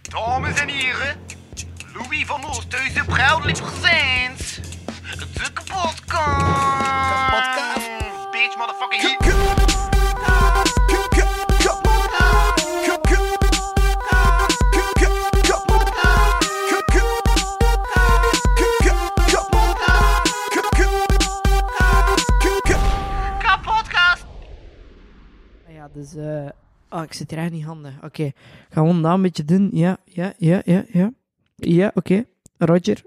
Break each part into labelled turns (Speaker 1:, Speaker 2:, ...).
Speaker 1: Dames en heren, Louis van Oosthuizen, proudly presents de kapotkast.
Speaker 2: Kapotkast.
Speaker 1: Bitch, motherfucking hit. Kapotkast.
Speaker 3: Ja, dus... eh Oh, ik zit hier echt niet handig. Oké, gewoon dat een beetje doen. Ja, ja, ja, ja, ja. Ja, oké. Roger.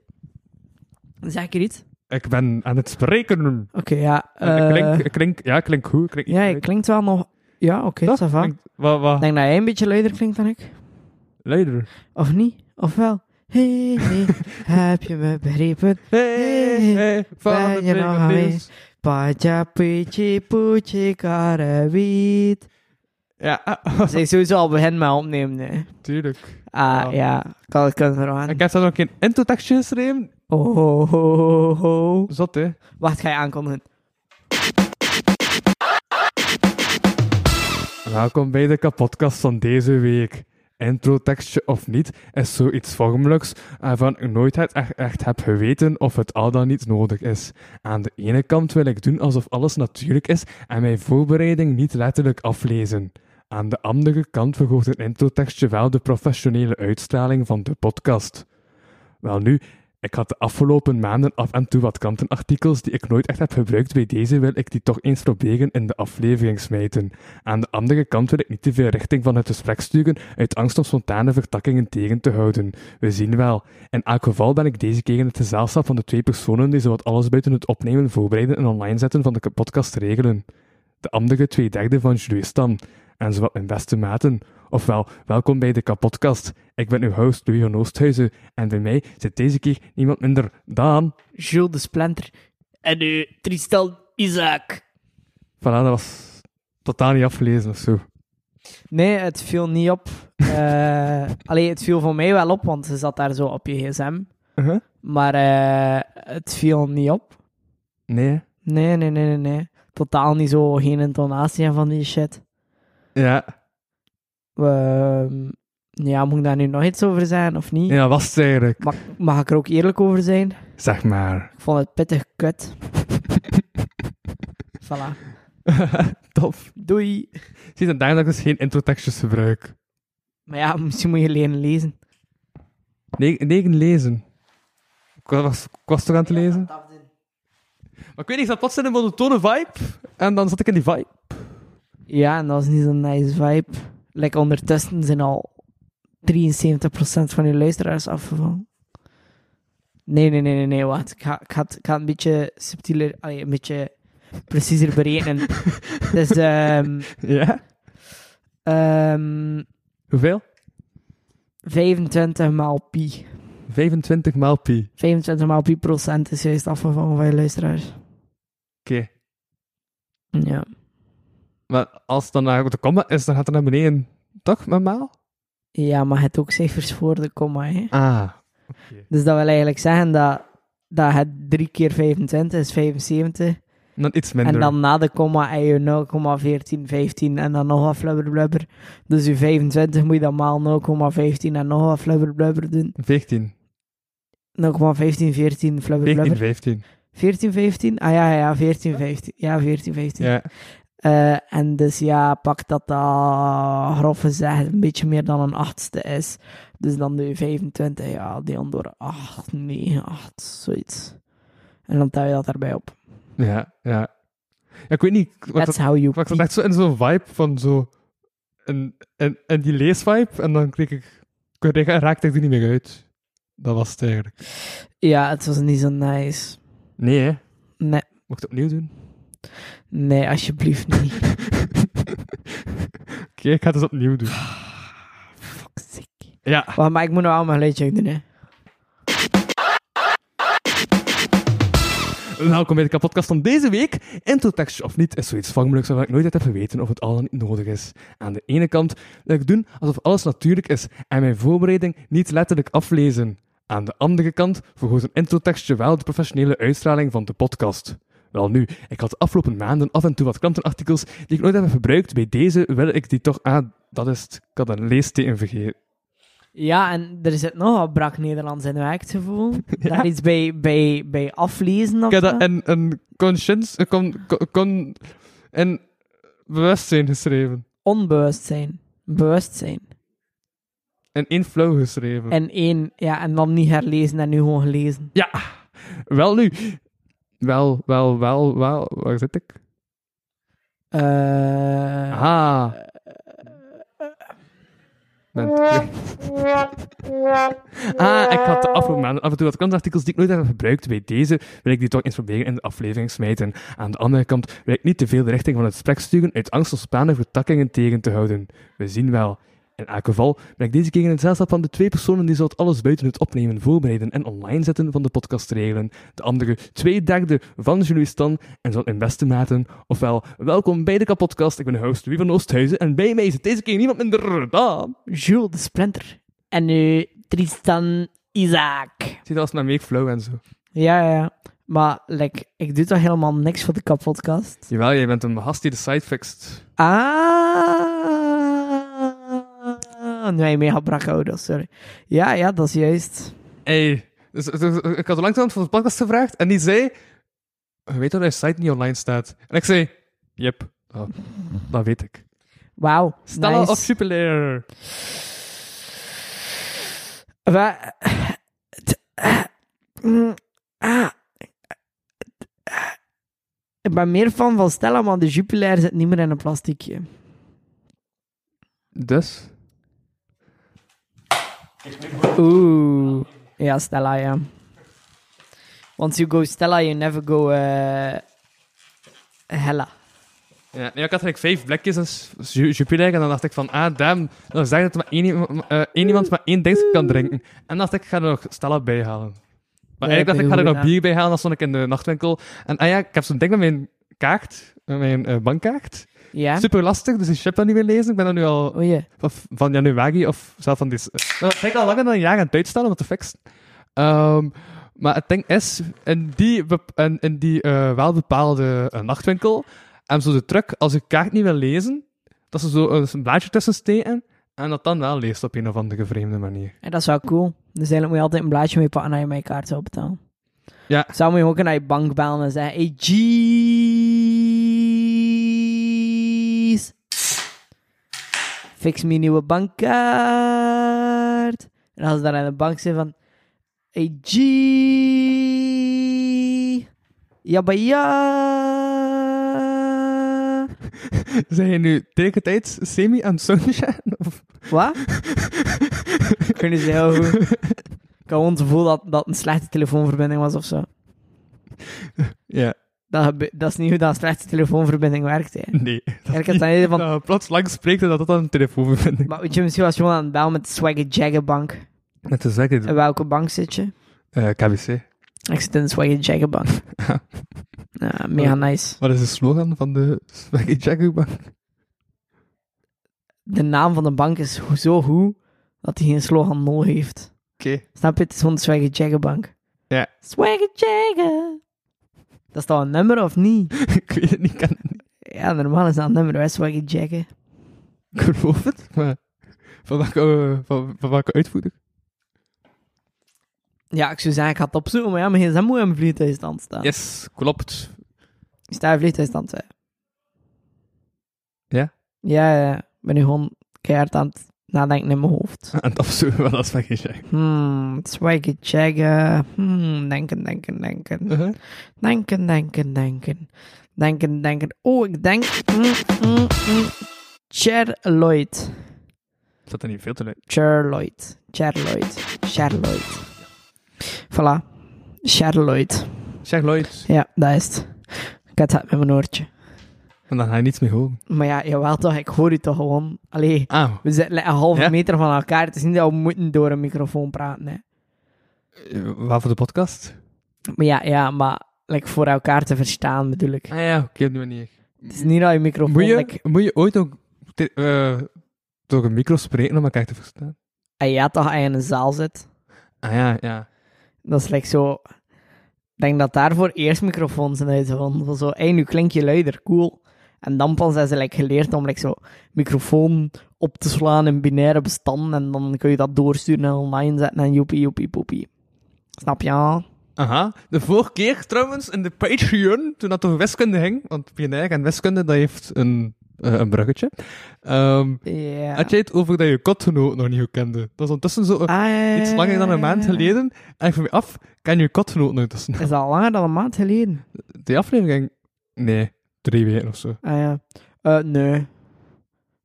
Speaker 3: Zeg ik er iets?
Speaker 4: Ik ben aan het spreken.
Speaker 3: Oké, ja.
Speaker 4: ik,
Speaker 3: eh,
Speaker 4: klink, ik, klink, ja, ik klink goed. Ik klink,
Speaker 3: ja, je klinkt wel nog... Ja, oké,
Speaker 4: Toch?
Speaker 3: ça va.
Speaker 4: Klinkt- Wat,
Speaker 3: Ik
Speaker 4: wat,
Speaker 3: denk dat jij een beetje luider klinkt dan ik.
Speaker 4: luider.
Speaker 3: Of niet? Of wel? Hé, hey, hey, heb je me begrepen?
Speaker 4: Hey,
Speaker 3: Hey,
Speaker 4: hey, van
Speaker 3: ben
Speaker 4: de
Speaker 3: je nog aan
Speaker 4: Pringles.
Speaker 3: Pacha, pichi, poetje, karawiet.
Speaker 4: Ja,
Speaker 3: Dus ik sowieso al begin met opnemen, hè.
Speaker 4: tuurlijk.
Speaker 3: Ah,
Speaker 4: Oh.
Speaker 3: ja. Kan, kan er aan.
Speaker 4: Ik heb zelfs nog geen introtekstje geschreven.
Speaker 3: Oh, ho, ho, ho, ho.
Speaker 4: Zot, hè.
Speaker 3: Wacht, ga je aankondigen.
Speaker 4: Welkom bij de kapotkast van deze week. Introtekstje of niet is zoiets vormelijks waarvan ik nooit het echt, echt heb geweten of het al dan niet nodig is. Aan de ene kant wil ik doen alsof alles natuurlijk is en mijn voorbereiding niet letterlijk aflezen. Aan de andere kant verhoogt een introtekstje wel de professionele uitstraling van de podcast. Wel nu, ik had de afgelopen maanden af en toe wat kantenartikels die ik nooit echt heb gebruikt. Bij deze wil ik die toch eens proberen in de aflevering smijten. Aan de andere kant wil ik niet te veel richting van het gesprek sturen uit angst om spontane vertakkingen tegen te houden. We zien wel. In elk geval ben ik deze keer in het gezelschap van de twee personen die zowat alles buiten het opnemen, voorbereiden en online zetten van de podcast regelen. De andere twee derde van Jules Stan. En zowat mijn beste maten. Ofwel, welkom bij de kapotkast. Ik ben uw host Louis van Oosthuizen en bij mij zit deze keer niemand minder dan...
Speaker 3: Jules de Splinter.
Speaker 5: En nu Tristan Isaac.
Speaker 4: Voilà, dat was totaal niet afgelezen of zo.
Speaker 3: Nee, het viel niet op. Eh allee, het viel voor mij wel op, want ze zat daar zo op je gsm.
Speaker 4: Uh-huh.
Speaker 3: Maar eh, het viel niet op.
Speaker 4: Nee, hè?
Speaker 3: Nee, nee, nee, nee, nee. Totaal niet zo, geen intonatie en van die shit.
Speaker 4: Ja,
Speaker 3: Ehm, ja, moet ik daar nu nog iets over zijn of niet?
Speaker 4: ja dat was het eigenlijk.
Speaker 3: Mag, mag ik er ook eerlijk over zijn?
Speaker 4: Zeg maar.
Speaker 3: Ik vond het pittig kut. voilà.
Speaker 4: Tof.
Speaker 3: Doei.
Speaker 4: Zie je, daarom dat ik dus geen introtekstjes gebruik.
Speaker 3: Maar ja, misschien moet je leren lezen.
Speaker 4: Ne- negen lezen. Ik was, ik was toch aan het lezen? Maar ik weet niet, ik zat plots in een monotone vibe. En dan zat ik in die vibe.
Speaker 3: Ja, en dat is niet zo'n nice vibe. Like ondertussen zijn al 73% van je luisteraars afgevallen. Nee, nee, nee, nee, nee, wacht. Ik ga, ik ga, het- ik ga het een beetje subtieler, allee, een beetje preciezer berekenen. dus, ehm
Speaker 4: Ja?
Speaker 3: ehm,
Speaker 4: Hoeveel?
Speaker 3: 25 maal pi.
Speaker 4: 25 maal pi.
Speaker 3: 25 maal pi procent is juist afgevallen van je luisteraars.
Speaker 4: Oké.
Speaker 3: Ja.
Speaker 4: Maar als het dan naar de comma is, dan gaat het naar beneden. Toch, met maal?
Speaker 3: Ja, maar het ook cijfers voor de komma, hè.
Speaker 4: Ah.
Speaker 3: Dus dat wil eigenlijk zeggen dat, dat het 3 keer 25 is 75.
Speaker 4: En dan iets minder.
Speaker 3: En dan na de komma en je 0,14, 15 en dan nog wat flubber blubber. Dus je 25 moet je dan maal 0,15 en nog wat flubber blubber doen.
Speaker 4: 14.
Speaker 3: 0,15, 14 flubber
Speaker 4: 14,
Speaker 3: blubber.
Speaker 4: 15.
Speaker 3: 14, 15? Ah ja, ja, ja, 14, 15. Ja, 14, 15.
Speaker 4: Ja.
Speaker 3: Eh, en dus ja, pak dat dat grof gezegd een beetje meer dan een achtste is. Dus dan doe je 25, ja, deel door 8, 9, 8, zoiets. En dan tel je dat daarbij op.
Speaker 4: Ja, ja. Ja, ik weet niet. wat dat-
Speaker 3: That's how you
Speaker 4: Maar ik zat echt zo in zo'n vibe van zo. En, en, en die leesvibe. En dan kreeg ik. ik kreeg- raakte ik er niet meer uit. Dat was het eigenlijk.
Speaker 3: Ja, het was niet zo nice.
Speaker 4: Nee, hè?
Speaker 3: Nee,
Speaker 4: Mocht ik het opnieuw doen?
Speaker 3: nee, alsjeblieft niet.
Speaker 4: Oké, ik ga het eens opnieuw doen.
Speaker 3: Fuck, sick.
Speaker 4: Ja.
Speaker 3: Wacht, maar ik moet nou allemaal mijn geluidje doen, hè.
Speaker 4: Welkom bij de kapotkast van deze week. Introtekstje of niet is zoiets vormelijks waarvan ik nooit uit heb geweten of het al dan niet nodig is. Aan de ene kant wil ik doen alsof alles natuurlijk is en mijn voorbereiding niet letterlijk aflezen. Aan de andere kant vergroot een introtekstje wel de professionele uitstraling van de podcast. Wel nu, ik had de afgelopen maanden af en toe wat klantenartikels die ik nooit heb gebruikt. Bij deze wil ik die toch aan... Dat is het. Ik had een leesteken vergeten.
Speaker 3: Ja, en er zit nog wat brak Nederlands in, heb ik het gevoel. Daar iets bij, bij, bij aflezen of
Speaker 4: Ik heb
Speaker 3: zo.
Speaker 4: dat in een conscience, een con, con, con- in bewustzijn geschreven.
Speaker 3: Onbewust zijn. Bewust zijn.
Speaker 4: In één flow geschreven.
Speaker 3: En één, ja, en dan niet herlezen en nu gewoon gelezen.
Speaker 4: Ja, wel nu. Wel, wel, wel, wel. Waar zit ik?
Speaker 3: Eh,
Speaker 4: Ah. Ben terug. Ah, ik had de afgelopen maanden af en toe wat kansartikels die ik nooit heb gebruikt. Bij deze wil ik die toch eens proberen in de aflevering smijten. Aan de andere kant wil ik niet te veel de richting van het gesprek sturen uit angst om spannende vertakkingen tegen te houden. We zien wel. In elk geval ben ik deze keer in het gezelschap van de twee personen die zowat alles buiten het opnemen, voorbereiden en online zetten van de podcast regelen. De andere twee derde van Julie Stan en zal in beste maten. Ofwel, welkom bij de kapodcast. Ik ben de host Wie van Oosthuizen en bij mij zit deze keer niemand minder dan...
Speaker 3: Jules de Splinter. En nu Tristan Isaac.
Speaker 4: Zie dat als naar Make Flow en zo.
Speaker 3: Ja, ja, ja. Maar like, ik doe toch helemaal niks voor de kapotkast?
Speaker 4: Jawel, jij bent een gast die de site fixt.
Speaker 3: Ah. Nee, mega brak houden, sorry. Ja, ja, dat is juist.
Speaker 4: Ey, dus, dus- ik had langzaam van de podcast gevraagd en die zei... Je weet dat je site niet online staat. En ik zei... Yep, dat, dat weet ik.
Speaker 3: Wauw.
Speaker 4: Stella
Speaker 3: nice.
Speaker 4: of Superlayer.
Speaker 3: Wa- t- eh, mm, ah. Ik ben meer fan van Stella, maar de Jupiler zit niet meer in een plasticje.
Speaker 4: Dus?
Speaker 3: Oeh. Ja, Stella, ja. Once you go Stella, you never go eh, Hella.
Speaker 4: Ja, nee, ik had eigenlijk vijf blikjes als Ju- Jupiler en dan dacht ik van, ah, damn, dan zeg dat er maar één, i- eh, één iemand maar één ding kan drinken. En dan dacht ik, ik ga er nog Stella bij halen. Maar
Speaker 3: Ja,
Speaker 4: eigenlijk dacht ik,
Speaker 3: ik
Speaker 4: ik
Speaker 3: ben
Speaker 4: ga er
Speaker 3: goed,
Speaker 4: nog
Speaker 3: ja.
Speaker 4: bier bij halen, dan stond ik in de nachtwinkel. En ah ja, ik heb zo'n ding met mijn kaart, met mijn eh, bankkaart.
Speaker 3: Ja?
Speaker 4: Super lastig, dus ik heb dat niet meer lezen. Ik ben dat nu al
Speaker 3: Oei.
Speaker 4: of van januari of zelfs van december. Dat vind ik al langer dan een jaar aan het uitstellen om het te fixen. Ehm, maar het ding is, in die, bep- in, in die eh, welbepaalde eh, nachtwinkel, en zo de truc, als je kaart niet wil lezen, dat ze zo een, een blaadje tussen steken en dat dan wel leest op een of andere vreemde manier.
Speaker 3: En dat is wel cool. Dus eigenlijk moet je altijd een blaadje mee pakken als je mijn kaart zou betalen.
Speaker 4: Ja.
Speaker 3: Zou moet je ook naar je bank bellen en zeggen: Hey, G's. Fix me een nieuwe bankkaart. En als ze dan aan de bank zijn van: Hey, G. Jabba ja.
Speaker 4: Zijn je nu tegelijkertijd semi aan sunshine? Of...
Speaker 3: Wat? Kunnen ze heel goed. Ik had gewoon het gevoel dat dat een slechte telefoonverbinding was of zo.
Speaker 4: Ja,
Speaker 3: Dat, gebe- dat is niet hoe dat een slechte telefoonverbinding werkt. Hè.
Speaker 4: nee.
Speaker 3: Eigenlijk is dat niet van.
Speaker 4: Dat plots lang spreekt en dat dat dan een telefoonverbinding.
Speaker 3: Maar weet je, misschien was je gewoon aan het bellen met de Swagger Jagger Bank.
Speaker 4: Met de zeggen,
Speaker 3: In welke bank zit je?
Speaker 4: eh, KBC.
Speaker 3: Ik zit in de Swagger Jagger Bank. Ja, mega nice.
Speaker 4: Wat is de slogan van de Swaggy Jagger Bank?
Speaker 3: De naam van de bank is ho- zo goed dat hij geen slogan nodig heeft.
Speaker 4: Oké.
Speaker 3: Snap je? Het is gewoon de Swagger Jagger Bank.
Speaker 4: Ja.
Speaker 3: Swagger Jagger. Dat is toch een nummer of niet?
Speaker 4: ik weet het niet, ik kan het niet.
Speaker 3: Ja, normaal is dat een nummer. Wij Swagger Jagger.
Speaker 4: Ik geloof het, maar van welke, eh, van, van welke uitvoerder?
Speaker 3: Ja, ik zou zeggen, ik ga het opzoeken, maar ja, mijn gsm moet in mijn vliegtuigstand staan.
Speaker 4: Ah. Yes, klopt.
Speaker 3: Ik sta in vliegtuigstand, hè.
Speaker 4: Ja?
Speaker 3: Ja, ja. Ik ben nu gewoon keihard aan het nadenken in mijn hoofd.
Speaker 4: En Ah, dat is wel als Swaggy Jagger.
Speaker 3: Hmm, swaggy checken. Hmm, denken, denken, denken.
Speaker 4: Uh-huh.
Speaker 3: Denken, denken, denken. Denken, denken. Oh, ik denk... Mm, mm, mm. Charlotte.
Speaker 4: Zat er niet veel te leuk.
Speaker 3: Charlotte. Charlotte. Charlotte. Voilà. Charlotte.
Speaker 4: Zeg Lloyd.
Speaker 3: Ja, dat is het. Ik had het met mijn oortje.
Speaker 4: En dan ga je niets meer horen.
Speaker 3: Maar ja, jawel toch, ik hoor u toch gewoon. Allee,
Speaker 4: Ah,
Speaker 3: we zitten like een halve
Speaker 4: Ja?
Speaker 3: meter van elkaar. Het is niet dat we moeten door een microfoon praten. Hè.
Speaker 4: waar Eh, voor de podcast?
Speaker 3: Maar ja, ja maar like, voor elkaar te verstaan bedoel ik.
Speaker 4: Ah ja, oké, op die manier.
Speaker 3: Het is niet dat je microfoon...
Speaker 4: Moet je,
Speaker 3: like-
Speaker 4: moet je ooit ook te- eh, door een micro spreken om elkaar te verstaan?
Speaker 3: Ah ja, toch, als je in een zaal zit.
Speaker 4: Ah ja, ja.
Speaker 3: Dat is like zo... Ik denk dat daarvoor eerst microfoons zijn uitgevonden. Van zo, hé, nu klink je luider, cool. En dan pas zijn ze like, geleerd om like, zo microfoon op te slaan in binaire bestanden en dan kun je dat doorsturen en online zetten en joepie, joepie, poepie. Snap je? ja?
Speaker 4: Aha. De vorige keer trouwens in de Patreon, toen dat over wiskunde ging, want binair en wiskunde, dat heeft een, eh, een bruggetje. Ehm,
Speaker 3: Ja.
Speaker 4: Had jij het over dat je kotgenoot nog niet goed kende? Dat is ondertussen zo eh,
Speaker 3: Ah, ja, ja,
Speaker 4: iets langer dan een
Speaker 3: ja,
Speaker 4: maand
Speaker 3: ja.
Speaker 4: geleden. En ik vroeg me af, ken je kotgenoot nog tussen?
Speaker 3: Is dat al langer dan een maand geleden?
Speaker 4: Die aflevering? Nee, drie weken of zo.
Speaker 3: Ah ja. Eh, nee.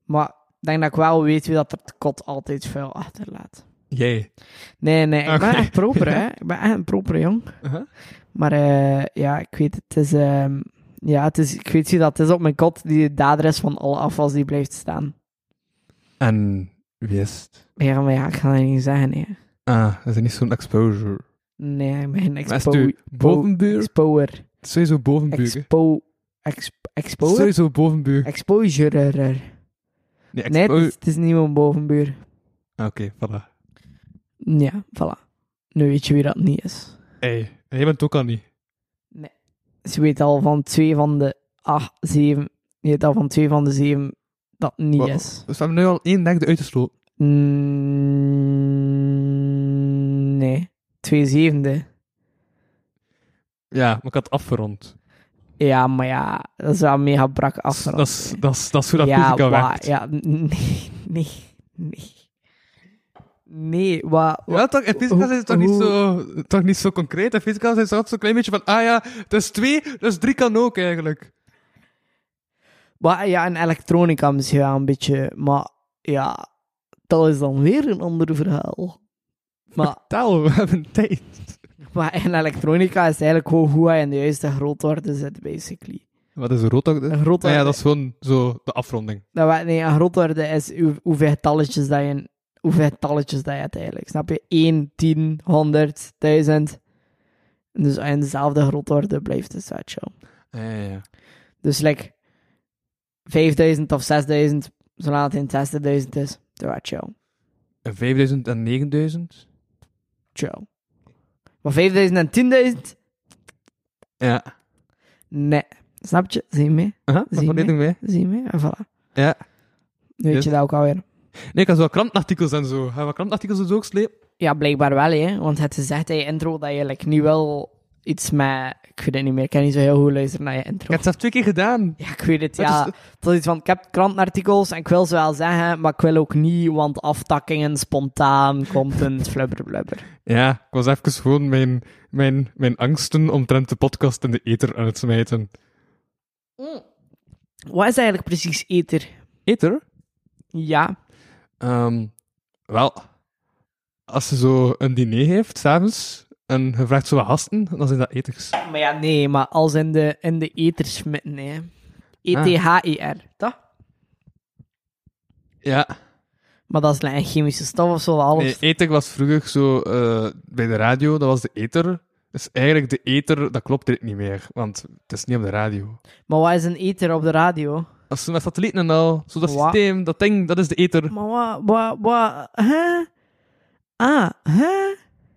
Speaker 3: Maar ik denk dat ik wel weet wie dat er te kot altijd veel achterlaat.
Speaker 4: Jij.
Speaker 3: Nee, nee, ik ben
Speaker 4: Oké.
Speaker 3: echt proper, hè. Ik ben echt een proper jong.
Speaker 4: Aha.
Speaker 3: Maar eh, ja, ik weet het. is, ehm, ja, het is, ik weet niet dat het is op mijn kot die de dader is van alle afwas die blijft staan.
Speaker 4: En wie is het?
Speaker 3: Ja, maar ja, ik ga dat niet zeggen, hè.
Speaker 4: Ah, dat is niet zo'n exposure.
Speaker 3: Nee, ik ben geen
Speaker 4: Maar is
Speaker 3: expo...
Speaker 4: het uw bovenbuur?
Speaker 3: Expoer.
Speaker 4: Het is Sowieso bovenbuur.
Speaker 3: Expo... Exp,
Speaker 4: hè?
Speaker 3: expoer?
Speaker 4: Sowieso bovenbuur.
Speaker 3: Exposurer.
Speaker 4: Nee,
Speaker 3: Nee, het
Speaker 4: expo-
Speaker 3: is, het is niet mijn bovenbuur.
Speaker 4: Ah, Oké, voilà.
Speaker 3: Ja, voilà. Nu weet je wie dat niet is.
Speaker 4: Hey, jij bent het ook al niet.
Speaker 3: Ze weet al van twee van de acht, zeven... Je weet al van twee van de zeven dat het niet
Speaker 4: Wat?
Speaker 3: is.
Speaker 4: Dus we hebben nu al één nek eruit gesloten.
Speaker 3: Mm, nee. Twee zevende.
Speaker 4: Ja, maar ik had het afgerond.
Speaker 3: Ja, maar ja, dat is wel mega brak afgerond.
Speaker 4: Dat is- Dat is- dat is hoe dat
Speaker 3: ja,
Speaker 4: fysica
Speaker 3: wa-
Speaker 4: werkt.
Speaker 3: Ja, nee, nee, nee. Nee, wat...
Speaker 4: Ja, toch, in fysica
Speaker 3: hoe-
Speaker 4: zijn ze toch niet,
Speaker 3: hoe-
Speaker 4: zo, toch niet zo concreet. In fysica zijn ze altijd zo'n klein beetje van, ah ja, het is twee, dus drie kan ook eigenlijk.
Speaker 3: Maar ja, en elektronica misschien wel een beetje, maar ja, dat is dan weer een ander verhaal. Maar,
Speaker 4: Tel, we hebben tijd.
Speaker 3: maar in elektronica is eigenlijk gewoon hoe hij in de juiste grootorde zit, basically.
Speaker 4: Wat is een rooddag?
Speaker 3: Een grootorde,
Speaker 4: Ah ja, dat is gewoon zo de afronding.
Speaker 3: dat wa- nee, een grootorde is hoe, hoeveel talletjes dat je, hoeveel talletjes dat je hebt eigenlijk. Snap je? 1, 10, 100, 1000. En dus als je in dezelfde grootorde blijft, is dat zo.
Speaker 4: Ja, Ah, ja, ja.
Speaker 3: Dus like 5000 of 6000, zolang het in 6000 is, dat is chill.
Speaker 4: En 5000 en 9000?
Speaker 3: Chill. Maar 5000 en 10.000?
Speaker 4: Ja.
Speaker 3: Nee. Snap je? Zie je mee?
Speaker 4: Aha, dat
Speaker 3: Zie
Speaker 4: vond ik
Speaker 3: je
Speaker 4: niet mee.
Speaker 3: Zie je mee? En voilà.
Speaker 4: Ja.
Speaker 3: Nu weet
Speaker 4: Yes.
Speaker 3: je dat ook alweer.
Speaker 4: Nee, ik had wel krantartikels en zo. Gaan we krantartikels dus ook slepen?
Speaker 3: Ja, blijkbaar wel, hè. Want het is echt in je intro dat je like, nu wel iets met... Ik weet het niet meer. Ik kan niet zo heel goed luisteren naar je
Speaker 4: Ik
Speaker 3: intro.
Speaker 4: heb het zelf twee keer gedaan.
Speaker 3: Ja, ik weet het,
Speaker 4: Het
Speaker 3: ja.
Speaker 4: is-
Speaker 3: Het is iets van, ik heb krantenartikels en ik wil ze wel zeggen, maar ik wil ook niet, want aftakkingen spontaan, content, flubber, blubber.
Speaker 4: Ja, ik was even gewoon mijn, mijn, mijn angsten omtrent de podcast en de ether aan het smijten. Mm.
Speaker 3: Wat is eigenlijk precies ether?
Speaker 4: Ether?
Speaker 3: Ja.
Speaker 4: Ehm, wel, als ze zo een diner heeft, s'avonds, en je vraagt zo wat gasten, dan zijn dat eters.
Speaker 3: Maar ja, nee, maar als in de, in de ether smitten, hè. E E-T-H-I-R,
Speaker 4: Ah.
Speaker 3: toch?
Speaker 4: Ja.
Speaker 3: Maar dat is like een chemische stof of zo, dat alles...
Speaker 4: Nee, ether was vroeger zo eh, bij de radio, dat was de ether. Dus eigenlijk de ether, dat klopt direct niet meer, want het is niet op de radio.
Speaker 3: Maar wat is een ether op de radio?
Speaker 4: Als ze met satellieten en al, zo dat
Speaker 3: Wat?
Speaker 4: systeem, dat ding, dat is de ether.
Speaker 3: Maar wat, wat, wat, hè? Ah, hè?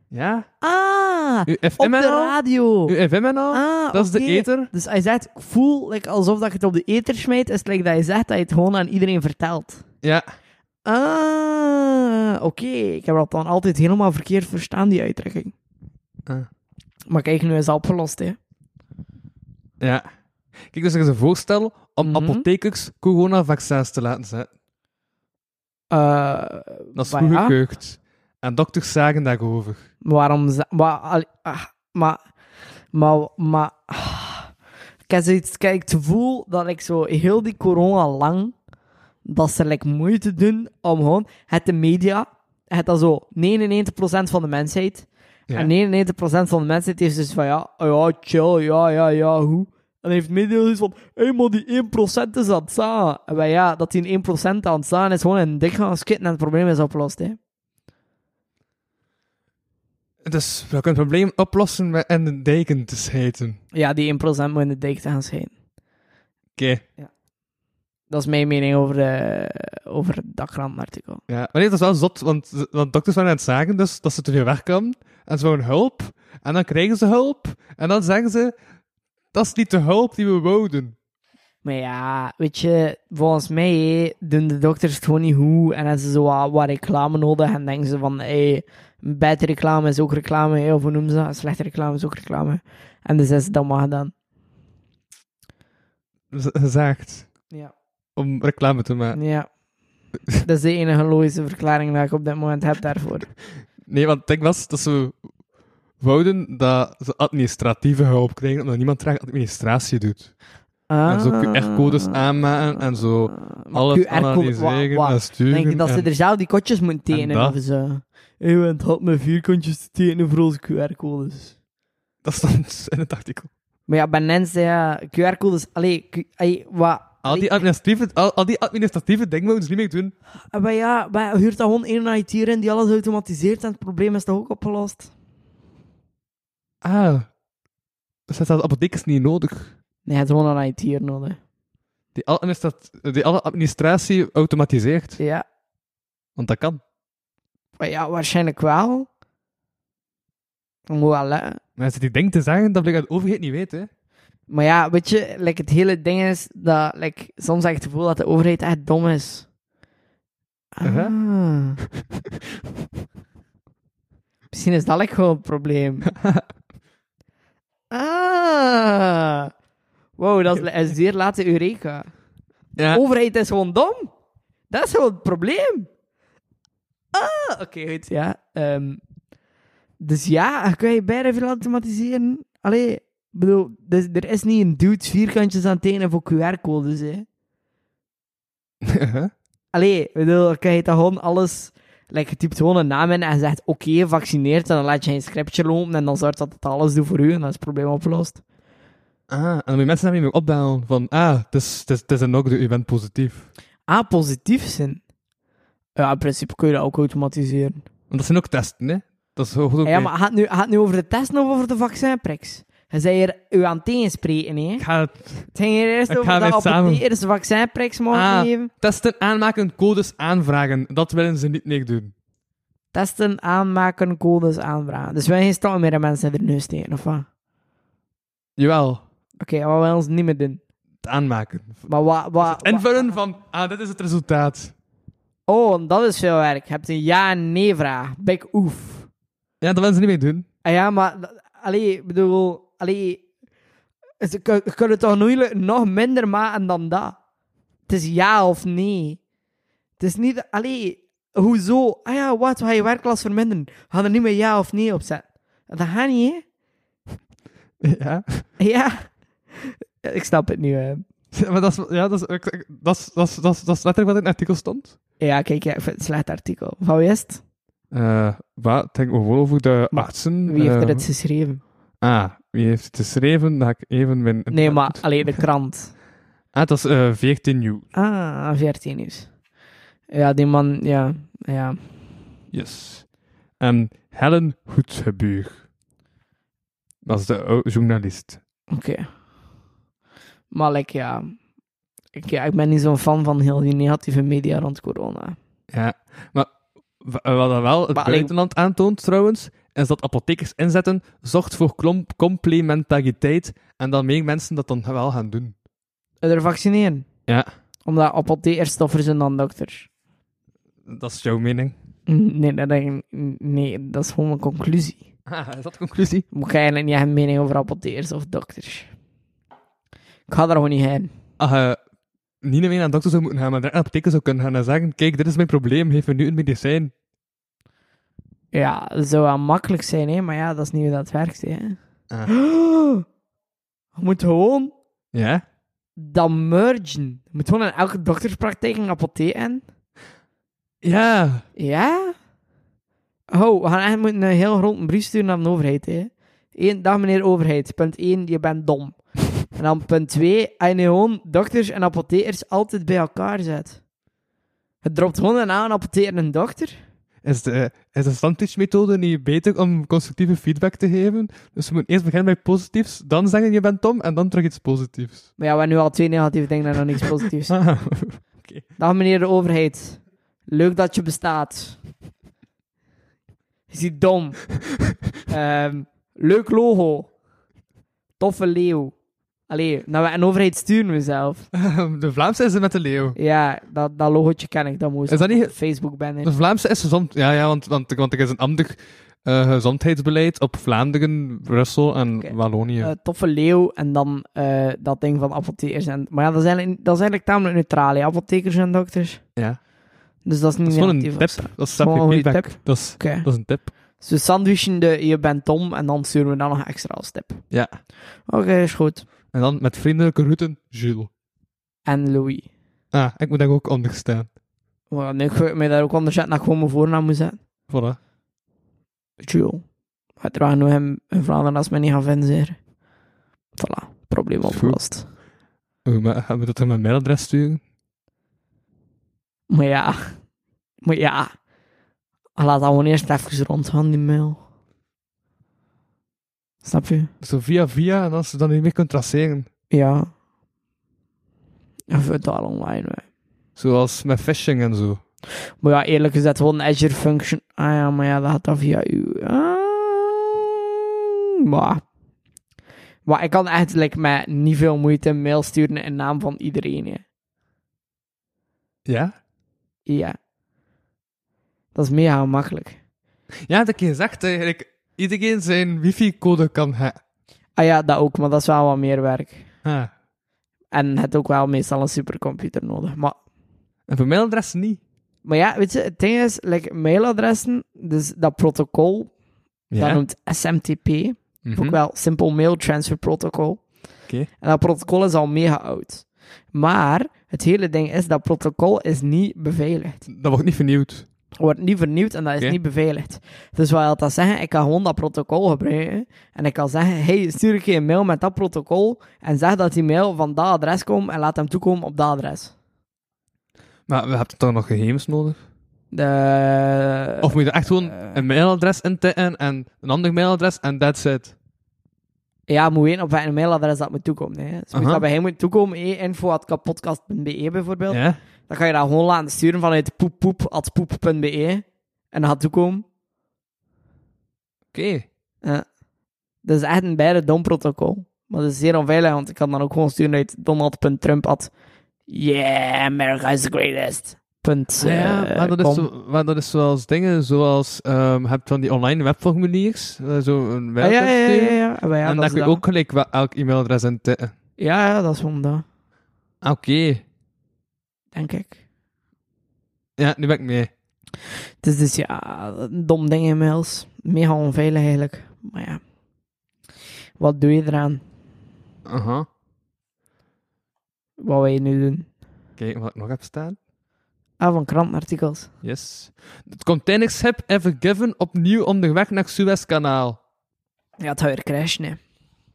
Speaker 4: Ja?
Speaker 3: Ah,
Speaker 4: Uw
Speaker 3: op
Speaker 4: FM
Speaker 3: de
Speaker 4: en al?
Speaker 3: radio.
Speaker 4: Uw FM en al?
Speaker 3: Ah,
Speaker 4: dat is de
Speaker 3: oké.
Speaker 4: ether.
Speaker 3: Dus hij zegt, ik voel like, alsof dat je het op de ether smijt, is het like dat je zegt dat je het gewoon aan iedereen vertelt.
Speaker 4: Ja.
Speaker 3: Ah, oké. Ik heb dat dan altijd helemaal verkeerd verstaan, die uitdrukking.
Speaker 4: Ah.
Speaker 3: Maar kijk, nu is het opgelost, hè.
Speaker 4: Ja. Kijk, dus er is een voorstel om
Speaker 3: Mhm.
Speaker 4: apothekers coronavaccins te laten zetten.
Speaker 3: Eh,
Speaker 4: Dat is
Speaker 3: maar
Speaker 4: vroeger
Speaker 3: ja,
Speaker 4: geugd. En dokters zagen daarover.
Speaker 3: Waarom... ze- Maar, al- ah, maar... Maar... maar ah. Ik heb zoiets... Kijk, het gevoel dat ik zo heel die corona lang... Dat ze like, moeite doen om gewoon... Het de media... Het dat zo 99% van de mensheid...
Speaker 4: Ja.
Speaker 3: En 99% van de mensheid heeft dus van... Ja, ah ja, chill, ja, ja, ja, hoe? En heeft mededeling van... Hé, maar die 1% is aan het staan. En wij, ja, dat die 1% aan het staan is gewoon een dik gaan skitten en het probleem is opgelost, hè.
Speaker 4: Dus we kunnen het probleem oplossen met en de deken te schijten.
Speaker 3: Ja, die 1% moet in de dijk te gaan schijnen.
Speaker 4: Oké.
Speaker 3: Dat is mijn mening over, eh over dat krantenartikel.
Speaker 4: Ja. Maar nee, dat is wel zot, want, ze- want dokters waren aan het zagen dus dat ze te veel weg kan. En ze wouden hulp. En dan krijgen ze hulp. En dan zeggen ze, dat is niet de hulp die we wouden.
Speaker 3: Maar ja, weet je, volgens mij hé, doen de dokters het gewoon niet goed. En hebben ze zo wat, wat reclame nodig. En denken ze van, hé, beter reclame is ook reclame. hé, of hoe noemen ze dat? Slechte reclame is ook reclame. En dus is het dan maar gedaan.
Speaker 4: Z- Gezegd.
Speaker 3: Ja.
Speaker 4: Om reclame te maken.
Speaker 3: Ja. dat is de enige logische verklaring dat ik op dit moment heb daarvoor.
Speaker 4: Nee, want ik was dat ze wouden dat ze administratieve hulp krijgen, omdat niemand graag administratie doet. En zo
Speaker 3: Ah.
Speaker 4: QR-codes aanmaken en zo
Speaker 3: Maar
Speaker 4: alles
Speaker 3: QR-code, wa-
Speaker 4: analyseren
Speaker 3: wa-
Speaker 4: en sturen.
Speaker 3: Denk je dat ze
Speaker 4: en-
Speaker 3: er zelf die kotjes moeten
Speaker 4: Hm? en
Speaker 3: tekenen?
Speaker 4: dat.
Speaker 3: Of zo? Hé, want het had me vierkantjes te tekenen voor onze QR-codes.
Speaker 4: Dat stond in het artikel.
Speaker 3: Maar ja, bij mensen, ja, QR-codes, allee, Q- allee, wat...
Speaker 4: Al die
Speaker 3: allee,
Speaker 4: administratieve, al, al die administratieve dingen moeten ze niet meer doen.
Speaker 3: eh, maar ja, maar huurt dat gewoon één IT in die alles automatiseert en het probleem is toch ook opgelost?
Speaker 4: Ah. Dus dat is de apotheek is niet nodig.
Speaker 3: Nee, het is gewoon een IT'er nodig.
Speaker 4: Die, al administrat- die alle administratie automatiseert.
Speaker 3: Ja,
Speaker 4: Want dat kan.
Speaker 3: maar ja, waarschijnlijk wel. Dan moet wel letten.
Speaker 4: Maar als je die denkt te zeggen, dat blijkt dat de overheid niet weet, hè.
Speaker 3: Maar ja, weet je, like, het hele ding is dat like, soms heb ik het gevoel dat de overheid echt dom is. Ah.
Speaker 4: Uh-huh.
Speaker 3: Misschien is dat like, gewoon een probleem. ah. Wow, dat is een zeer late Eureka.
Speaker 4: Ja.
Speaker 3: Overheid is gewoon dom. Dat is gewoon het probleem. Ah, oké, goed, ja. Ehm, dus ja, kan je bijna veel automatiseren. Allee, ik bedoel, dus, er is niet een dude vierkantjes aan het tekenen voor QR-codes, hè. Allee, ik bedoel, dan kan je toch gewoon alles... Like, je typt gewoon een naam in en zegt, oké, vaccineert. En dan laat je een scriptje lopen en dan zorgt dat het alles doet voor u. En dan is het probleem opgelost.
Speaker 4: Ah, en dan moet je mensen daarmee meer opbellen van, ah, het is, het is, het is een knockdown, u bent positief.
Speaker 3: Ah, positief zijn. Ja, in principe kun je dat ook automatiseren.
Speaker 4: Want dat zijn ook testen, hè. Dat is ook ook
Speaker 3: Ja, maar gaat het nu, gaat het nu over de testen of over de vaccinpriks? Je zei hier u aan het tegenspreken, hè?
Speaker 4: Ik ga het
Speaker 3: Het ging hier eerst
Speaker 4: Ik
Speaker 3: over
Speaker 4: ga
Speaker 3: dat
Speaker 4: met samen.
Speaker 3: apotheek eerst de vaccinpriks mogen
Speaker 4: Ah.
Speaker 3: geven.
Speaker 4: testen aanmaken, codes aanvragen. Dat willen ze niet meer doen.
Speaker 3: Testen, aanmaken, codes aanvragen. Dus wij gaan geen stappen meer aan mensen in de neus steken, of wat?
Speaker 4: Jawel,
Speaker 3: Oké, wat wij ons niet meer doen.
Speaker 4: het aanmaken.
Speaker 3: Maar wat... wat,
Speaker 4: Het invullen van, ah, dit is het resultaat.
Speaker 3: Oh, dat is veel werk. Je hebt een ja-nee-vraag. Big oef.
Speaker 4: Ja, dat willen ze niet meer doen.
Speaker 3: Ah ja, maar... dat- Allee, ik bedoel... Allee... Ze kun- kunnen toch moeilijk nog minder maken dan dat? Het is ja of nee. Het is niet... Allee, hoezo? Ah ja, wat? We gaan je werklast verminderen. We gaan er niet meer ja of nee op zetten. Dat gaat niet, hè?
Speaker 4: Ja,
Speaker 3: Ja. Ik snap het nu, hè.
Speaker 4: maar dat is, ja, dat is, ik- ik- dat is, dat is, dat is, dat is letterlijk wat in het artikel stond.
Speaker 3: Ja, kijk, ja, ik vind het een slecht artikel. Van wie is het?
Speaker 4: Eh, wat? Het ging gewoon over de
Speaker 3: Maar
Speaker 4: artsen.
Speaker 3: Wie heeft
Speaker 4: eh,
Speaker 3: er het geschreven?
Speaker 4: Ah, wie heeft het geschreven? Dat ik even mijn...
Speaker 3: Nee, maar alleen de krant.
Speaker 4: Ah, dat is eh, 14 nieuw.
Speaker 3: Ah, 14 is. Ja, die man, ja. ja.
Speaker 4: Yes. En Helen Goedsebuur. Dat is de ou- journalist.
Speaker 3: Oké. Maar like, ja. Ik, ja, ik ben niet zo'n fan van heel die negatieve media rond corona.
Speaker 4: Ja. Maar w- eh, wat dat wel het
Speaker 3: Maar alleen-
Speaker 4: buitenland aantoont trouwens, is dat apothekers inzetten zorgt voor klom- complementariteit en dat meer mensen dat dan wel gaan doen.
Speaker 3: Er vaccineren.
Speaker 4: Ja.
Speaker 3: Omdat apothekerstoffers en dan dokters.
Speaker 4: Dat is jouw mening.
Speaker 3: Mm, Nee, dat, denk ik- mm, nee, dat is gewoon een conclusie.
Speaker 4: Ah, is dat de conclusie?
Speaker 3: Moet ik eigenlijk niet echt een mening over apotheers of dokters. Ik ga daar gewoon niet heen.
Speaker 4: Als je Ah, eh, niet meer naar de dokter zou moeten gaan, maar naar de apotheker zou kunnen gaan en zeggen, kijk, dit is mijn probleem, geef me nu een medicijn.
Speaker 3: Ja, dat zou wel makkelijk zijn, hè? maar ja, dat is niet hoe dat werkt. Hè?
Speaker 4: Ah.
Speaker 3: Je moet gewoon
Speaker 4: Ja?
Speaker 3: dan mergen. Je moet gewoon in elke dokterspraktijk een apotheek in.
Speaker 4: Ja.
Speaker 3: Ja? Oh, we gaan echt moeten een heel grote brief sturen naar de overheid, hè. Eén, dag meneer overheid. Punt 1, je bent dom. En dan punt 2, als je nu gewoon dokters en apothekers altijd bij elkaar zet. Het dropt gewoon een aan apotheker en een dokter.
Speaker 4: Is de, is de standteach-methode niet beter om constructieve feedback te geven? Dus we moeten eerst beginnen met positiefs, dan zeggen je bent dom, en dan terug iets positiefs.
Speaker 3: Maar ja, we hebben nu al twee negatieve dingen en nog niks positiefs.
Speaker 4: Ah,
Speaker 3: Dag meneer de overheid. Leuk dat je bestaat. Is die dom? Ehm, leuk logo. Toffe leeuw. Allee, nou, en overheid sturen we zelf.
Speaker 4: De Vlaamse is er met de leeuw.
Speaker 3: Ja, dat, dat logotje ken ik, dat moest
Speaker 4: Is dat niet-
Speaker 3: op Facebook banner.
Speaker 4: De Vlaamse is gezond. Ja, ja want, want, want er is een ander eh, gezondheidsbeleid op Vlaanderen, Brussel en
Speaker 3: Oké.
Speaker 4: Wallonië.
Speaker 3: Eh, toffe leeuw en dan eh, dat ding van apothekers. En, maar ja, dat is eigenlijk, dat is eigenlijk tamelijk neutraal, hè, apothekers en dokters.
Speaker 4: ja.
Speaker 3: Dus dat is niet
Speaker 4: Dat is gewoon
Speaker 3: negatief
Speaker 4: een
Speaker 3: of
Speaker 4: tip.
Speaker 3: zo.
Speaker 4: Dat is
Speaker 3: Gewoon een
Speaker 4: een
Speaker 3: goede
Speaker 4: feedback.
Speaker 3: tip.
Speaker 4: Dat is,
Speaker 3: Oké.
Speaker 4: dat is een tip.
Speaker 3: Dus we sandwichen de je bent Tom en dan sturen we dan nog extra als tip.
Speaker 4: Ja.
Speaker 3: Oké, is goed.
Speaker 4: En dan met vriendelijke groeten, Jules.
Speaker 3: En Louis.
Speaker 4: Ah, ik moet daar ook onder staan.
Speaker 3: Maar nu ga ik mij daar ook anders zetten dat ik gewoon mijn voornaam moet zetten.
Speaker 4: Voilà.
Speaker 3: Jules. Uiteraard nu hem in Vlaanderen als men niet gaan vinden, zeer. Voilà, probleem
Speaker 4: Goed.
Speaker 3: opgelost.
Speaker 4: Oh, maar gaan we dat dan mijn mailadres sturen?
Speaker 3: Maar ja, maar ja. Laat dat gewoon eerst even rondgaan, die mail. Snap je?
Speaker 4: Zo via via, en als je dan niet meer kunt traceren.
Speaker 3: Ja. Even het al online, hè.
Speaker 4: Zoals met phishing en zo.
Speaker 3: Maar ja, eerlijk gezegd, gewoon Azure Function. Ah ja, maar ja, dat gaat dan via u. Ah, maar. Maar ik kan eigenlijk met niet veel moeite een mail sturen in naam van iedereen. hè.
Speaker 4: Ja?
Speaker 3: Ja. Dat is mega makkelijk.
Speaker 4: Ja, dat ik je zegt eigenlijk. Iedereen zijn wifi-code kan ha.
Speaker 3: Ah ja, dat ook, maar dat is wel wat meer werk.
Speaker 4: Ah.
Speaker 3: En het heeft ook wel meestal een supercomputer nodig. Maar
Speaker 4: En voor mailadres niet.
Speaker 3: Maar ja, weet je, het ding is, like, mailadressen, dus dat protocol, dat noemt SMTP, ook
Speaker 4: Mhm.
Speaker 3: wel Simple Mail Transfer Protocol.
Speaker 4: Oké.
Speaker 3: En dat protocol is al mega oud. Maar het hele ding is, dat protocol is niet beveiligd.
Speaker 4: Dat wordt niet vernieuwd.
Speaker 3: Wordt niet vernieuwd en dat is
Speaker 4: Oké.
Speaker 3: niet beveiligd. Dus wat wil dat zeggen? Ik kan gewoon dat protocol gebruiken. En ik kan zeggen, hey, stuur ik je een mail met dat protocol en zeg dat die mail van dat adres komt en laat hem toekomen op dat adres.
Speaker 4: Maar we hebben toch nog gegevens nodig?
Speaker 3: De...
Speaker 4: of moet je er echt gewoon
Speaker 3: eh.
Speaker 4: een mailadres intikken en een ander mailadres en that's it?
Speaker 3: Ja, moet weten op welk mailadres dat moet toekomen. Hè. Dus moet
Speaker 4: Aha.
Speaker 3: dat bij hem moet toekomen, eh, info.kapodcast.be bijvoorbeeld.
Speaker 4: Ja?
Speaker 3: Dan kan je dat gewoon laten sturen vanuit poeppoep.poep.be. En dat gaat toekomen.
Speaker 4: Oké.
Speaker 3: Dat is echt een bijna dom protocol. Maar dat is zeer onveilig, want ik kan dan ook gewoon sturen uit donald.trump. Yeah, America is the greatest. Punt,
Speaker 4: ja,
Speaker 3: eh,
Speaker 4: maar dat, is
Speaker 3: com.
Speaker 4: zo, maar dat is zoals dingen zoals... ehm, je hebt van die online webformuliers, eh, zo een
Speaker 3: Ah,
Speaker 4: mailadres
Speaker 3: ja, ja, ja,
Speaker 4: sturen.
Speaker 3: ja, ja. Ah, maar ja,
Speaker 4: en
Speaker 3: dat
Speaker 4: dan
Speaker 3: is
Speaker 4: kun je
Speaker 3: dat.
Speaker 4: ook gelijk wel elk e-mailadres intikken.
Speaker 3: Ja, ja, dat is gewoon dat,
Speaker 4: Ah, Oké.
Speaker 3: denk ik.
Speaker 4: Ja, nu ben ik mee.
Speaker 3: Het is dus ja, een dom ding in mails. Mega onveilig eigenlijk. Maar ja. Wat doe je eraan?
Speaker 4: Aha.
Speaker 3: Wat wil je nu doen?
Speaker 4: Kijk wat ik nog heb staan.
Speaker 3: Ah, van krantenartikels.
Speaker 4: Yes. Het containerschip Evergiven opnieuw onderweg naar het Suezkanaal.
Speaker 3: Ja, het gaat weer crashen, hè.
Speaker 4: Het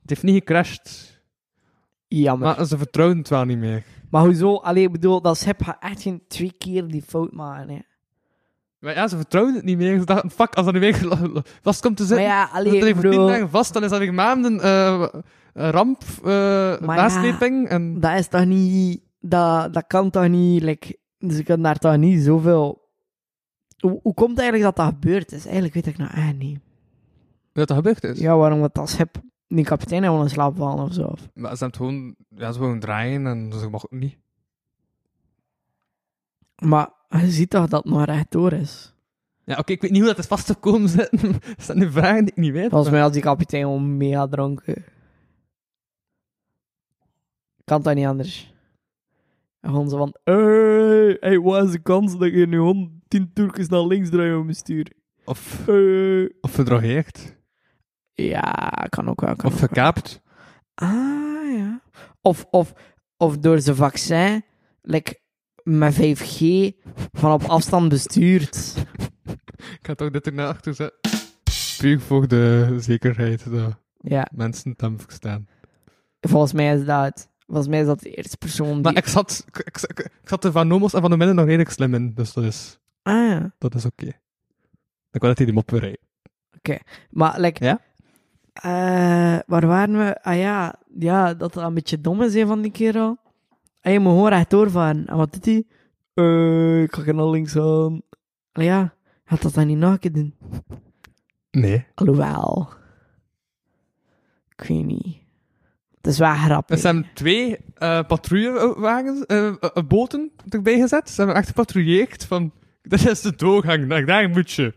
Speaker 4: heeft niet gecrashed.
Speaker 3: Jammer. Maar,
Speaker 4: Maar ze vertrouwen het wel niet meer.
Speaker 3: hoezo? Allee, ik bedoel, dat schip gaat echt geen twee keer die fout maken, hè.
Speaker 4: Maar ja, ze vertrouwen het niet meer. Ze dachten, fuck, als dat nu weer gel- lo- vast komt te
Speaker 3: Maar
Speaker 4: zitten,
Speaker 3: ja,
Speaker 4: dan zit
Speaker 3: allee,
Speaker 4: hij
Speaker 3: ik
Speaker 4: voor tien
Speaker 3: bedoel,
Speaker 4: dagen vast, dan is dat weer maanden eh, eh, ramp,
Speaker 3: Maar
Speaker 4: eh nasleping en...
Speaker 3: dat is toch niet... Dat, dat kan toch niet, like... Ze kunnen daar toch niet zoveel... Hoe, hoe komt het eigenlijk dat dat gebeurd is? Eigenlijk weet ik nou echt niet.
Speaker 4: Dat dat gebeurd is.
Speaker 3: Ja, waarom dat dat schip... Die kapitein gewoon in slaap vallen of zo. of-
Speaker 4: Maar ze hebben het gewoon, ja, ze gewoon draaien en ze mochten het niet.
Speaker 3: Maar je ziet toch dat het nog rechtdoor is?
Speaker 4: Ja, oké, ik weet niet hoe dat is vastgekomen zitten. dat zijn nu vragen die ik niet weet.
Speaker 3: Volgens mij was die kapitein gewoon mega dronken. Kan dat niet anders? En Gewoon zo van... Hey, hey, wat is de kans dat je nu gewoon tien Turkers naar links draait om mijn stuur?
Speaker 4: Of,
Speaker 3: Hey.
Speaker 4: of verdrogeerd.
Speaker 3: Ja, kan ook wel. Kan
Speaker 4: Of
Speaker 3: ook wel.
Speaker 4: gekaapt.
Speaker 3: Ah, ja. Of, of, of door zijn vaccin... Like, met 5G van op afstand bestuurd.
Speaker 4: Ik ga toch dit ernaar achter zetten. Puur voor de zekerheid dat
Speaker 3: Ja,
Speaker 4: mensen het hem verstaan.
Speaker 3: volgens mij is dat het. Volgens mij is dat de eerste persoon die...
Speaker 4: Maar ik zat, ik, ik, ik- ik zat er van Nomos en van de Midden nog redelijk slim in, dus dat is,
Speaker 3: Ah, ja.
Speaker 4: dat is oké. Dan kan dat hij hem op weer rijden.
Speaker 3: Maar, like...
Speaker 4: Ja?
Speaker 3: eh, waar waren we? Ah ja, ja, dat dat een beetje dom is hè, van die kerel. En je moet gewoon rechtdoor varen. En wat doet hij? Eh, ik ga naar links aan. Allee, ja, had dat dan niet nog een keer doen?
Speaker 4: Nee.
Speaker 3: Alhoewel. Ik weet niet. Het is wel grappig.
Speaker 4: Er zijn twee eh patrouillewagens, eh, eh, eh, boten erbij gezet. Ze hebben echt gepatrouilleerd van, dit is de doorgang, daar, daar moet je.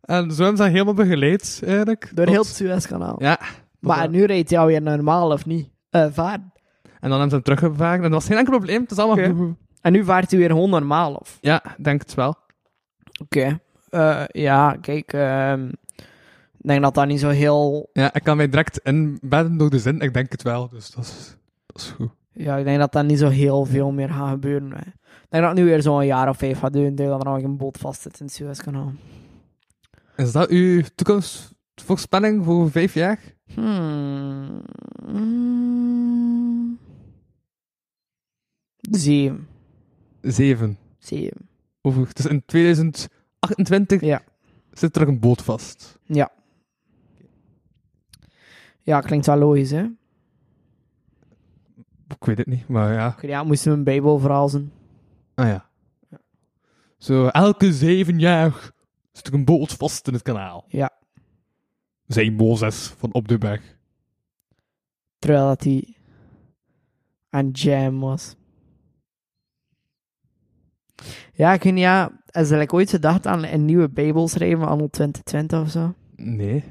Speaker 4: En zo hebben ze dat helemaal begeleid, eigenlijk.
Speaker 3: Door
Speaker 4: tot-
Speaker 3: heel het Suezkanaal.
Speaker 4: Ja.
Speaker 3: maar nu rijdt jou weer normaal, of niet? Eh, vaart.
Speaker 4: En dan hebben ze hem teruggevaren. En dat was geen enkel probleem, het is allemaal
Speaker 3: Oké. En nu vaart hij weer gewoon normaal, of?
Speaker 4: Ja, ik denk het wel.
Speaker 3: Oké. Eh, ja, kijk. ehm, ik denk dat dat niet zo heel...
Speaker 4: Ja, ik kan mij direct inbedden door de zin, ik denk het wel. Dus dat is, dat is goed.
Speaker 3: Ja, ik denk dat dat niet zo heel veel meer gaat gebeuren. Hè. Ik denk dat het nu weer zo'n jaar of vijf gaat duren, dat er nog een boot vast zit in het Suezkanaal.
Speaker 4: Is dat uw toekomstvoorspelling voor vijf jaar?
Speaker 3: Hmm. Mm. Zeven.
Speaker 4: Zeven.
Speaker 3: Zeven.
Speaker 4: Over, dus in 2028
Speaker 3: Ja.
Speaker 4: zit er een boot vast.
Speaker 3: Ja, klinkt wel logisch, hè?
Speaker 4: Ik weet het niet, maar ja.
Speaker 3: Oké, Ja, moesten we een bijbel verhalzen.
Speaker 4: Ah ja. Zo, elke zeven jaar zit er een boot vast in het kanaal.
Speaker 3: Ja.
Speaker 4: Zijn Mozes van op de berg.
Speaker 3: Terwijl dat hij aan jam was. Ja, ik weet niet, ja. Is er like, ooit gedacht aan een nieuwe bijbel schrijven anno 2020 of zo?
Speaker 4: Nee.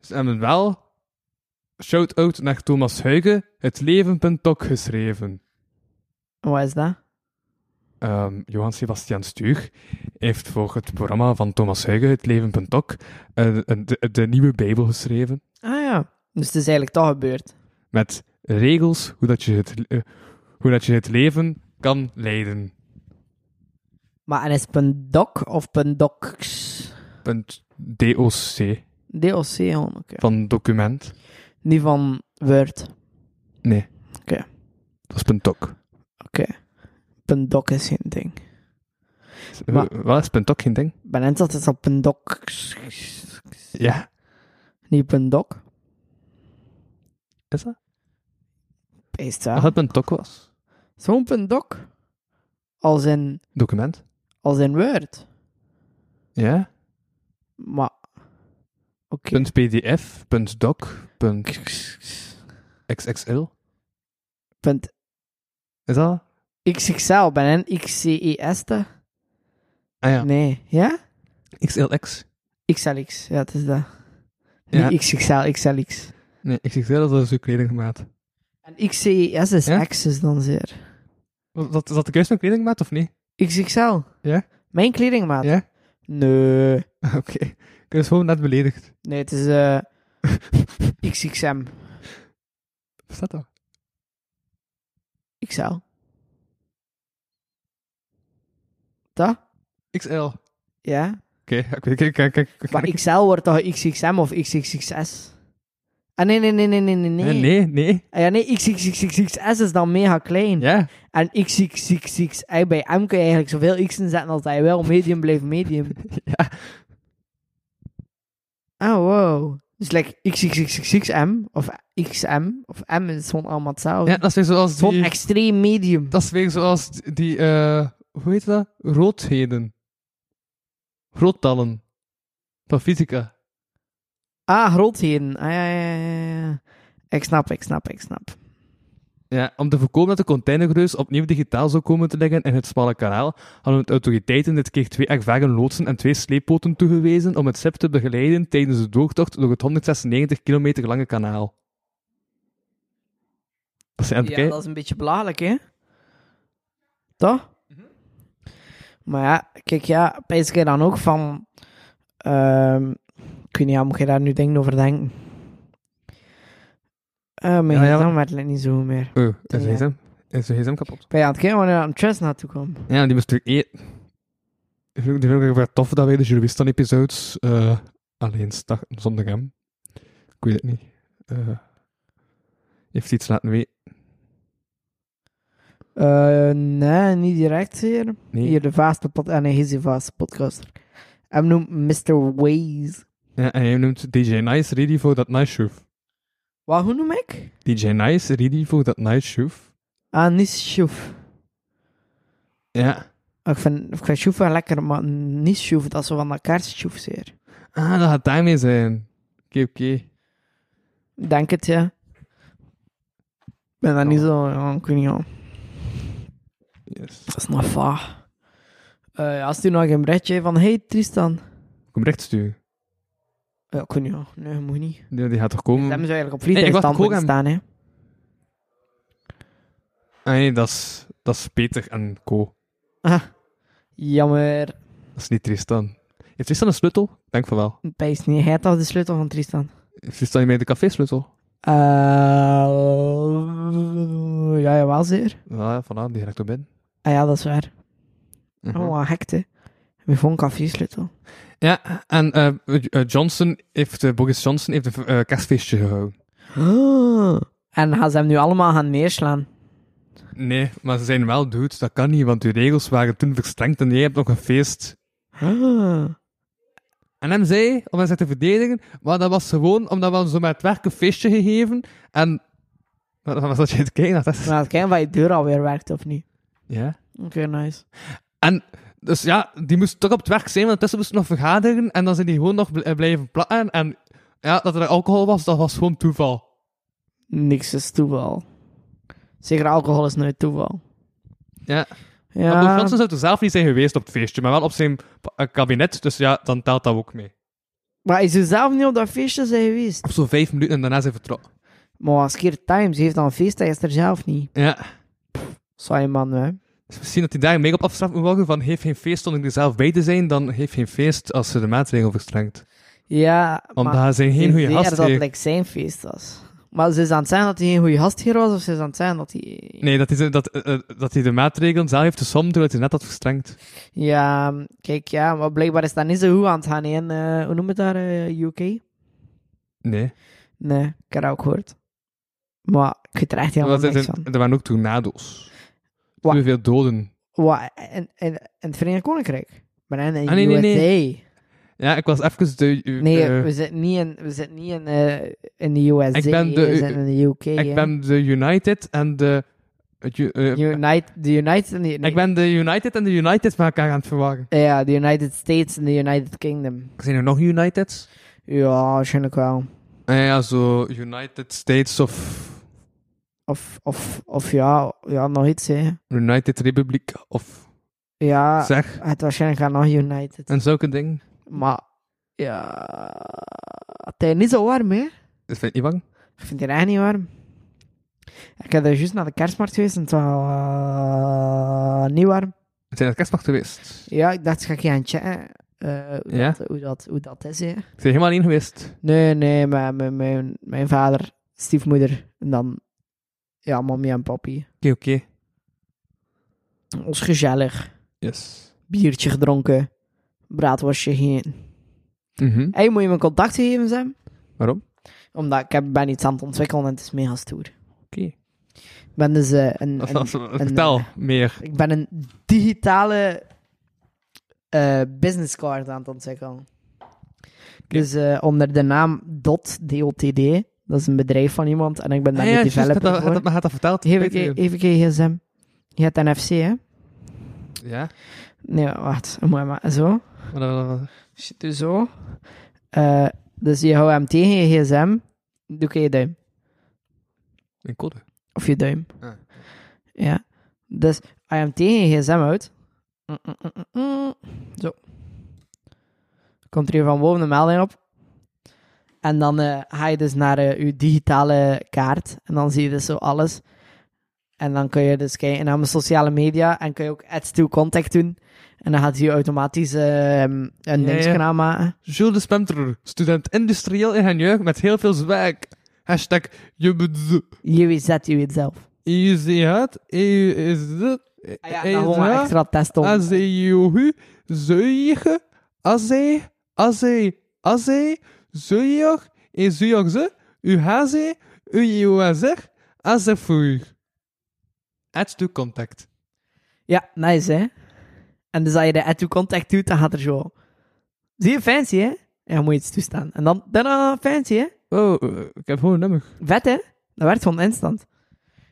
Speaker 4: Ze hebben wel shout-out naar Thomas Huygen, het leven.tok geschreven.
Speaker 3: En Wat is dat?
Speaker 4: Ehm, Johan Sebastian Stuur heeft voor het programma van Thomas Huygen, het leven.tok, eh, een- de, de nieuwe bijbel geschreven.
Speaker 3: Ah ja. Dus het is eigenlijk toch gebeurd.
Speaker 4: met regels hoe dat je het, eh, hoe dat je het leven kan leiden.
Speaker 3: Maar en is het een doc of een docs?
Speaker 4: Punt DOC
Speaker 3: DOC, gewoon, oké.
Speaker 4: van document.
Speaker 3: Niet van Word.
Speaker 4: Nee.
Speaker 3: Oké.
Speaker 4: Dat is punt doc.
Speaker 3: Een doc is geen ding. Maar-
Speaker 4: Eh, Wat is punt doc geen ding?
Speaker 3: Ik ben net altijd op een doc.
Speaker 4: Ja.
Speaker 3: Niet op een doc.
Speaker 4: Is dat?
Speaker 3: Is
Speaker 4: Als
Speaker 3: dat?
Speaker 4: het punt doc was.
Speaker 3: Zo'n punt doc? Als in,
Speaker 4: Document.
Speaker 3: als in Word.
Speaker 4: Ja.
Speaker 3: Maar, oké.
Speaker 4: Punt PDF, punt doc, punt XXL.
Speaker 3: Punt
Speaker 4: Is dat?
Speaker 3: XXL, ben een XCES te?
Speaker 4: Ah ja.
Speaker 3: Nee, ja?
Speaker 4: XLX.
Speaker 3: XLX, ja, het is dat.
Speaker 4: Ja.
Speaker 3: Niet XXL, XLX.
Speaker 4: Nee, XXL dat is uw kledingmaat.
Speaker 3: En XCES is
Speaker 4: Ja?
Speaker 3: Access dan zeer.
Speaker 4: Was dat, was dat de juist mijn kledingmaat of niet?
Speaker 3: XXL?
Speaker 4: Ja?
Speaker 3: Mijn kledingmaat?
Speaker 4: Ja?
Speaker 3: Nee.
Speaker 4: Oké. Ik is gewoon net beledigd.
Speaker 3: Nee, het is eh XXM.
Speaker 4: Wat staat dat?
Speaker 3: XL.
Speaker 4: XL.
Speaker 3: Ja?
Speaker 4: Oké, ik weet- kijk, kijk, kijk.
Speaker 3: Maar XL wordt toch XXM of XXXS? Ah, nee, nee, nee, nee, nee, nee.
Speaker 4: Eh, Nee, nee, nee.
Speaker 3: Ah, ja, nee, XXXXS is dan mega klein.
Speaker 4: Ja.
Speaker 3: En XXXX, ey, bij M kun je eigenlijk zoveel X'en zetten als hij wil. Medium blijft medium.
Speaker 4: Ja.
Speaker 3: Oh, wow. Dus like XXXXM of XM of M is gewoon allemaal hetzelfde.
Speaker 4: ja, Dus- dat is weer zoals
Speaker 3: het is gewoon
Speaker 4: die...
Speaker 3: extreem medium.
Speaker 4: Dat is weer zoals die... eh, hoe heet dat? Roodheden. Roodtallen. Van fysica.
Speaker 3: Ah, grootheden. Ah, ja, ja, ja, ja. Ik snap, ik snap, ik snap.
Speaker 4: Ja, om te voorkomen dat de containerreus opnieuw digitaal zou komen te liggen in het smalle kanaal, hadden de autoriteiten dit keer twee ervaren loodsen en twee sleepboten toegewezen om het SIP te begeleiden tijdens de doortocht door het 196 kilometer lange kanaal. Dat zijn aan het
Speaker 3: Ja,
Speaker 4: kijken.
Speaker 3: dat is een beetje belachelijk, hè? Toch? Maar ja, kijk, ja, pijs je dan ook van... ehm ik weet niet, ja, moet je daar nu dingen over denken? Eh mijn
Speaker 4: Ja, ja,
Speaker 3: gsm werkt net niet zo goed meer.
Speaker 4: Oh, is
Speaker 3: Ja.
Speaker 4: de gsm? Is de gsm kapot?
Speaker 3: Ben je aan het kijken wanneer aan het chest naartoe komt?
Speaker 4: Ja, die moest natuurlijk e- Ik vind ik vind het wel tof dat wij de Juristen-episodes eh, alleen starten zonder hem. Ik weet het niet. Eh, heeft hij iets laten weten?
Speaker 3: Eh, nee, niet direct hier.
Speaker 4: Nee.
Speaker 3: Hier, de vaste podcast... Ah, nee, hij is de vaste podcaster. Hij noemt Mr. Waze.
Speaker 4: Ja, en hij noemt DJ Nice ready for that night shoof.
Speaker 3: Wat, hoe noem ik?
Speaker 4: DJ Nice ready for that night shoof.
Speaker 3: Ah, Anisshoef.
Speaker 4: Ja.
Speaker 3: Ik vind, ik vind Sjoef wel lekker, maar niet Sjoef, dat is zo van dat kaarsjoef zeer.
Speaker 4: Ah, dat gaat daarmee zijn. Oké, oké.
Speaker 3: Denk het, ja. ben daar niet zo... Ja, ik weet niet, ja.
Speaker 4: Yes.
Speaker 3: Dat is nog vaag. Eh, ja, stuur nog een berichtje van... Hey, Tristan.
Speaker 4: Kom recht sturen.
Speaker 3: Ja, ik weet niet, ja. Nee, je moet niet.
Speaker 4: Die, die gaat toch
Speaker 3: Dat
Speaker 4: komen?
Speaker 3: hebben ze eigenlijk op
Speaker 4: Hmm. Nee, ik
Speaker 3: vliegtuig stand
Speaker 4: wacht ook
Speaker 3: moeten
Speaker 4: aan-
Speaker 3: staan, hè.
Speaker 4: Ah, nee, dat is, dat is Peter en Co.
Speaker 3: Ah, jammer.
Speaker 4: Dat is niet Tristan. Heeft Tristan een sleutel? Ik Denk van wel.
Speaker 3: Pijs niet. Hij had al de sleutel van Tristan.
Speaker 4: Heeft Tristan niet meer de café-sleutel?
Speaker 3: Eh ja, jawel, zeer.
Speaker 4: Ja, vanavond, die raakt er binnen.
Speaker 3: Ah ja, dat is waar.
Speaker 4: Mhm.
Speaker 3: Oh, wat gek, hè. Mijn phone café sleutel.
Speaker 4: Ja, en eh, eh, Johnson heeft, eh, Boris Johnson heeft een eh, kerstfeestje gehouden.
Speaker 3: Ah. En gaan ze hem nu allemaal gaan neerslaan?
Speaker 4: Nee, maar ze zijn wel dude, dat kan niet, want uw regels waren toen verstrengd en jij hebt nog een feest.
Speaker 3: Ah.
Speaker 4: En hem zei, om hem te verdedigen, maar dat was gewoon omdat we hem zo met het werk een feestje gegeven en... Maar dan was dat je het kijken had, dat is-
Speaker 3: Maar het kijken of je deur alweer werkt of niet.
Speaker 4: Ja.
Speaker 3: Oké, nice.
Speaker 4: Dus ja, die moest toch op het werk zijn, want tussen moesten nog vergaderen en dan zijn die gewoon nog bl- eh, blijven plakken. En ja, dat er alcohol was, dat was gewoon toeval.
Speaker 3: Niks is toeval. Zeker alcohol is nooit toeval.
Speaker 4: Ja. Maar Boris
Speaker 3: Ja,
Speaker 4: Johnson zou er zelf niet zijn geweest op het feestje, maar wel op zijn pa- eh, kabinet, dus ja, dan telt dat ook mee.
Speaker 3: maar hij zou zelf niet op dat feestje zijn geweest.
Speaker 4: Op zo'n vijf minuten en daarna zijn vertrokken.
Speaker 3: Maar als keer Times heeft dan een feest, hij is er zelf niet.
Speaker 4: Ja.
Speaker 3: Saai man, hè.
Speaker 4: Dus misschien dat hij daar mee op afstraft moet worden van heeft geen feest zonder er zelf bij te zijn, dan heeft geen feest als ze de maatregel verstrengt.
Speaker 3: Ja,
Speaker 4: Want
Speaker 3: maar...
Speaker 4: daar zijn geen goede
Speaker 3: Zeer
Speaker 4: gasten.
Speaker 3: dat het like, zijn feest was. Maar ze is aan het zeggen dat hij geen goede gastheer was, of ze is aan het zeggen dat hij...
Speaker 4: Nee, dat hij, dat, eh, eh, dat hij de maatregelen zelf heeft gesomd doordat hij net had verstrengd.
Speaker 3: Ja, mm, kijk, ja, maar blijkbaar is dat niet zo goed aan het gaan hè, in, eh, hoe noem je het daar, eh, UK?
Speaker 4: Nee.
Speaker 3: Nee, ik heb dat ook gehoord. Maar ik weet er echt helemaal
Speaker 4: Want er,
Speaker 3: niks
Speaker 4: er,
Speaker 3: van.
Speaker 4: er waren ook tornado's.
Speaker 3: Wat?
Speaker 4: Zoveel doden.
Speaker 3: Wat, in, in, in het Verenigd Koninkrijk? Maar in de
Speaker 4: Ah, nee, nee,
Speaker 3: USA.
Speaker 4: nee.
Speaker 3: Nee,
Speaker 4: Ja, ik was even de... eh, eh,
Speaker 3: we zitten niet in, we zitten niet in, eh, in de USA,
Speaker 4: Ik ben de-
Speaker 3: we zitten in de UK.
Speaker 4: ik
Speaker 3: hè.
Speaker 4: ben de United en de... het ju- eh,
Speaker 3: United, de United... nee,
Speaker 4: Ik ben de United en de United met elkaar aan het verwarren.
Speaker 3: Ja, de United States en de United Kingdom.
Speaker 4: Zijn er nog Uniteds?
Speaker 3: Ja, waarschijnlijk wel.
Speaker 4: Eh, ja, zo United States of
Speaker 3: Of, of, of ja, ja, nog iets, hè.
Speaker 4: United Republic of
Speaker 3: Ja,
Speaker 4: zeg.
Speaker 3: het waarschijnlijk gaat nog United.
Speaker 4: En zulke dingen.
Speaker 3: Maar, ja... Het is niet zo warm, hè.
Speaker 4: Dat vind ik niet bang.
Speaker 3: Ik vind het echt niet warm. Ik ben er juist naar de kerstmarkt geweest en het was eh, niet warm.
Speaker 4: Het zijn het kerstmacht geweest.
Speaker 3: Ja, ik dacht, ga ik je aan checken eh, hoe,
Speaker 4: Ja.
Speaker 3: dat, hoe, dat, hoe dat is, hè.
Speaker 4: Ik ben helemaal alleen geweest.
Speaker 3: Nee, nee, mijn, mijn, mijn, mijn vader, stiefmoeder en dan... Ja, mommy en papi.
Speaker 4: Oké, oké.
Speaker 3: Het was gezellig.
Speaker 4: Yes.
Speaker 3: Biertje gedronken. Braadworstje heen.
Speaker 4: Mhm.
Speaker 3: Hey, moet je mijn contact geven, Sam?
Speaker 4: Waarom?
Speaker 3: Omdat ik heb, ben iets aan het ontwikkelen en het is mega stoer.
Speaker 4: Oké. eh,
Speaker 3: Ik ben dus eh, een,
Speaker 4: Dat-
Speaker 3: een-
Speaker 4: dat- Vertel meer.
Speaker 3: Ik ben een digitale eh, business card aan het ontwikkelen. Dus eh, onder de naam DOT, D-O-T-D, dat is een bedrijf van iemand en ik ben daar
Speaker 4: Ah,
Speaker 3: de
Speaker 4: ja, juist, had
Speaker 3: developer
Speaker 4: dat, had
Speaker 3: voor.
Speaker 4: dat, had dat verteld.
Speaker 3: Geef ik je- even een gsm. Je hebt een FC, hè?
Speaker 4: Ja.
Speaker 3: Nee, wacht. Moet je maar zo.
Speaker 4: Maar dat- dat-
Speaker 3: Zit er zo. Eh, dus je houdt hem tegen je gsm. Doe ik je duim.
Speaker 4: Een code.
Speaker 3: Of je duim.
Speaker 4: Ah.
Speaker 3: Ja. Dus als je hem tegen je gsm houdt. Mm, mm, mm, mm, mm. Zo. Komt er hier van boven een melding op. En dan eh, ga je dus naar eh, je digitale kaart. En dan zie je dus zo alles. En dan kun je dus kijken naar mijn sociale media. En kun je ook ads to contact doen. En dan gaat hij automatisch eh, een dingetje aanmaken.
Speaker 4: Jules de Spemter, student industrieel ingenieur met heel veel zwak. Hashtag je bedoelt.
Speaker 3: Je weet zet je weet zelf.
Speaker 4: Je ziet het. Je is dit.
Speaker 3: Ah ja,
Speaker 4: E
Speaker 3: dan gewoon een extra test
Speaker 4: Ah,
Speaker 3: om.
Speaker 4: Azeyohu, Zuyige, Aze, Aze, Aze, Zuyog, en Zuyogze, Uhaze, Uyoazer, Azefuur. Add to contact.
Speaker 3: Ja, nice, hè? En dus als je de add to contact doet, dan gaat er zo... Zie je, fancy, hè? En dan moet je iets toestaan. En dan, dan fancy, hè?
Speaker 4: Oh, eh, ik heb gewoon een nummer.
Speaker 3: Vet, hè? Dat werkt gewoon instant.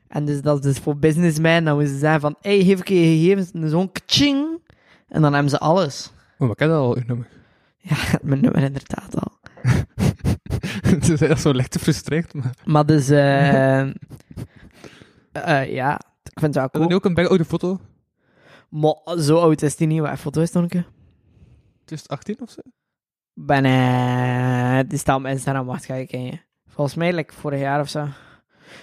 Speaker 3: En dus dat is dus voor businessmen, dan moeten ze zeggen van... hey, geef ik je gegevens, en zo'n kching. En dan hebben ze alles.
Speaker 4: Oh, maar ik heb al uw nummer.
Speaker 3: Ja, mijn nummer inderdaad al.
Speaker 4: Het is echt zo licht gefrustreerd, maar...
Speaker 3: Maar dus... eh, Eh, ja, ik vind het wel
Speaker 4: En
Speaker 3: cool.
Speaker 4: dan ook een big oude foto.
Speaker 3: Maar zo oud is die niet. Wat foto is het nog een keer?
Speaker 4: 2018 of zo.
Speaker 3: Ben, eh, die staat op mijn Instagram. Wacht, ga ik kijken. Volgens mij, like, vorig jaar of zo.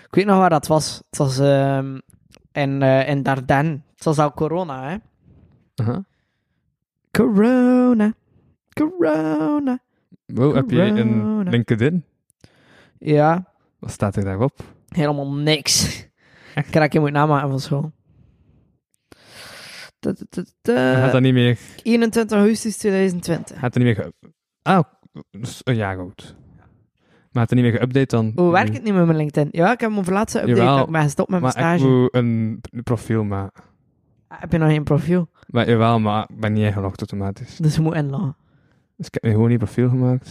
Speaker 3: Ik weet nog waar dat was. Het was ehm, in, eh in Dardenne. Het was al corona, hè.
Speaker 4: Aha.
Speaker 3: Corona. Corona.
Speaker 4: Wow, heb je een
Speaker 3: Corona.
Speaker 4: LinkedIn?
Speaker 3: Ja,
Speaker 4: Wat staat er daarop?
Speaker 3: Eh, helemaal niks. Ik raak je moet namaken van school. Ta- ta- ta- ta.
Speaker 4: Hij gaat dat niet meer...
Speaker 3: 21 augustus 2020.
Speaker 4: Gaat dat niet meer ge- ah, dus een jaar oud. Maar had er niet meer geüpdate dan...
Speaker 3: Hoe Oh, werkt het niet met mijn LinkedIn? Ja, ik heb mijn laatste update.
Speaker 4: Jawel,
Speaker 3: dat ik ben gestopt met mijn
Speaker 4: Maar ik
Speaker 3: stage.
Speaker 4: moet een p- profiel maken.
Speaker 3: Ah, Heb je nog geen profiel?
Speaker 4: Maar jawel, maar ik ben niet ingelogd automatisch.
Speaker 3: Dus je moet inloggen.
Speaker 4: Dus ik heb nu gewoon niet profiel gemaakt.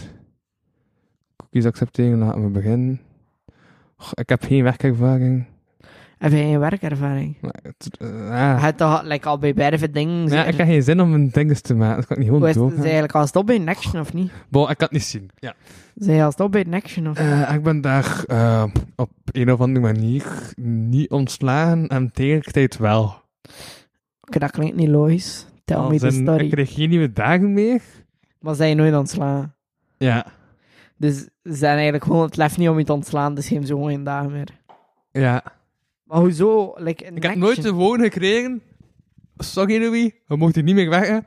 Speaker 4: Cookies accepteren, laten we beginnen. Goh, ik heb geen werkervaring.
Speaker 3: Heb je geen werkervaring?
Speaker 4: Maar het, eh,
Speaker 3: Je
Speaker 4: ah.
Speaker 3: hebt toch like, al bij beide dingen
Speaker 4: Ja,
Speaker 3: zitten?
Speaker 4: ik heb geen zin om een ding te maken. Dat kan ik niet
Speaker 3: Hoe
Speaker 4: gewoon
Speaker 3: is het? Zijn je
Speaker 4: doen.
Speaker 3: eigenlijk al stop bij een action of niet?
Speaker 4: Bon, ik kan het niet zien. Ja.
Speaker 3: Zijn je al stop bij een action of
Speaker 4: Eh, ik ben daar eh, op een of andere manier niet ontslagen en tegelijkertijd wel.
Speaker 3: Oké, dat klinkt niet logisch. Tell me
Speaker 4: Als
Speaker 3: the
Speaker 4: in, Ik
Speaker 3: story.
Speaker 4: kreeg geen nieuwe dagen meer.
Speaker 3: Maar zijn je nooit ontslaan?
Speaker 4: Ja,
Speaker 3: Dus ze zijn eigenlijk gewoon het lef niet om je te ontslaan, dus geef ze gewoon geen dagen meer.
Speaker 4: ja.
Speaker 3: Maar hoezo? Like, een
Speaker 4: Ik heb
Speaker 3: action.
Speaker 4: nooit te woon gekregen. Sorry Louis, we mochten niet meer weg, hè.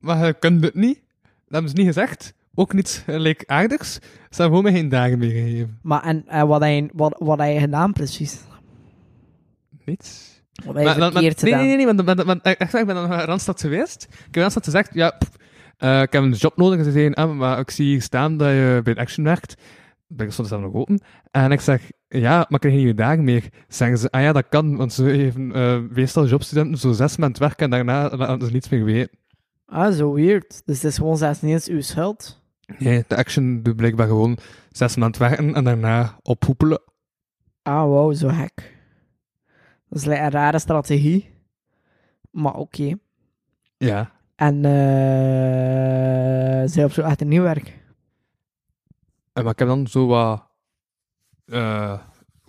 Speaker 4: maar je kunt het niet. Dat hebben ze niet gezegd. Ook niets eh, leek aardigs. Ze hebben gewoon mij geen dagen meer gegeven.
Speaker 3: Maar en, eh, wat, heb je, wat, wat heb je gedaan precies?
Speaker 4: Niets.
Speaker 3: Wat heb je
Speaker 4: Maar- maar- maar-
Speaker 3: verkeerd
Speaker 4: nee,
Speaker 3: gedaan?
Speaker 4: nee, nee, want, want, want, echt waar, ik ben dan naar Randstad geweest. Ik heb in Randstad gezegd, ja, pff, eh, ik heb een job nodig. En ze zeiden, ah, maar ik zie hier staan dat je bij een Action werkt. Ik stond zelf nog open. En ik zeg, ja, maar ik krijg geen nieuwe dagen meer. Zeggen ze, ah ja, dat kan, want ze geven eh meestal jobstudenten zo zes maanden werken en daarna laten ze niets meer weten.
Speaker 3: Ah, zo weird. Dus het is gewoon zelfs niet eens uw schuld.
Speaker 4: Nee, de Action doet blijkbaar gewoon zes maanden werken en daarna ophoepelen.
Speaker 3: Ah, wow, zo hek. Dat is like, een rare strategie. Maar oké.
Speaker 4: Ja.
Speaker 3: En eh zij op zoek echt een nieuw werk.
Speaker 4: En maar ik heb dan zo wat eh,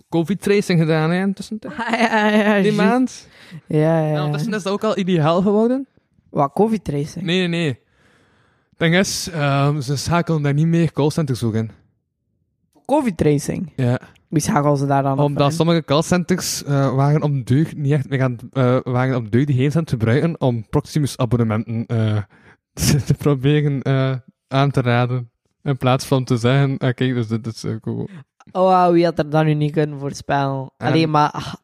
Speaker 4: covid-tracing gedaan hè, intussen.
Speaker 3: Ah, ja, ja,
Speaker 4: Die
Speaker 3: juist. Nou,
Speaker 4: maand.
Speaker 3: Ja,
Speaker 4: En
Speaker 3: ja, ja.
Speaker 4: ondertussen is dat ook al ideaal geworden?
Speaker 3: Wat, covid-tracing?
Speaker 4: Nee, nee, nee. Ding is, ehm, ze schakelen daar niet meer callcenters zo in.
Speaker 3: Covid-tracing?
Speaker 4: Ja.
Speaker 3: Wie schakelen ze daar dan af
Speaker 4: Omdat
Speaker 3: in?
Speaker 4: sommige callcenters eh, waren om deugd niet echt meer aan, eh, waren om deugd die geen cent te gebruiken om Proximus-abonnementen eh, te, te proberen eh, aan te raden. In plaats van te zeggen, eh, kijk, dus dit is eh, cool.
Speaker 3: Oh, wauw, wie had er dan nu niet kunnen voorspellen?
Speaker 4: En-
Speaker 3: Alleen maar... ah,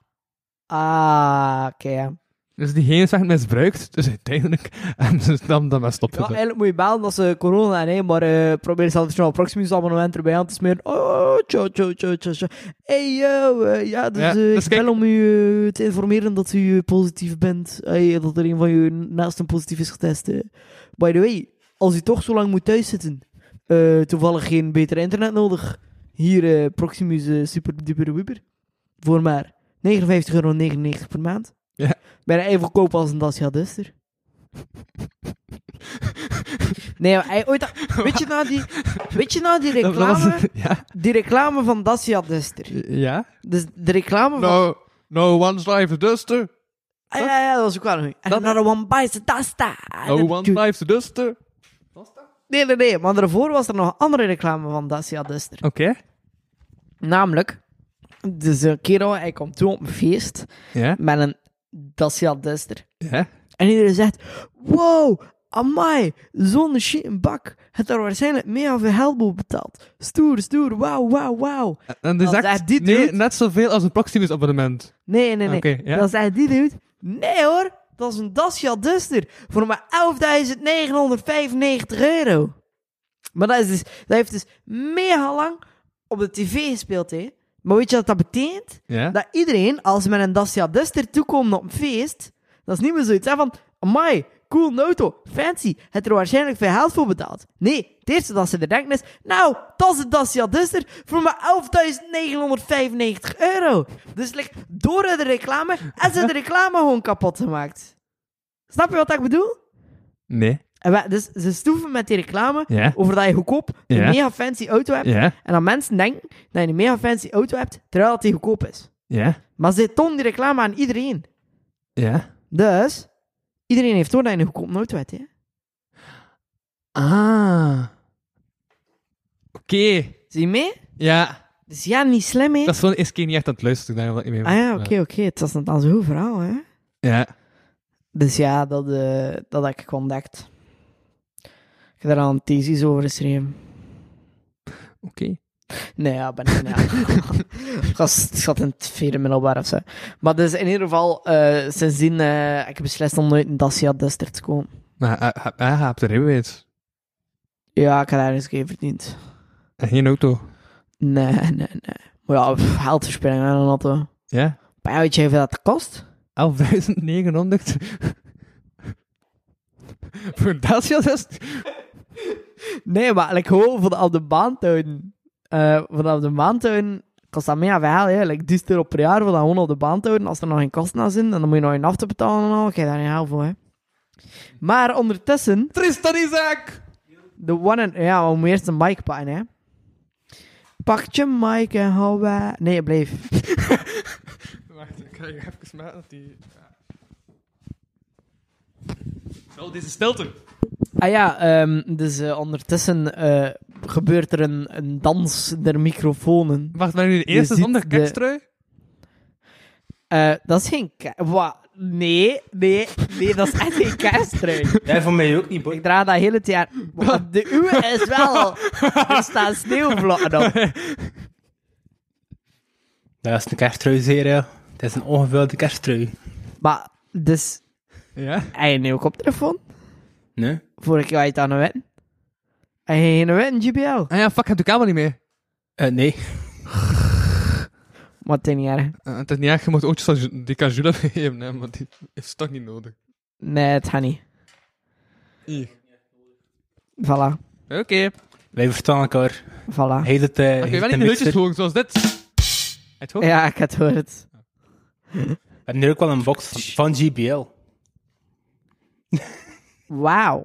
Speaker 3: Ah, oké. ja.
Speaker 4: Dus die geen cent misbruikt, dus uiteindelijk hebben ze dan dat maar
Speaker 3: Ja,
Speaker 4: stoppen.
Speaker 3: eigenlijk moet je bellen dat ze corona hebben, hè, maar eh, probeer zelfs nog een Proximus abonnement erbij aan te smeren. Oh, tjo, tjo, tjo, tjo, tjo. Hey, yo, eh, ja, dus,
Speaker 4: Ja,
Speaker 3: eh,
Speaker 4: dus
Speaker 3: ik
Speaker 4: kijk-
Speaker 3: bel om u eh, te informeren dat u eh, positief bent. Hey, dat er een van u naast een positief is getest. eh. By the way, als u toch zo lang moet thuiszitten, eh, toevallig geen beter internet nodig. Hier, eh, Proximus eh, super duper wieper. Voor maar 59,99 euro per maand.
Speaker 4: Ja.
Speaker 3: Bijna even goedkoop als een Dacia Duster. Nee, maar hij ooit... Weet je nou die, weet je nou die
Speaker 4: Dat was-
Speaker 3: reclame?
Speaker 4: ja?
Speaker 3: Die reclame van Dacia Duster.
Speaker 4: Ja?
Speaker 3: Dus de reclame van...
Speaker 4: No, no one's life is duster.
Speaker 3: Ah, ja, ja, dat was ook wel goed. En naar de One Bites Dasta.
Speaker 4: No one's life is duster.
Speaker 3: Nee, nee, nee. Maar daarvoor was er nog een andere reclame van Dacia Duster.
Speaker 4: Oké.
Speaker 3: Namelijk... Dus een kerel, hij komt toe op een feest
Speaker 4: Ja?
Speaker 3: met een Dacia Duster.
Speaker 4: Ja?
Speaker 3: En iedereen zegt: Wow, amai, zo'n shit bak. Het er waarschijnlijk mega veel geld voor betaald. Stoer, stoer, wauw, wauw, wauw.
Speaker 4: En die
Speaker 3: Als
Speaker 4: zegt,
Speaker 3: hij dit
Speaker 4: nee,
Speaker 3: doet-
Speaker 4: net zoveel als een Proximus-abonnement.
Speaker 3: Nee, nee, nee.
Speaker 4: Oké, ja.
Speaker 3: Dan zei die dude: Nee hoor, dat is een Dacia Duster voor maar 11.995 euro. Maar dat, is dus, dat heeft dus mega lang op de tv gespeeld, hè. Maar weet je wat dat betekent?
Speaker 4: Ja?
Speaker 3: dat iedereen, als ze met een Dacia Duster toekomt op een feest, dat is niet meer zoiets hè, van, amai, cool een auto, fancy, het er waarschijnlijk veel geld voor betaald. Nee, het eerste dat ze er denken is, nou, dat is een Dacia Duster voor maar 11.995 euro. Dus like, door de reclame, en ze de reclame gewoon kapot gemaakt. Snap je wat ik bedoel?
Speaker 4: Nee.
Speaker 3: En we- dus ze stoeven met die reclame
Speaker 4: Ja?
Speaker 3: over dat je goedkoop een
Speaker 4: Ja.
Speaker 3: mega fancy auto hebt.
Speaker 4: Ja?
Speaker 3: En dat mensen denken dat je een mega fancy auto hebt, terwijl dat die goedkoop is.
Speaker 4: Ja?
Speaker 3: Maar ze toont die reclame aan iedereen.
Speaker 4: Ja.
Speaker 3: Dus, iedereen heeft door dat je een goedkoop nood weet, hè.
Speaker 4: Ah. Oké.
Speaker 3: Zie je mee?
Speaker 4: Ja.
Speaker 3: Dus ja, niet slim, hè.
Speaker 4: Dat is wel eens keer niet echt aan het luisteren, daarom dat ik niet mee
Speaker 3: Ah ja, oké, oké. Het was net al zo'n goed verhaal, hè.
Speaker 4: Ja.
Speaker 3: Dus ja, dat, eh, dat heb ik ontdekt. Ik heb daar al een thesis over geschreven.
Speaker 4: Oké.
Speaker 3: Nee, ja, ben ik ja. ik, was, ik zat in het vierde middelbaar of zo. Maar dus in ieder geval, eh sindsdien eh, ik heb beslist om nooit een Dacia Duster te kopen.
Speaker 4: Maar hij- hij- hij hebt er rijbewijs.
Speaker 3: Ja, ik heb daar eens een keer verdiend.
Speaker 4: En geen auto.
Speaker 3: Nee, nee, nee. Maar ja, pff, geldverspilling aan een auto.
Speaker 4: Ja.
Speaker 3: Maar ja, weet je hoeveel dat kost?
Speaker 4: 11.900. Voor Dacia is
Speaker 3: Nee, maar ik gewoon vanaf de baan te houden. Eh, vanaf de baan te houden kost dat mega veel, hè. Like, 1000 euro per jaar voor dat gewoon op de baan te houden. Als er nog geen kosten aan zijn, dan moet je nog een af te betalen en al. Ik heb daar niet heel voor, hè. Maar ondertussen...
Speaker 4: Tristan Isaac!
Speaker 3: De one and... Ja, we moeten eerst een mic pakken, hè. Pak je mic en hou bij... Nee, blijf.
Speaker 4: Wacht, ik ga je even smaken dat die... Zo, Oh, deze stilte.
Speaker 3: Ah ja, ehm, dus eh, ondertussen eh, gebeurt er een, een dans der microfonen.
Speaker 4: Wacht, ben nu de
Speaker 3: Je
Speaker 4: eerste
Speaker 3: ziet
Speaker 4: zonder
Speaker 3: de-
Speaker 4: kakstrui?
Speaker 3: Eh, dat is geen... ka- Wa- Nee, nee, nee, dat is echt geen kerstrui.
Speaker 6: Jij van mij ook niet, boy.
Speaker 3: Ik draag dat heel het jaar. Maar de uwe is wel... Er staan sneeuwvlokken op.
Speaker 6: Dat is een kersttrui, zeer, ja. Het is een ongevuilde kersttrui.
Speaker 3: Maar, dus...
Speaker 4: Ja.
Speaker 3: Heb je een nieuwe koptelefoon?
Speaker 6: Nee?
Speaker 3: Vorige keer had je het aan een wet. Heb je geen wet, GBL?
Speaker 4: Ah ja, fuck, ik heb de camera niet mee.
Speaker 6: Eh, nee.
Speaker 3: Maar het is niet erg.
Speaker 4: Eh, het is niet echt, je moet ootjes van Ju- die kan Jules geven, hè, maar die is toch niet nodig.
Speaker 3: Nee, het gaat niet.
Speaker 4: Hier.
Speaker 3: Voilà,
Speaker 4: Eh, Oké.
Speaker 6: Wij verstaan elkaar.
Speaker 3: voilà.
Speaker 6: Heet het... eh,
Speaker 4: Maar
Speaker 6: heet
Speaker 4: kun je wel
Speaker 6: het
Speaker 4: niet geluidjes
Speaker 6: Eh, een mixer. Eh,
Speaker 4: horen zoals dit? Het hoort?
Speaker 3: Ja, ik had het.
Speaker 6: We hebben nu ook wel een box van- van GBL.
Speaker 3: Wauw.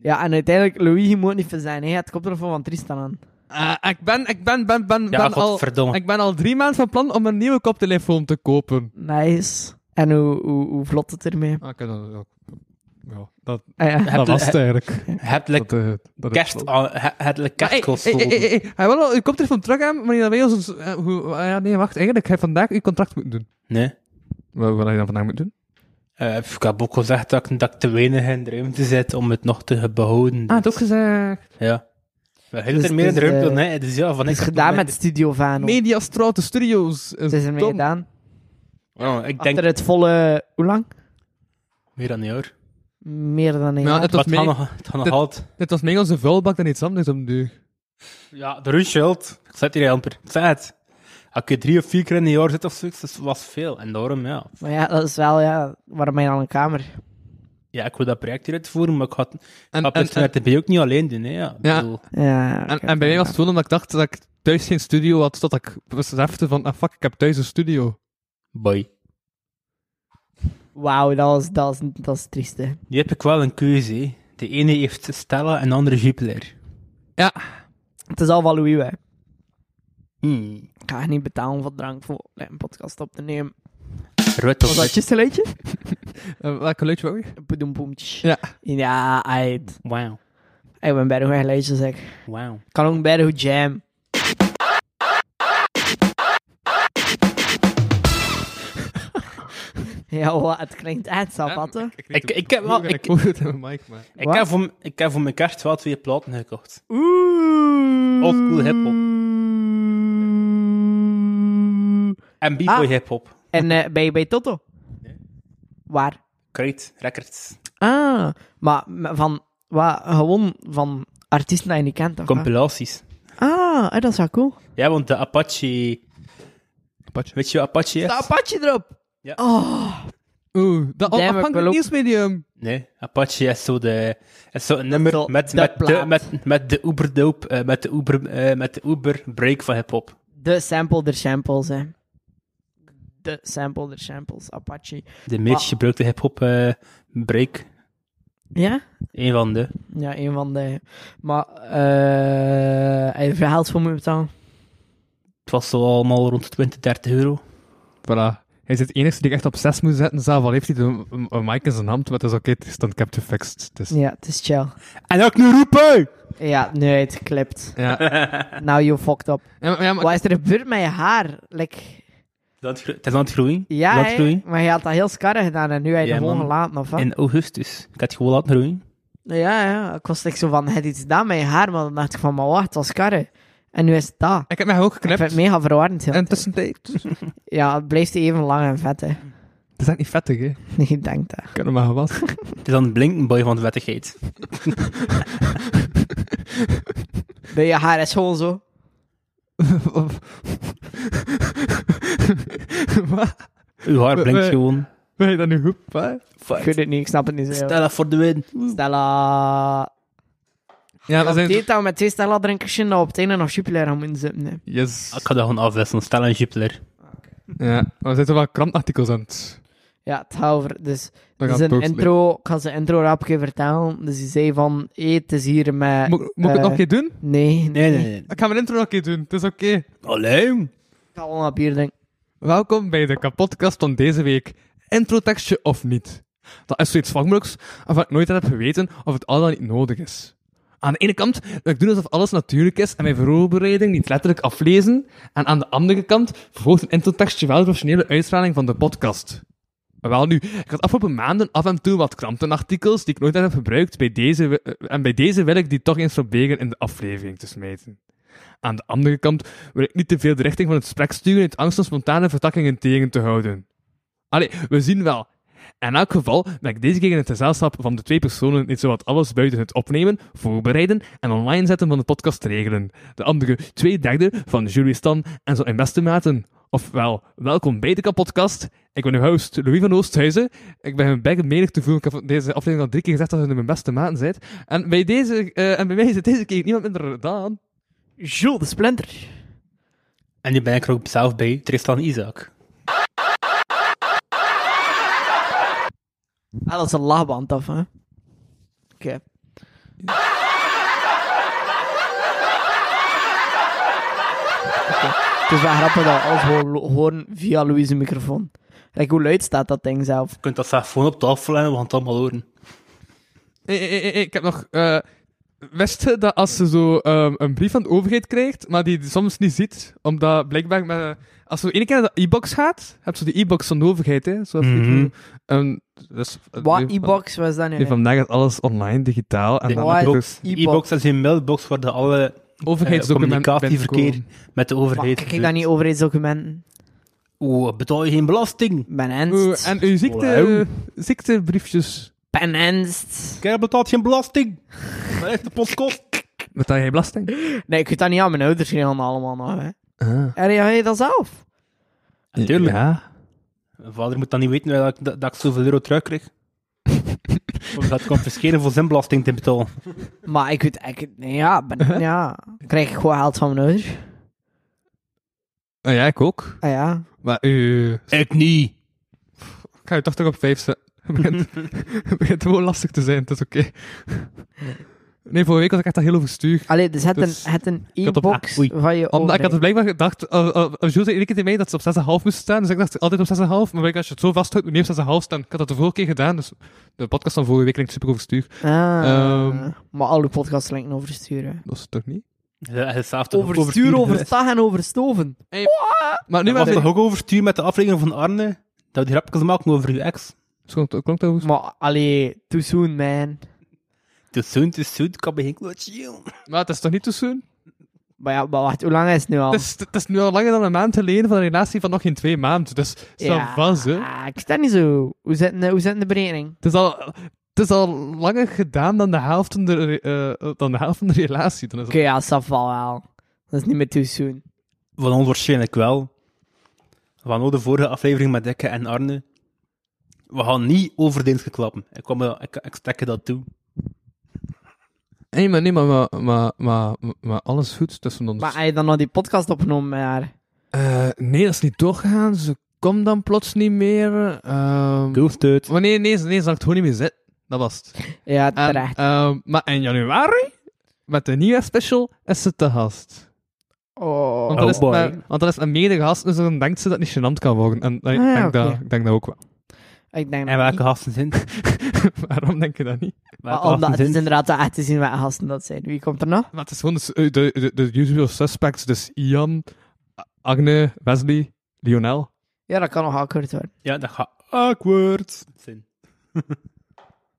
Speaker 3: Ja, en uiteindelijk, Louis, je moet niet ver zijn. Hij had de koptelefoon van Tristan aan.
Speaker 4: Ah, ik ben, ik ben, ben, ben,
Speaker 6: Ja,
Speaker 4: ben al...
Speaker 6: godverdomme.
Speaker 4: Ik ben al drie maanden van plan om een nieuwe koptelefoon te kopen.
Speaker 3: Nice. En hoe, hoe, hoe vlot het ermee?
Speaker 4: Ah, ik heb dat ook. Ja, dat,
Speaker 3: Ah, ja.
Speaker 6: Heb-
Speaker 7: was
Speaker 6: he-
Speaker 7: het eigenlijk.
Speaker 6: Heb like
Speaker 7: Dat, eh, dat is
Speaker 6: kerst...
Speaker 7: wel-
Speaker 6: al- he- Het like
Speaker 4: Maar, hey, hey, hey, hey,
Speaker 6: kerstkost.
Speaker 4: hey, Hij wil al uw koptelefoon terug hebben, maar dat wij ons... eh, hoe, ah ja, nee, wacht. Eigenlijk, hij vandaag uw contract moeten doen.
Speaker 6: Nee.
Speaker 4: Wat, wat je dan vandaag moeten doen?
Speaker 6: Eh, ik heb ook gezegd dat ik, dat ik te weinig in de ruimte zit om het nog te behouden.
Speaker 4: Ah, het ook gezegd.
Speaker 6: Ja. We hebben
Speaker 3: Dus
Speaker 6: er meer in de
Speaker 3: het is,
Speaker 6: ruimte dan,
Speaker 3: eh,
Speaker 6: hè. Dus ja, van
Speaker 3: Het
Speaker 6: ik...
Speaker 3: is gedaan met Studio Vano.
Speaker 4: Media Straute Studios.
Speaker 3: Het is ermee gedaan.
Speaker 6: Ja, Oh, ik denk
Speaker 3: Achter het volle... Hoe lang?
Speaker 6: meer dan een jaar.
Speaker 3: Meer dan een
Speaker 4: Ja,
Speaker 3: jaar.
Speaker 4: het was
Speaker 6: Maar het
Speaker 4: meer...
Speaker 6: gaat nog- het gaat nog
Speaker 4: dit-
Speaker 6: altijd.
Speaker 4: Dit was meer onze vuilbak dan iets anders om nu.
Speaker 6: Ja, de Runschild. Ik zat hier amper. Ik zei het. Als je drie of vier keer in een jaar zit of zoiets, dat was veel. En daarom, ja.
Speaker 3: Maar ja, dat is wel, ja... Waarom ben je dan een kamer?
Speaker 6: Ja, ik wil dat project hier uitvoeren, maar ik had
Speaker 4: En,
Speaker 6: dat
Speaker 4: en,
Speaker 6: en,
Speaker 4: en,
Speaker 6: ben je ook niet alleen doen, hè. Ja.
Speaker 4: Ja.
Speaker 6: Ik bedoel,
Speaker 3: Ja,
Speaker 4: en,
Speaker 3: oké,
Speaker 4: en bij mij was
Speaker 3: ja.
Speaker 4: het gewoon omdat ik dacht dat ik thuis geen studio had, tot ik besefte van, ah fuck, ik heb thuis een studio.
Speaker 6: boy.
Speaker 3: Wauw, dat was, dat, was, dat was triest, hè.
Speaker 6: Nu heb ik wel een keuze, hè. De ene heeft Stella en de andere Jupiler.
Speaker 3: Het is al van Louis, hè.
Speaker 6: Hmm.
Speaker 3: Ik ga niet betalen voor drank voor een podcast op te nemen.
Speaker 6: Rut of
Speaker 3: Was dat je geluidje?
Speaker 4: Eh, welk geluidje wou je?
Speaker 3: Poedoempoemtje.
Speaker 4: Ja.
Speaker 3: Ja, uit.
Speaker 6: Wauw.
Speaker 3: Ik ben bij de goede geluidjes, zeg. Ik
Speaker 6: Wauw.
Speaker 3: kan ook bij de goede jam. ja, wat, het klinkt echt
Speaker 6: Ehm,
Speaker 3: sabatte.
Speaker 6: Ik, ik, heb wel, ik,
Speaker 4: Ik hoor het in mijn mic, maar...
Speaker 6: ik,
Speaker 3: Wat?
Speaker 6: heb voor, m- ik heb voor mijn kerst wel twee platen gekocht.
Speaker 3: Oeh.
Speaker 6: Old school hip-hop. En b-boy
Speaker 3: Ah.
Speaker 6: hip-hop.
Speaker 3: En eh, ben je bij Toto?
Speaker 6: Nee.
Speaker 3: Waar?
Speaker 6: Great records.
Speaker 3: Ah, maar m- van, wat, gewoon van artiesten die je niet kent, toch? hè?
Speaker 6: Compilaties.
Speaker 3: Ah, eh, dat is wel cool.
Speaker 6: Ja, want de Apache...
Speaker 4: Apache.
Speaker 6: Weet je wat Apache is?
Speaker 3: De Apache erop.
Speaker 6: Ja.
Speaker 3: Oh,
Speaker 4: Oeh, dat
Speaker 3: Damn, ik wil
Speaker 4: afhankelijk
Speaker 3: ook-
Speaker 4: nieuwsmedium.
Speaker 6: Nee, Apache is zo, de, is zo een nummer
Speaker 3: zo
Speaker 6: met,
Speaker 3: de
Speaker 6: met, de,
Speaker 3: plaat.
Speaker 6: met, met de Uber-dope, eh, met de Uber, eh, met de Uber-break van hip-hop.
Speaker 3: de sample der samples, hè. De sample der samples, Apache.
Speaker 6: De meest
Speaker 3: Ah.
Speaker 6: gebruikte hip-hop-break.
Speaker 3: Ja?
Speaker 6: Eén van de.
Speaker 3: Ja, een van de... Maar, eh... Hij verhaalt voor me betaald.
Speaker 6: Het was zo allemaal rond de 20, 30 euro.
Speaker 4: Voilà. Hij is het enige die ik echt op 6 moet zetten, zelf al heeft hij de een- een mic in zijn hand, maar het is oké, het is dan kept fixed. Dus,
Speaker 3: Ja, het is chill.
Speaker 6: En ook nu roepen!
Speaker 3: Ja, nee, het klipt.
Speaker 4: ja.
Speaker 3: Now you fucked up.
Speaker 4: Ja, maar- ja, maar-
Speaker 3: Wat is er gebeurd met je haar? Like,
Speaker 6: Dat, gro- het is aan het groeien.
Speaker 3: ja,
Speaker 6: Laat
Speaker 3: hè,
Speaker 6: groeien.
Speaker 3: maar je had dat heel scarre gedaan en nu heb je
Speaker 6: Ja,
Speaker 3: het gewoon
Speaker 6: man.
Speaker 3: gelaten, of wat?
Speaker 6: In augustus. Ik had het gewoon laten groeien.
Speaker 3: Ja, ja. Ik was like zo van, heb iets gedaan met je haar? Maar dan dacht ik van, maar wacht, dat was scarre. En nu is het dat.
Speaker 4: ik heb mij ook
Speaker 3: Ik vind
Speaker 4: geknipt.
Speaker 3: het mega verwarrend. heel.
Speaker 4: En tussentijd.
Speaker 3: Ja, het blijft even lang en vet, hè.
Speaker 4: Het is echt niet vettig, hè.
Speaker 3: Nee, ik denk dat.
Speaker 4: Ik heb hem maar gewas.
Speaker 6: Het is aan het blinken boy van de wettigheid.
Speaker 3: Nee, je haar is gewoon zo.
Speaker 4: Wat?
Speaker 6: Uw haar
Speaker 4: We-
Speaker 6: blinkt
Speaker 4: we-
Speaker 6: gewoon.
Speaker 4: Ben je dat nu goed, hè?
Speaker 3: Ik weet het niet, ik snap het niet zo. heel.
Speaker 6: Stel dat voor de win.
Speaker 3: Stella.
Speaker 4: Ja, we
Speaker 3: Dat
Speaker 4: zijn...
Speaker 3: betekent dat we met twee Stella drinkers en op het einde nog Jupiler gaan moeten zitten. hè.
Speaker 4: Yes.
Speaker 6: Ik ga dat gewoon afwisselen. Stel een Jupiler.
Speaker 4: Ja, maar we zijn toch wel krantartikels aan het...
Speaker 3: Ja, het gaat over. Dus Dus
Speaker 4: Dan gaat het
Speaker 3: een
Speaker 4: doorslepen.
Speaker 3: intro, ik ga zijn intro rap vertellen. Dus die zei van, hé, het is hier met...
Speaker 4: Moet, moet ik het
Speaker 3: eh,
Speaker 4: nog een keer doen?
Speaker 3: Nee, nee,
Speaker 6: Nee, nee, nee.
Speaker 4: Ik ga mijn intro nog een keer doen, het is oké.
Speaker 6: Alleen.
Speaker 3: Ik ga wel een bier drinken.
Speaker 4: Welkom bij de kapotkast van deze week. Introtekstje of niet? Dat is zoiets vangmoeilijks waarvan ik nooit heb geweten of het al dan niet nodig is. Aan de ene kant wil ik doen alsof alles natuurlijk is en mijn voorbereiding niet letterlijk aflezen. En aan de andere kant vervolgt een introtekstje wel de professionele uitstraling van de podcast. Maar Wel nu, ik had afgelopen maanden af en toe wat krantenartikels die ik nooit heb gebruikt. Bij deze, wi- eh, en bij deze wil ik die toch eens proberen in de aflevering te smijten. Aan de andere kant wil ik niet te veel de richting van het gesprek sturen uit angst om spontane vertakkingen tegen te houden. Allee, we zien wel. In elk geval ben ik deze keer in het gezelschap van de twee personen niet zowat alles buiten het opnemen, voorbereiden en online zetten van de podcast te regelen. De andere twee derde van Julie Stan en zo in beste maten. Ofwel, welkom bij de kapotkast. Ik ben uw host Louis van Oosthuizen. Ik ben een menig te voelen. Ik heb van deze aflevering al drie keer gezegd dat u mijn beste maten bent. En bij, deze, eh, en bij mij zit deze keer niemand minder dan...
Speaker 3: Jules de Splinter.
Speaker 6: En nu ben ik er ook zelf bij. Tristan Isaac.
Speaker 3: Ah, dat is een lachband af, hè. Oké. Oké. Het is wel grappig dat we alles gewoon lo- horen via Louise microfoon. Like, hoe luid staat dat ding zelf?
Speaker 6: Je kunt dat zelf gewoon op tafel leggen. We gaan het allemaal horen.
Speaker 4: Eh, eh, eh, eh, ik heb nog. eh wist je dat als ze zo ehm, een brief van de overheid krijgt, maar die soms niet ziet, omdat blijkbaar. Met, als ze één keer naar de e-box gaat, heb ze de e-box van de overheid. Hè? Zo even-
Speaker 6: Mhm.
Speaker 4: ehm, dus, eh,
Speaker 3: Wat
Speaker 4: nu-
Speaker 3: e-box was dat
Speaker 4: nu
Speaker 3: nu?
Speaker 4: vandaag is alles online, digitaal. En
Speaker 6: De
Speaker 4: dan
Speaker 3: Wat?
Speaker 4: heb je dus
Speaker 6: De e-box is een mailbox waar de alle
Speaker 4: overheidsdocumenten
Speaker 6: communicatieverkeer
Speaker 4: binnenkomen.
Speaker 6: met de
Speaker 3: Maar
Speaker 6: overheid...
Speaker 3: Kijk ik dan niet overheidsdocumenten?
Speaker 6: Oeh, betaal je geen belasting?
Speaker 3: Ben
Speaker 4: Oeh,
Speaker 3: ernst.
Speaker 4: Eh, En uw ziekte, ziektebriefjes.
Speaker 3: Ben ernst.
Speaker 6: Kijk, betaalt geen belasting. Dat is de podcast.
Speaker 4: Betaal jij belasting?
Speaker 3: Nee, ik weet dat niet aan mijn ouders regelen allemaal nog, hè.
Speaker 4: Ah.
Speaker 3: En ja, je dat zelf?
Speaker 6: Natuurlijk.
Speaker 4: Ja.
Speaker 6: Mijn vader moet dan niet weten dat ik, dat, dat ik zoveel euro terugkrijg. Of dat ik confisceren voor zijn belasting te betalen.
Speaker 3: Maar ik weet, ik, nee, ja, ben, ja. Krijg ik gewoon geld van mijn ouders?
Speaker 4: Ah, ja, ik ook.
Speaker 3: Ah ja.
Speaker 4: Maar u.
Speaker 6: Ik niet.
Speaker 4: Ik ga je toch toch op 5 zetten. Het begint, het begint gewoon lastig te zijn, het is oké. Nee, vorige week was ik echt al heel overstuur.
Speaker 3: Allee, dus het
Speaker 4: Dus-
Speaker 3: een, het een
Speaker 4: had op-
Speaker 3: e-box
Speaker 6: ah, oei.
Speaker 3: van je
Speaker 4: Omdat ik
Speaker 3: overheid.
Speaker 4: had dus blijkbaar gedacht, eh, eh, eh, Jules zei één keer tegen mij dat ze op 6,5 moest staan, dus ik dacht altijd op 6,5, maar blijkbaar als je het zo vasthoudt, moet je niet op 6,5 staan. Ik had dat de vorige keer gedaan, dus de podcast van vorige week klinkt super overstuur.
Speaker 3: Ah,
Speaker 4: Ehm.
Speaker 3: maar alle podcasts linken oversturen.
Speaker 4: Dat is het toch niet?
Speaker 6: Ja, hij is zelf toch ook
Speaker 3: Overstuur,
Speaker 6: overstuur.
Speaker 3: overstag en overstoven.
Speaker 4: Maar nu
Speaker 6: Nu was
Speaker 4: maar...
Speaker 6: toch ook overstuur met de afrekening van Arne? Dat we die grapjes maken over uw ex?
Speaker 4: Schoon, klonk dat overstuur?
Speaker 3: Maar, allee, too soon, man.
Speaker 6: Te soon, te soon, ik kan bij geen kloot schelen.
Speaker 4: Maar het is toch niet te soon?
Speaker 3: Maar ja, maar wacht, hoe lang is het nu al?
Speaker 4: Het, is, het is nu al langer dan een maand geleden van een relatie van nog geen twee maanden, dus stel
Speaker 3: ja,
Speaker 4: vast, hè.
Speaker 3: ah, ik sta niet zo. Hoe zit, de- hoe zit de berekening?
Speaker 4: Het is al... Het is al langer gedaan dan de helft van de, re- eh, dan de, helft van de relatie. Dan is het
Speaker 3: Oké, ja, dat valt wel. Dat is niet meer too soon.
Speaker 6: Van ons waarschijnlijk wel. Van ook de vorige aflevering met Dekke en Arne. We gaan niet over Deenske klappen. Ik, kwam, ik, ik stek je dat toe.
Speaker 4: Nee, maar, nee, maar, maar, maar, maar, maar alles goed tussen ons.
Speaker 3: Maar heb je dan nog die podcast opgenomen met haar?
Speaker 4: Eh, nee, dat is niet doorgegaan. Ze komt dan plots niet meer. Ehm
Speaker 6: Ghost uit.
Speaker 4: Maar nee, nee, ze- nee, ze zag het gewoon niet meer zitten. Dat was het.
Speaker 3: Ja,
Speaker 4: En,
Speaker 3: terecht.
Speaker 4: ehm, maar in januari, met de nieuwe special, is ze te gast.
Speaker 3: Oh.
Speaker 4: Want dan is het
Speaker 6: boy.
Speaker 4: maar- want dan is het meerdere gasten, dus dan denkt ze dat het niet gênant kan worden. En ik,
Speaker 3: Ah, ja,
Speaker 4: denk dat,
Speaker 3: oké.
Speaker 4: ik denk dat ook wel.
Speaker 3: Ik denk
Speaker 6: En
Speaker 3: dat
Speaker 6: welke
Speaker 3: niet.
Speaker 6: gasten zijn het?
Speaker 4: Waarom denk je dat niet?
Speaker 6: Welke
Speaker 3: Ah, Omdat
Speaker 6: gasten
Speaker 3: het
Speaker 6: zijn
Speaker 3: is
Speaker 6: het?
Speaker 3: inderdaad wel echt te zien welke gasten dat zijn. Wie komt er nog?
Speaker 4: Maar het is gewoon de, s- eh, de, de, de usual suspects. Dus Ian, Agne, Wesley, Lionel.
Speaker 3: Ja, dat kan nog awkward worden.
Speaker 6: Ja, dat gaat awkward zijn.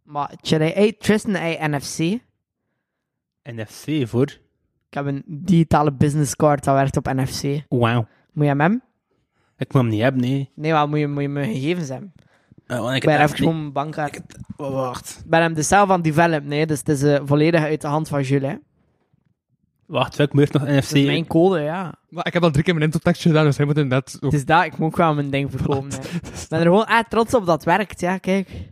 Speaker 3: Maar chill, hè. hey, Tristan, hey, NFC.
Speaker 6: NFC voor.
Speaker 3: Ik heb een digitale business card dat werkt op NFC.
Speaker 6: Wauw.
Speaker 3: Moet je hem hebben?
Speaker 6: Ik moet hem niet hebben, nee.
Speaker 3: Nee, maar moet je, moet je mijn gegevens hebben?
Speaker 6: Eh, want ik
Speaker 3: Ik ben
Speaker 6: heb
Speaker 3: even
Speaker 6: echt niet...
Speaker 3: gewoon mijn bankkaart. Ik
Speaker 6: Oh, wacht.
Speaker 3: ben hem dus zelf aan het developen, nee. Dus het is eh, volledig uit de hand van Jules, hè.
Speaker 6: Wacht, welke moet nog NFC?
Speaker 3: Dat is mijn code, ja.
Speaker 4: Maar ik heb al drie keer mijn introtekstje gedaan, dus hij moet inderdaad... ook-
Speaker 3: Het is daar, ik moet ook wel mijn ding verkopen, hè. Ik ben er gewoon echt trots op dat het werkt, ja, kijk.
Speaker 6: Je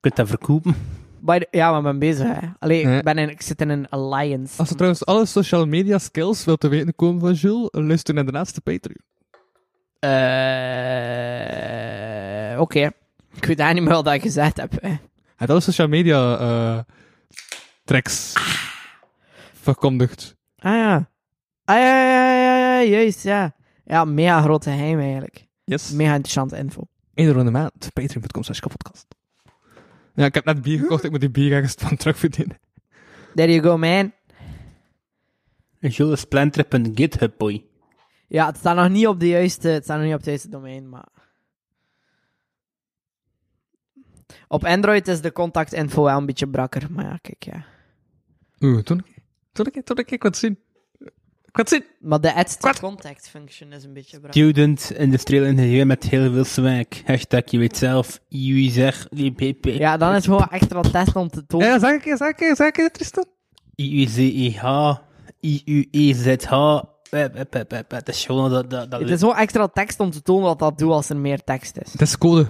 Speaker 6: kunt dat verkopen.
Speaker 3: By the- ja, maar ik ben bezig, hè. Allee,
Speaker 4: Eh.
Speaker 3: ik, ben in, ik zit in een alliance.
Speaker 4: Als je trouwens alle social media skills wilt te weten komen van Jules, luister naar de laatste Patreon.
Speaker 3: Eh, Oké. Ik weet daar niet meer wat ik gezegd heb. hè.
Speaker 4: Hij had alle social media eh tracks verkondigd.
Speaker 3: Ah ja. Ah ja, ja, ja, ja, ja, juist, ja. Ja, mega grote geheim eigenlijk.
Speaker 4: Yes.
Speaker 3: Mega interessante info.
Speaker 4: Eén ronde maand. Patreon.com slash kapotkast. Ja, ik heb net bier gekocht. Ik moet die bier ergens van terugverdienen.
Speaker 3: There you go, man.
Speaker 6: Jules is plantrip.github, boy.
Speaker 3: Ja, het staat nog niet op de juiste, het staat nog niet op het juiste domein, maar... Op Android is de contactinfo wel een beetje brakker, maar ja, kijk, ja.
Speaker 4: Oeh, toen, toen, ik, toen ik, ik wat zien. Ik wat zien.
Speaker 3: Maar de add contact function is een beetje brakker.
Speaker 6: Student, industrieel ingenieur met heel veel swag. Hashtag je weet zelf. IUI zeg.
Speaker 3: Ja, dan is het gewoon extra test om te tonen.
Speaker 4: Ja, zeg ik, zeg ik, zeg ik, Tristan.
Speaker 6: IUZEH. E IUEZH. Wep, wep, wep, wep. Dat is gewoon dat... dat, dat
Speaker 3: Het is gewoon extra tekst om te tonen wat dat doet als er meer tekst is.
Speaker 4: Het is code.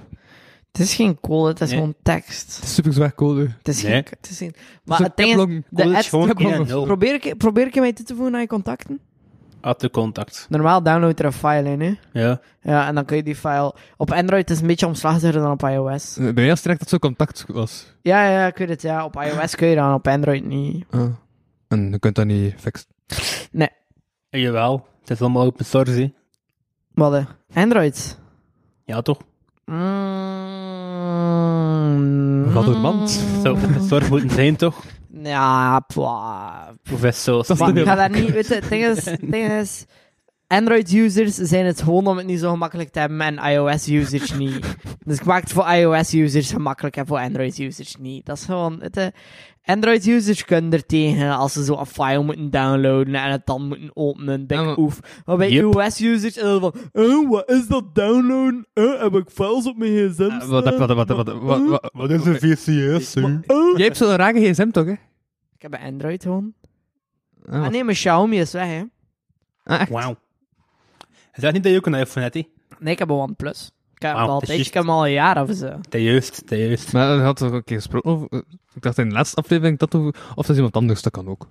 Speaker 3: Het is geen code, het is
Speaker 6: Nee.
Speaker 3: gewoon tekst.
Speaker 4: Het is super zwaar code.
Speaker 3: Het is
Speaker 6: Nee.
Speaker 3: geen... Het is geen maar
Speaker 4: een
Speaker 3: het ding is,
Speaker 4: teplong.
Speaker 3: de
Speaker 6: Code is
Speaker 3: ads-
Speaker 6: gewoon
Speaker 3: teplong-
Speaker 6: 1 en 0.
Speaker 3: probeer, ik, probeer ik je mee toe te voegen aan je contacten?
Speaker 6: At de contact.
Speaker 3: Normaal download er een file in, hè?
Speaker 6: Ja.
Speaker 3: Ja, en dan kun je die file... Op Android is het een beetje omslachtiger dan op iOS.
Speaker 4: Eh, Bij mij was direct dat zo'n contact was.
Speaker 3: Ja, ja, ik weet het, ja. Op iOS kun je dan, op Android niet.
Speaker 4: Ah. En je kunt dat niet fixen.
Speaker 6: En jawel. Het is allemaal open source, hè.
Speaker 3: Wat, eh, Android?
Speaker 6: Ja, toch?
Speaker 3: Mm.
Speaker 4: Wat een mand.
Speaker 6: Zou open source moeten zijn, toch?
Speaker 3: Ja, pwa.
Speaker 6: Of is zo...
Speaker 4: Dat is
Speaker 3: Maar
Speaker 4: de
Speaker 3: ik ga daar niet... Weet je, het ding is... het ding is Android-users zijn het gewoon om het niet zo gemakkelijk te hebben en iOS-users niet. Dus ik maak het voor iOS-users gemakkelijk en voor Android-users niet. Dat is gewoon... het, eh, Android-users kunnen er tegen als ze zo een file moeten downloaden en het dan moeten openen. Big
Speaker 4: Ja, maar-
Speaker 3: oef. Maar bij
Speaker 6: Yep.
Speaker 3: iOS-users is het van... Oh, wat is dat downloaden? Eh, heb ik files op mijn gsm
Speaker 4: Wat, wat, wat, wat, wat, wat, wat,
Speaker 6: Wat is een VCS,
Speaker 3: Oh.
Speaker 4: Jij hebt zo'n rare gsm toch, hè?
Speaker 3: Ik heb een Android gewoon.
Speaker 4: Ah,
Speaker 3: Ah nee, mijn Xiaomi is weg, hè.
Speaker 4: Ah, echt?
Speaker 6: Wauw. Is dat niet dat je ook een iPhone hebt, hè?
Speaker 3: Nee, ik heb een OnePlus. Ik heb hem
Speaker 4: Ah,
Speaker 6: Wauw,
Speaker 3: al
Speaker 6: dat is
Speaker 3: een tijdje,
Speaker 6: juist.
Speaker 3: ik heb hem al een jaar of zo.
Speaker 6: Dat juist, dat juist.
Speaker 4: Maar hij had toch een keer gesproken over... Ik dacht in de laatste aflevering dat over... Of dat is iemand anders, dat kan ook.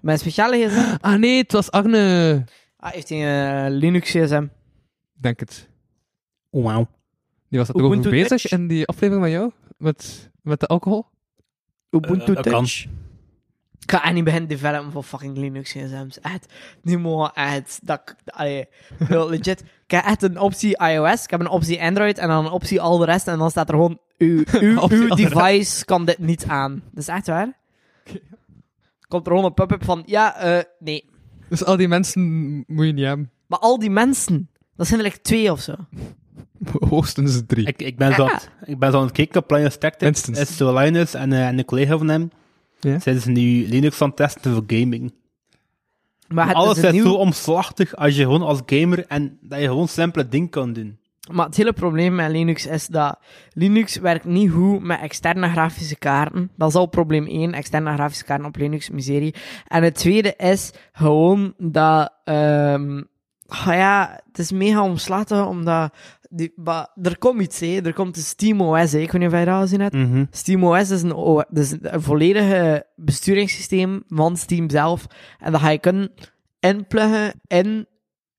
Speaker 3: Mijn speciale gsm...
Speaker 4: Ah nee, het was Agne.
Speaker 3: Ah, heeft hij een eh, Linux gsm.
Speaker 4: Denk het.
Speaker 6: Wauw.
Speaker 4: Die was er toch
Speaker 3: Ubuntu
Speaker 4: over bezig
Speaker 3: Touch.
Speaker 4: in die aflevering van jou? Met, met de alcohol?
Speaker 3: Ubuntu
Speaker 6: Eh, dat kan.
Speaker 3: Touch. Ik ga echt niet beginnen developen voor fucking Linux gsms. Echt. Niet mooi, echt. Dat, ik- allee, heel legit. Ik heb echt een optie iOS, ik heb een optie Android en dan een optie al de rest. En dan staat er gewoon, uw, uw,
Speaker 4: Optie
Speaker 3: uw
Speaker 4: al de
Speaker 3: device kan dit niet aan. Dat is echt waar. Komt er gewoon een pop-up van, ja, eh, nee.
Speaker 4: Dus al die mensen moet je niet hebben.
Speaker 3: Maar al die mensen, dat zijn er like twee of zo.
Speaker 4: Hoogstens drie.
Speaker 6: Ik, ik, ben zo aan het,
Speaker 3: Ah.
Speaker 6: ik ben zo aan het kijken op Linus Tech Tips.
Speaker 4: Instance.
Speaker 6: is zo Linus en, eh, en een collega van hem.
Speaker 4: Ja.
Speaker 6: Zijn ze nu Linux aan het testen voor gaming.
Speaker 3: Maar het
Speaker 6: Alles
Speaker 3: Ah, is een
Speaker 6: is
Speaker 3: nieuw...
Speaker 6: zo omslachtig als je gewoon als gamer en dat je gewoon simpele dingen kan doen.
Speaker 3: Maar het hele probleem met Linux is dat Linux werkt niet goed met externe grafische kaarten. Dat is al probleem 1, externe grafische kaarten op Linux, miserie. En het tweede is gewoon dat, ehm ah ja, het is mega omslaten omdat, die, maar er komt iets, hè. er komt de SteamOS, hè. ik weet niet of je dat al gezien hebt. SteamOS is een, O- dus een volledige besturingssysteem van Steam zelf. En dat ga je kunnen inpluggen in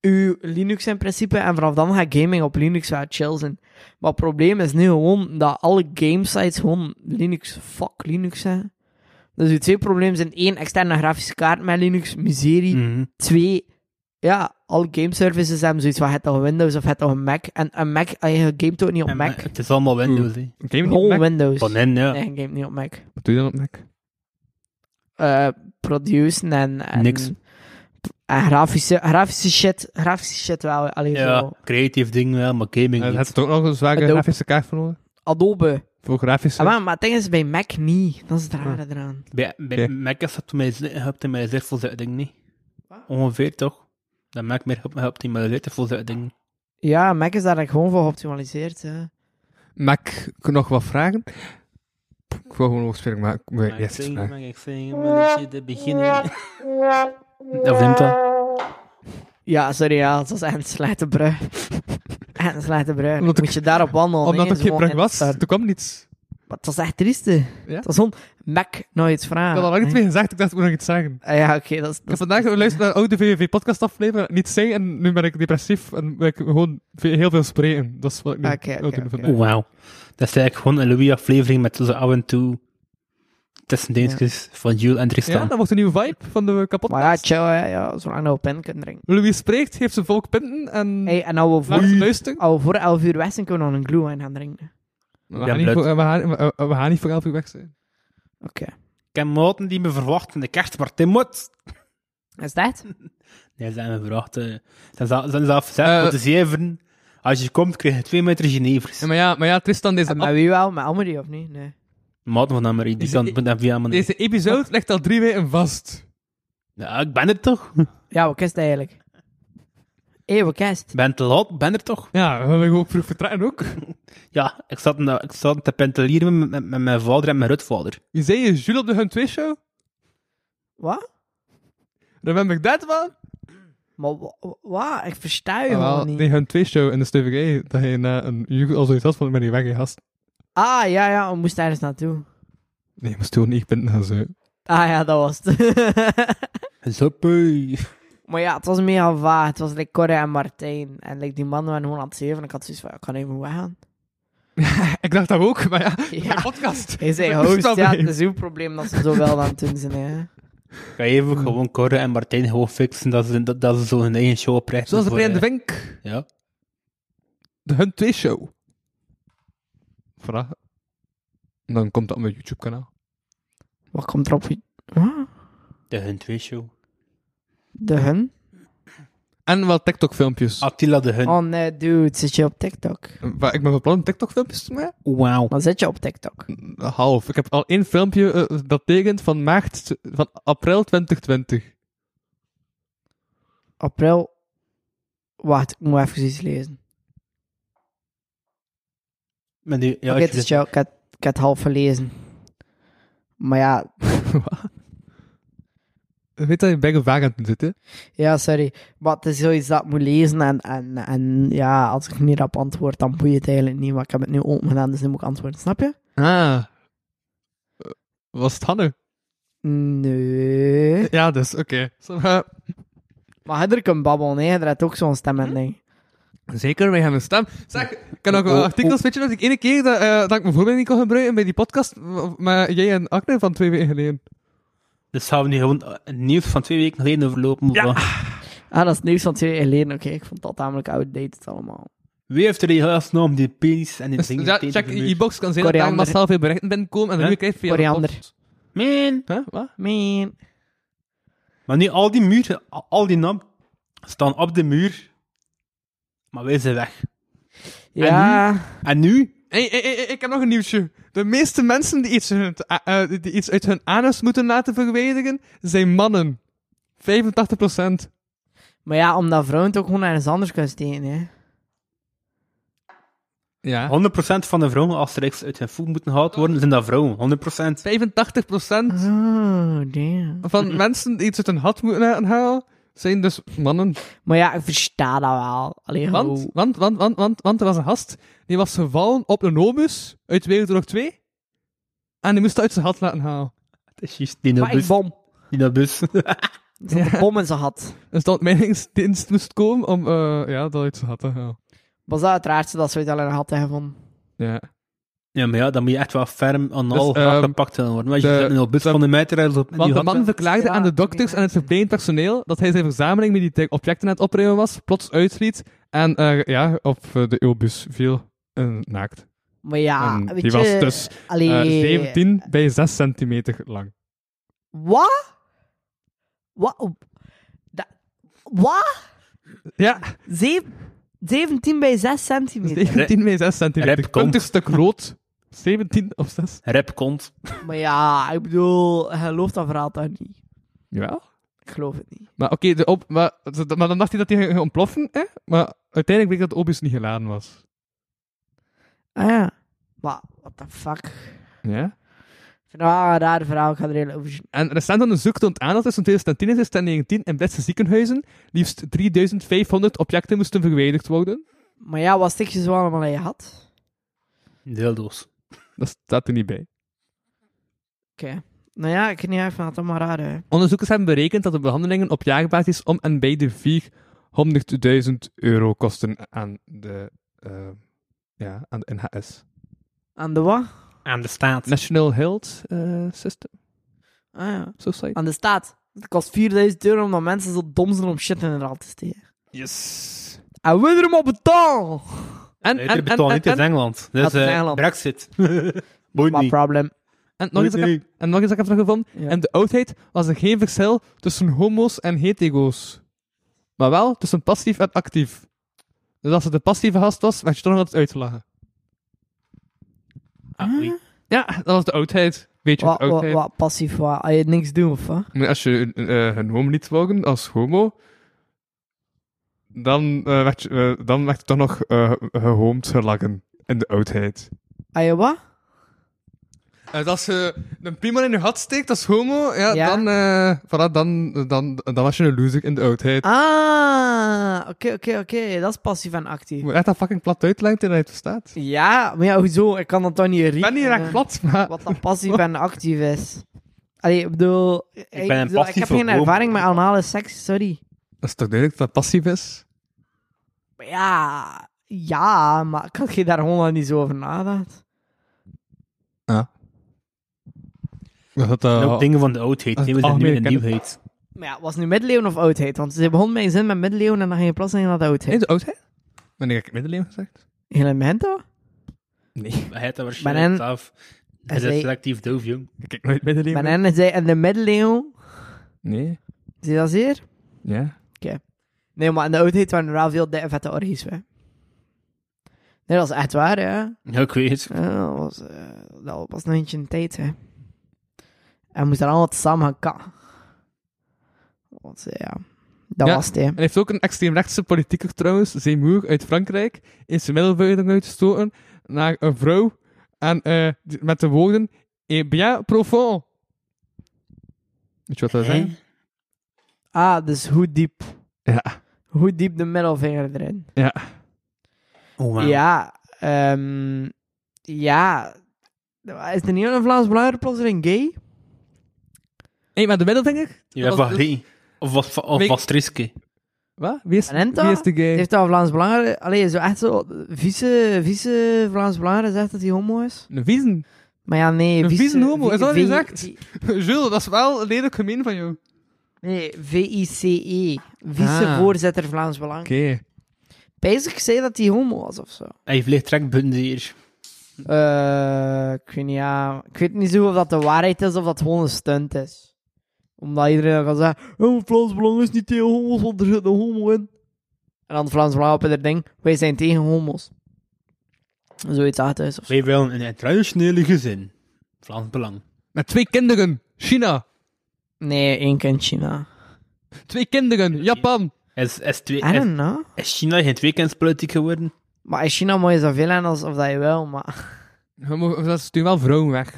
Speaker 3: uw Linux in principe. En vanaf dan gaat gaming op Linux wel chill zijn. Maar het probleem is nu gewoon dat alle gamesites gewoon Linux, fuck Linux zijn. Hmm.
Speaker 6: Mhm.
Speaker 3: Dus uw twee problemen zijn één, externe grafische kaart met Linux, miserie. Twee, ja, alle gameservices hebben zoiets van, het toch een Windows of het toch een Mac. En een Mac, ah, je gamet ook niet op
Speaker 6: En,
Speaker 3: Mac.
Speaker 6: eh, Het is allemaal Windows, hè.
Speaker 4: Game niet op
Speaker 3: Gewoon
Speaker 4: Mac?
Speaker 3: Windows.
Speaker 6: Van hen, ja.
Speaker 3: Nee, je gamet niet op Mac.
Speaker 4: Wat doe je dan op Mac?
Speaker 3: eh produceren en, en...
Speaker 6: Niks.
Speaker 3: En grafische, grafische shit, grafische shit wel. Allee, zo.
Speaker 6: Ja, creatief ding wel, maar gaming
Speaker 4: Eh,
Speaker 6: niet.
Speaker 4: Heb je toch nog een zware
Speaker 3: Adobe.
Speaker 4: grafische kaart voor nodig?
Speaker 3: Adobe.
Speaker 4: Voor grafische...
Speaker 3: Ah, maar, maar het ding is bij Mac niet. Dat is het rare eraan.
Speaker 6: Bij, bij
Speaker 4: Oké.
Speaker 6: Mac is dat mij helpt in mijn zicht dat ding niet. Ongeveer toch? Dat Mac meer helpt- helpt in mijn zicht voor dat ding.
Speaker 3: Ja, Mac is daar gewoon voor geoptimaliseerd. Hè.
Speaker 4: Mac, ik kan nog wat vragen? Ik wil gewoon nog spelen, maar ik wil
Speaker 6: Mag ik
Speaker 4: eerst iets
Speaker 6: zingen,
Speaker 4: vragen.
Speaker 6: mag ik zingen, maar je de beginnen. Of neemt dat?
Speaker 3: Ja, sorry, ja, dat was echt een slechte brug. echt een slechte brug.
Speaker 4: Omdat
Speaker 3: Moet je daarop wandelen.
Speaker 4: Omdat
Speaker 3: hè,
Speaker 4: er
Speaker 3: zo
Speaker 4: geen brug
Speaker 3: in-
Speaker 4: was,
Speaker 3: daar.
Speaker 4: er kwam niets.
Speaker 3: Maar het was echt triest. hè.
Speaker 4: Ja?
Speaker 3: Het was zo'n Mac nooit
Speaker 4: Ik
Speaker 3: vragen.
Speaker 4: had al lang niet
Speaker 3: hè.
Speaker 4: meer gezegd, ik dacht ik moet nog iets zeggen.
Speaker 3: Ah, ja, oké, Ah, dat is...
Speaker 4: Ik heb vandaag geluisterd naar een oude VVV-podcast aflevering, niet zingen, en nu ben ik depressief en wil ik gewoon ve- heel veel spreken. Dat is wat ik nu
Speaker 3: Ah, Oké, oké,
Speaker 4: wil doen
Speaker 3: oké.
Speaker 4: vandaag.
Speaker 6: Wauw. Dat is eigenlijk gewoon een Louis-aflevering met zo af en toe tussendeentjes van Jules en Tristan.
Speaker 4: Ja, dat wordt een nieuwe vibe van de kapot.
Speaker 3: Maar ja, chill, hè, ja, zolang je op pen kunt drinken.
Speaker 4: Louis spreekt, geeft zijn volk pinten en
Speaker 3: Hey, en nou we
Speaker 4: laat ze
Speaker 3: voor,
Speaker 4: luisteren.
Speaker 3: al voor 11 uur weg zijn, kunnen we nog een glue wine gaan drinken.
Speaker 4: We
Speaker 6: Ja,
Speaker 4: gaan, niet
Speaker 6: blut.
Speaker 4: voor, we, gaan, we, we gaan niet voor elf uur weg zijn.
Speaker 3: Oké.
Speaker 6: Ik heb maten die me verwachten in de kerst, maar Tim moet.
Speaker 3: Is dat?
Speaker 6: Nee, ze hebben me verwacht. eh, Ze hebben zelf- ze hebben zelf gezegd,
Speaker 4: Eh.
Speaker 6: voor de zeveren, als je komt, krijg je twee meter genevers.
Speaker 4: Ja, maar ja, maar ja Tristan, deze,
Speaker 3: En met
Speaker 4: af-
Speaker 3: wie nou wel? Met Amelie of niet? Nee.
Speaker 6: Maten van Amerika, die
Speaker 4: Is-
Speaker 6: kan moet naar via mijn...
Speaker 4: deze episode ligt al drie weken vast.
Speaker 6: Ja, ik ben er toch?
Speaker 3: Ja, wat is het eigenlijk? Hé, hey, wat is het?
Speaker 6: Ik ben te laat, ik ben er toch?
Speaker 4: Ja, we hebben gewoon vroeg vertrekken ook.
Speaker 6: Ja, ik zat, na- ik zat te pentelieren met, met, met mijn vader en mijn rutvader.
Speaker 4: Je zei je Jules op de Hun 2 show?
Speaker 3: Wat?
Speaker 4: Remember that one?
Speaker 3: Maar wa- wa- wat? Ik versta je
Speaker 4: Ah, wel,
Speaker 3: gewoon niet.
Speaker 4: die Hun 2 show in de STVG, dat je na een uur al zoiets had van, ik ben hier weg, hè, gast.
Speaker 3: Ah, ja, ja, we moesten ergens naartoe.
Speaker 4: Nee, maar stil niet, ik ben er zo.
Speaker 3: Ah ja, dat was het.
Speaker 6: Zoppie.
Speaker 3: maar ja, het was mega vaag. Het was like Corre en Martijn. En like, die mannen waren gewoon aan het zeven. En ik had zoiets van, ik kan even weggaan.
Speaker 4: Ik dacht dat ook, maar ja,
Speaker 3: Ja.
Speaker 4: mijn podcast.
Speaker 3: Hij zei,
Speaker 4: Ik
Speaker 3: host,
Speaker 4: snap
Speaker 3: ja,
Speaker 4: het.
Speaker 3: het is uw probleem dat ze zo wel aan het doen zijn. Hè.
Speaker 6: Ik ga even gewoon Corre en Martijn gewoon fixen dat ze, dat, dat ze zo hun eigen show oprechten.
Speaker 4: Zoals de
Speaker 6: voor,
Speaker 4: Brian de
Speaker 6: eh,
Speaker 4: Vink,
Speaker 6: Ja.
Speaker 4: de Hun 2 show. Vraag. Dan komt dat op mijn YouTube-kanaal.
Speaker 3: Wat komt er op? je- Wat?
Speaker 6: De Hun 2 show.
Speaker 3: De hun?
Speaker 4: En wel TikTok-filmpjes.
Speaker 6: Attila de Hun.
Speaker 3: Oh nee, dude, zit je op TikTok?
Speaker 4: Maar Ik ben van plan om TikTok-filmpjes te maken.
Speaker 6: Wauw.
Speaker 3: Maar zit je op TikTok?
Speaker 4: Half. Ik heb al één filmpje eh, dat tekent van, maart, van april 2020.
Speaker 3: April. Wacht, ik moet even iets lezen.
Speaker 6: Met die, ja,
Speaker 3: Oké,
Speaker 6: ik
Speaker 3: het is jou. Ik heb, ik heb het half gelezen. Maar ja,
Speaker 4: Ik Weet dat je bij vaak aan het zitten?
Speaker 3: ja, sorry. Maar het is zoiets dat ik moet lezen. En, en, en ja, als ik niet op antwoord, dan boeit het eigenlijk niet. Maar ik heb het nu open gedaan, dus nu moet ik antwoorden. Snap je?
Speaker 4: Ah. Eh, Was het Hanne?
Speaker 3: Nee.
Speaker 4: Ja, dus, oké. Zo, eh,
Speaker 3: Maar hij er kan babbelen, hè. Er had ook zo'n stem
Speaker 6: Hm?
Speaker 3: en ding.
Speaker 4: Zeker, wij hebben een stem. Zeg, ik kan nog wel
Speaker 6: Oh,
Speaker 4: artikels. Weet je dat ik ene keer dat, eh, dat ik mijn voorbeeld niet kon gebruiken bij die podcast maar jij en Akne van twee weken geleden?
Speaker 6: Dus gaan we nu gewoon eh, het nieuws van twee weken geleden overlopen. Ja.
Speaker 3: Ah, dat is nieuws van twee jaar geleden. Oké, ik vond dat namelijk outdated allemaal.
Speaker 6: Wie heeft er die huisnaam, die penis en die
Speaker 4: Dus,
Speaker 6: dingen?
Speaker 4: ja,
Speaker 6: tegen
Speaker 4: check,
Speaker 6: de muur?
Speaker 4: je box kan zijn dat daar
Speaker 3: Koriander.
Speaker 4: massaal veel berichten binnenkomen en dan
Speaker 6: Huh?
Speaker 4: nu krijg je via de
Speaker 3: Koriander.
Speaker 4: post.
Speaker 6: Man.
Speaker 4: Huh? Wat?
Speaker 3: Man.
Speaker 6: Maar nu, al die muren, al- al die naam, staan op de muur. Maar wij zijn weg.
Speaker 3: Ja.
Speaker 6: En nu?
Speaker 4: Hey, hey, hey, hey, ik heb nog een nieuwtje. De meeste mensen die iets, hun- eh, eh, die iets uit hun anus moeten laten verwijderen, zijn mannen. 85%.
Speaker 3: Maar ja, omdat vrouwen het ook gewoon ergens anders kunnen steken, hè.
Speaker 4: Ja.
Speaker 6: 100% van de vrouwen, als er iets uit hun voet moeten gehaald worden, zijn dat vrouwen.
Speaker 4: 85%
Speaker 6: 100%.
Speaker 3: Oh, damn.
Speaker 4: van mensen die iets uit hun had moeten halen, zijn dus mannen.
Speaker 3: Maar ja, ik versta dat wel. Allee,
Speaker 4: Want,
Speaker 3: hoe-
Speaker 4: want, want, want, want, want er was een gast, die was gevallen op een obus uit Wereldoorlog 2. En die moest dat uit zijn had laten halen.
Speaker 6: Dat is juist die
Speaker 3: Maar ik
Speaker 6: nobus.
Speaker 3: bom.
Speaker 6: Die nobus.
Speaker 3: Er stond een bom in zijn had.
Speaker 4: Dus dat mijningsdienst moest komen om eh, ja, dat uit zijn had te halen.
Speaker 3: Was dat het raarste dat ze ooit al in een had hebben gevonden?
Speaker 4: Ja.
Speaker 6: Ja, maar ja, dan moet je echt wel ferm aan al
Speaker 4: Dus,
Speaker 6: graag
Speaker 4: ehm,
Speaker 6: gepakt gaan worden. Want je
Speaker 4: de-
Speaker 6: zit in een bus
Speaker 4: de-
Speaker 6: van de meter op
Speaker 4: Want de man
Speaker 6: man
Speaker 4: verklaagde
Speaker 3: Ja,
Speaker 4: aan de
Speaker 3: ik
Speaker 4: dokters
Speaker 3: weet
Speaker 4: en het
Speaker 3: het.
Speaker 4: verpleegend personeel dat hij zijn verzameling militaire objecten aan het opruimen was, plots uitliet en eh, ja, op eh, de eelbus viel eh, naakt.
Speaker 3: Maar ja,
Speaker 4: En
Speaker 3: Ah, weet
Speaker 4: die
Speaker 3: je...
Speaker 4: was dus
Speaker 3: allee,
Speaker 4: eh, 17 bij 6 centimeter lang.
Speaker 3: Wat? Wat? Da- Wat?
Speaker 4: Ja,
Speaker 3: Zeven- 17 bij 6 centimeter.
Speaker 4: 17 bij 6 centimeter.
Speaker 6: Rep, kom.
Speaker 4: 20 stuk rood. 17 op 6.
Speaker 6: Rap komt.
Speaker 3: Maar ja, ik bedoel, hij gelooft dat verhaal toch niet?
Speaker 4: Jawel.
Speaker 3: Ik geloof het niet.
Speaker 4: Maar oké, de op- maar, maar dan dacht hij dat hij ging ontploffen, hè? Maar uiteindelijk bleek dat de obus niet geladen was.
Speaker 3: Ah ja. Maar, what the fuck? Ik
Speaker 4: Ja?
Speaker 3: vind het wel een raar verhaal, ik ga er heel over...
Speaker 4: En recent onderzoek toont aan dat tussen 2010 en 2019 in Britse ziekenhuizen liefst 3500 objecten moesten verwijderd worden.
Speaker 3: Maar ja, wat stikjes wel allemaal dat je had?
Speaker 6: Dildo's.
Speaker 4: Dat staat er niet bij.
Speaker 3: Oké. Nou ja, ik weet niet, ik vind dat allemaal raar, hè.
Speaker 4: Onderzoekers hebben berekend dat de behandelingen op jaarbasis om en bij de 400.000 euro kosten aan de, eh, ja, aan de NHS.
Speaker 3: Aan de wat?
Speaker 6: Aan de staat.
Speaker 4: National Health eh, System
Speaker 3: Ah ja.
Speaker 4: Society.
Speaker 3: Aan de staat. Het kost 4000 euro omdat mensen zo dom zijn om shit in de raad te steken.
Speaker 4: Yes.
Speaker 3: En we er hem op betaal!
Speaker 4: En,
Speaker 6: Nee,
Speaker 4: en,
Speaker 6: dit
Speaker 4: en,
Speaker 6: betaalt
Speaker 4: en,
Speaker 6: niet, het is
Speaker 4: en-
Speaker 6: Engeland.
Speaker 3: het
Speaker 6: Dus
Speaker 3: is
Speaker 6: eh
Speaker 3: Engeland.
Speaker 6: Brexit. Boeit
Speaker 3: Maar
Speaker 6: niet.
Speaker 3: problem.
Speaker 4: en nog eens dat ik
Speaker 6: Nee.
Speaker 4: heb- en nog eens dat ik heb teruggevonden.
Speaker 3: Ja.
Speaker 4: In de oudheid was er geen verschil tussen homo's en hetero's. Maar wel tussen passief en actief. Dus als het een passieve gast was, werd je toch nog altijd uitgelachen.
Speaker 6: Ah, oei.
Speaker 4: Ja, dat was de oudheid. Weet je wat
Speaker 3: Wat, wat,
Speaker 4: oudheid?
Speaker 3: wat passief, wat? Als je niks doet, of wat?
Speaker 4: Maar Als je eh, een homo niet wogen als homo, dan, eh, werd, je, eh, dan werd je toch nog eh gehoomd, gelachen. In de oudheid.
Speaker 3: Als je wat?
Speaker 4: Eh, als je een piemel in je gat steekt als homo, ja,
Speaker 3: Ja.
Speaker 4: Dan, eh, voilà, dan, dan, dan was je een loser in de oudheid.
Speaker 3: Ah, oké, oké, oké. Dat is passief en actief.
Speaker 4: Je moet echt dat fucking plat uitleggen dat het bestaat.
Speaker 3: Ja, maar ja, hoezo? Ik kan dat toch niet
Speaker 4: Ik
Speaker 3: rekenen.
Speaker 4: ben eh, niet echt plat, maar...
Speaker 3: Wat dan passief en actief is. Allee, ik bedoel... Ik,
Speaker 6: ben een
Speaker 3: bedoel, ik heb
Speaker 6: passieve
Speaker 3: geen
Speaker 6: homo.
Speaker 3: ervaring met anale seks, sorry.
Speaker 4: Dat is toch duidelijk dat dat passief is?
Speaker 3: Maar ja... Ja, maar ik had je daar gewoon nog niet zo over nagedacht.
Speaker 4: Dat dat...
Speaker 6: En ook dingen van de oudheid.
Speaker 4: Dat is
Speaker 6: Nee, we zijn nu in de
Speaker 4: algemene
Speaker 6: nieuwheid.
Speaker 3: Maar ja, was het nu middeleeuwen of oudheid? Want ze begon met een zin met middeleeuwen en dan ging je plots zeggen dat het oudheid.
Speaker 4: In de oudheid? Wanneer heb ik middeleeuwen gezegd?
Speaker 3: Heel in mijn toch?
Speaker 4: Nee.
Speaker 6: Maar hij had dat
Speaker 3: Maar
Speaker 6: waarschijnlijk
Speaker 3: en-
Speaker 6: zelf.
Speaker 3: Hij
Speaker 6: Hij is
Speaker 3: zei-
Speaker 6: selectief doof, jong.
Speaker 4: Ik kijk nooit middeleeuwen.
Speaker 3: Maar en zei in de middeleeuwen...
Speaker 4: Nee.
Speaker 3: Zie je dat zeer?
Speaker 4: Ja.
Speaker 3: Nee, maar in de oudheid waren er wel veel dikke vette orgies, hè. Nee, dat is echt waar, hè.
Speaker 6: Ja, ik weet het.
Speaker 3: Ja, dat was, eh, dat was nog eentje een tijd, hè. En we moesten allemaal samen gaan kakken. Want, eh, ja, dat
Speaker 4: Ja.
Speaker 3: was het, hè.
Speaker 4: En hij heeft ook een extreemrechtse politieker trouwens, Zemmour, uit Frankrijk, in zijn middelbuiding uitgestoten naar een vrouw en, eh, die- met de woorden Eh bien profond. Weet je wat dat zijn?
Speaker 3: Ah, dus hoe diep.
Speaker 4: Ja.
Speaker 3: Hoe diep de middelvinger erin.
Speaker 6: Oh, wauw.
Speaker 3: Ja, ehm ja. Is er niet een Vlaams Belangrijk plotseling gay?
Speaker 4: hey, maar de middelvinger? was-
Speaker 6: Ja, Valérie. Of was, of
Speaker 4: Week-
Speaker 6: was Triske.
Speaker 4: Wat? Wie is,
Speaker 3: Valenta?
Speaker 4: wie is de gay?
Speaker 3: Heeft dat Vlaams Belangrijk... Allee, zo echt zo... Vieze, vieze Vlaams Belangrijk zegt dat hij homo is.
Speaker 4: Een viezen.
Speaker 3: Maar ja, nee...
Speaker 4: Een
Speaker 3: vieze-
Speaker 4: vieze homo,
Speaker 3: vi-
Speaker 4: is dat wat je
Speaker 3: vi-
Speaker 4: zegt?
Speaker 3: vi-
Speaker 4: Jules, dat is wel lelijk gemeen van jou.
Speaker 3: Nee, V-I-C-E.
Speaker 4: Ah.
Speaker 3: Vicevoorzitter E. Vlaams Belang.
Speaker 4: Oké.
Speaker 3: Bezig zei dat hij homo was of zo.
Speaker 6: Hij vliegt trekbunden hier.
Speaker 3: Eh, ik weet niet, ja. Ik weet niet zo of dat de waarheid is of dat gewoon een stunt is. Omdat iedereen dan kan zeggen: Oh, Vlaams Belang is niet tegen homo's, want er zit een homo in. En dan Vlaams Belang op het ding: Wij zijn tegen homo's. Zoiets achterhuis of zo.
Speaker 6: Wij willen een traditionele gezin. Vlaams Belang.
Speaker 4: Met twee kinderen. China.
Speaker 3: Nee, één kind China.
Speaker 4: Twee kinderen. Japan.
Speaker 6: Is, is, twee,
Speaker 3: I
Speaker 6: is,
Speaker 3: don't know.
Speaker 6: is China geen tweekendspolitiek geworden?
Speaker 3: Maar in China moet je zoveel aan als of dat je wil, maar...
Speaker 4: We mogen- Dat is nu wel vrouwen weg.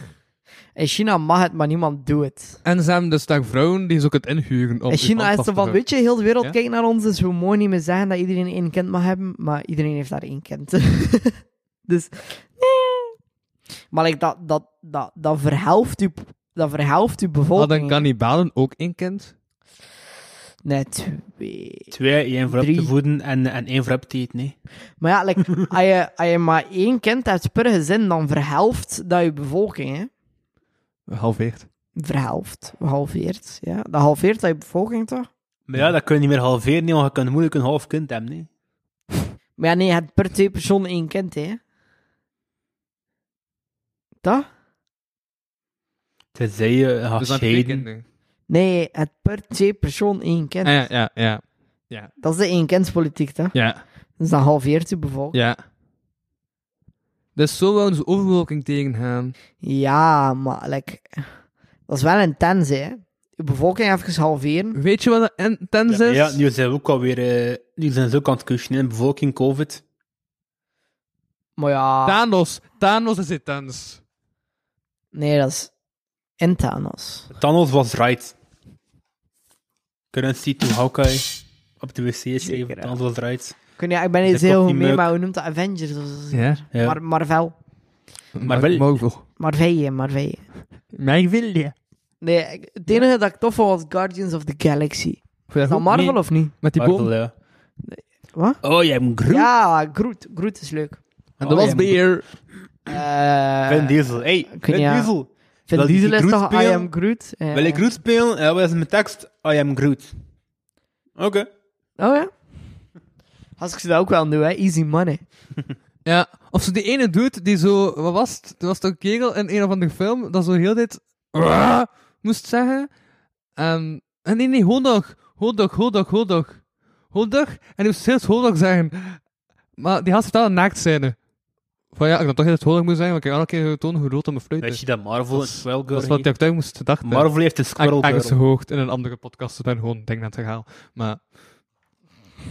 Speaker 3: In China mag het, maar niemand doet het.
Speaker 4: En ze hebben dus daar vrouwen die ze ook het inhuren. Om
Speaker 3: In China is er van, weet je, heel de wereld
Speaker 4: Ja?
Speaker 3: kijkt naar ons, dus we mogen niet meer zeggen dat iedereen één kind mag hebben, maar iedereen heeft daar één kind. dus, nee. Maar like, dat, dat, dat, dat verhelft u, dat verhelft uw bevolking.
Speaker 4: Hadden kannibalen ook één kind?
Speaker 3: Nee, twee.
Speaker 6: Twee, één voor op
Speaker 3: Drie.
Speaker 6: te voeden en, en één voor op te eten. hè.
Speaker 3: Maar ja, like, als, je, als je maar één kind hebt per gezin, dan verhelft dat je bevolking, hè.
Speaker 4: Halveert.
Speaker 3: Verhelft, halveert, ja. Dat halveert dat je bevolking, toch?
Speaker 6: Maar ja, dat kun je niet meer halveren, nee, want je kunt moeilijk een half kind hebben. hè.
Speaker 3: Maar ja, nee, je hebt per twee personen één kind, hè. Toch?
Speaker 6: Tenzij je gaat
Speaker 4: Dus dan twee
Speaker 6: scheiden.
Speaker 4: kinderen.
Speaker 3: Nee, je hebt per twee personen één kind.
Speaker 4: Ah, ja, ja, ja.
Speaker 3: Dat is de eenkindspolitiek, toch?
Speaker 4: Ja,
Speaker 3: Dus dat halveert je bevolking.
Speaker 4: ja. Dus zo wouden ze overbevolking tegengaan.
Speaker 3: Ja, maar, like, dat is wel intens, hè. Je bevolking even halveren.
Speaker 4: Weet je wat dat intens
Speaker 6: Ja, maar
Speaker 4: is?
Speaker 6: ja, nu zijn we ook alweer eh, nu zijn ze ook aan het cushionen, bevolking, covid.
Speaker 3: Maar ja...
Speaker 4: Thanos. Thanos is intens.
Speaker 3: Nee, dat is... En Thanos.
Speaker 6: Thanos was right. Currency to Hawkeye. Op de wc schreef
Speaker 3: Zeker, ja.
Speaker 6: Thanos was right.
Speaker 3: Ik, weet niet, ik ben niet
Speaker 6: Dat
Speaker 3: heel
Speaker 6: klopt
Speaker 3: goed
Speaker 6: niet,
Speaker 3: mee,
Speaker 6: Meuk.
Speaker 3: maar hoe noemt dat? Avengers of zo.
Speaker 4: Ja.
Speaker 6: Ja.
Speaker 3: Mar Marvel.
Speaker 6: Maar wel-
Speaker 4: Marvel.
Speaker 3: Marveye, Marveye.
Speaker 4: Marvel.
Speaker 3: Nee, ik- het enige dat ik tof vond was Guardians of the Galaxy. Is dat Marvel of niet?
Speaker 4: Met die boom.
Speaker 6: Marvel, ja.
Speaker 3: Wat?
Speaker 6: Oh, jij hebt Groot.
Speaker 3: Ja, Groot. Groot is leuk. Oh,
Speaker 4: En dat was beer.
Speaker 3: Eh
Speaker 6: Vin Diesel. Hey,
Speaker 3: weet
Speaker 6: Vin
Speaker 3: niet, ja.
Speaker 6: Diesel.
Speaker 3: Vin
Speaker 6: Wil die
Speaker 3: Diesel is
Speaker 6: Groot
Speaker 3: toch I
Speaker 6: spelen?
Speaker 3: am Groot? Ja.
Speaker 6: Wil ik Groot spelen? Ja, wat is mijn tekst? I am Groot. Oké.
Speaker 3: Oh ja? Als ik ze dat ook wel doe, hè. Easy money.
Speaker 4: Ja, of zo die ene dude die zo, wat was het? Er was toch een kerel in een of andere film dat zo heel dit "Rah!" moest zeggen. En, en nee, nee, hotdog, hotdog, hotdog, hotdog, hotdog. En die moest steeds hotdog zeggen. Maar die had verteld een naakt zijn. Van ja, ik had toch heel het hotdog moeten zeggen, want ik had elke keer tonen hoe rood aan mijn fluit
Speaker 6: Weet
Speaker 4: is.
Speaker 6: je dat Marvel
Speaker 4: Dat
Speaker 6: is wel
Speaker 4: Dat is wat ik
Speaker 6: good.
Speaker 4: overtuigd moest gedacht hebben.
Speaker 6: Marvel heeft de Squirrel
Speaker 4: Eng- Engelse
Speaker 6: Girl.
Speaker 4: hoogte in een andere podcast, dan gewoon denk aan het verhaal. Maar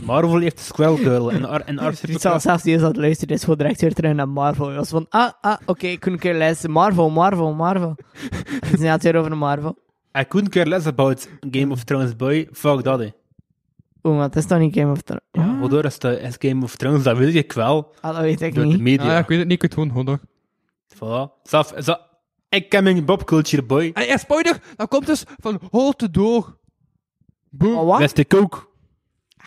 Speaker 6: Marvel heeft de Squirrel Girl. En Ar en Ar
Speaker 3: Rita zelfs die is aan het luisteren, is gewoon direct weer terug naar Marvel. Je was van, ah, ah, oké, ik kon een keer luisteren. Marvel, Marvel, Marvel. Het is net weer over Marvel.
Speaker 6: I couldn't care less about Game of Thrones, boy. Fuck dat, hè.
Speaker 3: Oeh, maar het is toch niet Game of Thrones?
Speaker 6: Ja, waardoor is, dat, is Game of Thrones, dat weet ik wel,
Speaker 3: Ah, dat weet Ah. ik
Speaker 6: door de
Speaker 3: niet. Ah,
Speaker 4: ja.
Speaker 6: media.
Speaker 4: ik weet het niet, ik weet het gewoon hotdog.
Speaker 6: Voilà. Zelf, zo, ik ken mijn popculture, boy.
Speaker 4: En ja, spoiler, dat komt dus van hold de door. Boom.
Speaker 3: Maar wat?
Speaker 6: Wist ik ook.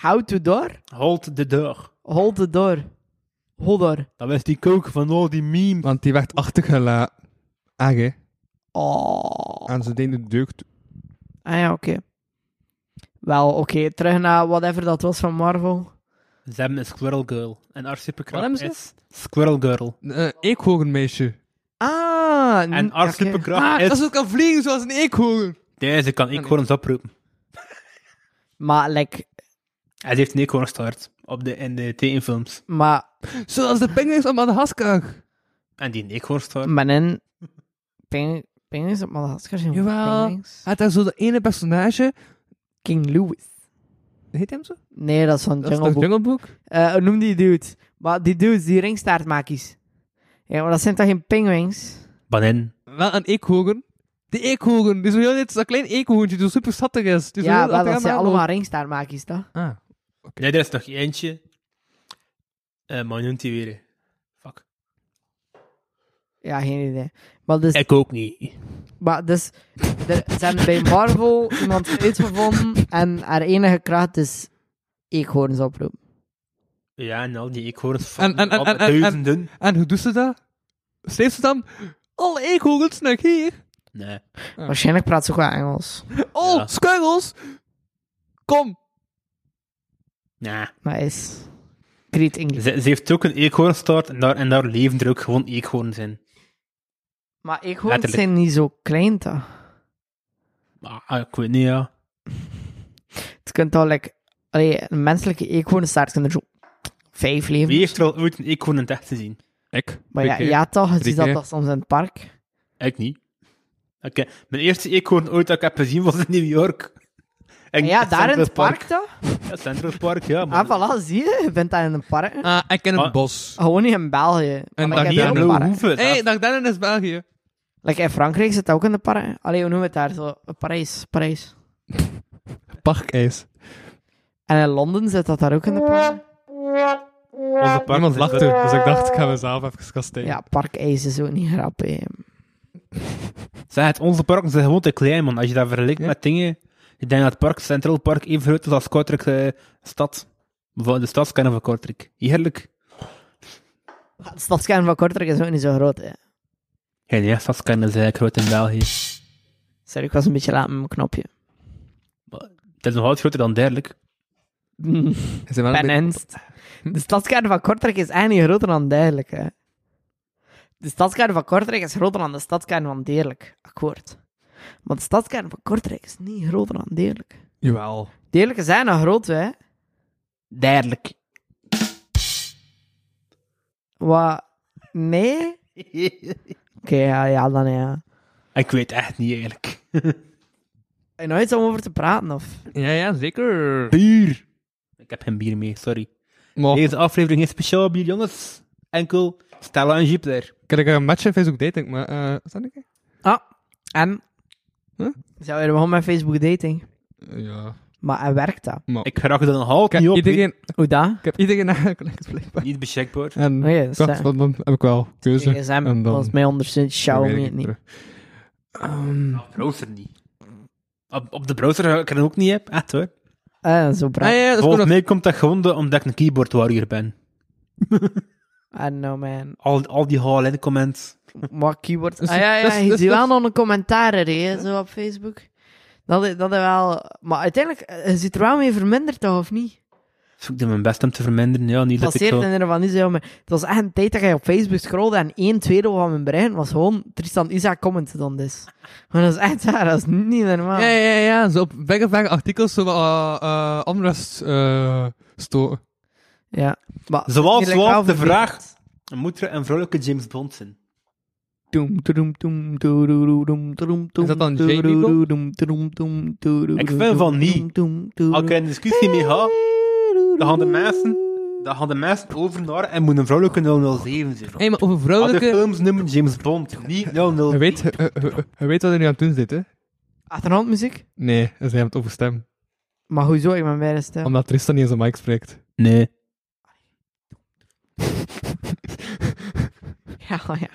Speaker 3: How to door?
Speaker 6: Hold de deur.
Speaker 3: Hold the door. Hold door.
Speaker 6: Dat wist ik ook van al die memes.
Speaker 4: Want die werd achtergelaten. Ach, hè.
Speaker 3: Oh.
Speaker 4: En ze deden de deugd.
Speaker 3: Ah ja, oké. Wel, oké, terug naar whatever dat was van Marvel.
Speaker 6: Ze hebben een Squirrel Girl. En haar superkracht
Speaker 4: Wat hebben
Speaker 6: is Squirrel Girl.
Speaker 4: Eh, Een eekhoornmeisje.
Speaker 3: Ah, n-
Speaker 6: En haar
Speaker 3: oké.
Speaker 4: Ah,
Speaker 6: superkracht
Speaker 4: dat
Speaker 6: is...
Speaker 4: ze kan vliegen zoals een eekhoorn.
Speaker 6: Deze kan ik gewoon eens oproepen.
Speaker 3: Maar, like,
Speaker 6: Hij heeft een eekhoorn gestart op de, in de tekenfilms.
Speaker 3: maar
Speaker 4: Zoals de penguins van Madagaskar.
Speaker 6: En die eekhoorn
Speaker 4: Mm.
Speaker 6: start.
Speaker 3: Maar in Peng- Penguins op Madagaskar zijn
Speaker 4: Jawel.
Speaker 3: Penguins.
Speaker 4: Hij had daar zo dat ene personage.
Speaker 3: King Louis.
Speaker 4: Heet hem zo?
Speaker 3: Nee, dat is van
Speaker 4: Dat is
Speaker 3: Jungle
Speaker 4: toch
Speaker 3: Book.
Speaker 4: Jungle Book?
Speaker 3: Eh, hoe noem die dude. Maar die dudes, die ringstaartmakies. Ja, maar dat zijn toch geen penguins?
Speaker 6: Banin.
Speaker 4: Wel een eekhoorn. Die eekhoorn. Die zo heel net, dat klein eekhoorntje die zo super schattig is. Die zo
Speaker 3: Ja,
Speaker 4: heel
Speaker 3: wel, dat
Speaker 4: achteraan
Speaker 3: zijn
Speaker 4: aanloopt.
Speaker 3: allemaal ringstaartmakies, toch?
Speaker 4: Ah.
Speaker 6: Nee, er is nog eentje. Eh maar hoe noemt die weer. Fuck.
Speaker 3: Ja, geen idee. Maar dus,
Speaker 6: Ik ook niet.
Speaker 3: maar dus er zijn bij Marvel iemand uitgevonden en haar enige kracht is eekhoorns oproepen.
Speaker 6: Ja, en al die eekhoorns
Speaker 4: En-
Speaker 6: van
Speaker 4: en- en-
Speaker 6: alle
Speaker 4: en- en-
Speaker 6: duizenden.
Speaker 4: En hoe doet ze dat? Steeft ze dan... Alle eekhoorns naar hier.
Speaker 6: Nee.
Speaker 3: Waarschijnlijk praat ze ook wel Engels.
Speaker 4: Oh,
Speaker 6: Ja.
Speaker 4: squirrels. Kom.
Speaker 6: Nee.
Speaker 3: Maar is... Great English.
Speaker 6: Ze, ze heeft ook een eekhoornstaart en daar, en daar leven er ook gewoon eekhoorns in.
Speaker 3: Maar eekhoorns
Speaker 6: Letterlijk.
Speaker 3: zijn niet zo klein, toch?
Speaker 6: Maar, ah, ik weet niet, ja.
Speaker 3: Het kunt al, like, allee, een menselijke eekhoornstaart kunnen zo vijf leven.
Speaker 6: Wie heeft er al ooit een eekhoorn in het echt gezien?
Speaker 4: Ik. eh,
Speaker 3: Maar ja,
Speaker 4: Oké.
Speaker 3: ja toch, je
Speaker 4: Drie
Speaker 3: ziet dat
Speaker 4: keer.
Speaker 3: toch soms in het park.
Speaker 6: Ik niet. Oké, mijn eerste eekhoorn ooit dat ik heb gezien was in New York.
Speaker 3: Maar
Speaker 6: En
Speaker 3: Ah ja, daar in het park toch?
Speaker 6: Ja, Central Park, ja.
Speaker 3: Ah,
Speaker 6: Maar,
Speaker 3: voilà, zie je, je bent daar in een park.
Speaker 4: Ah, ik ken een
Speaker 6: Ah.
Speaker 4: bos.
Speaker 3: Gewoon niet in België. maar like,
Speaker 4: En daar
Speaker 3: je hebt
Speaker 4: niet
Speaker 3: daar
Speaker 6: Blauwe
Speaker 3: een park.
Speaker 6: hoeven.
Speaker 4: Hé, hey,
Speaker 6: dat-
Speaker 4: dag Dennen is België.
Speaker 3: Like, in Frankrijk zit dat ook in de park. Allee, hoe noemen we het daar zo? Parijs, Parijs.
Speaker 4: Parkijs.
Speaker 3: En in Londen zit dat daar ook in de park.
Speaker 6: Onze park
Speaker 4: Iemand lachte, dus ik dacht, ik ga mezelf even kastelen.
Speaker 3: Ja, parkijs is ook niet grappig. hè.
Speaker 6: Zeg het, onze parken zijn gewoon te klein, man. Als je dat vergelijkt met dingen... Ik denk dat het park, Centraal Park, even groot is als Kortrijk eh, stad. Van de stadskennen van Kortrijk. Heerlijk.
Speaker 3: Het stadskern van Kortrijk is ook niet zo groot, hè.
Speaker 6: Ja, nee, stadskennen is eigenlijk groot in België.
Speaker 3: Sorry, ik was een beetje laat met mijn knopje.
Speaker 6: Het is nog altijd groter dan dergelijk.
Speaker 4: Ze zijn wel een
Speaker 3: Ben Enst. De stadskern van Kortrijk is eigenlijk groter dan duidelijk, hè. De stadskern van Kortrijk is groter dan de stadskern van Deerlijk. Akkoord. Maar de stadskern van Kortrijk is niet groter dan Deerlijk.
Speaker 4: beetje- Jawel.
Speaker 3: Deerlijk is eigenlijk groot, hè.
Speaker 6: Dergelijk.
Speaker 3: Wat? Nee? Oké, ja, ja, dan ja.
Speaker 6: Ik weet echt niet eigenlijk.
Speaker 3: Heb je nog iets om over te praten, of?
Speaker 4: Ja, ja, zeker.
Speaker 6: Bier! Ik heb geen bier mee, sorry.
Speaker 4: Maar
Speaker 6: Deze aflevering is speciaal bier, jongens. Enkel Stella en Jupiter.
Speaker 4: kan ik er een match in Facebook Dating, maar... eh, is dat niet?
Speaker 3: Ah, en?
Speaker 4: Huh?
Speaker 3: Zou je begonnen met Facebook dating?
Speaker 4: Eh, Ja.
Speaker 3: Maar en werkt dat?
Speaker 6: Ik raak er nog altijd
Speaker 4: Ik
Speaker 6: niet
Speaker 4: heb
Speaker 6: op. hè.
Speaker 4: iedereen,
Speaker 3: Hoe dat?
Speaker 4: ik heb iedereen aangeklikt, blijkbaar.
Speaker 6: Niet beschikbaar.
Speaker 4: En
Speaker 3: Oh ja, dat
Speaker 4: ik
Speaker 3: is
Speaker 4: dacht,
Speaker 3: waar.
Speaker 4: van, dan heb ik wel keuze.
Speaker 3: GSM,
Speaker 4: en dan-
Speaker 3: volgens mij ondersteunt
Speaker 4: Dan
Speaker 3: Xiaomi
Speaker 4: werk
Speaker 3: het
Speaker 4: ik
Speaker 3: niet.
Speaker 4: terug. Ehm,
Speaker 6: Op de browser niet. Op, op de browser kan ik ook niet hebben, echt hoor.
Speaker 3: Eh, zo
Speaker 4: ah,
Speaker 3: praat.
Speaker 4: ja, dat is
Speaker 6: Volgens
Speaker 4: gewoon
Speaker 6: mij komt dat gewoon de- omdat ik een keyboard warrior ben.
Speaker 3: I don't know, man.
Speaker 6: Al, al die halen in de comments.
Speaker 3: Wat keywords.
Speaker 4: Dus-
Speaker 3: Ah, ja, ja,
Speaker 4: dus-
Speaker 3: je
Speaker 4: dus-
Speaker 3: ziet wel
Speaker 4: dus-
Speaker 3: nog een commentaar er, hè, zo op Facebook. Dat is, dat is wel... Maar uiteindelijk, eh, je zit er wel mee verminderd, toch, of niet?
Speaker 6: Dus ik doe mijn best om te verminderen. Ja, niet dat ik
Speaker 3: Passeert
Speaker 6: zo...
Speaker 3: en er van niet zo, maar het was echt een tijd dat jij op Facebook scrolde en één tweede van mijn brein was gewoon Tristan Isaac comment dan dus. Maar dat is echt waar, dat is niet normaal.
Speaker 4: Ja, ja, ja. Zo op weg en weg artikels zo eh eh onrust eh stoten.
Speaker 3: Ja. Maar
Speaker 6: Zoals
Speaker 3: het is wel
Speaker 6: Wout de
Speaker 3: vervelend.
Speaker 6: vraag. Moet er een vrolijke James Bond zijn?
Speaker 3: Toem, toedoem, toem, toedoedoedoem, toedoem, toem,
Speaker 4: Is dat dan Jay
Speaker 3: toedoedoedoem, toedoem, toem, toedoedoedoem,
Speaker 6: Ik vind van niet.
Speaker 3: toem, toem, toedoem.
Speaker 6: Als ik er een discussie mee ga, dan gaan de mensen, dan gaan de mensen over naar en moet een vrouwelijke 007 zijn.
Speaker 4: Hé, maar over
Speaker 6: Als de
Speaker 4: vrouwelijke...
Speaker 6: films noemen James Bond, niet 007.
Speaker 4: Je weet, je, je- je weet wat hij nu aan het doen zit, hè?
Speaker 3: Achtergrondmuziek?
Speaker 4: Nee, ze hebben het over stem.
Speaker 3: Maar hoezo, ik ben bij de stem.
Speaker 4: Omdat Tristan niet in zijn mic spreekt.
Speaker 6: Nee.
Speaker 3: Ja, ja.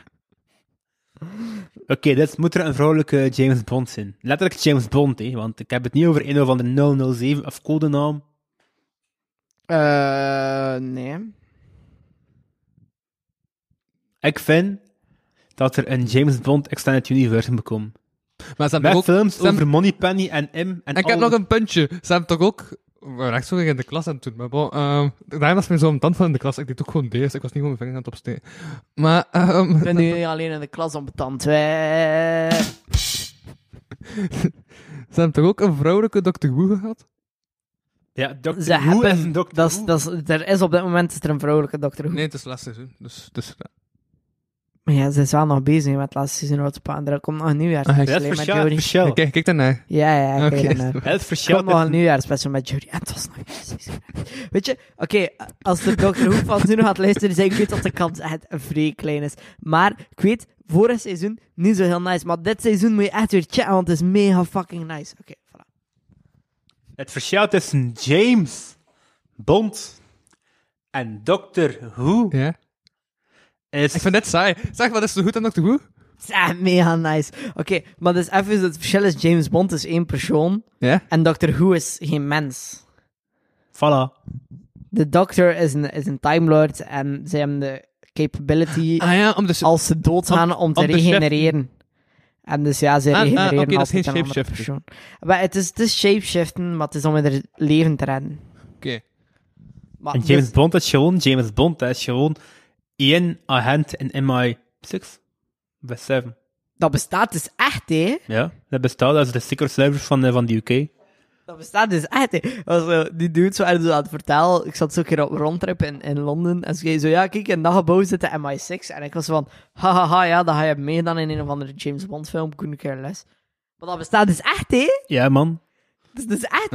Speaker 6: Oké, dus moet er een vrouwelijke James Bond zijn. Letterlijk James Bond, hè, want ik heb het niet over een of andere 007 of codenaam.
Speaker 3: Eh, nee.
Speaker 6: Ik vind dat er een James Bond Extended Universe moet komen.
Speaker 4: Maar ze hebben
Speaker 6: Met
Speaker 4: ook...
Speaker 6: films
Speaker 4: Sam-
Speaker 6: over Moneypenny en M. En
Speaker 4: En ik heb
Speaker 6: al-
Speaker 4: nog een puntje. Ze hebben toch ook... Rechts ook in de klas aan het doen. Maar bon, ehm, daarom was mij zo'n tand van in de klas. Ik deed ook gewoon deze. Ik was niet gewoon mijn vinger aan het opsteken. Maar... ehm,
Speaker 3: Ik ben nu alleen in de klas onbetand. Wij-
Speaker 4: Ze hebben toch ook een vrouwelijke Dr. Who gehad?
Speaker 6: Ja, Dr.
Speaker 3: Ze
Speaker 6: Who
Speaker 3: hebben...
Speaker 6: is een Dr.
Speaker 3: dat is-
Speaker 6: Who.
Speaker 3: dat is- Er is op dit moment is er een vrouwelijke dokter.
Speaker 4: Nee, het is laatste seizoen. Dus, dus,
Speaker 3: Maar ja, ze is wel nog bezig met het laatste seizoen uit te pakken. Er komt nog een
Speaker 4: Ah,
Speaker 6: Dat
Speaker 3: nieuwjaarspecial
Speaker 6: is
Speaker 3: hè, met
Speaker 6: verschil.
Speaker 3: Jodie.
Speaker 6: verschil.
Speaker 4: Kijk, kijk daarnaar.
Speaker 3: Ja, ja, ja.
Speaker 4: Oké.
Speaker 3: kijk daarnaar.
Speaker 6: Het
Speaker 3: Ik
Speaker 6: verschil
Speaker 3: had nog een
Speaker 6: tussen-
Speaker 3: nieuwjaarspecial met Jodie. En het was nog niet precies. Weet je, oké, als de Dr. Who van nu nog gaat luisteren, zeg ik weet dat de kans echt vrij klein is. Maar ik weet, vorig seizoen niet zo heel nice. Maar dit seizoen moet je echt weer checken, want het is mega fucking nice. Oké, voilà.
Speaker 6: Het verschil tussen James Bond en Dr. Who
Speaker 4: Ja.
Speaker 6: is...
Speaker 4: Ik vind dit saai. Zeg, wat is zo goed aan Dr. Who?
Speaker 3: Het is echt mega nice. Oké, maar dus even, het verschil is James Bond is één persoon
Speaker 4: Ja.
Speaker 3: en Dr. Who is geen mens.
Speaker 6: Voilà.
Speaker 3: De Doctor is een, is een Time Lord en ze hebben de capability
Speaker 4: Ah ja, om de... Ah,
Speaker 3: als ze doodgaan om, te
Speaker 4: om te
Speaker 3: regenereren. En dus ja, ze
Speaker 4: ah,
Speaker 3: regenereren
Speaker 4: oké, dat is
Speaker 3: altijd
Speaker 4: geen
Speaker 3: een andere
Speaker 4: shapeshifter.
Speaker 3: persoon. Maar het is, het is shapeshiften, maar het is om het leven te redden.
Speaker 4: Oké.
Speaker 3: Maar
Speaker 6: En
Speaker 3: dus-
Speaker 6: James Bond is gewoon... James Bond is gewoon één agent in MI6. Of 7.
Speaker 3: dat bestaat dus echt, hè?
Speaker 6: Ja, dat bestaat als de secret service van, eh, van de UK.
Speaker 3: Dat bestaat dus echt, hè? Dat was zo- die dudes waren zo aan het vertellen. Ik zat zo een keer op een rondtrip in, in Londen. En ze zei zo, ja, kijk, in dat gebouw zit de MI6. En ik was van, hahaha, ja, dat ga je mee dan in een of andere James Bond film. Kunnen care les. Maar dat bestaat dus echt, hè?
Speaker 6: Ja, man.
Speaker 3: Dus dat is echt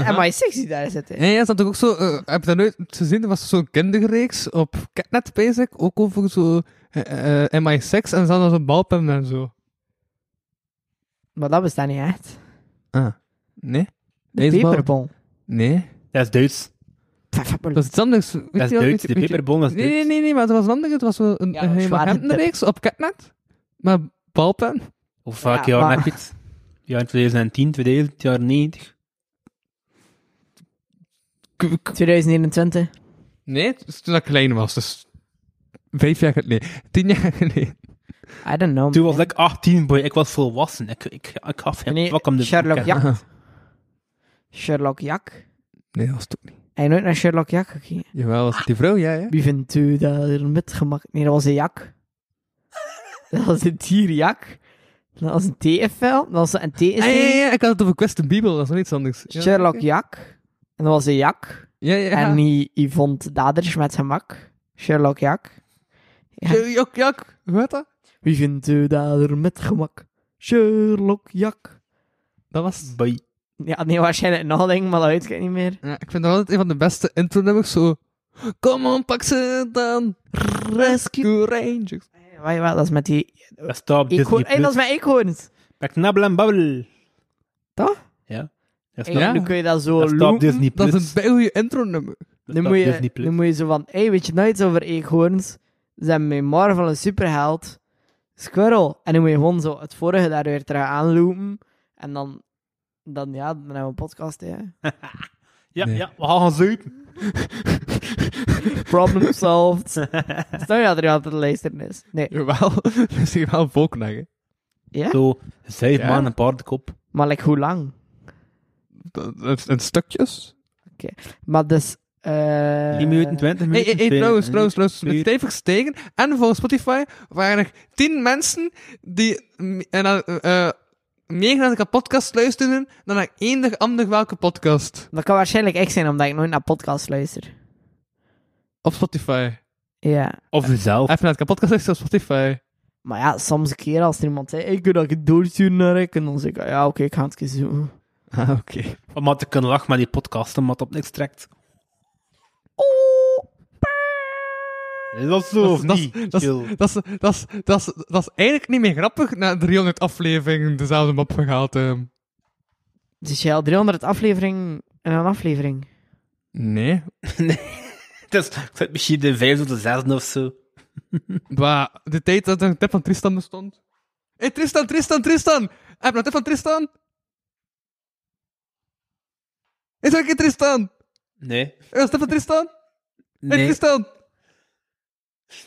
Speaker 3: MI6 die daar zit, hè?
Speaker 4: Ja, ja, is dat toch ook zo... eh, heb je dat nooit gezien? Er was zo'n kinderreeks op Catnet, basic. Ook over zo eh, eh, MI6 en ze hadden zo'n balpen en zo.
Speaker 3: Maar dat bestaat niet echt.
Speaker 4: Ah. Nee?
Speaker 3: De
Speaker 4: Eens bal-
Speaker 3: peperbol.
Speaker 4: Nee.
Speaker 6: Dat is Duits.
Speaker 4: Dat is iets anders. Weet
Speaker 6: Dat is
Speaker 4: je wel- weet
Speaker 6: Duits. De
Speaker 4: je- weet je-
Speaker 6: peperbon is
Speaker 4: Nee,
Speaker 6: Duits.
Speaker 4: nee, nee, nee, maar het was een ander. Het was zo een
Speaker 3: Ja,
Speaker 4: een geheime
Speaker 3: zwaar getip.
Speaker 4: agentenreeks op Catnet. Maar balpen.
Speaker 6: Hoe vaak
Speaker 3: Ja,
Speaker 6: jaar
Speaker 3: maar-
Speaker 6: heb je het? Ja, in 2010, 2000, jaar 90.
Speaker 4: k- k-
Speaker 3: 2021.
Speaker 4: Nee, het is toen ik klein was. Dus vijf jaar geleden. Nee, tien jaar geleden.
Speaker 3: I don't know.
Speaker 6: Toen was ik 18, boy. Ik was volwassen. Ik, ik, ik gaf hem
Speaker 3: Nee,
Speaker 6: fuck om de
Speaker 3: Sherlock
Speaker 6: ik-
Speaker 3: Jak. Sherlock Jak.
Speaker 4: Nee, dat was toen niet.
Speaker 3: Heb je nooit naar Sherlock Jak gekeken?
Speaker 4: Jawel, was het die vrouw? Ja, ja.
Speaker 3: Wie vindt u daar met gemak? Nee, dat was een jak. Dat was een dierjak. Dat was een TFL. Dat was een TSC.
Speaker 4: Ah, ja, ja, ja, ik had het over Quest en Bibel, dat is nog iets anders. Ja,
Speaker 3: Sherlock
Speaker 4: oké.
Speaker 3: Jak. En dat was een jak.
Speaker 4: Ja, ja.
Speaker 3: En die Yvonne Daders met gemak. Sherlock Jak.
Speaker 4: Sherlock Jak, hoe heet dat?
Speaker 3: Wie vindt u daar met gemak? Sherlock Jak.
Speaker 4: Dat was...
Speaker 6: Boy.
Speaker 3: Ja, nee, waarschijnlijk nog denk maar dat weet ik niet meer.
Speaker 4: Ja, ik vind dat altijd een van de beste intro-nummers, zo... Kom on, pak ze dan, Rescue Rangers.
Speaker 3: Weet je wel, dat is met die...
Speaker 6: Dat staat op
Speaker 3: Eekhoorn...
Speaker 6: Disney+.
Speaker 3: Hey, dat is mijn eekhoorns.
Speaker 6: Met knabbel en babbel.
Speaker 3: Toch?
Speaker 6: Ja. Dat
Speaker 3: Hey,
Speaker 6: staat,
Speaker 4: Ja.
Speaker 3: Nu kun je dat zo
Speaker 6: dat staat op
Speaker 3: loopen.
Speaker 6: Disney+.
Speaker 4: Dat is een goede intro-nummer.
Speaker 6: Dat
Speaker 3: Nu
Speaker 6: staat
Speaker 3: moet,
Speaker 6: op
Speaker 3: je,
Speaker 6: Disney+.
Speaker 3: nu moet je zo van, hey, weet je nou iets over eekhoorns? Ze hebben met Marvel een superheld, Squirrel. En dan moet je gewoon zo het vorige daar weer terug aanlopen. En dan, dan ja, dan hebben we een podcast, hè.
Speaker 6: Ja,
Speaker 4: Nee.
Speaker 6: ja. We gaan gaan zuipen.
Speaker 3: Problem solved. Stel je dat er altijd een luisteren is. Nee,
Speaker 4: Jawel, dat is hier wel een volknaar, hè.
Speaker 3: ja?
Speaker 6: Zo, vijf
Speaker 4: Ja.
Speaker 6: man, een paardenkop.
Speaker 3: Maar like, hoe lang?
Speaker 4: Dat- dat- En stukjes.
Speaker 3: Maar dus... eh
Speaker 6: 10 minuten, 20
Speaker 4: Hé,
Speaker 6: minuten.
Speaker 4: hey, hey,
Speaker 6: twee-
Speaker 4: trouwens, trouwens, trouwens.
Speaker 6: Vier.
Speaker 4: Met stevig stegen en volgens Spotify waren er tien mensen die mm, en, dan, eh eh, meer naar de podcast luisterden dan naar eender ander welke podcast.
Speaker 3: Dat kan waarschijnlijk echt zijn, omdat ik nooit naar podcasts luister.
Speaker 4: Op Spotify.
Speaker 3: Ja.
Speaker 6: Of zelf.
Speaker 4: Even naar de podcast luisteren op Spotify.
Speaker 3: Maar ja, soms een keer als er iemand zegt, ik wil dat ik het doorstuur naar Rick. En dan zeg ik, "Ah, ja, oké, ik ga het een keer zoeken.
Speaker 4: Ah, oké.
Speaker 6: Om maar te kunnen lachen met die podcast, omdat het op niks trekt. Is dat zo
Speaker 4: Dat
Speaker 6: of
Speaker 4: is- dat is-
Speaker 6: niet?
Speaker 4: dat is-
Speaker 6: Chill.
Speaker 4: Dat is- dat is- dat is- dat is eigenlijk niet meer grappig na 300 afleveringen dezelfde map gehaald. ehm.
Speaker 3: Dus jij al 300 afleveringen en een aflevering.
Speaker 4: Nee.
Speaker 6: Het is ik zit misschien de vijfde of de zesde of zo.
Speaker 4: Maar de tijd dat er een tip van Tristan bestond. Hé, hey, Tristan, Tristan, Tristan! Heb je een tip van Tristan? Is er een keer Tristan?
Speaker 6: Nee.
Speaker 4: Is er een tip van Tristan? Hé,
Speaker 6: Nee.
Speaker 4: Tristan!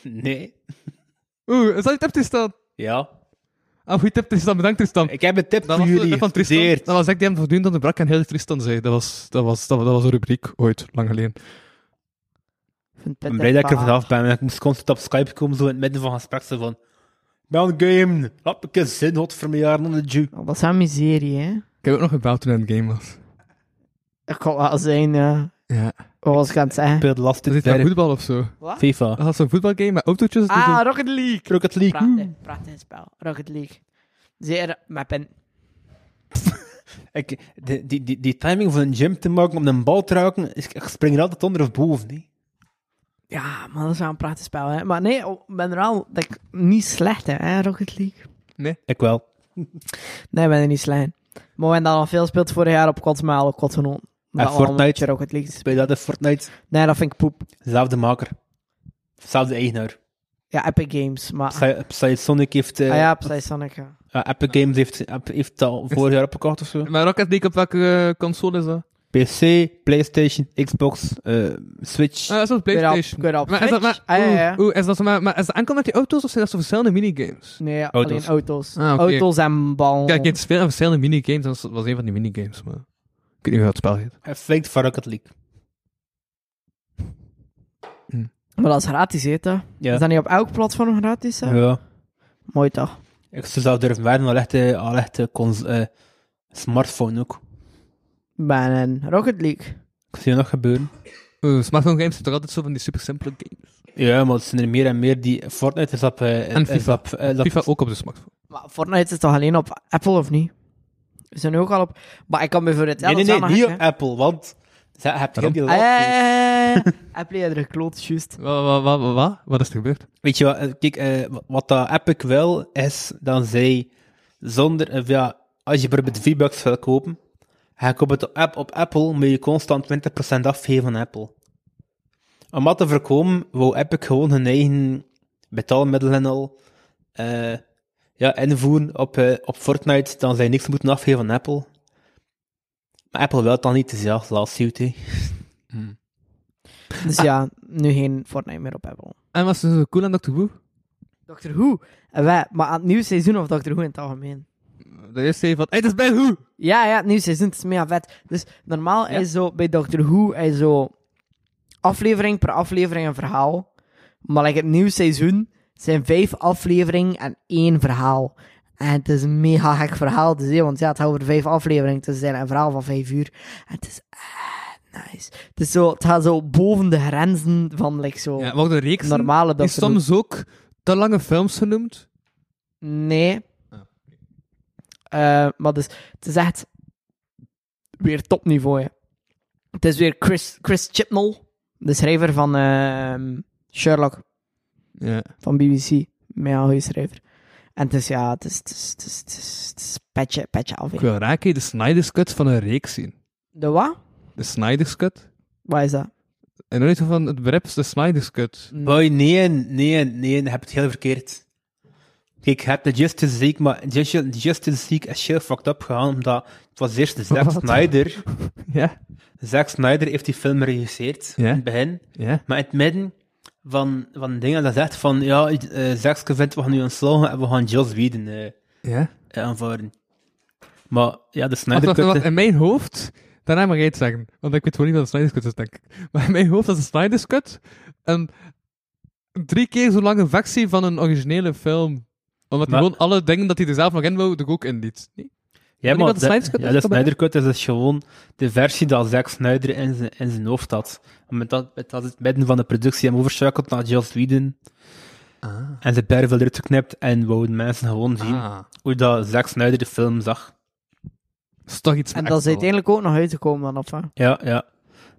Speaker 6: Nee.
Speaker 4: Oeh, is dat je tip, Tristan?
Speaker 6: Ja.
Speaker 4: Ah, goeie tip, Tristan. Bedankt, Tristan.
Speaker 6: Ik heb een tip
Speaker 4: Dat
Speaker 6: voor
Speaker 4: was de
Speaker 6: jullie.
Speaker 4: tip van Tristan.
Speaker 6: Gedeerd.
Speaker 4: Dat was ik die hem voldoende aan de brak en heel Tristan zei. Dat was, dat, was, dat, was- dat was een rubriek ooit, lang geleden.
Speaker 3: Ik vind het
Speaker 6: Ik ben blij
Speaker 3: pittig,
Speaker 6: dat ik er
Speaker 3: maar-
Speaker 6: vanaf ben. want Ik moest constant op Skype komen, zo in het midden van gesprek. Zo van, "Ik ben aan het game. Laat ik een zin, hot voor mijn jaren onder de Jew.
Speaker 3: Oh, Wat een miserie, hè?
Speaker 4: Ik heb ook nog gebeld toen hij in het game was.
Speaker 3: Ik kan wel zijn, ja.
Speaker 4: Ja.
Speaker 3: Wat was ik aan het
Speaker 6: Ik
Speaker 3: zeggen?
Speaker 6: speel de laatste
Speaker 4: Dat is
Speaker 6: tijd
Speaker 4: iets voetbal of zo.
Speaker 6: FIFA.
Speaker 4: Dat was zo'n voetbalgame met autootjes. die
Speaker 3: Ah,
Speaker 4: zo-
Speaker 3: Rocket League!
Speaker 6: Rocket League.
Speaker 3: Prachtig, prachtig spel. Rocket League. Zeer, mijn pen.
Speaker 6: Ik, die, die, die, die timing van een gym te maken om een bal te raken, is- ik spring er altijd onder of boven. Nee.
Speaker 3: Ja, man, dat is wel een prachtig spel, hè? Maar nee, oh, ik ben er al dat ik, niet slecht, in, hè, Rocket League.
Speaker 6: Ik wel.
Speaker 3: Nee, ik ben er niet slecht in. Maar we hebben dan al veel gespeeld vorig jaar op Kotsmaal, op Kottenon.
Speaker 6: En Fortnite?
Speaker 3: Rocket League te spelen.
Speaker 6: Speel dat in Fortnite.
Speaker 3: Nee, dat vind ik poep.
Speaker 6: Zelfde maker. Zelfde eigenaar.
Speaker 3: Ja, Epic Games, maar...
Speaker 6: Psy- Psysonic heeft... eh,
Speaker 3: ah ja, Psysonic, ja.
Speaker 6: eh, Epic Games heeft, heb- heeft dat al vorig jaar opgekocht of zo.
Speaker 4: Maar Rocket League, op welke eh, console is dat?
Speaker 6: PC, Playstation, Xbox, eh, Switch.
Speaker 4: Ah, dat is op
Speaker 3: Weer op-
Speaker 4: PlayStation.
Speaker 3: weer op
Speaker 4: maar is dat maar,
Speaker 3: Switch. Ah, ja,
Speaker 4: oeh,
Speaker 3: ja.
Speaker 4: oeh, is dat zo maar, maar is dat enkel met die auto's of zijn dat zo verschillende minigames?
Speaker 3: Nee, ja,
Speaker 6: Auto's.
Speaker 3: alleen auto's.
Speaker 4: Ah, oké.
Speaker 3: Auto's en bal.
Speaker 4: Kijk, je hebt veel verschillende minigames, dat was- was een van die minigames, maar ik weet niet hoe dat spel heet.
Speaker 6: Hij flinkt van Rocket League.
Speaker 3: Maar dat is gratis, heet dat?
Speaker 6: Ja.
Speaker 3: Is dat niet op elk platform gratis? hè?
Speaker 6: Ja.
Speaker 3: Mooi toch?
Speaker 6: Ik zou zelf durven wedden, al echt, eh, al echt eh, cons- eh, smartphone ook.
Speaker 3: Ben een Rocket League.
Speaker 6: Ik zie het nog gebeuren.
Speaker 4: Oeh, smartphone games zijn toch altijd zo van die super simpele games?
Speaker 6: Ja, maar het zijn er meer en meer die... Fortnite is op... eh,
Speaker 4: En
Speaker 6: is
Speaker 4: FIFA.
Speaker 6: op, eh, dat-
Speaker 4: FIFA ook op de smartphone.
Speaker 3: Maar Fortnite is toch alleen op Apple of niet? Is er nu ook al op. Maar ik kan me voor het
Speaker 6: Nee, nee, nee, niet op Apple, want... Ze hebt
Speaker 4: Waarom?
Speaker 6: heel die
Speaker 3: Eh,
Speaker 6: laatste-
Speaker 3: eh, eh, Apple heeft er gekloot, juist.
Speaker 4: Wat, wat, wat, wat, Wat is er gebeurd?
Speaker 6: Weet je wat, eh, kijk, eh, wa- wat dat Epic wil, is dat zij zonder, eh, ja, als je bijvoorbeeld V-Bucks wil kopen, ga je koopt het op, app, op Apple, moet je constant 20% afgeven van Apple. Om dat te voorkomen, wou Epic gewoon hun eigen betaalmiddelen en al eh, ja, invoeren op, eh, op Fortnite, dan zij niks moeten afgeven van Apple. Maar Apple wil dat niet, dus ja, laat zien. hè.
Speaker 3: Dus ja, nu geen Fortnite meer op Apple.
Speaker 2: En was ze zo cool aan Dr. Who?
Speaker 3: Doctor Who. En wij, maar aan het nieuwe seizoen of Doctor Who in het algemeen?
Speaker 2: De eerste zei van, hey, dat is bij Who!
Speaker 4: Oh.
Speaker 3: Ja, ja, het nieuwe seizoen het is mega vet. Dus normaal is zo bij Doctor Who is zo aflevering per aflevering een verhaal. Maar like, het nieuwe seizoen zijn vijf afleveringen en één verhaal. En het is een mega gek verhaal te zien, want ja, het gaat over vijf afleveringen. Het is een verhaal van vijf uur. En het is echt nice. Het, is zo, het gaat zo boven de grenzen van like, zo
Speaker 2: Ja, worden reeks
Speaker 3: normale
Speaker 2: is
Speaker 3: Doctor Who.
Speaker 2: soms ook te lange films genoemd.
Speaker 3: Nee. Eh, maar dus, het is echt weer topniveau. Hè. Het is weer Chris, Chris Chibnall, de schrijver van ehm, Sherlock
Speaker 2: Ja.
Speaker 3: van BBC. Mijn goede schrijver. En het is, ja, het is, het is, het is, het is, het is petje, petje af. hè.
Speaker 2: Ik wil raak je de Snyder's Cut van een reeks zien.
Speaker 3: De wat?
Speaker 2: De Snyder's Cut?
Speaker 3: Wat is dat?
Speaker 2: En dan van het begrip is de Snyder's Cut.
Speaker 6: Boy, nee, nee, nee, je hebt het heel verkeerd. Kijk, je hebt de Justice League, maar Justice, Justice League is heel fucked up gegaan, omdat het was eerst Zack
Speaker 2: Wat?
Speaker 6: Snyder.
Speaker 2: Ja.
Speaker 6: Zack Snyder heeft die film geregisseerd,
Speaker 2: Ja.
Speaker 6: in het begin.
Speaker 2: Ja.
Speaker 6: Maar in het midden van, van dingen, dat zegt van, ja, eh Zackske vindt, we gaan nu ontslagen en we gaan Joss Whedon eh,
Speaker 2: Ja.
Speaker 6: aanvaarden. Maar, ja, de
Speaker 2: Wacht,
Speaker 6: Snyder
Speaker 2: wacht,
Speaker 6: Cut...
Speaker 2: wacht, in mijn hoofd, daarna mag jij het zeggen, want ik weet gewoon niet wat de Snyder's Cut is, denk ik. Maar in mijn hoofd is de Snyder's Cut een drie keer zo lange versie van een originele film. Omdat hij
Speaker 6: Maar-
Speaker 2: gewoon alle dingen dat hij er zelf nog in wou, er ook in liet. Nee?
Speaker 6: Ja,
Speaker 2: Weet je
Speaker 6: maar
Speaker 2: wat de Snyder Cut
Speaker 6: ja,
Speaker 2: is?
Speaker 6: de
Speaker 2: Kom maar.
Speaker 6: Snyder Cut is dus gewoon de versie dat Zack Snyder in zijn, in zijn hoofd had. Omdat dat, met dat het midden van de productie hem overschakelt naar Joss Whedon.
Speaker 3: Ah.
Speaker 6: En zijn pervel eruit geknipt en wouden mensen gewoon zien
Speaker 2: Ah.
Speaker 6: hoe dat Zack Snyder de film zag.
Speaker 2: Dat is toch iets
Speaker 3: En
Speaker 2: met
Speaker 3: dat is
Speaker 2: Axel.
Speaker 3: uiteindelijk ook nog uitgekomen dan, of wat?
Speaker 6: Ja, ja.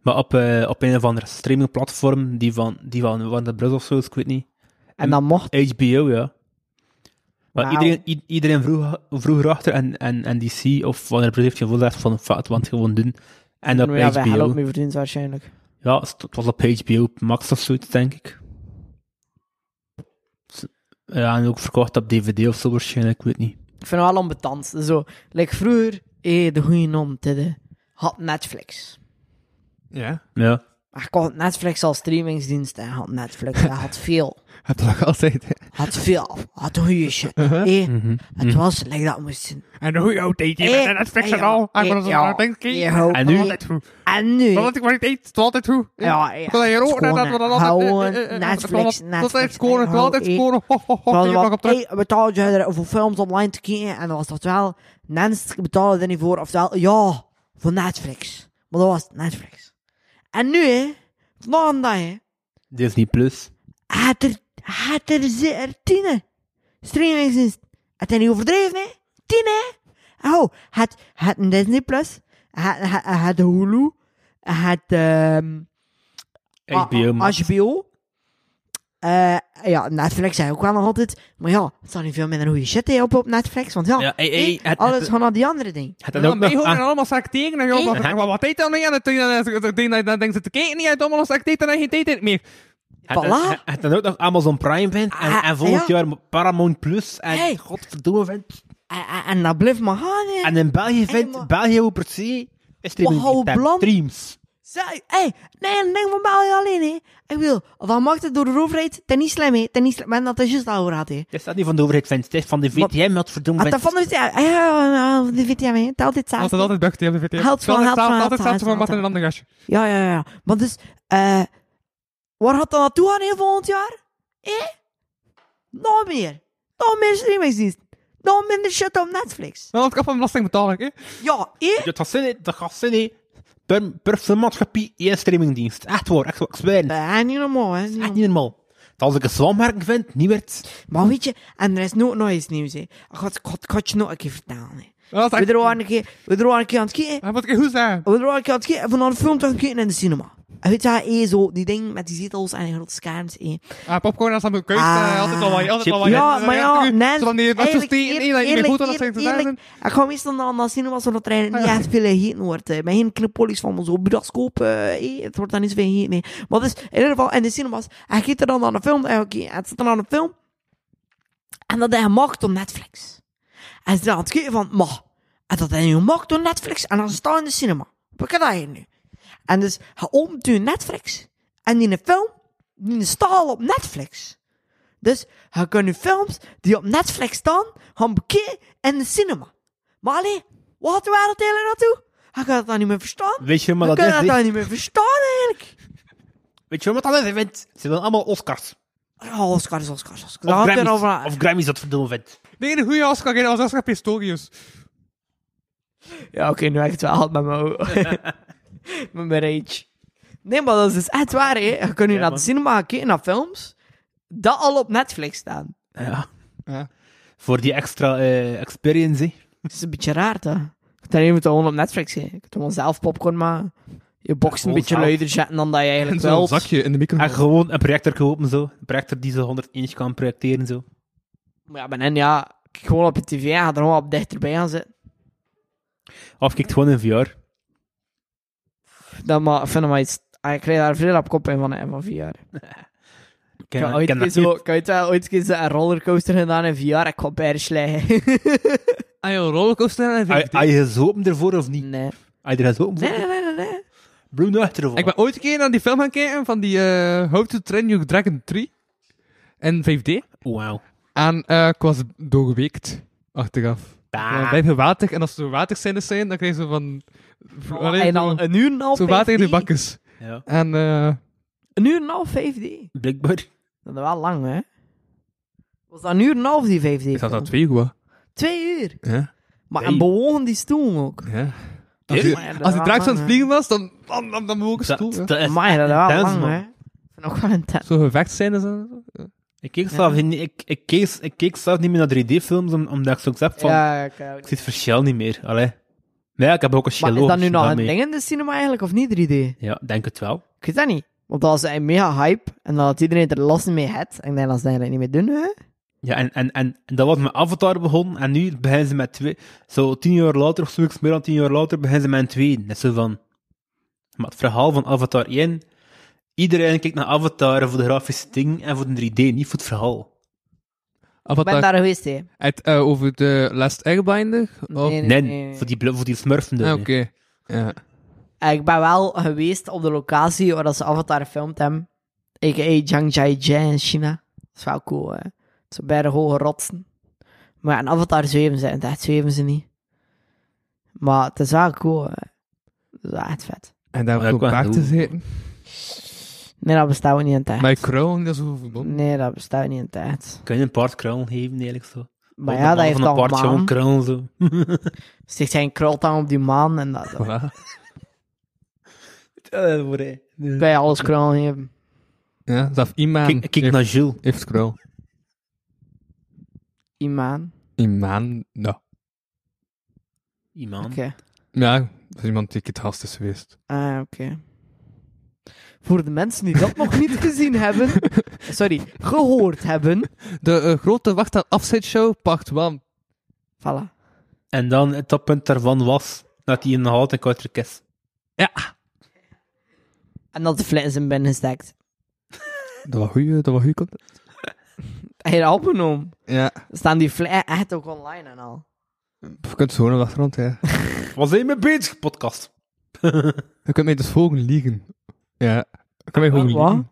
Speaker 6: Maar op, eh, op een of andere streamingplatform, die van, die van Warner Bros. of zo, is, ik weet niet.
Speaker 3: En dan mocht...
Speaker 6: HBO, ja. Maar
Speaker 3: Wauw.
Speaker 6: iedereen, i- iedereen vroeg, vroeg erachter en, en, en DC of Warner Bros. heeft gevoel dat van, "Fuck, het want gewoon doen. En op
Speaker 3: Nou ja, wij gaan
Speaker 6: HBO.
Speaker 3: ook mee verdienen, waarschijnlijk.
Speaker 6: Ja, het het was op HBO Max of zoiets, denk ik. Z- Ja, en ook verkocht op DVD of zo waarschijnlijk, ik weet niet.
Speaker 3: Ik vind het wel onbetant. Zo, like vroeger, eh, de goede nom, tidde, had Netflix.
Speaker 2: Ja.
Speaker 6: Ja.
Speaker 3: Maar je kon Netflix als streamingsdienst en had Netflix. Hij had veel.
Speaker 2: Heb je nog altijd.
Speaker 3: Had veel. Had goede shit.
Speaker 4: Uh-huh.
Speaker 3: Eh,
Speaker 4: Mhm.
Speaker 3: het was like dat moest zijn.
Speaker 4: En hoe oud deed
Speaker 3: Eh,
Speaker 4: je? En dat fix
Speaker 3: eh,
Speaker 4: het al.
Speaker 3: ja,
Speaker 4: En dat is
Speaker 3: ja,
Speaker 4: een denk ik.
Speaker 3: ja,
Speaker 6: En nu?
Speaker 3: eh, En nu.
Speaker 4: Dat ik maar niet eet. Het is altijd hoe.
Speaker 3: Ja, ja.
Speaker 4: Ik wil dat hier ook. Dat we dat
Speaker 3: Gewoon
Speaker 4: altijd. eh, eh, eh,
Speaker 3: Netflix,
Speaker 4: dat we dat
Speaker 3: Netflix,
Speaker 4: Altijd scoren. dat we
Speaker 3: eh,
Speaker 4: Altijd
Speaker 3: eh,
Speaker 4: scoren. Ho, ho, ho.
Speaker 3: Want
Speaker 4: Hier nog op terug.
Speaker 3: betaalde je er voor films online te kijken en dan was dat wel. Mensen betaalden er niet voor, oftewel, ja, voor Netflix. Maar dat was het, Netflix. En nu, hè, vandaag een dag, hè,
Speaker 6: Disney Plus.
Speaker 3: had er, had er, ze- er tien, hè. streamingsdienst. Het is niet overdreven, hè? Tien, hè? Oh, het, het een Disney Plus, het, het, het Hulu, het, ehm,
Speaker 6: HBO
Speaker 3: Ah, ah,
Speaker 6: Max.
Speaker 3: HBO. Eh, ja, Netflix zei ook wel nog altijd. Maar ja, het staat niet veel minder goede shit hè, op, op Netflix. Want ja,
Speaker 6: Ja, ey,
Speaker 3: hey,
Speaker 6: ey, het-
Speaker 3: alles
Speaker 6: het-
Speaker 3: gaat naar die andere ding.
Speaker 4: En
Speaker 6: Het had ook
Speaker 4: dan ben
Speaker 6: nog
Speaker 4: je gewoon
Speaker 6: aan-
Speaker 4: allemaal zak tegen. En je
Speaker 3: Eh?
Speaker 4: ook nog- wat- wat deed dan niet? En dan- dan- dan- dan- dan- dan denkt ze te kijken. niet, En dan allemaal zak deed en dan geen tijd meer.
Speaker 6: het had-
Speaker 3: Voilà.
Speaker 6: het- het had ook nog Amazon Prime vindt. En,
Speaker 3: Ah,
Speaker 6: en volgend
Speaker 3: ja.
Speaker 6: jaar Paramount Plus. En
Speaker 3: Hey.
Speaker 6: godverdomme vindt.
Speaker 3: En, en- en dat blijft maar gaan. hè.
Speaker 6: En in België
Speaker 3: Hey,
Speaker 6: vindt
Speaker 3: maar-
Speaker 6: België hoe per se is streaming
Speaker 3: Wauw,
Speaker 6: niet, hè.
Speaker 3: Blan.
Speaker 6: streams.
Speaker 3: Zij- hey, nee, dat ding van België alleen. Hè. Ik wil, of al mag het door de overheid, ten niet slim. hè. Ten niet slim. Maar dat is juist al over had. hè.
Speaker 6: Het is dat niet van de overheid vindt. Het is van de VTM wat verdomme
Speaker 3: Ah, dat
Speaker 6: vindt.
Speaker 3: van de VTM. Ja, ja, van de VTM. hè. Het is altijd
Speaker 4: Altijd
Speaker 3: hetzelfde.
Speaker 4: altijd bucht. Je hebt de VTM.
Speaker 3: Helpt van,
Speaker 4: Altijd
Speaker 3: helpt van, helpt
Speaker 4: hetzelfde, Altijd
Speaker 3: van,
Speaker 4: hetzelfde van
Speaker 3: helpt
Speaker 4: wat
Speaker 3: van.
Speaker 4: in een ander gastje.
Speaker 3: Ja, ja, ja. Maar dus, eh, waar gaat dat naartoe gaan hè, volgend jaar? Eh? Nog meer. Nog meer streamingsdiensten. Nog minder shit op Netflix.
Speaker 4: Dan had ik af van belasting betalen. hè.
Speaker 3: Ja, eh?
Speaker 6: Dat gaat zinnen, dat gaat zinnen. Per, per filmmaatschappij één streamingdienst. Echt waar, echt waar. Ik zweer.
Speaker 3: Dat is niet normaal, hè.
Speaker 6: Echt niet normaal. Dat als ik een zwammerk vind, niet meer. het.
Speaker 3: Maar weet je, en er is nooit nog iets nieuws, hè. Ik ga het- ik ga het- ik ga het je nog een keer vertellen, hè.
Speaker 4: Dat is
Speaker 3: We
Speaker 4: echt-
Speaker 3: er waren een keer, we er waren een keer aan het kijken.
Speaker 4: Dat moet ik goed zijn.
Speaker 3: We er waren een keer aan het kijken, van een film te gaan kijken in de cinema. En weet je, wel, eh, zo, die ding met die zetels en die grote scherms, eh.
Speaker 4: Ah, popcorn als aan mijn keus.
Speaker 3: Ah,
Speaker 4: eh, altijd al wat. Altijd al wat.
Speaker 3: Ja, maar ja, nee.
Speaker 4: Zolang die nachos steken, nee, dat je meer goed aan dat zijn te zijn.
Speaker 3: Ik ga meestal naar, naar cinema zodat er eigenlijk niet echt veel gegeten wordt. eh. Met geen knippolies van zo bidaskoop. eh, eh, het wordt dan niet zoveel gegeten. nee. Maar dus, in ieder geval, in de cinemas. Hij kijkt er dan naar een film. En oké, het zit dan aan een film. En dat hij gemaakt op Netflix. En ze zijn aan het kijken van, ma. En dat hij nu gemaakt door Netflix. En dan staan in de cinema. Wat kan dat hier nu?
Speaker 8: En dus, je opent je Netflix en die een film, die een staal op Netflix. Dus, je kunt je films die op Netflix staan, gaan bekijken in de cinema. Maar allee, waar gaat de wereld eigenlijk naartoe? Je gaat het dan niet meer verstaan.
Speaker 6: Weet je
Speaker 8: Je
Speaker 6: wat
Speaker 8: kunt
Speaker 6: dat is?
Speaker 8: dat
Speaker 6: hè?
Speaker 8: dan nou niet meer verstaan eigenlijk.
Speaker 6: Weet je wat dat is, hè, Vint? Ze willen allemaal Oscars.
Speaker 8: Oh, Oscars, Oscars, Oscars.
Speaker 6: Of
Speaker 8: Daar gaat het
Speaker 6: Grammys.
Speaker 8: over-
Speaker 6: Of Grammys, dat verdomme, Vint.
Speaker 4: Nee, een goede Oscar, geen Oscar Pistorius.
Speaker 3: Ja, oké, nu heb ik het wel gehad met mijn, met mijn rage.
Speaker 8: Nee, maar dat is dus echt waar, hè. Je kunt nu
Speaker 6: Ja,
Speaker 8: naar
Speaker 6: man.
Speaker 8: de cinema gaan kijken, naar films, dat al op Netflix staan.
Speaker 6: Ja.
Speaker 4: Ja.
Speaker 6: Voor die extra eh, experience, hè.
Speaker 8: Dat is een beetje raar, dat.
Speaker 3: Ten eerste moet het gewoon op Netflix zijn. Je kunt gewoon zelf popcorn maken. Je box een
Speaker 6: gewoon
Speaker 3: beetje
Speaker 6: zelf.
Speaker 3: luider zetten dan dat je
Speaker 4: En Ah,
Speaker 3: eigenlijk
Speaker 4: zo'n
Speaker 3: wilt.
Speaker 4: zakje in de micro.
Speaker 6: En gewoon een projector kopen, zo. Een projector die ze 101 kan projecteren, zo.
Speaker 3: Maar ja, ben hen, ja, kijk gewoon op je tv en ga er gewoon op dichterbij gaan zitten.
Speaker 6: Of kijkt gewoon in VR.
Speaker 3: Dat maar, ik vind dat maar iets... ah, Ik krijg daar veel op kop in van, hè, van VR. Ik heb ooit
Speaker 6: ken
Speaker 3: keer
Speaker 6: dat
Speaker 3: zo-
Speaker 6: niet.
Speaker 3: ik heb ooit wel ooit een keer zo een rollercoaster gedaan in VR. Ik ga bijna slijgen.
Speaker 4: Ah, joh, rollercoaster en
Speaker 6: Heb je gezopen ervoor of niet?
Speaker 3: nee.
Speaker 6: Heb je er gezopen voor?
Speaker 3: Nee, nee, nee, nee.
Speaker 6: Bloem nou achter ervoor.
Speaker 4: Ik ben ooit een keer naar die film gaan kijken van die eh How to Train Your Dragon 3 in 5D.
Speaker 6: Wauw.
Speaker 4: En eh, ik was doorgeweekt achteraf. Ja,
Speaker 6: Bah.
Speaker 4: blijf je water en als er waterzijders zijn, dan krijg je zo van. Allee,
Speaker 3: Oh, en
Speaker 4: zo-
Speaker 3: dan een uur en een half
Speaker 4: zo water in de
Speaker 3: 5D.
Speaker 4: bakkes.
Speaker 6: Ja.
Speaker 4: En eh,
Speaker 3: Een uur en een half 5D.
Speaker 6: Blijkbaar.
Speaker 3: Dat is wel lang, hè? Was dat een uur en een half die 5D?
Speaker 4: is dat
Speaker 3: film?
Speaker 4: dat twee goed?
Speaker 3: Twee uur.
Speaker 4: Ja.
Speaker 3: Maar
Speaker 6: Hey.
Speaker 3: en bewogen die stoel ook.
Speaker 4: ja. Als die,
Speaker 3: Maar ja, dat
Speaker 4: als die
Speaker 3: was
Speaker 4: draak zo aan
Speaker 3: lang,
Speaker 4: het
Speaker 3: hè.
Speaker 4: vliegen was, dan, dan, dan, dan bewoog ik
Speaker 6: Dat-
Speaker 4: stoel. ja.
Speaker 6: dat is-
Speaker 3: Maar dat is wel
Speaker 6: Intens,
Speaker 3: lang,
Speaker 6: man.
Speaker 3: hè? Ik vind ook wel intens.
Speaker 4: Zo gevecht zijn en zo.
Speaker 6: Ik keek, zelf in, ik, ik, keek, ik keek zelf niet meer naar 3D-films, omdat ik zoiets heb van...
Speaker 3: Ja, ik, eh,
Speaker 6: Ik zie het verschil niet meer, allee. Nee, ik heb ook een
Speaker 3: maar
Speaker 6: schilloog.
Speaker 3: is dat nu nog een
Speaker 6: daarmee.
Speaker 3: ding in de cinema eigenlijk, of niet 3D?
Speaker 6: Ja, denk het wel.
Speaker 3: Ik weet dat niet. Want dat was een mega hype, en dan had iedereen er last mee had. En ik denk dat ze dat eigenlijk niet meer doen, hè?
Speaker 6: Ja, en, en, en, en dat was met Avatar begonnen, en nu beginnen ze met twee... Zo tien jaar later, of zoiets, meer dan tien jaar later, beginnen ze met een twee. Net zo van... Maar het verhaal van Avatar 1... Iedereen kijkt naar Avatar voor de grafische ding en voor de 3D, niet voor het verhaal.
Speaker 3: Ik ben
Speaker 4: Avatar.
Speaker 3: daar geweest, hè?
Speaker 4: Het, eh, over de Last Airbinder? Of-
Speaker 6: Oh, Nee, voor die, bl- voor die smurfen dus,
Speaker 4: Ah,
Speaker 6: hè.
Speaker 4: Oké. Ja.
Speaker 3: Eh, Ik ben wel geweest op de locatie waar dat ze Avatar gefilmd hebben. A.k.a. Jiang Jai in China. Dat is wel cool, hè. Zo bij de hoge rotsen. Maar ja, in Avatar zweven ze. In het echt zweven ze niet. Maar het is wel cool, hè. Het is wel echt vet.
Speaker 4: En daar
Speaker 6: Maar
Speaker 4: op
Speaker 6: dat
Speaker 4: een
Speaker 6: kan
Speaker 4: paard te
Speaker 6: doen.
Speaker 4: zitten.
Speaker 3: Nee, dat bestaat ook niet in het echt.
Speaker 4: Mijn crown, dat is zo verbonden.
Speaker 3: Nee, dat bestaat niet in het echt.
Speaker 6: Kun je een paard krullen geven, eigenlijk zo?
Speaker 3: Maar
Speaker 6: Of
Speaker 3: ja, dat
Speaker 6: de man
Speaker 3: heeft
Speaker 6: van een
Speaker 3: al
Speaker 6: paard gewoon
Speaker 3: maan.
Speaker 6: krullen, zo.
Speaker 3: Sticht zijn krultang op die maan en dat. dat-
Speaker 4: Voilà.
Speaker 6: Eh, voor, hè. Dus-
Speaker 3: Bij alles krul hebben.
Speaker 4: Ja, dat Iman
Speaker 6: Kijk, kijk
Speaker 4: heeft,
Speaker 6: naar Jules.
Speaker 4: heeft crown.
Speaker 3: Iman.
Speaker 4: Iman, nou.
Speaker 6: Iemand.
Speaker 3: Oké.
Speaker 4: Ja, dat is iemand die ik het haast is geweest.
Speaker 3: Ah, oké. Voor de mensen die dat nog niet gezien hebben... Sorry, gehoord hebben.
Speaker 4: De eh, grote wacht aan afzetshow, part 1.
Speaker 3: Voilà.
Speaker 6: En dan het toppunt daarvan was dat hij een halte kortrek is.
Speaker 3: En dat de flat in zijn binnen gestekt.
Speaker 4: Dat was goeie, dat was goeie content.
Speaker 3: Hij had opgenomen.
Speaker 4: Ja,
Speaker 3: Staan die flat echt ook online en al.
Speaker 4: Pff, je kunt zo naar de achtergrond, ja.
Speaker 6: Was hij mee bezig, podcast?
Speaker 4: Je kunt mij dus volgen liegen. Ja, je kunt mij gewoon
Speaker 3: Wat?
Speaker 4: liegen.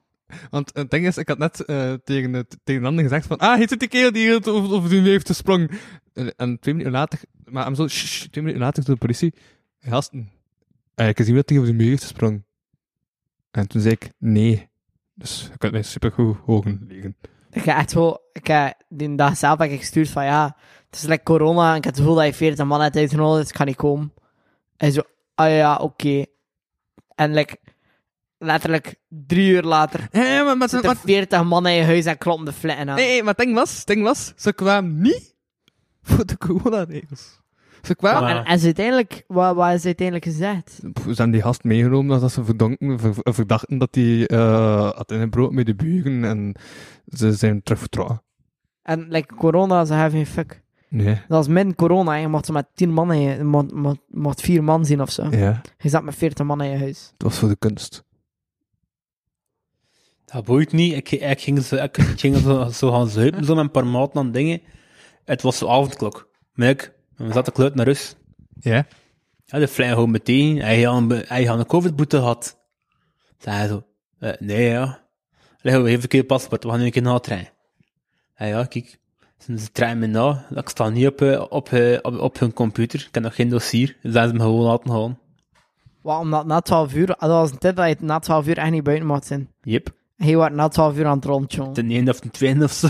Speaker 4: Want het ding is, ik had net eh, tegen, het- tegen een ander gezegd van, ah, hier zit die kerel die het over, over die nu heeft gesprongen. En, en twee minuten later, maar hem zo, "Sst, sst," twee minuten later door de politie, gasten, eh, ik heb gezien dat hij over de muur heeft gesprongen. En toen zei ik, nee. Dus je kunt mij supergoed hogen liegen.
Speaker 3: Ik heb echt zo... Ik heb die dag zelf heb ik gestuurd van ja... Het is lekker corona en ik heb het gevoel dat je 40 man hebt uitgenodigd. Dus ik kan niet komen. En zo... Ah ja, oké. En like, letterlijk drie uur later...
Speaker 4: Eh, maar, maar,
Speaker 3: Zitten 40 man in je huis en kloppen de flatten aan.
Speaker 4: Nee, nee, maar het ding was, het ding was, ze kwamen niet voor de coronaregels. Ze kwamen...
Speaker 3: En, en ze uiteindelijk... Wat, wat is uiteindelijk gezegd?
Speaker 4: Pff, Ze hebben die gast meegenomen nadat ze verdonken, ver- ver- verdachten dat hij eh had ingebroken met de buren en ze zijn terug vertrokken.
Speaker 3: En like, corona, ze hebben geen fuck.
Speaker 4: Nee.
Speaker 3: Dat was min corona, hè. je mocht maar 10 man in je, je mocht, mocht, mocht 4 man zien of zo.
Speaker 4: Ja,
Speaker 3: Je zat met 40 man in je huis.
Speaker 4: het was voor de kunst.
Speaker 6: Dat boeit niet. Ik, ik ging, zo, ik ging zo, zo gaan zuipen, zo met een paar maten aan dingen. Het was zo avondklok. Maar ik, we zaten kluit naar rust.
Speaker 4: Ja?
Speaker 6: Ja, de fly gewoon meteen. Hij had een, be- hij had een covid-boete gehad. Zei hij zo. eh, nee, ja. Leg we even een keer paspoort, we gaan nu een keer naar de trein. Ja, ja, kijk. Ze ze trein me na. Ik sta niet op, eh, op, eh, op, op hun computer. Ik heb nog geen dossier. Dus zijn ze me gewoon laten gaan.
Speaker 3: Wat, omdat na 12 uur, ah, dat was een tijd dat je na 12 uur echt niet buiten mocht zijn.
Speaker 6: Jep.
Speaker 3: Hij was na 12 uur aan het rondjongen.
Speaker 6: Ten ene of ten tweede of zo.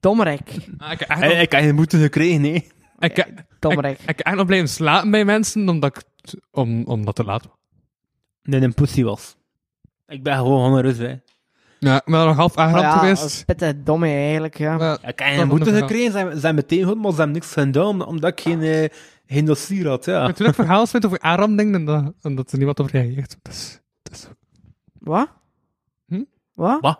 Speaker 3: Dommerik.
Speaker 4: ik heb echt
Speaker 6: Hey, ik heb geen boete gekregen, nee.
Speaker 4: nog- Eh, ik-
Speaker 3: eh, Dommerik.
Speaker 4: ik heb echt nog blijven slapen bij mensen, omdat ik... t- Om, omdat te laat.
Speaker 6: Nee, een pussy was. Ik ben gewoon onrust, hè.
Speaker 4: Ja, ik ben er nog half
Speaker 3: Maar
Speaker 4: aangerand
Speaker 3: ja, dat is
Speaker 4: geweest.
Speaker 3: pittig domme eigenlijk, ja.
Speaker 4: Maar-
Speaker 6: Ik heb
Speaker 4: Dat
Speaker 6: geen boete
Speaker 4: nog wel.
Speaker 6: gekregen. Ze hebben- ze hebben meteen goed, maar ze hebben niks gedaan, omdat ik geen, eh, geen dossier had, ja.
Speaker 4: Maar toen ik verhaal vind over aanranding en dat, en dat er niemand op reageert. Dus, dus.
Speaker 3: Wat?
Speaker 4: Hm?
Speaker 3: Wat?
Speaker 6: Wat?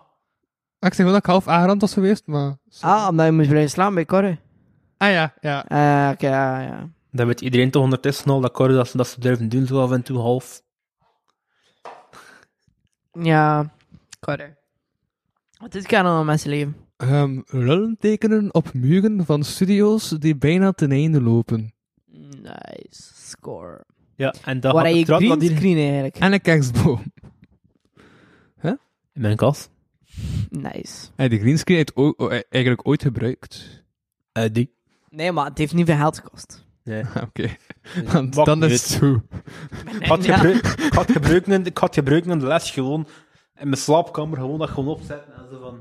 Speaker 4: Ah, Ik zeg wel dat ik half aangerand was geweest, maar...
Speaker 3: Ah, omdat je moest blijven slaan bij Corre.
Speaker 4: Ah ja, ja.
Speaker 3: Eh, oké, ja, ja.
Speaker 6: Dan weet iedereen toch ondertussen al dat Cor dat ze dat ze durven doen, zo af en toe half.
Speaker 3: Ja. Corre. Wat is kan al mensen leven?
Speaker 4: Ehm, rullentekenen op muren van studio's die bijna ten einde lopen.
Speaker 3: Nice. Score.
Speaker 6: Ja, en dat
Speaker 3: Waar heb je
Speaker 6: het raad wat hier-
Speaker 3: greenscreen eigenlijk?
Speaker 4: En een kerstboom.
Speaker 6: In mijn kast.
Speaker 3: Nice.
Speaker 4: En die greenscreen heeft o- o- eigenlijk ooit gebruikt.
Speaker 6: Eh, die.
Speaker 3: Nee, maar het heeft niet veel geld gekost.
Speaker 6: Nee.
Speaker 4: Ah, Oké. Want
Speaker 6: Wat
Speaker 4: dan
Speaker 6: nut.
Speaker 4: is het zo.
Speaker 6: Ik had, gebruik, ik, had gebruiken in, de- ik had gebruiken in de les gewoon in mijn slaapkamer gewoon dat gewoon opzetten en zo van...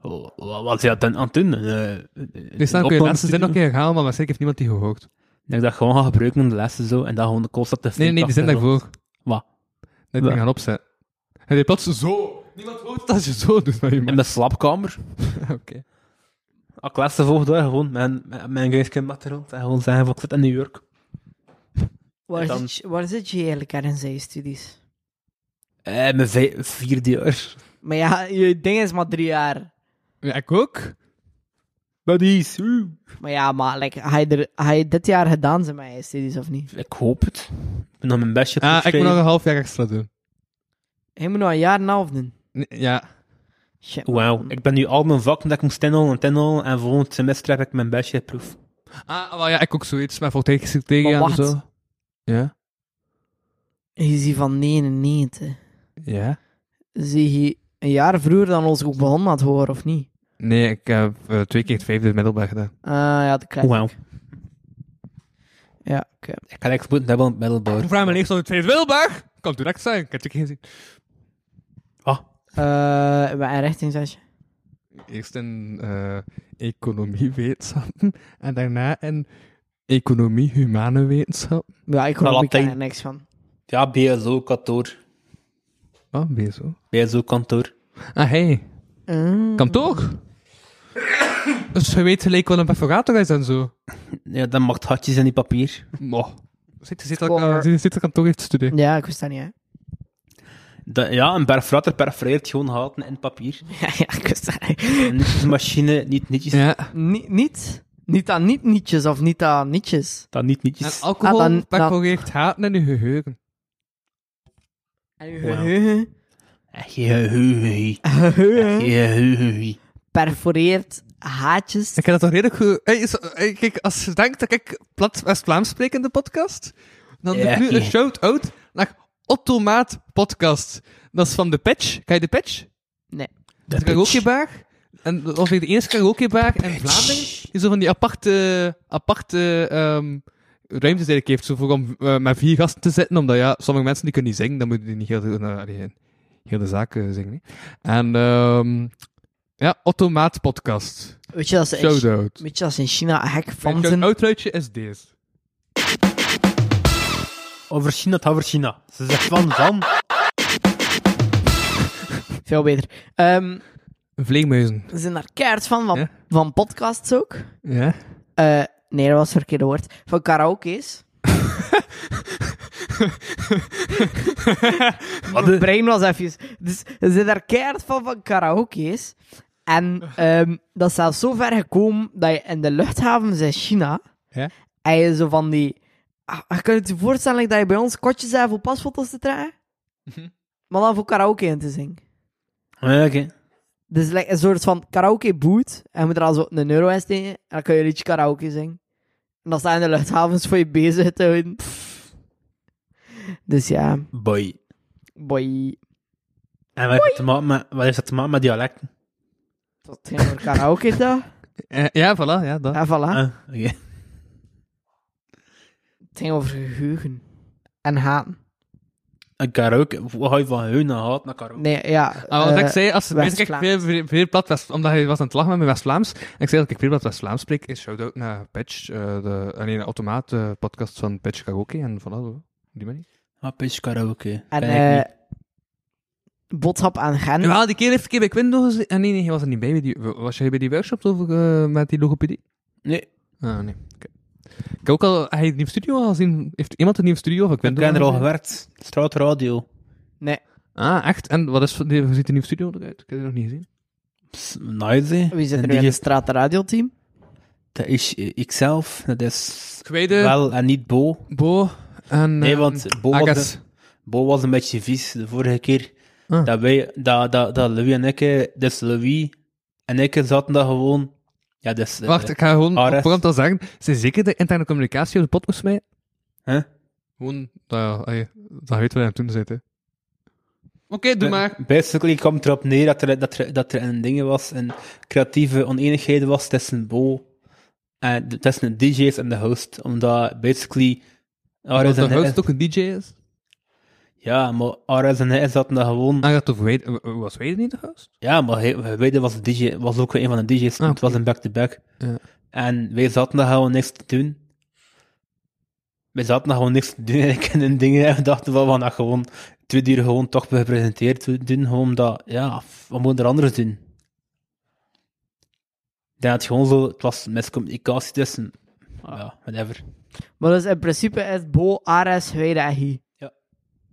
Speaker 6: Oh, wat was je dan aan het doen? Eh, eh,
Speaker 4: Dus dan kun je de
Speaker 6: opnamestudio?
Speaker 4: laatste zin nog een keer herhalen, maar waarschijnlijk heeft niemand die gehoord.
Speaker 6: Ik denk dat ik gewoon ga gebruiken in de lessen zo en dat gewoon de constant te
Speaker 4: Nee, nee, die zin daarvoor.
Speaker 6: Wat?
Speaker 4: Dat
Speaker 6: Wat?
Speaker 4: ik gaan opzetten. En je plots zo. Niemand hoort dat je zo doet naar
Speaker 6: In
Speaker 4: iemand.
Speaker 6: mijn slaapkamer.
Speaker 4: Oké.
Speaker 6: Als ik lessen volgde, gewoon mijn, mijn, mijn geestkind met rond en gewoon zeggen van ik zit in New York.
Speaker 3: Waar,
Speaker 6: En dan-
Speaker 3: zit, je- waar zit je eigenlijk aan in zijn studies?
Speaker 6: Eh, mijn vij- vierde jaar.
Speaker 3: Maar ja, je ding is maar drie jaar.
Speaker 4: Ja, ik ook.
Speaker 6: Buddies. woe.
Speaker 3: Maar ja, maar like, had, je er, had je dit jaar gedaan zijn met je studies of niet?
Speaker 6: Ik hoop het. Ik ben nog mijn bestje
Speaker 4: Ah, ik moet nog
Speaker 6: proefschrijven.
Speaker 4: een half jaar extra doen.
Speaker 3: Je moet nog een jaar en een half doen.
Speaker 4: Nee, Ja.
Speaker 3: Shit.
Speaker 6: Wauw, ik ben nu al mijn vakken dat ik moest inhalen en inhalen en volgend semester heb ik mijn bestje proef.
Speaker 4: Ah, wel ja, ik ook zoiets, maar voor tegen tegen
Speaker 3: Maar
Speaker 4: en
Speaker 3: wacht.
Speaker 4: zo. Ja.
Speaker 3: Je ziet van 99.
Speaker 4: Ja.
Speaker 3: Zie je een jaar vroeger dan ons ook begonnen had horen, of niet?
Speaker 4: Nee, ik heb eh, twee keer het vijfde middelbaar gedaan.
Speaker 3: Ah ja, dat krijg
Speaker 6: Wauw.
Speaker 3: Ja, oké.
Speaker 6: Ik had echt moeten hebben aan het middelbaar.
Speaker 4: Hoe vraag me leeftijd het vijfde middelbaar? Kan direct zijn, ik heb het geen zin.
Speaker 3: Eh, in welke richting zat je?
Speaker 4: Eerst in eh, economie-wetenschappen en daarna in economie-humane wetenschappen.
Speaker 3: Ja, ik hoor
Speaker 6: Wel
Speaker 3: ik ken er
Speaker 6: Latijn.
Speaker 3: niks van.
Speaker 6: Ja, BSO-kantoor.
Speaker 4: Oh, ben je zo?
Speaker 6: BSO-kantoor.
Speaker 4: Ah, hey.
Speaker 3: Eh,
Speaker 4: Kan toch? dus je weet gelijk wat een perforator is en zo.
Speaker 6: Ja, dan maakt hartjes in die papier.
Speaker 4: Moh. Zit je
Speaker 3: Score.
Speaker 4: zit dat kantoor heeft studie?
Speaker 3: Ja, ik wist dat niet, hè.
Speaker 6: Dat- ja, een perforator perforeert gewoon gaten in het papier.
Speaker 3: Ja, ja, ik wist dat niet.
Speaker 6: En niet de machine, niet nietjes.
Speaker 4: Ja.
Speaker 3: Ni- niet? Niet aan niet-nietjes of niet aan nietjes.
Speaker 6: Dat niet
Speaker 4: En
Speaker 6: nietjes.
Speaker 4: alcohol
Speaker 3: Ah, dan- dan-
Speaker 4: perforeert haten in je geheugen.
Speaker 3: En uw
Speaker 6: Wauw.
Speaker 3: geheugen
Speaker 6: Gehuhui. Gehuhui.
Speaker 3: perforeert haatjes.
Speaker 4: Ik heb dat toch redelijk goed... Hey, zo- hey, kijk, als je denkt dat ik plat West-Vlaams spreek in de podcast, dan doe
Speaker 6: Ja.
Speaker 4: ik nu een shout-out naar Ottomaat Podcast. Dat is van de patch. Kan je de patch?
Speaker 6: Dat
Speaker 4: karaokebar. En dat was weer de eerste karaokebar in Vlaanderen. Die zo van die aparte, aparte ehm, ruimtes eigenlijk heeft. Zo voor om eh, met vier gasten te zitten. Omdat ja, sommige mensen die kunnen niet zingen. Dan moeten die niet heel de, nou, allee, heel de zaak eh, zingen. hè. En ehm ja, Automaat Podcast.
Speaker 3: Weet je, dat ze in,
Speaker 4: Shoutout.
Speaker 3: weet je, dat ze in China een hek van
Speaker 4: Mijn
Speaker 3: zijn...
Speaker 4: shout-outruitje is deze.
Speaker 6: Over China, het gaat over China. Ze zegt van, van.
Speaker 3: Veel beter. Ehm,
Speaker 4: Vleermuizen.
Speaker 3: ze zijn daar keihard van, van,
Speaker 4: Ja.
Speaker 3: van podcasts ook.
Speaker 4: Ja?
Speaker 3: Eh, nee, dat was het verkeerde woord. Van karaoke's. Mijn brein was even... Dus ze zijn daar keihard van, van karaoke's. En ehm, dat is zelfs zo ver gekomen dat je in de luchthavens in China...
Speaker 4: Ja.
Speaker 3: En je zo van die... Ah, Ik kan het je voorstellen dat je bij ons kotjes hebt voor pasfoto's te dragen. Maar dan voor karaoke in te zingen.
Speaker 6: Ja, Oké.
Speaker 3: Dus like, een soort van karaoke boot. En je moet er al zo een euro in steken. En dan kun je een liedje karaoke zingen. En dan staan in de luchthavens voor je bezig te houden. Dus ja,
Speaker 6: Boy.
Speaker 3: boy.
Speaker 6: En wat heeft, dat te maken met, wat heeft dat te maken met dialecten?
Speaker 3: Tot geen voor karaoke dag.
Speaker 4: Eh, ja, voilà, ja, dat.
Speaker 3: En voilà.
Speaker 6: Ah, oké.
Speaker 3: Het ging over geheugen. En haten.
Speaker 6: En karaoke, wat ga je van hun naar haat naar karaoke?
Speaker 3: Nee, ja.
Speaker 4: Ah, wat
Speaker 3: eh,
Speaker 4: ik zei, als het meest ik
Speaker 3: West-Vlaams.
Speaker 4: veel, veel, veel plat West- omdat hij was aan het lachen met mijn West-Vlaams, en ik zei dat ik veel plat West-Vlaams spreek, is shout-out naar Patch, eh de, ah, nee, naar Automaat, de podcast van Patch Kagoki, en voilà, zo, die manier.
Speaker 6: Ah, pitch karaoke.
Speaker 3: en
Speaker 6: Ken ik
Speaker 3: eh boodschap aan Gent.
Speaker 4: Ja, die keer heeft een keer bij Quindo gezien, ah, nee, nee, hij was er niet bij, bij die, was jij bij die workshop over, eh, met die logopedie?
Speaker 6: niet.
Speaker 4: Ah, nee, oké. Ik heb ook al, heb je de nieuwe studio al gezien? Heeft iemand een nieuwe studio van
Speaker 6: Nee, ik
Speaker 4: Quindo?
Speaker 6: heb er al gewerkt. Straatradio.
Speaker 4: Ah, echt? En wat is, die- hoe ziet de nieuwe studio eruit? Ik heb die nog niet gezien.
Speaker 6: Pss, Nice, hè.
Speaker 3: Wie zit er
Speaker 6: En
Speaker 3: nu
Speaker 6: die
Speaker 3: in het
Speaker 6: is-
Speaker 3: straatradio-team?
Speaker 6: Dat is eh, ikzelf. Dat is
Speaker 4: Kweide,
Speaker 6: wel en niet Bo.
Speaker 4: Bo, en...
Speaker 6: Nee,
Speaker 4: ehm,
Speaker 6: want Bo was,
Speaker 4: Agas.
Speaker 6: een, Bo was een beetje vies de vorige keer.
Speaker 4: Ah.
Speaker 6: Dat, wij, dat, dat, dat Louis en ik, eh, dus Louis en ik zaten daar gewoon. Ja, dus. eh,
Speaker 4: Wacht, ik ga gewoon
Speaker 6: Ares.
Speaker 4: op voorhand al zeggen. Ze zeker de interne communicatie op de podcast mee.
Speaker 6: Huh?
Speaker 4: Gewoon, nou ja, allee, dat weet wat hij aan het doen zit, hè. Oké, doe maar.
Speaker 6: Basically kwam erop neer dat er, dat er, dat er een ding was, een creatieve oneenigheid was tussen Bo en de- tussen de DJ's en de host. Omdat basically.
Speaker 4: Als
Speaker 6: Ares
Speaker 4: de
Speaker 6: en hij-
Speaker 4: host ook een DJ is.
Speaker 6: Ja, maar Ares en hij zaten daar gewoon.
Speaker 4: Ah, dat of weet, was weet niet de host?
Speaker 6: Ja, maar hij, Weide was, de DJ, was ook een van de DJ's.
Speaker 4: Ah,
Speaker 6: Het was een back-to-back.
Speaker 4: Ja.
Speaker 6: En wij zaten daar gewoon niks te doen. Wij zaten daar gewoon niks te doen. En ik en een dingen en we dachten van, we gaan dat gewoon twee uur gewoon toch gepresenteerd doen. Gewoon omdat, ja, wat moeten er anders doen? Ik denk dat het gewoon zo, het was miscommunicatie tussen. ah, Ja, whatever.
Speaker 3: Maar dus in principe is Bo, Ares, Weide en Guy.
Speaker 6: Ja.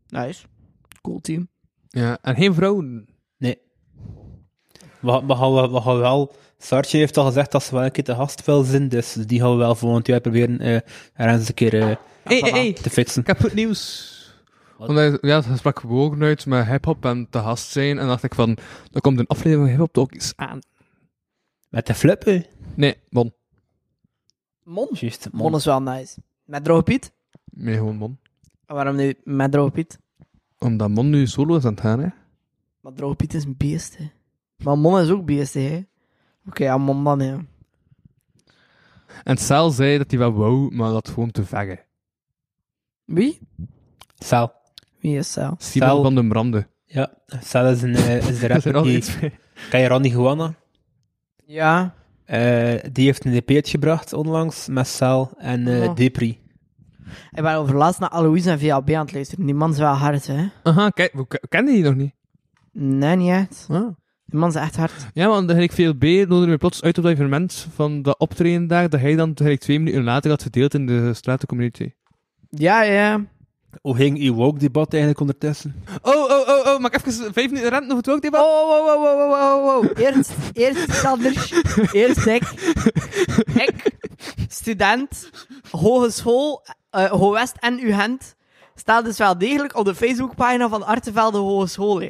Speaker 3: Nice. Cool team.
Speaker 4: Ja, en geen vrouwen.
Speaker 6: Nee. We, we, gaan, we gaan wel. Sartje heeft al gezegd dat ze wel een keer te gast wil zijn, dus die gaan we wel volgend jaar proberen eh er eens een keer eh,
Speaker 4: Hé, hé, hé.
Speaker 6: te fixen.
Speaker 4: Ik heb goed nieuws.
Speaker 6: Wat?
Speaker 4: Omdat, ja, ze sprak gewoon uit met hip-hop en te gast zijn. En dacht ik van, er komt een aflevering van hip-hop talkies aan.
Speaker 6: Met de flippen.
Speaker 4: Nee, bon.
Speaker 3: Mon.
Speaker 6: Juist, man.
Speaker 3: Mon is wel nice. Met Droge Piet?
Speaker 4: Nee, gewoon bon.
Speaker 3: En Waarom nu met Droge Piet?
Speaker 4: Omdat Mon nu solo is aan het gaan, hè.
Speaker 3: Maar Droge Piet is een beest, hè. Maar Mon is ook beest, hè. Oké, ja, Mon dan, hè.
Speaker 4: En Sal zei dat hij wel wou, maar dat gewoon te veggen.
Speaker 3: Wie?
Speaker 6: Sal.
Speaker 3: Wie is Sal?
Speaker 4: Simon
Speaker 6: Sal.
Speaker 4: van den Branden.
Speaker 6: Ja, Sal is, een, eh, is de
Speaker 4: Is er
Speaker 6: rapper
Speaker 4: al
Speaker 6: die...
Speaker 4: iets mee?
Speaker 6: Ken je Ronnie Guana?
Speaker 3: Ja.
Speaker 6: Eh, die heeft een EP uitgebracht onlangs met Sal en eh
Speaker 3: Oh.
Speaker 6: Depri.
Speaker 3: Ik ben over laatst naar Alois en VLB aan het luisteren. Die man is wel hard, hè.
Speaker 4: Aha, kijk, we ke- kenden die nog niet.
Speaker 3: Nee, niet echt.
Speaker 4: Ah.
Speaker 3: Die man is echt hard.
Speaker 4: Ja, want de Gelijk VLB nodigde me plots uit op dat evenement van dat optreden daar, dat hij dan gelijk twee minuten later had verdeeld in de stratencommunity.
Speaker 3: Ja, ja.
Speaker 6: Hoe ging uw woke-debat eigenlijk ondertussen?
Speaker 4: Oh, oh, oh, oh, maak even vijf minuten renten over het
Speaker 3: Oh,
Speaker 4: wookdebat?
Speaker 3: oh, oh, oh, oh, oh, oh, oh. Eerst, eerst Sanders. Eerst ik. Ik, student, hogeschool, eh Hoogwest en UGent, sta dus wel degelijk op de Facebookpagina van Artevelde Hogeschool, hè.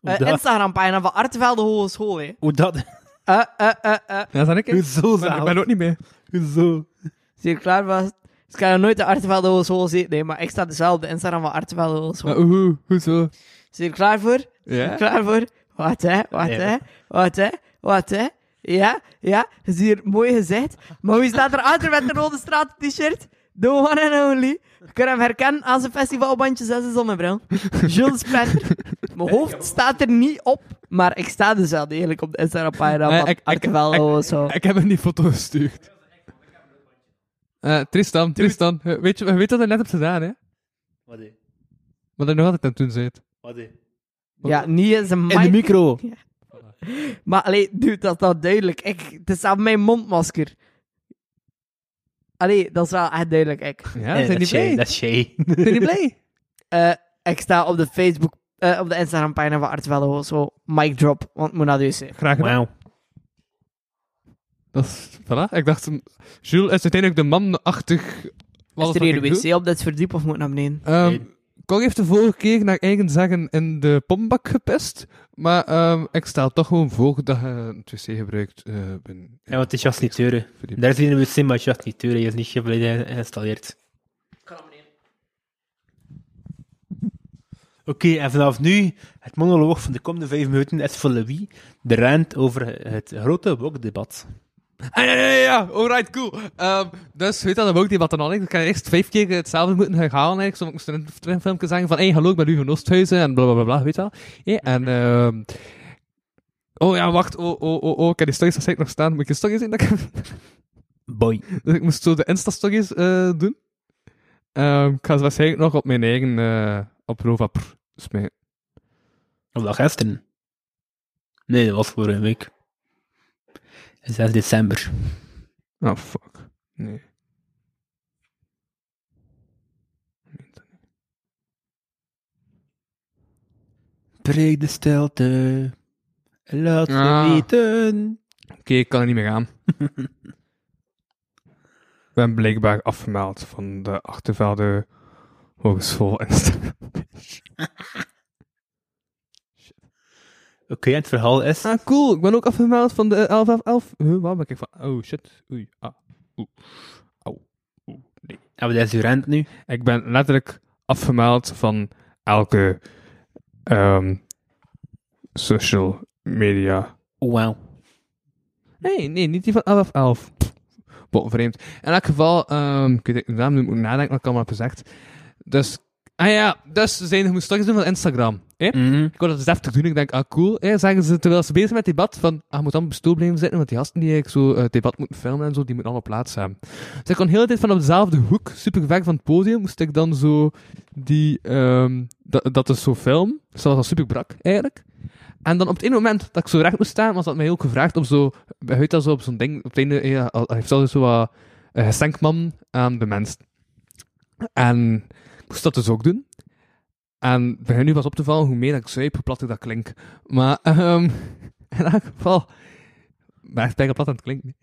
Speaker 6: Hoe
Speaker 3: Eh,
Speaker 6: dat?
Speaker 3: Instagrampagina van Artevelde Hogeschool, hè.
Speaker 6: Hoe dat?
Speaker 3: Eh, eh, eh, eh.
Speaker 4: Ja, dat ik. hè.
Speaker 6: Hoezo,
Speaker 4: Maar Ik
Speaker 6: Sal?
Speaker 4: ben ook niet Oh. mee.
Speaker 6: Hoezo?
Speaker 3: Zie je klaar vast? Dus ik kan nooit de Artevelde Hogeschool zien. Nee, maar ik sta dus wel op de Instagram van Artevelde Hogeschool.
Speaker 6: Oh.
Speaker 4: Maar oeh, hoezo?
Speaker 3: Zijn je klaar voor?
Speaker 4: Ja?
Speaker 3: Klaar voor? Wat hè? Wat
Speaker 6: Ja.
Speaker 3: hè? Wat hè? Wat hè? Ja, ja, is hier mooi gezegd. Maar wie staat erachter met een rode straat-t-shirt? The one and only. Je kunt hem herkennen aan zijn festivalbandje 6 en zonnebril. Jules Spretter. Mijn hoofd staat er niet op, maar ik sta dus wel degelijk op de
Speaker 4: Eh,
Speaker 3: Instagram-pagina
Speaker 4: ik-
Speaker 3: van
Speaker 4: ik-
Speaker 3: Artevelde of zo.
Speaker 4: Ik heb hem die foto gestuurd. Eh, Tristan, Tristan, eh, weet je, je weet wat hij net hebt gedaan, hè?
Speaker 6: Wat is?
Speaker 4: Wat hij nog altijd aan het doen zit.
Speaker 6: Wat is?
Speaker 3: Ja, niet eens een
Speaker 6: In de
Speaker 3: mic.
Speaker 6: micro.
Speaker 3: Maar allee, dude, dat is wel duidelijk. Ik, het is aan mijn mondmasker. Allee, dat is wel echt duidelijk, ik.
Speaker 4: Ja,
Speaker 6: Eh,
Speaker 4: zijn
Speaker 6: dat
Speaker 4: die
Speaker 6: is jij,
Speaker 4: blij?
Speaker 6: dat is jij.
Speaker 4: Zijn die blij?
Speaker 3: Eh, ik sta op de Facebook, eh, op de Instagram-pagina van Artwello, zo, mic drop, want het moet naar de wc.
Speaker 4: Graag gedaan.
Speaker 6: Wauw.
Speaker 4: Dat is, voilà. Ik dacht, mm, Jules is uiteindelijk de man achtig.
Speaker 3: Is er hier een wc op dit verdiep of moet ik naar beneden?
Speaker 4: Ehm, Kong heeft de vorige keer naar eigen zeggen in de pombak gepest. Maar ehm, ik stel toch gewoon voor dat je het wc gebruikt. eh ben,
Speaker 6: Ja, want het is juist niet teuren.
Speaker 4: Verdiep.
Speaker 6: Daar is hier een wc, maar het is juist niet teuren. Je is niet volledig geïnstalleerd. en vanaf nu, het monoloog van de komende vijf minuten is voor Louis de rant over het grote wokdebat.
Speaker 4: Ah, ja, ja, ja, ja. Alright, cool. Ehm, dus weet je dat ook die wat dan al is? Ik kan eerst vijf keer hetzelfde moeten gaan halen. Eigenlijk. Zo, ik moest in een filmpje zeggen van, hey, hallo, ik ben Hugo Nosthuizen en bla bla bla, bla, weet je wel. Ja, en, ehm, oh ja, wacht, oh, oh, oh, oh, ik heb die stories waarschijnlijk nog staan. Moet ik die stories zien? Dat ik...
Speaker 6: Boy.
Speaker 4: Dus ik moest zo de Insta-stories eh, doen. Ehm, ik ga ze waarschijnlijk nog op mijn eigen, eh op Rovapr smijten.
Speaker 6: Of dat gisteren? Nee, dat was voor een week. 6 december.
Speaker 4: Oh, fuck. Nee.
Speaker 6: Breek de stilte. Laat ze
Speaker 4: Ah.
Speaker 6: weten.
Speaker 4: Oké, ik kan er niet meer aan. ik ben blijkbaar afgemeld van de Achtervelde Hogeschool Instagram.
Speaker 6: Oké, en het verhaal is...
Speaker 4: Ah, cool. Ik ben ook afgemeld van de eh, 1111. Huh, waar ben ik van? Oh, shit. Oei. Ah. Oeh. Au. Oeh. Nee.
Speaker 6: Hebben we deze rent nu?
Speaker 4: Ik ben letterlijk afgemeld van elke ehm, social media
Speaker 6: Oh, Wauw.
Speaker 4: Nee, nee, niet die van 11 11. Bon, vreemd. In elk geval, ehm ik weet niet, de naam nu moet ik nadenken, wat ik allemaal heb gezegd. Dus, ah ja, dus ze zijn, je moet stokjes doen van Instagram. Hè? Ik wou dat eens deftig doen, ik denk, ah cool. Hè? Zeggen ze terwijl ze bezig zijn met het debat, van, ah, je moet dan op de stoel blijven zitten, want die gasten die eigenlijk zo eh, het debat moeten filmen en zo, die moeten alle plaats hebben. Dus ik kon heel de tijd van op dezelfde hoek, super ver van het podium, moest ik dan zo die, ehm, dat, dat is zo film. Dus dat was al super brak, eigenlijk. En dan op het ene moment dat ik zo recht moest staan, was dat mij ook gevraagd om zo, uit dat zo op zo'n ding, op het einde, eh, ja, al- hij heeft zelfs zo wat eh, geschenkman aan de mens. En ik moest dat dus ook doen. En het begint nu pas op te vallen hoe meer dat ik zuip, hoe platter dat klinkt. Maar ehm, in elk geval, ik ben echt bijna plat aan het klinken.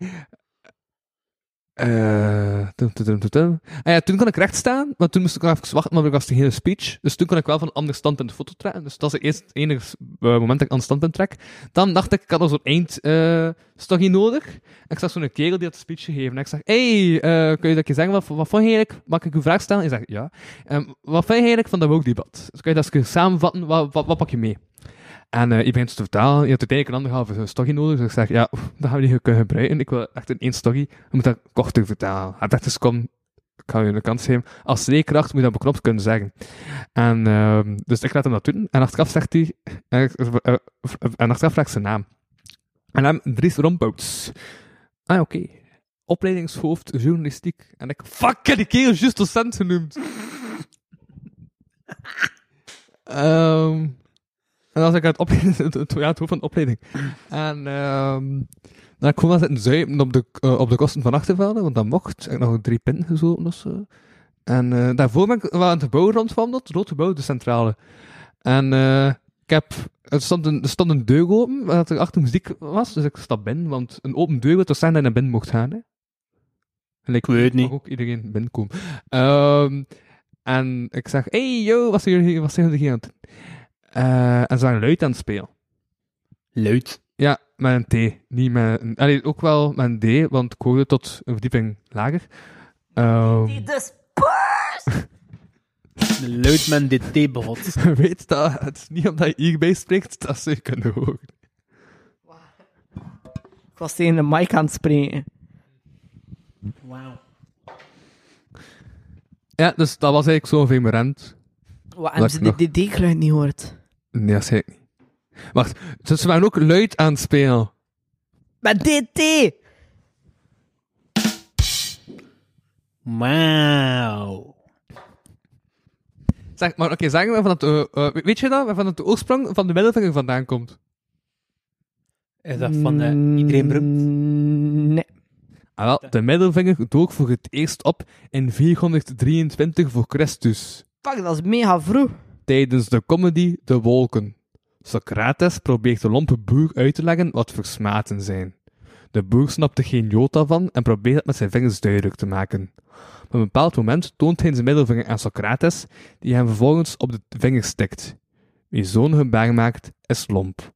Speaker 4: Eh, tum, tum, tum, tum, tum. En Ah ja, toen kon ik recht staan, want toen moest ik nog even wachten, maar ik was de hele speech. Dus toen kon ik wel van een ander standpunt de foto trekken. Dus dat is het eerste- het enige s- eh, moment dat ik aan het standpunt trek. Dan dacht ik, ik had nog zo'n eindstagje nodig. En ik zag zo'n kerel die had de speech gegeven. En ik zeg, hey, eh, kun je dat je zeggen? Wat, wat vond je eigenlijk? Mag ik een vraag stellen? En hij zegt, ja. Ehm, wat vind je eigenlijk van dat woke-debat? Dus kun je dat eens samenvatten? Wat, wat, wat pak je mee? En eh je begint te vertalen. Je had uiteindelijk een anderhalve stokje nodig. Dus ik zeg, ja, oef, dat gaan we niet kunnen gebruiken. Ik wil echt in één stokje. Je moet dat korter vertalen. Hij dacht, dus kom, ik ga je een kans geven. Als leerkracht moet je dat beknopt kunnen zeggen. En ehm, dus ik laat hem dat doen. En achteraf zegt hij... eh, eh, En achteraf vraagt zijn naam. En hem Dries Rompouts. Ah, oké. Opleidingshoofd journalistiek. En ik, fuck, ik heb die kerel juist docent genoemd. Ehm, en als ik uit opleiding, het, het- ja, het hoofd van de opleiding. En ehm dan heb ik gewoon zitten zuipen op de, eh, op de kosten van Achtervelden, want dat mocht. Ik heb nog drie pinten gezoten of zo. En eh, daarvoor ben ik wel aan het gebouw rondwandeld, het rood gebouw, de centrale. En eh, ik heb, er stond, een, er stond een deur open, waar dat er achter muziek was, dus ik stap binnen, want een open deur wil toch zijn dat je naar binnen mocht gaan, hè? En ik
Speaker 6: Ik weet
Speaker 4: mag
Speaker 6: niet.
Speaker 4: ook iedereen binnenkomen. Ehm, en ik zeg, hey yo, wat zijn jullie, wat zijn jullie hier aan het doen? Eh, en ze waren luid aan het spelen.
Speaker 6: Luid.
Speaker 4: Ja, met een T. Niet met een... Allee, ook wel met een D, want ik hoorde tot een verdieping lager. Ehm,
Speaker 6: Luid men dit theebehot.
Speaker 4: weet dat het is niet omdat je hierbij spreekt, dat ze je kunnen horen.
Speaker 3: Ik was tegen de mic aan het springen.
Speaker 4: Ja, dus dat was eigenlijk zo'n vemerend.
Speaker 3: Wat,
Speaker 4: Lekker
Speaker 3: hebben ze
Speaker 4: nog.
Speaker 3: de DD-geluid niet gehoord?
Speaker 4: Nee, dat zei ik niet. Wacht, dus ze waren ook luid aan het spelen.
Speaker 3: Met DD!
Speaker 6: Wauw.
Speaker 4: Zeg, maar oké, zeg maar van het... eh, eh, weet je dat? Waarvan het de oorsprong van de middelvinger vandaan komt?
Speaker 6: Is dat van eh, iedereen
Speaker 4: Mm.
Speaker 6: beroemd?
Speaker 3: Mm, Nee.
Speaker 4: Ah, wel, de middelvinger dook voor het eerst op in 423 voor Christus.
Speaker 3: Fuck, dat is mega vroeg.
Speaker 4: tijdens de comedy De Wolken. Socrates probeert de lompe boer uit te leggen wat versmaten zijn. De boer snapte geen jota van en probeert het met zijn vingers duidelijk te maken. Op een bepaald moment toont hij zijn middelvinger aan Socrates, die hem vervolgens op de vinger stikt. Wie zo'n gebaar maakt, is lomp.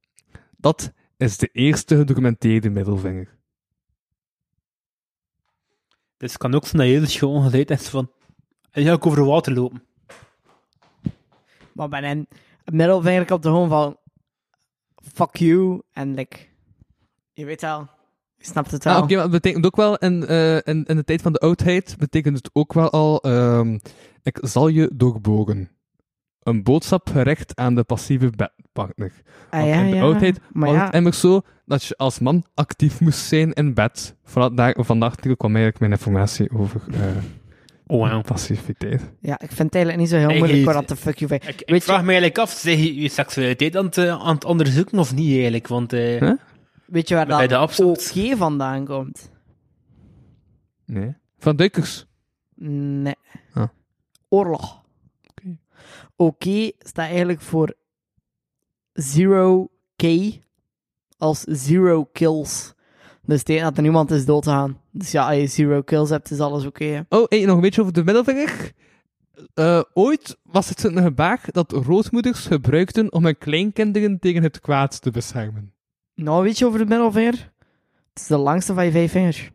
Speaker 4: Dat is de eerste gedocumenteerde middelvinger.
Speaker 6: Dus het kan ook zijn dat Jezus gewoon gezegd heeft van... Hij ga ik over water lopen.
Speaker 3: Maar ben een middelvinger op de hoon van... Fuck you. En like... Je weet wel. Je snapt het wel.
Speaker 4: Ah, Oké, maar het betekent ook wel, in, eh, in, in de tijd van de oudheid, betekent het ook wel al, ehm, ik zal je doorbogen. Een boodschap gericht aan de passieve bedpartner.
Speaker 3: Ah,
Speaker 4: Want
Speaker 3: ja,
Speaker 4: in de
Speaker 3: ja.
Speaker 4: oudheid
Speaker 3: Maar
Speaker 4: was
Speaker 3: ja,
Speaker 4: het immers zo dat je als man actief moest zijn in bed. Vanaf daar, vandaag kwam eigenlijk mijn informatie over eh,
Speaker 6: Wow.
Speaker 4: passiviteit.
Speaker 3: ja, ik vind het eigenlijk niet zo heel
Speaker 6: Ik-
Speaker 3: moeilijk hoor, dat de fuck you
Speaker 6: Ik, ik
Speaker 3: Weet je-
Speaker 6: vraag me eigenlijk af, zijn je je seksualiteit aan het, eh, aan het onderzoeken of niet eigenlijk? Want eh,
Speaker 4: Huh? Oh.
Speaker 3: Weet je waar
Speaker 6: bij de
Speaker 3: dat
Speaker 6: afstand.
Speaker 3: OG vandaan komt?
Speaker 4: Nee. Van Duikers.
Speaker 3: Nee.
Speaker 4: Ah.
Speaker 3: Oorlog.
Speaker 4: Oké.
Speaker 3: Oké staat eigenlijk voor zero K als zero kills. Dus tegen dat er niemand is doodgaan. Dus ja, als je zero kills hebt, is alles oké. hè.
Speaker 4: Oh, hey, nog een beetje over de middelvinger. Eh, ooit was het een gebaar dat roodmoeders gebruikten om hun kleinkinderen tegen het kwaad te beschermen.
Speaker 3: nou, weet je over de middelvinger? Het is de langste van je vijf vingers.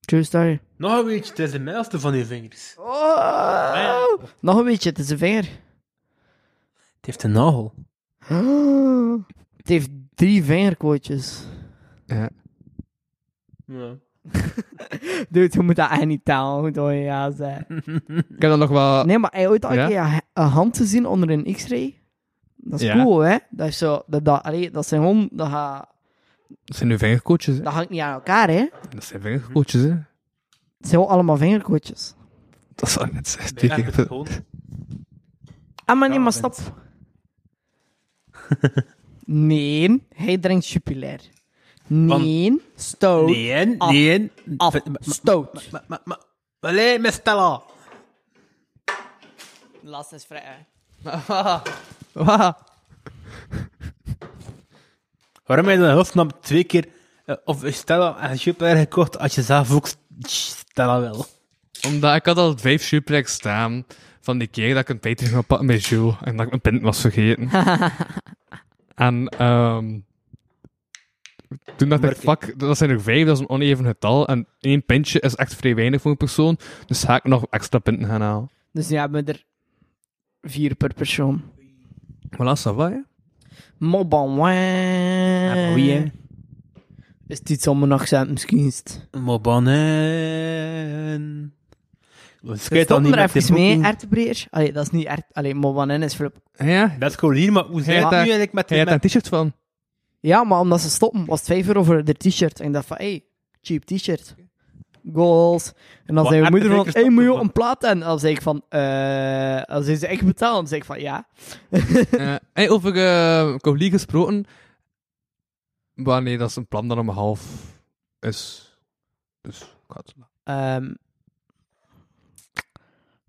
Speaker 3: True story.
Speaker 6: Nog een beetje, het is de middelste van je vingers.
Speaker 3: Oh! Nog een beetje, het is een vinger.
Speaker 6: Het heeft een nagel.
Speaker 3: Het heeft drie vingerkootjes.
Speaker 6: Ja.
Speaker 3: Dude, je moet dat echt niet talen, hoe dat je ja zei.
Speaker 4: Ik heb dan nog
Speaker 6: Ah.
Speaker 4: wel...
Speaker 3: Nee, maar heb je ooit al een
Speaker 4: Ja?
Speaker 3: keer een- een hand te zien onder een x-ray? Dat is
Speaker 4: Ja.
Speaker 3: cool, hè? Dat is zo... Dat, dat, allee, dat zijn gewoon... Dat, ga-
Speaker 4: Dat zijn nu vingerkootjes, hè.
Speaker 3: dat hangt niet aan elkaar, hè?
Speaker 4: Dat zijn vingerkootjes, hè.
Speaker 3: Het zijn gewoon allemaal vingerkootjes.
Speaker 4: Dat zal ik net zeggen.
Speaker 6: Bij
Speaker 4: Twee
Speaker 6: Apple
Speaker 4: keer-
Speaker 6: gewoon.
Speaker 3: Ah, maar nee,
Speaker 6: Ja,
Speaker 3: maar
Speaker 6: dat
Speaker 3: stop. nee, hij drinkt jupiler. Nee, stout.
Speaker 6: Nee,
Speaker 3: Af.
Speaker 6: nee.
Speaker 3: Af.
Speaker 6: Maar- maar-
Speaker 3: Stout.
Speaker 6: maar- maar- maar- Allee, met Stella.
Speaker 3: Last is vrij,
Speaker 4: Waha.
Speaker 6: Waarom heb je dan in godsnaam twee keer eh, of Stella en Jupiter gekocht als je zelf ook Stella wil?
Speaker 4: Omdat ik had al vijf suplex staan van die keer dat ik een Patreon ging pakken met Jules en dat ik mijn pint was vergeten. en ehm, toen dacht ik, fuck, dat zijn er vijf, dat is een oneven getal. En één pintje is echt vrij weinig voor een persoon, dus ga ik nog extra pinten gaan halen.
Speaker 3: Dus nu hebben we er vier per persoon.
Speaker 4: Voilà, ça va, hè?
Speaker 6: Ah,
Speaker 3: Mobban, Is het iets om mijn accent misschien? is het-
Speaker 6: Mobanen. Schijt dan
Speaker 3: Stop
Speaker 6: niet
Speaker 3: er
Speaker 6: met
Speaker 3: even
Speaker 6: die
Speaker 3: mee,
Speaker 6: boeken.
Speaker 3: ertebreer. Allee, dat is niet ert... Allee, Mobban is flip.
Speaker 4: Ja,
Speaker 6: Dat is gewoon hier, maar hoe zijn
Speaker 4: Hij
Speaker 6: het nu
Speaker 4: had daar-
Speaker 6: eigenlijk met
Speaker 4: hij had
Speaker 6: die
Speaker 4: daar een t-shirt van.
Speaker 3: Ja, maar omdat ze stoppen, was het 5 euro voor de t-shirt. En ik dacht van, hey, cheap t-shirt. Goals. En dan
Speaker 6: Wat
Speaker 3: zei mijn moeder van,
Speaker 6: ertebrekers
Speaker 3: hey, moet je
Speaker 6: stoppen,
Speaker 3: ook een plaat en Dan zei ik van, eh... Dan zei ze, ik betaal. Dan zei ik van, ja.
Speaker 4: Eh, hey, over eh Cowley gesproken. Maar nee, dat is een plan dat om half is. Dus, ik ga het
Speaker 3: Ehm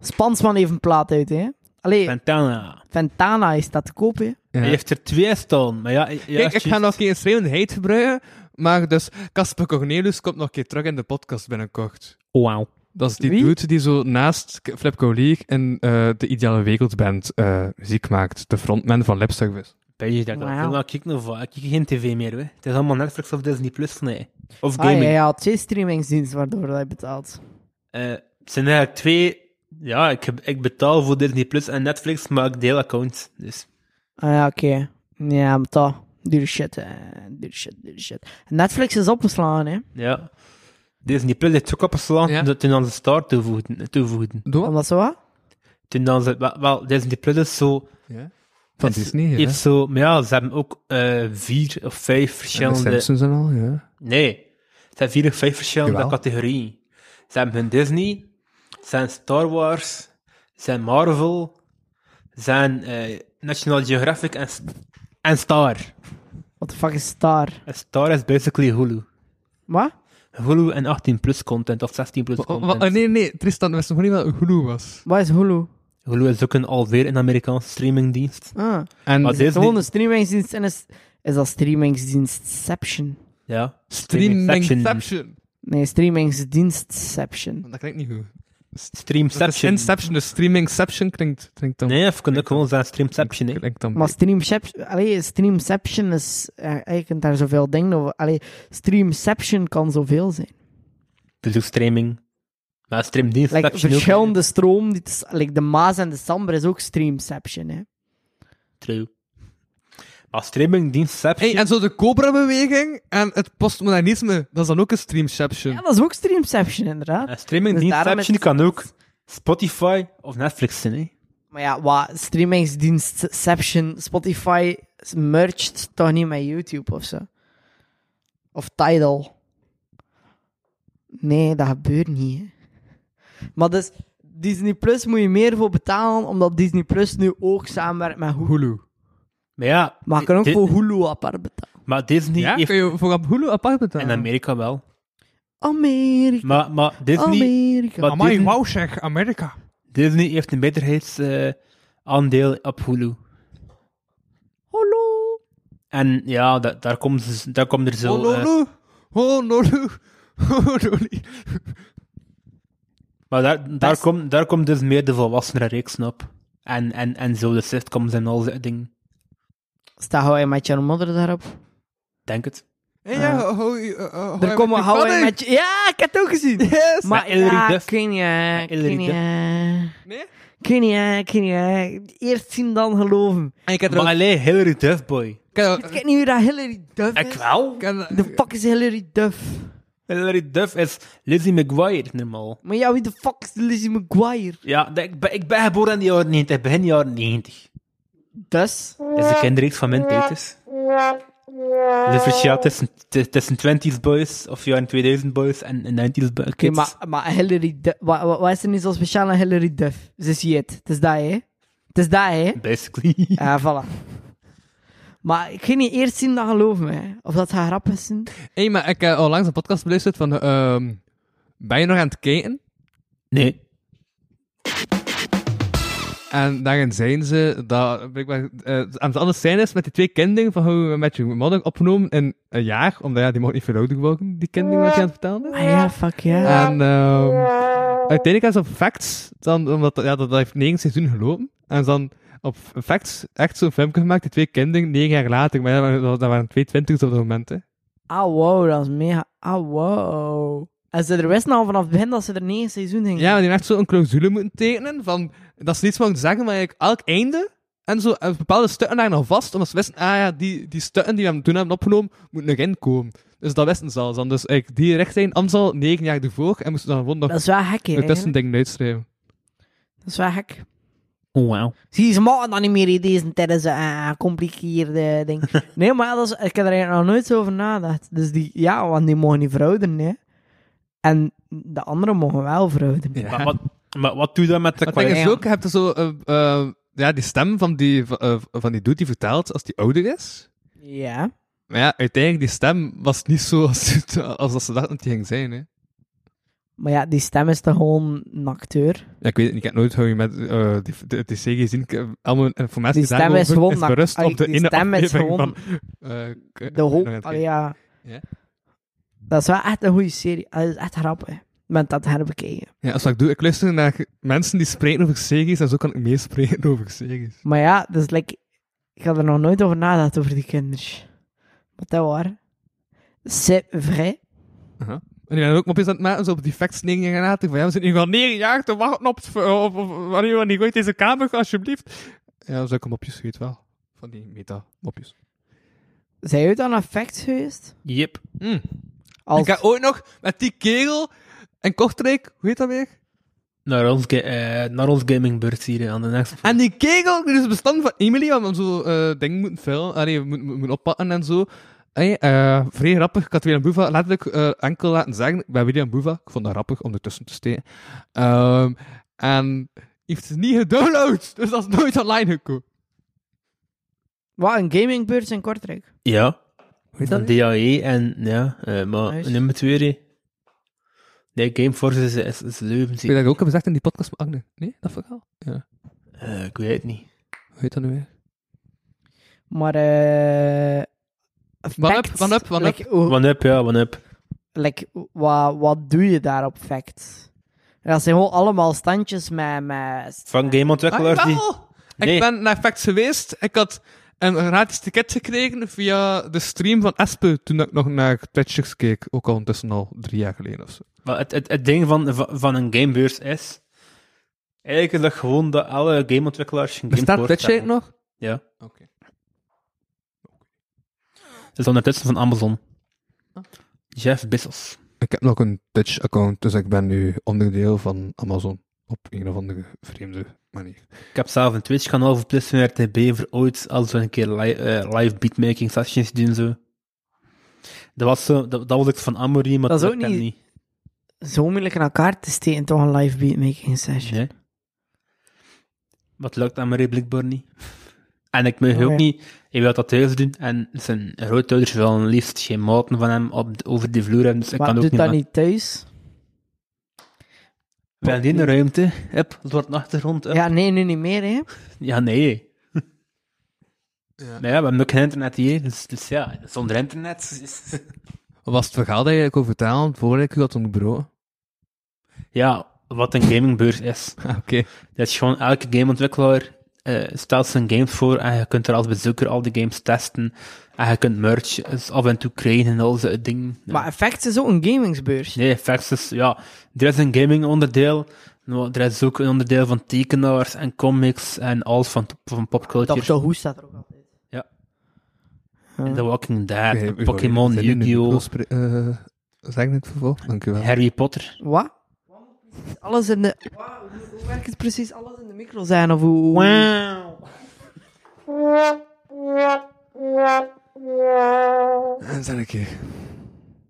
Speaker 3: Spansman heeft een plaat uit, hè. Allee,
Speaker 6: Ventana.
Speaker 3: Ventana is dat te koop, hè.
Speaker 4: Ja.
Speaker 6: Hij heeft er twee staan, maar ja... ja
Speaker 4: Kijk, ik
Speaker 6: juist.
Speaker 4: ga nog een keer een schreeuwende heet gebruiken. Maar dus, Casper Cornelius komt nog een keer terug in de podcast binnenkort.
Speaker 6: Wauw.
Speaker 4: Dat is die
Speaker 3: Wie?
Speaker 4: dude die zo naast K- Flip League en eh, de Ideale Wereldband eh, muziek maakt. De frontman van Lip Service.
Speaker 6: Ben je dat ik
Speaker 3: Wauw.
Speaker 6: wow. Ik kijk nog van. Ik kijk geen tv meer, hoor. Het is allemaal Netflix of Disney Plus van mij. Of
Speaker 3: Ah,
Speaker 6: gaming.
Speaker 3: ja, ja, twee streamingsdiensten waardoor hij betaalt.
Speaker 6: Eh, het zijn eigenlijk twee... Ja, ik, heb- ik betaal voor Disney Plus en Netflix, maar ik deel accounts. Dus
Speaker 3: Ah ja, oké. Ja, maar toch. Dure shit, eh. Dure shit, dure shit. Netflix is opgeslagen, hè.
Speaker 6: ja. Disney Plus heeft ook opgeslagen
Speaker 4: Ja.
Speaker 6: toen- toen aan ze Star toevoegden. toevoegden.
Speaker 4: Doe wat?
Speaker 3: Omdat zo wat?
Speaker 6: Toen dan ze... Wel, wel, Disney Plus is zo...
Speaker 4: Van
Speaker 6: is-
Speaker 4: Disney, ja.
Speaker 6: Heeft zo... Maar ja, ze hebben ook eh, vier of vijf
Speaker 4: En de
Speaker 6: verschillende...
Speaker 4: Simpsons en al, ja.
Speaker 6: Nee, het zijn vier of vijf verschillende
Speaker 4: Jawel.
Speaker 6: categorieën. Ze hebben hun Disney, zijn Star Wars, zijn Marvel, zijn eh, National Geographic en, S- en Star.
Speaker 3: What the fuck is Star?
Speaker 6: En Star is basically Hulu.
Speaker 3: Wat?
Speaker 6: Hulu en 18 plus content of 16 plus
Speaker 4: Wa- wa-
Speaker 6: content.
Speaker 4: Oh, nee, nee, Tristan, wist nog niet wat Hulu was.
Speaker 3: Wat is Hulu?
Speaker 6: Hulu is ook een alweer een Amerikaanse streamingdienst.
Speaker 3: Ah.
Speaker 4: En
Speaker 6: Maar
Speaker 3: Is het
Speaker 6: Disney-
Speaker 3: gewoon een streamingsdienst en is, is dat streamingsdienstception?
Speaker 6: Ja. Streamception.
Speaker 4: Streamingception.
Speaker 3: Nee, streamingsdienstception.
Speaker 4: Dat klinkt niet goed. Dat is
Speaker 6: Streamception.
Speaker 4: Inception, dus Streamingception klinkt, klinkt dan...
Speaker 6: Nee, of kan ook gewoon zijn Streamception, hè.
Speaker 4: Klinkt dan
Speaker 3: Maar streamception, allee, streamception is, eh, je kunt daar zoveel dingen over, allee, streamception kan zoveel zijn.
Speaker 6: Dus ook streaming. Maar streamdienst
Speaker 3: Like,
Speaker 6: heb je nu ook
Speaker 3: verschillende stroom. Dit is, like, de Maas en de Samber is ook streamception. Hè.
Speaker 6: True. Maar streamingdienst heb je...
Speaker 4: Hey, en zo de Cobra-beweging en het postmodernisme, dat is dan ook een streamception.
Speaker 3: Ja, dat is ook streamception, inderdaad.
Speaker 6: Een
Speaker 3: Dus
Speaker 6: streamingdienst
Speaker 3: daarom
Speaker 6: heb je
Speaker 3: is-
Speaker 6: kan ook Spotify of Netflix zijn, hè.
Speaker 3: Maar ja, wat streamingsdienstception, Spotify merged toch niet met YouTube of zo? Of Tidal? Nee, dat gebeurt niet. hè. Maar dus, Disney Plus moet je meer voor betalen, omdat Disney Plus nu ook samenwerkt met Hulu.
Speaker 4: Hulu.
Speaker 6: Maar ja...
Speaker 3: Maar je kan ook
Speaker 6: Di-
Speaker 3: voor Hulu apart betalen.
Speaker 6: Maar Disney
Speaker 4: Ja,
Speaker 6: heeft...
Speaker 4: kun je voor op Hulu apart betalen.
Speaker 6: In Amerika wel.
Speaker 3: Amerika,
Speaker 6: Maar, maar
Speaker 3: Oh,
Speaker 6: Disney...
Speaker 3: Amerika.
Speaker 6: maar Disney,
Speaker 4: wauw zeg, Amerika.
Speaker 6: Disney heeft een meerderheidsaandeel op Hulu.
Speaker 3: Hallo.
Speaker 6: En ja, da- daar, komt, z- daar komt er
Speaker 3: Oh,
Speaker 6: zo... eh,
Speaker 4: Honolulu. Honolulu. Honolulu.
Speaker 6: maar daar, daar, komt daar komt dus meer de volwassenen reeksen op. En, en, en zo de sitcoms en al dat ding.
Speaker 3: Staat How I Met Your Mother daarop?
Speaker 6: Denk het.
Speaker 4: Hey, ja, hou je- eh, eh, hou je
Speaker 3: Er komen
Speaker 4: met
Speaker 3: How
Speaker 4: die
Speaker 3: I
Speaker 4: pannen.
Speaker 3: Met Your... Ja, ik heb het ook gezien.
Speaker 4: Yes.
Speaker 3: Maar
Speaker 6: Met Hilary
Speaker 3: ja,
Speaker 6: Duff.
Speaker 3: kun je,
Speaker 6: Hilary
Speaker 3: kun je,
Speaker 6: Duff.
Speaker 4: Nee?
Speaker 3: kun je, kun je, eerst zien dan geloven.
Speaker 4: En ik heb er
Speaker 6: Maar
Speaker 4: ook...
Speaker 6: alleen Hillary Duffboy.
Speaker 4: Ik heb
Speaker 3: Ik
Speaker 4: er-
Speaker 3: weet niet hoe dat Hillary Duff
Speaker 6: Ik
Speaker 3: is.
Speaker 6: wel?
Speaker 4: ik heb er-
Speaker 3: De fuck is Hillary Duff?
Speaker 6: Hillary Duff is Lizzie McGuire normaal.
Speaker 3: Maar ja, wie de fuck is Lizzie McGuire?
Speaker 6: Ja, dat- ik ben, ik ben geboren in de jaren 90, begin jaren 90.
Speaker 3: Dus?
Speaker 6: Dat is de kinderreeks van mijn tijd. Dus. Het is verschil tussen, t- tussen 20s boys of jaren 2000 boys en en 90s bo-
Speaker 3: Oké,
Speaker 6: kids.
Speaker 3: maar, maar Hillary Duff, wat, wat, wat is er nu zo speciaal aan Hillary Duff? Ze is het. Het is dat, hè? Het is dat, hè?
Speaker 6: Basically.
Speaker 3: Ja, voilà. Maar ik ging niet eerst zien dan geloven, hè? Of dat haar grap is. hè.
Speaker 4: Hey, maar ik heb onlangs een podcast beluisterd van... ehm, ben je nog aan het kijken?
Speaker 6: Nee.
Speaker 4: En daarin zijn ze dat blijkbaar eh, aan het anders zijn is met die twee kinderen van hoe we met je mother opgenomen in een jaar, omdat ja, die mocht niet veel ouder worden, die kinderen wat je aan het vertellen is.
Speaker 3: Ah ja, fuck ja.
Speaker 4: En ehm, uiteindelijk hebben ze op Facts, dan, omdat ja, dat, dat heeft negen seizoen gelopen, en ze dan op Facts echt zo'n filmpje gemaakt, die twee kinderen, negen jaar later, maar ja, dat waren- dat waren twee twintigers op dat moment. Hè.
Speaker 3: Ah, wow, dat is mega. Ah, wow. En ze er wisten al vanaf het begin dat ze er negen seizoen gingen.
Speaker 4: Ja, maar die hebben echt zo'n clausule moeten tekenen, van, dat ze niets mogen zeggen, maar eigenlijk elk einde, en zo, en bepaalde stukken daar nog vast, omdat ze wisten, ah ja, die, die stukken die we hem toen hebben opgenomen, moeten nog inkomen. Dus dat wisten ze al dan. Dus ik die recht zijn, anders al negen jaar ervoor, en moesten dan gewoon nog
Speaker 3: Dat is wel gek, hè.
Speaker 4: een
Speaker 3: eigenlijk.
Speaker 4: tussending uitschrijven.
Speaker 3: Dat is wel gek.
Speaker 6: Oh, wow.
Speaker 3: Zie je, ze maken dat niet meer in deze tijdens een compliceerde ding. nee, maar ja, dat is, ik heb er eigenlijk nog nooit zo over nagedacht. Dus die, ja, want die mogen niet verouderen, hè. En de anderen mogen wel verouderen.
Speaker 4: Ja.
Speaker 6: Maar, wat, maar wat doe je dan met de
Speaker 4: Maar het ding
Speaker 6: kwaliteit?
Speaker 4: is ook, je hebt er zo, eh, eh, ja, die stem van die, van, eh, van die dude die vertaalt als die ouder is.
Speaker 3: Ja.
Speaker 4: Maar ja, uiteindelijk, die stem was niet zo als, als dat ze dachten dat die ging zijn, hè.
Speaker 3: Maar ja, die stem is toch gewoon een acteur.
Speaker 4: Ja, ik weet het niet. Ik heb nooit hoe je met eh, die, die, die serie gezien. Ik heb allemaal informatie
Speaker 3: Die stem
Speaker 4: daarover
Speaker 3: is gewoon nak-
Speaker 4: berust
Speaker 3: allee,
Speaker 4: op de
Speaker 3: die
Speaker 4: ene
Speaker 3: stem is
Speaker 4: aflevering
Speaker 3: gewoon
Speaker 4: van, eh, k-
Speaker 3: De hoop.
Speaker 4: nog aan het
Speaker 3: Allee,
Speaker 4: kijken.
Speaker 3: ja.
Speaker 4: Ja.
Speaker 3: Dat is wel echt een goede serie. Ah, Dat is echt grappig. Met dat herbekeken.
Speaker 4: Ja, als wat ik doe, ik luister naar mensen die spreken over series en zo kan ik meespreken over series.
Speaker 3: Maar ja, dus like, ik had er nog nooit over nagedacht over die kinders. Wat dat waar. C'est vrai.
Speaker 4: En die zijn ook mopjes aan het maken, zo op die facts 9 jaar later, van ja, we zitten hier al 9 jaar te wachten op, het ver- op, op wanneer we niet gooit deze kamer, alsjeblieft. Ja, zulke mopjes, je weet wel. Van die meta-mopjes.
Speaker 3: Zijn jullie dan effect geweest?
Speaker 6: Yep.
Speaker 3: Als...
Speaker 4: Ik heb ooit nog met die kerel en Kortrijk, hoe heet dat weer?
Speaker 6: Naar ons, ga- eh, naar ons gamingbeurt hier aan de next.
Speaker 4: En die kegel, die is bestand van Emily, want we hem zo eh dingen moeten filmen, allee, we moeten, we moeten oppakken en zo. Hey, eh, vrij grappig, ik had William Boeva letterlijk eh, enkel laten zeggen, bij William Boeva, ik vond dat grappig om ertussen te steken. Ehm, en heeft het niet gedownload, dus dat is nooit online gekomen.
Speaker 3: Wat, een gamingbeurt in Kortrijk?
Speaker 6: Ja.
Speaker 3: Weet
Speaker 6: Van DAE E en ja, eh, maar
Speaker 3: Nice.
Speaker 6: nummer 2. Nee, Gameforce is, is, is leuven.
Speaker 4: Ik weet dat ik ook heb gezegd in die podcast met Agne. Nee, dat verhaal? Ja.
Speaker 6: Eh, ik weet het niet.
Speaker 4: Hoe heet dat nu weer?
Speaker 3: Maar, eh...
Speaker 4: One up,
Speaker 3: facts,
Speaker 4: one up, one up.
Speaker 3: like, hoe-
Speaker 6: One up, ja, one up.
Speaker 3: like, wat, wat doe je daar op facts? Dat zijn gewoon allemaal standjes met... met
Speaker 6: Ah, Van gameontwikkelaars die...
Speaker 4: Ah, wel!
Speaker 6: Nee.
Speaker 4: Ik ben naar Facts geweest. Ik had En een gratis ticket gekregen via de stream van Espe toen ik nog naar Twitch keek. Ook al ondertussen al drie jaar geleden of zo.
Speaker 6: Maar het, het, het ding van, van- van een gamebeurs is... Eigenlijk is dat gewoon dat alle gameontwikkelaars een game
Speaker 4: Bestaat Twitch eigenlijk nog?
Speaker 6: Ja.
Speaker 4: Oké.
Speaker 6: Het is ondertussen van Amazon.
Speaker 3: Oh.
Speaker 6: Jeff Bezos.
Speaker 4: Ik heb nog een Twitch-account, dus ik ben nu onderdeel van Amazon. Op een of andere vreemde manier.
Speaker 6: Ik heb zelf een Twitch-kanaal voor Plus en RTB voor ooit als we een keer li- eh, live beatmaking sessions doen zo. Dat was, zo, dat, dat was iets van Amory, maar
Speaker 3: Dat is ook
Speaker 6: lukte hem
Speaker 3: niet- Zo moeilijk in elkaar te steken, toch een live beatmaking session.
Speaker 6: Nee. Wat lukt Amory blijkbaar niet. En ik mag
Speaker 3: Oh,
Speaker 6: ook
Speaker 3: ja.
Speaker 6: niet, hij wil dat thuis doen en zijn grootouders willen liefst geen maten van hem op de- over de vloer hebben, dus ik
Speaker 3: maar
Speaker 6: kan ook
Speaker 3: doet
Speaker 6: niet.
Speaker 3: dat
Speaker 6: Aan.
Speaker 3: niet thuis?
Speaker 6: We hebben die in de ruimte, hup, zwart achtergrond, hup.
Speaker 3: Ja, nee, nu niet meer, hè.
Speaker 6: Ja, nee. Ja. Nee, we hebben ook geen internet hier, dus, dus ja, zonder internet. is-
Speaker 4: Wat was het verhaal dat je kon vertellen voordat ik u had ontbroken?
Speaker 6: ja, wat een gamingbeurs is.
Speaker 4: Ah, Oké.
Speaker 6: Dat is gewoon elke gameontwikkelaar eh, stelt zijn games voor en je kunt er als bezoeker al die games testen. En je kunt merch eens af en toe krijgen en al zo'n dingen. Ja.
Speaker 3: Maar Effects is ook een gamingsbeurs.
Speaker 6: Nee, effects is, ja, er is een gaming onderdeel. maar Er is ook een onderdeel van tekenaars en comics en alles van, van
Speaker 3: Dat
Speaker 6: popculture.
Speaker 3: zo hoe staat er ook altijd.
Speaker 6: Ja.
Speaker 3: Huh.
Speaker 6: The Walking Dead,
Speaker 4: Oké, u-
Speaker 6: Pokémon,
Speaker 4: zijn jullie nu
Speaker 6: Yu-Gi-Oh!,
Speaker 4: pro- eh, Zeg het vervolg, dankjewel.
Speaker 6: Harry Potter.
Speaker 3: Wat? Alles in de... Hoe werkt het precies? Alles in de micro zijn, of hoe...
Speaker 4: En zijn een keer.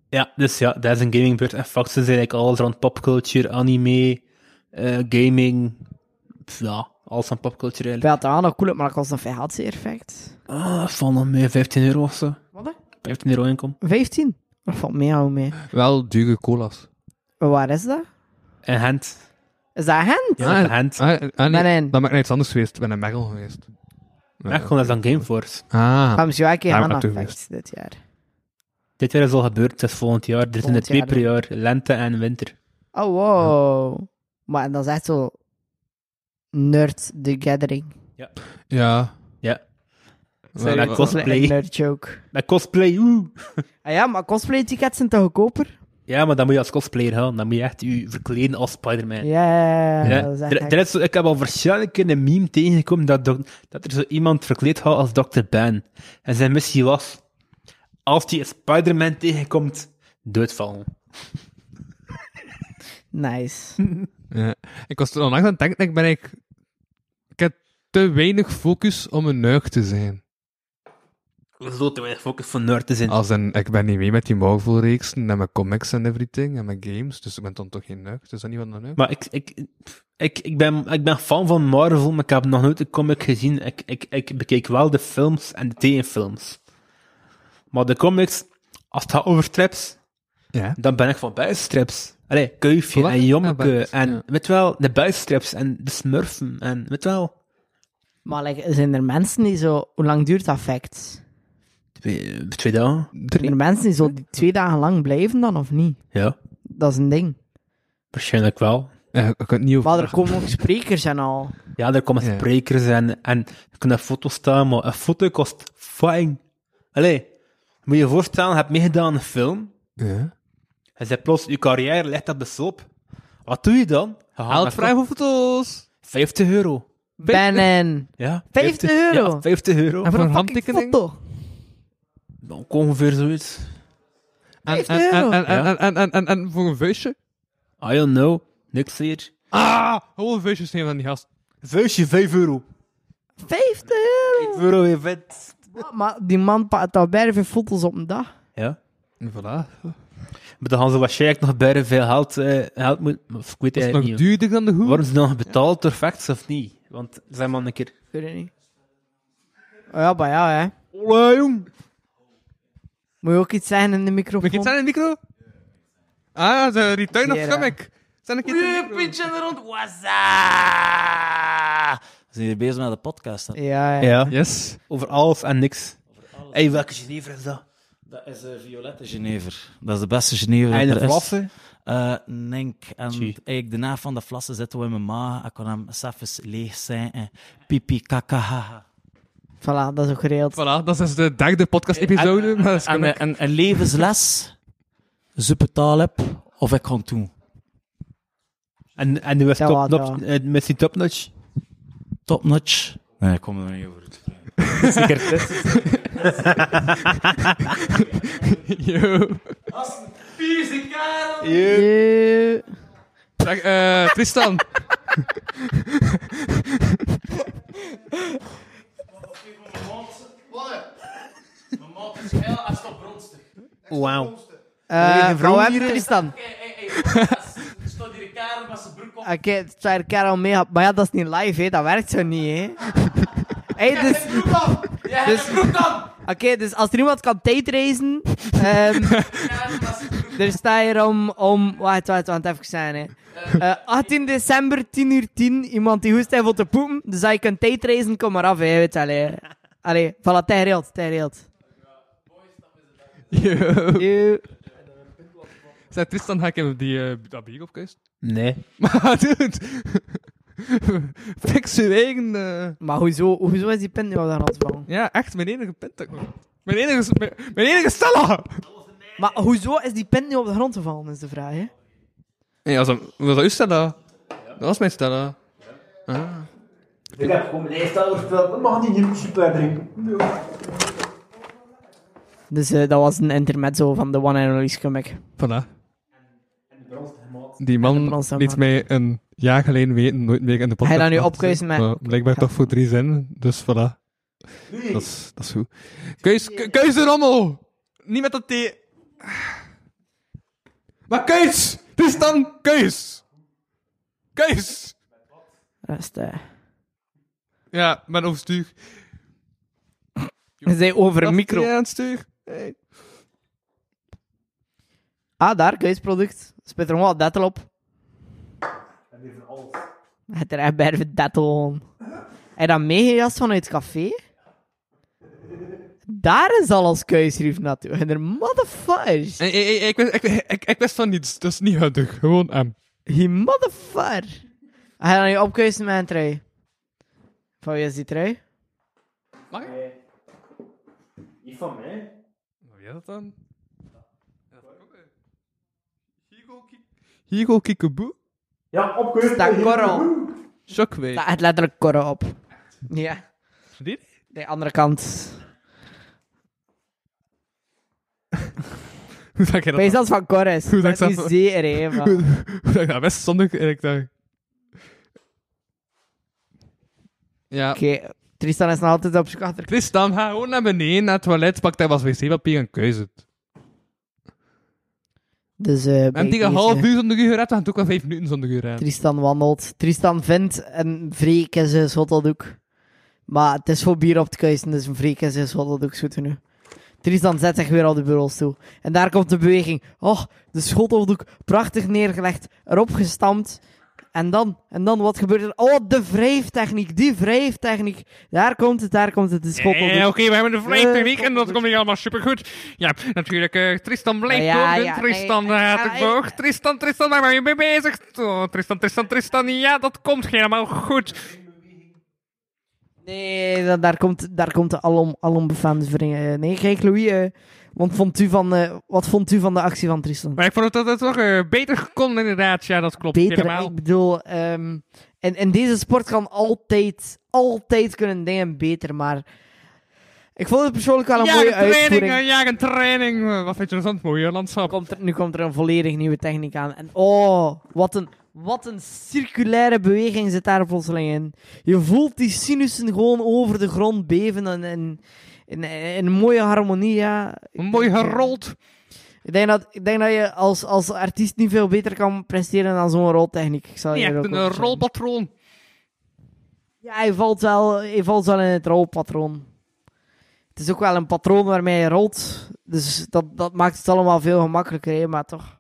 Speaker 6: Ja, dus ja, dat is een gamingbeurt. En faxen zijn eigenlijk alles rond popculture, anime, eh, gaming. Pff, Ja, alles aan popculture
Speaker 3: Ik
Speaker 6: eigenlijk.
Speaker 3: weet het aan, dat cool, maar dat kost een VHC-effect.
Speaker 6: Ah, van hem mee 15 euro of zo.
Speaker 3: Wat, hè?
Speaker 6: 15 euro inkom.
Speaker 3: 15? Wat valt mee, hou mee.
Speaker 4: Wel dure cola's.
Speaker 3: Maar Waar is dat?
Speaker 6: En hand.
Speaker 3: Is dat hen?
Speaker 6: Ja,
Speaker 4: Ah,
Speaker 6: en hand.
Speaker 4: Ah, ah, nee,
Speaker 3: Nee, nee.
Speaker 4: Dan ben ik naar iets anders geweest. Ik ben naar Merkel geweest. Ja.
Speaker 6: Echt gewoon, dat is dan Gameforce.
Speaker 4: Ah,
Speaker 3: Gaan we misschien wel een keer
Speaker 4: Ja,
Speaker 3: aan
Speaker 4: natuurlijk.
Speaker 3: effect dit jaar.
Speaker 6: Dit jaar is al gebeurd, dat is volgend jaar. Er zijn er
Speaker 3: Volgend
Speaker 6: twee
Speaker 3: jaar,
Speaker 6: per jaar, lente en winter.
Speaker 3: Oh, wow. Maar dat is echt zo... Nerd the Gathering.
Speaker 4: ja.
Speaker 6: Ja.
Speaker 4: Wel,
Speaker 6: dat
Speaker 4: wel-
Speaker 6: kost-
Speaker 3: Een
Speaker 6: Cosplay.
Speaker 3: nerd joke.
Speaker 6: Met cosplay, oeh.
Speaker 3: Ah ja, maar cosplay-tickets zijn toch goedkoper?
Speaker 6: Ja, maar dan moet je als cosplayer gaan. Dan moet je echt je verkleden als Spider-Man.
Speaker 3: Ja,
Speaker 6: Ja,
Speaker 3: dat is echt
Speaker 6: er- er is zo- ik heb al verschillende keer een meme tegengekomen dat, dok- dat er zo iemand verkleed had als Dr. Ben. En zijn missie was, als hij een Spider-Man tegenkomt, doodvallen.
Speaker 3: nice.
Speaker 4: Ja. Ik was er onlangs aan het denken, ik ben eigenlijk... Ik heb te weinig focus om een neug te zijn.
Speaker 6: Zo te weinig focus van nerd te zijn.
Speaker 4: Als een, ik ben niet mee met die Marvel-reeksen en mijn comics en everything en mijn games, dus ik ben dan toch geen neug. Dus is dat niet wat een neug?
Speaker 6: Maar ik, ik, ik, ik, ben, ik ben fan van Marvel, maar ik heb nog nooit een comic gezien. Ik, ik, ik bekeek wel de films en de tegenfilms. Maar de comics, als het gaat over strips,
Speaker 4: Ja.
Speaker 6: dan ben ik van buisstrips. Allee, Kuifje
Speaker 4: Wat?
Speaker 6: en Jommeke
Speaker 4: Ja, buis,
Speaker 6: en,
Speaker 4: ja.
Speaker 6: weet wel, de buisstrips en de smurfen en, weet wel,
Speaker 3: Maar like, zijn er mensen die zo... Hoe lang duurt effect?
Speaker 6: twee, twee dagen.
Speaker 3: Zijn er mensen die zo die twee dagen lang blijven dan, of niet?
Speaker 6: Ja,
Speaker 3: Dat is een ding.
Speaker 6: waarschijnlijk wel.
Speaker 4: Ja, Eh, ik kan het niet over...
Speaker 3: Maar er komen ook sprekers en al.
Speaker 6: Ja, er komen
Speaker 4: Ja.
Speaker 6: sprekers en, en er kunnen foto's staan, maar een foto kost fijn. Allee, moet je je voorstellen, je hebt meegedaan aan een film,
Speaker 4: Ja.
Speaker 6: Hij zei plots, uw carrière ligt op de sloop. Wat doe je dan? Je gaat met
Speaker 4: voor foto's!
Speaker 6: 50 euro.
Speaker 3: Bennen.
Speaker 6: Ja,
Speaker 3: 50 euro?
Speaker 6: Ja, 50 euro.
Speaker 4: En voor
Speaker 3: Fucking
Speaker 4: een handtekening?
Speaker 3: foto.
Speaker 6: Ook Ongeveer zoiets.
Speaker 4: En,
Speaker 3: 50
Speaker 4: en, en, en,
Speaker 6: euro.
Speaker 4: en, en, en, en, en voor een vuistje?
Speaker 6: I don't know. Niks hier.
Speaker 4: Ah! Gewoon een vuistje nemen aan die gast.
Speaker 6: Vuistje 5 euro.
Speaker 3: 50 euro.
Speaker 6: 5 euro je vet.
Speaker 3: Wat? Maar die man pakt al bijna veel foto's op een dag.
Speaker 6: Ja.
Speaker 4: En voilà.
Speaker 6: Maar dan gaan ze waarschijnlijk nog bijna veel geld, eh geld moeten... Of ik weet
Speaker 4: Dat is
Speaker 6: eigenlijk
Speaker 4: nog
Speaker 6: niet.
Speaker 4: duurder dan de hoer.
Speaker 6: Worden ze dan betaald door facts of niet? Want, zeg maar een keer...
Speaker 3: Ik weet het niet. Oh ja, maar ja, hè.
Speaker 6: Ola, jong.
Speaker 3: Moet je ook iets zeggen in de microfoon?
Speaker 4: Mag ik iets aan de micro? Ah, de return of
Speaker 3: Sierra.
Speaker 4: comic. Zijn ik iets aan de micro?
Speaker 9: Zijn jullie bezig met de podcast? hè?
Speaker 3: Ja, ja.
Speaker 6: Ja.
Speaker 4: Yes.
Speaker 6: Over alles en niks. Hé, hey, welke Geneve is dat?
Speaker 9: Dat is eh Violette Genever. Dat is de beste Genever.
Speaker 6: En
Speaker 9: dat
Speaker 6: de
Speaker 9: er is.
Speaker 6: Vlassen?
Speaker 9: Eh, Nink. En
Speaker 6: Tjie.
Speaker 9: eigenlijk de naam van de flassen zit wel in mijn maag. Ik kan hem s'avonds leeg zijn. en Pipi kakaha.
Speaker 3: Voilà, dat is ook geregeld.
Speaker 4: Voilà, dat is dus de derde podcast-episode. maar dat is
Speaker 9: En
Speaker 4: correct.
Speaker 9: een, een, een levensles, ze betaal heb of ik kan doen.
Speaker 10: En, en nu is
Speaker 3: Ja,
Speaker 10: top
Speaker 3: wat,
Speaker 10: notch, eh, Missie Topnotch.
Speaker 9: Topnotch. Nee, ik kom er niet over.
Speaker 4: Yo.
Speaker 3: Eh,
Speaker 4: Dag, eh, Tristan.
Speaker 10: Wauw.
Speaker 3: eh,
Speaker 10: vrouw
Speaker 3: nou, we hebben
Speaker 10: hier?
Speaker 3: Tristan. Oké, het staat hier kerel mee. Maar ja, dat is niet live, hè. Dat werkt zo niet, hè. Hey, dus... dus Oké, dus als er iemand kan tijdreizen... ehm er staat hier om... om wacht, wacht, wacht, even zijn, hè. Eh, 18 december, 10 uur 10. Iemand die hoest heeft om te poepen. Dus als je kunt tijdreizen, kom maar af, hè. Weet je, allee. Allee, voilà, tijd geregeld, tijd geregeld.
Speaker 4: Yo.
Speaker 3: Yo.
Speaker 4: Zeg, Tristan, ga ik hem die, eh, dat bier opkuisen?
Speaker 10: Nee.
Speaker 4: Maar, dude. Fix je eigen... eh.
Speaker 3: Maar hoezo, hoezo is die pint nu al aan het vallen?
Speaker 4: Ja, echt, mijn enige pint. ook nog. Mijn enige, mijn, mijn enige Stella!
Speaker 3: Maar hoezo is die pint nu op de grond gevallen, is de vraag, hè?
Speaker 4: Nee, was dat, was dat uw Stella? Dat was mijn Stella.
Speaker 11: Ik heb gewoon mijn lijst al verteld. Dat mag niet niet super drinken.
Speaker 3: Dus eh, dat was een intermezzo van de One and Only Scummik.
Speaker 4: Voilà. Die man
Speaker 3: bronzen
Speaker 4: liet
Speaker 3: maat.
Speaker 4: mij een jaar geleden weten, nooit meer in de
Speaker 3: Hij
Speaker 4: podcast.
Speaker 3: dat nu
Speaker 4: mag te
Speaker 3: opkuisen,
Speaker 4: zijn.
Speaker 3: maar-
Speaker 4: blijkbaar toch voor drie zinnen, dus voilà. Dat is, dat is goed. Keus, Ke- keus de rommel! Niet met dat thee. Maar keus! Het is dan keus! Keus!
Speaker 3: Rest, eh.
Speaker 4: Ja, mijn overstuur.
Speaker 3: Hij zei over een micro.
Speaker 4: Ja, aan het stuur. Hey.
Speaker 3: Ah, daar, keusproduct. Spit er gewoon wat dettel op. Het er echt bij de dettel gewoon. Hij dat meegejast vanuit het café? Daar is al als kuisrief naartoe. En er motherfuckers.
Speaker 4: Hey, hey, hey, ik, wist, ik, ik, ik wist van niets, dat is niet handig. Gewoon hem.
Speaker 3: He motherfucker. Hij dan nu opkuisen met een trui. Van wie is die trui?
Speaker 11: Niet van mij.
Speaker 4: Wie is dat dan? Higo Kik- Higo Kikaboo?
Speaker 11: Ja, opgeheugd.
Speaker 3: Staat korrel.
Speaker 4: Shockwave.
Speaker 3: Staat echt letterlijk korrel op. Ja.
Speaker 4: Dit?
Speaker 3: De andere kant.
Speaker 4: Hoe dat je dat,
Speaker 3: Wees dat van Corres.
Speaker 4: Goed,
Speaker 3: Goed,
Speaker 4: dat
Speaker 3: dat
Speaker 4: ik
Speaker 3: is
Speaker 4: zelf-
Speaker 3: zeer, hè. maar-
Speaker 4: hoe dat je dat wist zonder... En ik dacht... Ja.
Speaker 3: Oké, Tristan is nog altijd op zoek achter.
Speaker 4: Tristan, ga gewoon naar beneden, naar het toilet, pak daar wat wc-papier en keus het.
Speaker 3: Dus, eh, bij
Speaker 4: En tegen
Speaker 3: deze,
Speaker 4: half uur zonder uur gaat het ook wel vijf minuten zonder uur rijden.
Speaker 3: Tristan wandelt. Tristan vindt een vreek in zijn schotteldoek. Maar het is voor bier op te kuisen, dus een vreek in zijn schotteldoek zoeten nu. Tristan zet zich weer op de bureaus toe. En daar komt de beweging. Oh, de schotteldoek prachtig neergelegd, erop gestampt. En dan, en dan, wat gebeurt er? Oh, de wrijftechniek, die wrijftechniek. Daar komt het, daar komt het, de schotteldoek.
Speaker 4: Ja, Eh, oké, we hebben de vlijmtechniek
Speaker 3: Eh,
Speaker 4: en dat komt niet allemaal supergoed. Ja, natuurlijk, eh, Tristan blijft
Speaker 3: Ja,
Speaker 4: doorgaan.
Speaker 3: ja,
Speaker 4: Tristan
Speaker 3: nee,
Speaker 4: eh,
Speaker 3: eh,
Speaker 4: te
Speaker 3: eh,
Speaker 4: boog. Tristan, Tristan, daar ben je mee bezig. Oh, Tristan, Tristan, Tristan, ja, dat komt helemaal goed.
Speaker 3: Nee, da- daar komt, daar komt de alom, alombefaamde eh Nee, kijk Louis, eh, want vond u van, eh, wat vond u van de actie van Tristan?
Speaker 4: Maar ik vond dat het toch eh, beter kon, inderdaad. Ja, dat klopt
Speaker 3: Beter,
Speaker 4: helemaal.
Speaker 3: ik bedoel, ehm en, en deze sport kan altijd, altijd kunnen dingen beter, maar ik vond het persoonlijk wel een
Speaker 4: ja,
Speaker 3: mooie
Speaker 4: een training,
Speaker 3: uitvoering.
Speaker 4: eh, ja, een training. Eh, Wat vind je interessant, mooie landschap.
Speaker 3: Komt er, nu komt er een volledig nieuwe techniek aan. En oh, wat een, wat een circulaire beweging zit daar plotseling in. Je voelt die sinussen gewoon over de grond beven en... en in, in een mooie harmonie, ja. Oh,
Speaker 4: Mooi gerold.
Speaker 3: Ik denk dat, ik denk dat je als, als artiest niet veel beter kan presteren dan zo'n roltechniek. Ik zal
Speaker 4: Niet
Speaker 3: je
Speaker 4: echt
Speaker 3: ook
Speaker 4: een
Speaker 3: wel
Speaker 4: eh,
Speaker 3: zeggen.
Speaker 4: rolpatroon.
Speaker 3: Ja, hij valt, wel, hij valt wel in het rolpatroon. Het is ook wel een patroon waarmee je rolt. Dus dat, dat maakt het allemaal veel gemakkelijker, hè, maar toch.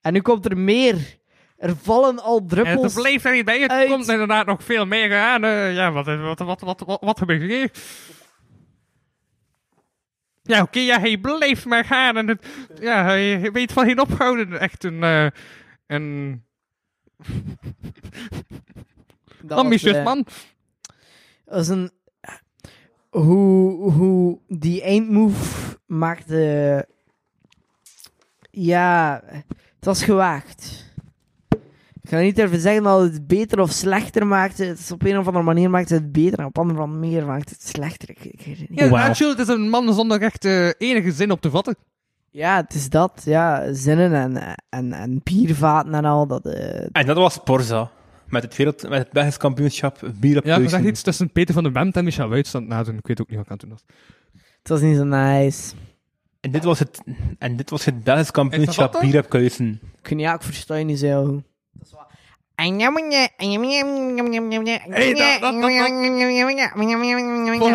Speaker 3: En nu komt er meer. Er vallen al
Speaker 4: En het
Speaker 3: druppels.
Speaker 4: blijft er niet bij. Het
Speaker 3: uit.
Speaker 4: komt inderdaad nog veel meer aan. eh, ja, wat, wat, wat, wat, wat, wat gebeurt hier? Ja, oké, ja, hij blijft maar gaan. En het, ja, hij weet van geen ophouden. Echt een... eh een
Speaker 3: Dat was,
Speaker 4: ambitieus
Speaker 3: eh,
Speaker 4: man.
Speaker 3: Dat is een hoe, hoe die eindmove maakte. Ja, het was gewaagd. Ik ga niet even zeggen dat het beter of slechter maakte. Het is op een of andere manier maakte het beter en op een andere manier maakte het slechter. Ik, ik weet het niet.
Speaker 2: Ja,
Speaker 6: Wauw.
Speaker 2: Nigel, het is een man zonder echt eh, enige zin op te vatten.
Speaker 3: Ja, het is dat. Ja, zinnen en, en, en biervaten en al. Dat, eh,
Speaker 6: En dat was Porza. Met het, wereld, met het Belgisch kampioenschap bier op
Speaker 2: Ja, ik
Speaker 6: keuken.
Speaker 2: was echt iets tussen Peter van den Wemt en Michel Wuits aan het nadoen. Ik weet ook niet wat ik aan het doen was.
Speaker 3: het was niet zo nice.
Speaker 6: En dit was het, en dit was het Belgisch
Speaker 2: Is dat
Speaker 6: kampioenschap
Speaker 2: dat dan?
Speaker 6: bier op keuken.
Speaker 3: Ik, weet niet, ja, ik versta je niet zo goed.
Speaker 2: Hey, dat- dat- dat- Volgende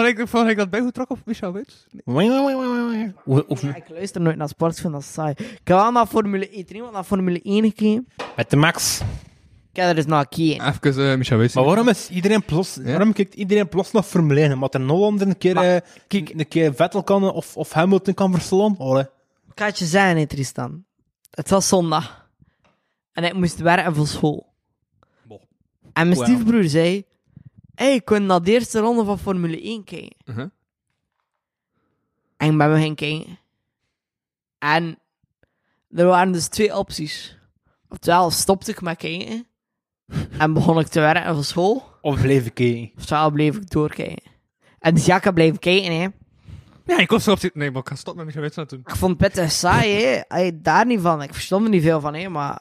Speaker 2: week, volgende week dat bijgetrokken op Michel Wuits? Nee.
Speaker 6: Hoe- hoe-
Speaker 3: Ja, ik luister nooit naar sport, ik vind dat saai. Ik heb wel naar Formule 1, trainen, want naar Formule 1 gekeken.
Speaker 6: Met de Max.
Speaker 3: Ik heb er dus naar gekeken.
Speaker 4: Ah.
Speaker 2: Even eh, Michel Wuits.
Speaker 6: Maar waarom is iedereen plots, waarom kijkt iedereen plots nog Formule 1? Omdat er Nollander een keer, eh, een keer Vettel kan of, of Hamilton kan verslaan? Allee.
Speaker 3: Ik ga het je zeggen, hè, Tristan. Het was zondag. En ik moest werken voor school. En mijn
Speaker 6: Wauw.
Speaker 3: stiefbroer zei... Hey, ik kon naar de eerste ronde van Formule 1 kijken.
Speaker 2: Mhm.
Speaker 3: En ik ben me gaan kijken. En er waren dus twee opties. Oftewel stopte ik met kijken. en begon ik te werken voor school.
Speaker 6: Of bleef ik kijken?
Speaker 3: Oftewel bleef ik doorkijken. En dus ja, ik heb blijven kijken, hè.
Speaker 2: Ja, ik was erop zitten. Nee, maar ik ga stoppen met Michel Wuits aan het doen.
Speaker 3: Ik vond het pittig saai, hè. Ey, daar niet van. Ik verstond er niet veel van, hè, maar...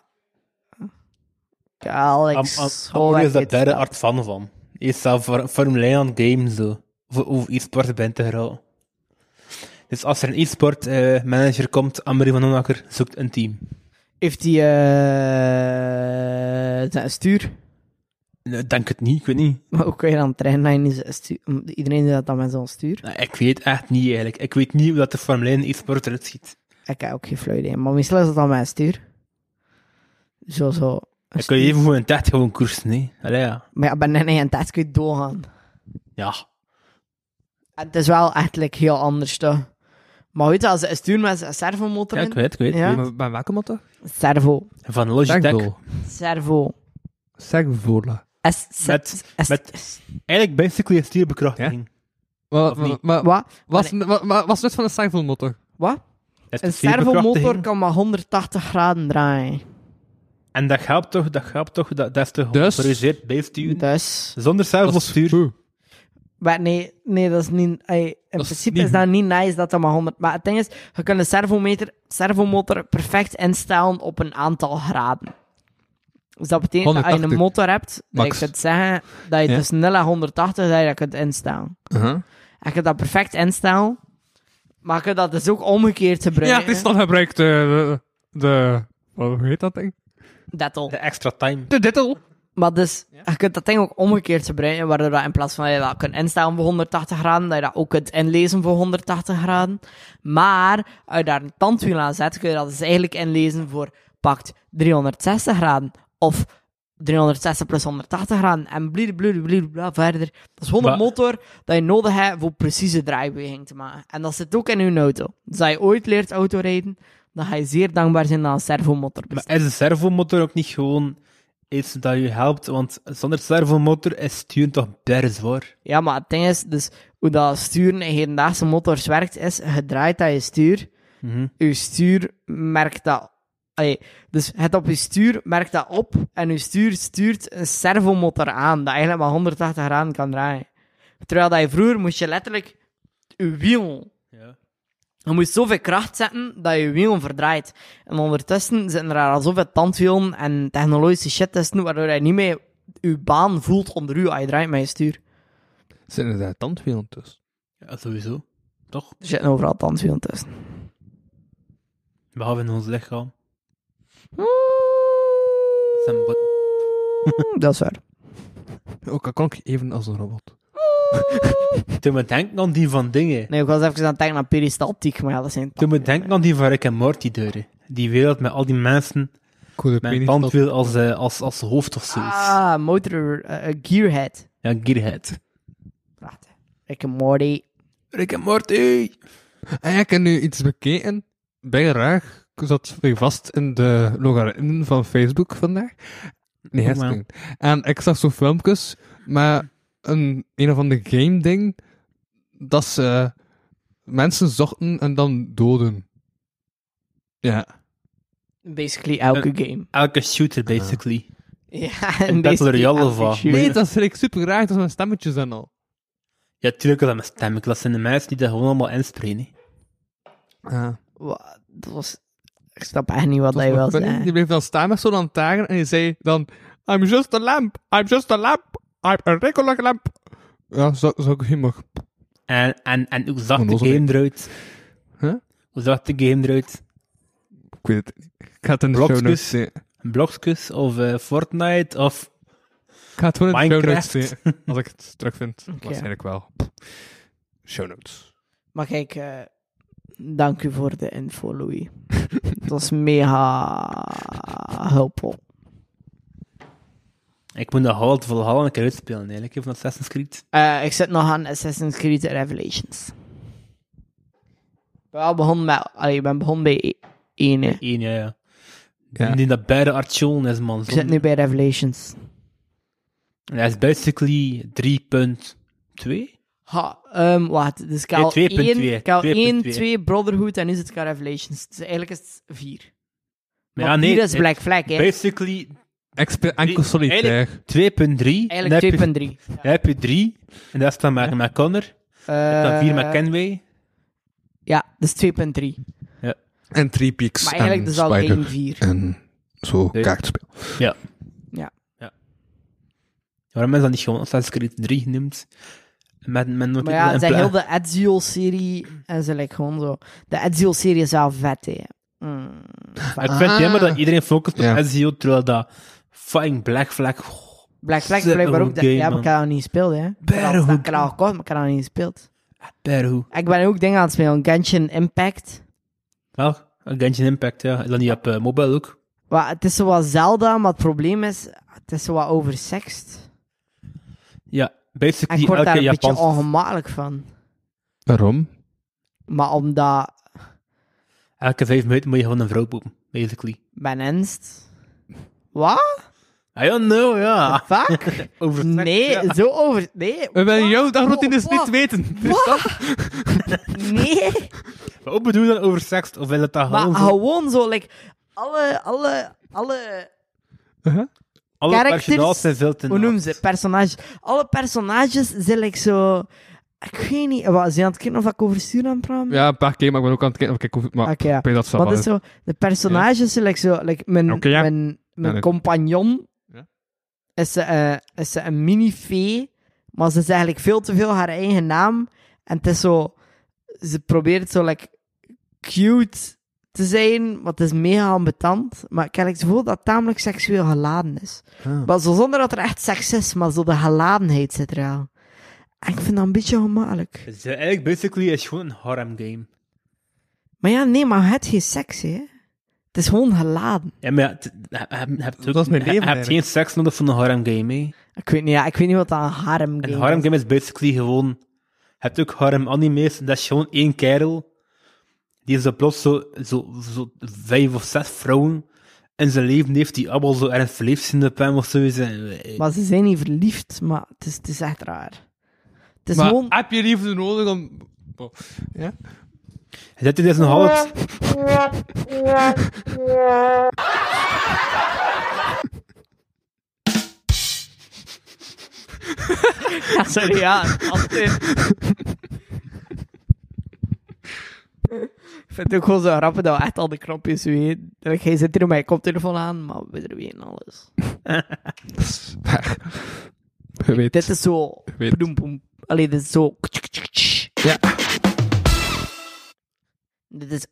Speaker 3: Ja,
Speaker 6: Am-
Speaker 3: Alex,
Speaker 6: am-
Speaker 3: schoolwerk
Speaker 6: Amor is daar
Speaker 3: dit,
Speaker 6: derde
Speaker 3: dat.
Speaker 6: art fan van. Is zelf voor- Formule 1 aan het game zo. Of, of e-sport bent te geraken. Dus als er een e-sport eh, manager komt, Amory van Onakker zoekt een team.
Speaker 3: Heeft hij eh zijn stuur?
Speaker 6: Nee, Denk het niet, Eh, ik weet niet.
Speaker 3: Maar hoe kan je dan trainen als je niet zijn stuur... Iedereen doet dat dan met zo'n stuur.
Speaker 6: Nee, Nou, ik weet echt niet eigenlijk. Ik weet niet hoe dat de Formule 1 e-sport eruit ziet.
Speaker 3: Ik heb ook geen flauw idee. Maar meestal is dat dan met een stuur. Zo, zo. een
Speaker 6: Ik kan
Speaker 3: stuur.
Speaker 6: je even voor een tijd gewoon koersen, nee. Allee, ja.
Speaker 3: Maar ja, bij net een tijd kun je doorgaan.
Speaker 6: Ja.
Speaker 3: En het is wel eigenlijk heel anders, toch? Maar weet je, als een stuur met een servomotor
Speaker 6: Ja,
Speaker 3: in...
Speaker 6: ik weet, ik weet.
Speaker 3: Ja.
Speaker 2: Maar Bij welke motor?
Speaker 3: Servo.
Speaker 6: Van Logitech.
Speaker 2: Segdol.
Speaker 3: Servo.
Speaker 2: Segvola.
Speaker 3: S- s-
Speaker 6: Met-
Speaker 3: s-
Speaker 6: met-
Speaker 3: s-
Speaker 6: Eigenlijk basically een stuurbekrachtiging.
Speaker 2: Maar-
Speaker 6: Of niet?
Speaker 2: maar- maar-
Speaker 3: Wat?
Speaker 2: Was maar- maar was het van een Segvol-motor?
Speaker 3: Wat?
Speaker 6: Het is
Speaker 3: Een
Speaker 6: stuurbekrachtiging.
Speaker 3: servomotor kan maar 180 graden draaien.
Speaker 6: En dat helpt toch, dat helpt toch, dat, dat is toch
Speaker 2: Dus-
Speaker 6: geautoriseerd bijsturen.
Speaker 3: Dus...
Speaker 6: Zonder servostuur.
Speaker 3: Maar nee, nee, dat is niet... ey, in
Speaker 2: is
Speaker 3: principe
Speaker 2: niet
Speaker 3: is dat niet nice dat dat maar 100... Maar het ding is, je kunt de servometer, servomotor perfect instellen op een aantal graden. Dus dat betekent dat als je
Speaker 2: 180.
Speaker 3: een motor hebt, dat
Speaker 2: Max.
Speaker 3: je kunt zeggen dat je
Speaker 2: Ja. Uh-huh.
Speaker 3: tussen 0 en 180 dat je dat kunt instellen. En je kunt dat perfect instellen, maar je kunt dat dus ook omgekeerd
Speaker 2: Ja,
Speaker 3: gebruiken.
Speaker 2: het is dan gebruikt eh, de... de wat- hoe heet dat ding?
Speaker 3: Dat al.
Speaker 6: De extra time.
Speaker 2: De dittel.
Speaker 3: Maar dus, je kunt dat ding ook omgekeerd gebruiken, waardoor dat in plaats van dat je dat kunt instellen voor 180 graden, dat je dat ook kunt inlezen voor 180 graden. Maar, als je daar een tandwiel aan zet, kun je dat dus eigenlijk inlezen voor pakt 360 graden, of 360 plus 180 graden, en blablabla verder. Dat is gewoon een
Speaker 6: Maar-
Speaker 3: motor dat je nodig hebt voor precieze draaibeweging te maken. En dat zit ook in je auto. Dus als je ooit leert autorijden, dan ga je zeer dankbaar zijn dat een servomotor Dus bestaat.
Speaker 6: Maar is een servomotor ook niet gewoon iets dat je helpt? Want zonder servomotor is sturen toch berg zwaar.
Speaker 3: Ja, maar het ding is, dus hoe dat sturen in hedendaagse motors werkt, is je draait aan je stuur. Je stuur merkt dat. Allee, dus het op je stuur merkt dat op en je stuur stuurt een servomotor aan, dat eigenlijk maar 180 graden kan draaien. Terwijl dat je vroeger moest je letterlijk je wiel.
Speaker 6: Ja.
Speaker 3: Je moest zoveel kracht zetten dat je wiel verdraait. En ondertussen zitten er al zoveel tandwielen en technologische shit tussen, waardoor je niet meer je baan voelt onder je als je draait met je stuur.
Speaker 2: Zijn er tandwielen tussen?
Speaker 6: Ja, sowieso. Toch?
Speaker 3: Er zitten overal tandwielen tussen.
Speaker 6: Behalve in ons lichaam. Zijn bot-
Speaker 3: Mm, Dat is waar.
Speaker 2: Ook al klonk je even als een robot.
Speaker 6: Toen we denken aan die van dingen.
Speaker 3: Nee, ik was even aan het denken aan peristaltiek, maar ja, dat zijn
Speaker 6: Toen we denken aan die van Rick en Morty deuren. Die wereld met al die mensen
Speaker 2: Ik hoor de
Speaker 6: met een
Speaker 2: penis
Speaker 6: tandwiel als, eh, als, als hoofd of zoiets.
Speaker 3: Ah, motor, eh, eh, gearhead.
Speaker 6: Ja, gearhead.
Speaker 3: Prachtig. Rick en Morty.
Speaker 6: Rick en Morty!
Speaker 2: dat- Ah, ja, ik heb nu iets bekeken. Bij raar. Ik zat weer vast in de logaritmen van Facebook vandaag. Nee,
Speaker 6: Oh,
Speaker 2: hersenen. En ik zag zo filmpjes maar een, een of ander game ding dat ze mensen zochten en dan doden. Ja.
Speaker 3: Basically elke game.
Speaker 6: Elke shooter, basically.
Speaker 3: Ja,
Speaker 6: Een
Speaker 3: en
Speaker 6: Battle
Speaker 3: basically
Speaker 6: Royale
Speaker 3: elke
Speaker 6: of wat?
Speaker 3: shooter.
Speaker 2: Nee, dat vind ik super raar, dat is mijn stemmetjes en al.
Speaker 6: Ja, tuurlijk is dat mijn stem. Dat zijn de mensen die dat gewoon allemaal inspreken. hè.
Speaker 2: Ja.
Speaker 3: Wa- Dat was... Ik snap echt niet wat
Speaker 2: Dat
Speaker 3: hij wil
Speaker 2: Die
Speaker 3: zeggen.
Speaker 2: bleef dan staan met zo'n lantaarn en die zei dan... I'm just a lamp, I'm just a lamp, I'm a regular lamp. Ja, zo, zo ik hem mag.
Speaker 6: En, en, en hoe zag de
Speaker 2: Onnozel,
Speaker 6: game eruit?
Speaker 2: Huh?
Speaker 6: Hoe zag de game eruit?
Speaker 2: Ik weet het niet. Ik ga het in de show notes
Speaker 6: Blokjes.
Speaker 2: zien.
Speaker 6: Blokskus of eh, Fortnite of...
Speaker 2: Ik ga het gewoon in de show notes
Speaker 6: Minecraft.
Speaker 2: zien. Als ik het terugvind. Waarschijnlijk wel. Show notes.
Speaker 3: Maar kijk, eh, dank u voor de info, Louis. Het was mega hulpvol.
Speaker 6: Ik moet dat Halt Valhalla een keer uitspelen, eigenlijk, hè, van Assassin's Creed.
Speaker 3: Eh, ik zit nog aan Assassin's Creed Revelations. Ik ben wel begonnen met... Allee, ik ben begonnen bij e- één. hè.
Speaker 6: Eén, ja, ja.
Speaker 2: Ja.
Speaker 6: Die dat beide Artjolen is, man.
Speaker 3: Ik zit nu bij Revelations.
Speaker 6: En Dat is basically 3.2.
Speaker 3: Ha, ehm wacht. Dus ik had
Speaker 6: Nee, 2.2,
Speaker 3: 1, ik had 1,
Speaker 6: 2.2.
Speaker 3: 2 Brotherhood en nu zit ik aan Revelations. Dus eigenlijk is het 4.
Speaker 6: Maar
Speaker 3: Maar 4 is
Speaker 6: het-
Speaker 3: Black Flag, hè.
Speaker 6: Basically 2.3.
Speaker 2: Expe enkel solitair.
Speaker 6: Dan heb je-
Speaker 3: Eigenlijk 2.3.
Speaker 6: Dan heb je 3. En dat is dan met, met Connor. dan 4 met
Speaker 3: Eh,
Speaker 6: Kenway.
Speaker 3: Ja, dus 2.3.
Speaker 2: En Three Peaks
Speaker 3: Maar eigenlijk
Speaker 2: en
Speaker 3: dus al game
Speaker 2: Spider.
Speaker 3: 4.
Speaker 2: En zo
Speaker 6: Nee.
Speaker 2: kaartspel.
Speaker 6: Waarom is dat niet gewoon Assassin's Creed 3 genoemd? Met, met nooit
Speaker 3: Maar ja,
Speaker 6: een
Speaker 3: zijn
Speaker 6: pla-
Speaker 3: heel de Ezio-serie en ze like gewoon zo. De Ezio-serie is wel vet, hè. Mm,
Speaker 6: Ik vind het jammer
Speaker 3: Ah.
Speaker 6: dat iedereen focust op
Speaker 2: Ja.
Speaker 6: SEO, terwijl dat fucking Black Flag... oh,
Speaker 3: Black Flag
Speaker 6: Zo'n
Speaker 3: blijkbaar ook.
Speaker 6: goed
Speaker 3: de-
Speaker 6: game,
Speaker 3: ja, maar
Speaker 6: man.
Speaker 3: ik had dat niet gespeeld, hè. Ik had
Speaker 6: Berg
Speaker 3: al-
Speaker 6: goed
Speaker 3: Ik had al gekocht, maar ik had dat niet gespeeld.
Speaker 6: Perho.
Speaker 3: Ik ben ook dingen aan het spelen. Genshin Impact.
Speaker 6: Wel, Genshin Impact, ja. Is dat niet op eh, mobile ook?
Speaker 3: Wa- het is zo wat Zelda, maar het probleem is... Het is zo wat oversext.
Speaker 6: Ja,
Speaker 3: En ik
Speaker 6: basically
Speaker 3: word daar
Speaker 6: elke
Speaker 3: een beetje
Speaker 6: Japanse...
Speaker 3: ongemakkelijk van.
Speaker 2: Waarom?
Speaker 3: Maar omdat...
Speaker 6: Elke vijf minuten moet je gewoon een vrouw poepen, basically.
Speaker 3: Ben ernst. Wat?
Speaker 6: I don't know, ja.
Speaker 3: Fuck?
Speaker 6: Over
Speaker 3: nee,
Speaker 6: Ah. ja.
Speaker 3: zo over... Nee.
Speaker 2: We willen jouw dagroutines
Speaker 3: Wow,
Speaker 2: dus niet
Speaker 3: wow.
Speaker 2: weten.
Speaker 3: Wat? Nee.
Speaker 6: Wat bedoel je dan over seks? Of wil het dat
Speaker 3: Maar
Speaker 6: gewoon zo-
Speaker 3: gewoon zo, like, alle, alle, alle
Speaker 6: alle
Speaker 3: characters-
Speaker 6: personages zijn veel te
Speaker 3: hoe
Speaker 6: naakt.
Speaker 3: noemen ze, personages. Alle personages zijn like zo, ik weet niet, wat, zijn aan het kijken of ik over stuur aan het praten ben?
Speaker 2: Ja, een paar keer, maar ik ben ook aan het kijken. of ik hoef- Maar
Speaker 3: Oké, ja.
Speaker 2: ik weet dat ze
Speaker 3: Maar
Speaker 2: wel
Speaker 3: dat Ah, is
Speaker 2: is.
Speaker 3: zo, de personages zijn like zo, like, mijn,
Speaker 2: Oké, ja.
Speaker 3: mijn, mijn
Speaker 2: nee.
Speaker 3: compagnon
Speaker 2: Ja.
Speaker 3: is, ze, eh, is ze een mini-fee, maar ze is eigenlijk veel te veel haar eigen naam. En het is zo, ze probeert zo like, cute te zijn, wat is mega ambetant. Maar ik heb het gevoel dat het tamelijk seksueel geladen is.
Speaker 2: Ah.
Speaker 3: Maar zo zonder dat er echt seks is, maar zo de geladenheid zit er wel. En ik vind dat een beetje gemakkelijk.
Speaker 6: Dus, eh, eigenlijk, basically, is gewoon een harem game.
Speaker 3: Maar ja, nee, maar het geen seks, hè. Het is gewoon geladen.
Speaker 6: Ja, maar ja, het- je hebt- je hebt ook-
Speaker 2: Dat is mijn
Speaker 6: je hebt
Speaker 2: leven
Speaker 6: geen
Speaker 2: eigenlijk.
Speaker 6: seks nodig voor een harem game, hè.
Speaker 3: Ik weet niet, ja, ik weet niet wat dat een harem
Speaker 6: Een
Speaker 3: game
Speaker 6: harem
Speaker 3: is.
Speaker 6: game is basically gewoon... Je hebt ook harem anime's, dat is gewoon één kerel. Die zo plots zo, zo, zo vijf of zes vrouwen in zijn leven heeft, die allemaal zo erg verliefd zijn op hem of zo. eh, Zijn-
Speaker 3: Maar ze zijn niet verliefd, maar het is, het is echt raar. Het is
Speaker 2: Maar
Speaker 3: gewoon...
Speaker 2: heb je liefde nodig om... Oh.
Speaker 6: Dit is een half...
Speaker 3: Ja, sorry, ja. altijd. ik vind het ook gewoon zo grappig dat we echt al de knopjes weten. Like, Jij zit hier met je koptelefoon aan, maar we weten alles.
Speaker 2: Je weet.
Speaker 3: Dit is zo...
Speaker 2: weet.
Speaker 3: Poedoem, poem. Allee, dit is zo...
Speaker 2: Ja.
Speaker 3: Dit is...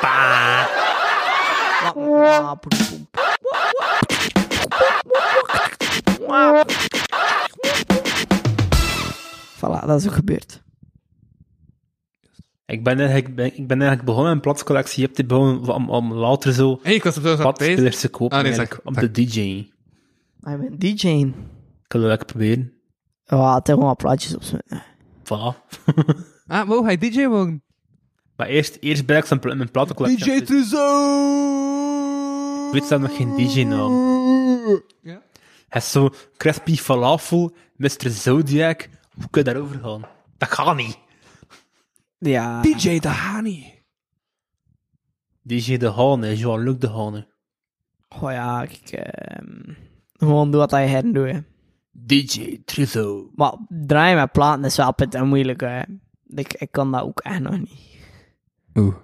Speaker 3: Pa. Wa- wa- poedoem, poem. Voilà, dat is ook gebeurd.
Speaker 6: Ik ben eigenlijk, ben- ik ben eigenlijk begonnen met een platscollectie op te bouwen om, om later zo
Speaker 2: Hey, ik was op zo'n aan het bezig.
Speaker 6: platspelers te kopen
Speaker 2: Ah, nee,
Speaker 6: eigenlijk,
Speaker 2: zeg-
Speaker 6: op
Speaker 2: zeg.
Speaker 6: de DJ.
Speaker 3: I'm een DJ'ing.
Speaker 6: Ik kan dat lekker proberen.
Speaker 3: Ja, het zijn gewoon plaatjes op zijn.
Speaker 6: Voilà.
Speaker 2: Ah, wou hij DJ wonen?
Speaker 6: maar eerst, eerst ben ik zo'n pla- mijn plattencollectie. aan het-
Speaker 2: Truzo!
Speaker 6: Ik weet zelf nog geen DJ-naam.
Speaker 2: Ja.
Speaker 6: Hij is zo Crispy Falafel, Mr. Zodiac, Hoe kun je daarover gaan? Dat gaat niet.
Speaker 3: Ja.
Speaker 9: DJ De Hani.
Speaker 6: DJ De Hane, Jean-Luc De Hane.
Speaker 3: Goh ja, ik... ehm, gewoon doe wat je heren doet. hè.
Speaker 6: DJ Trizo.
Speaker 3: Maar draaien met platen is wel pittig en moeilijk. Hè. Ik, ik kan dat ook echt nog niet.
Speaker 2: Oeh.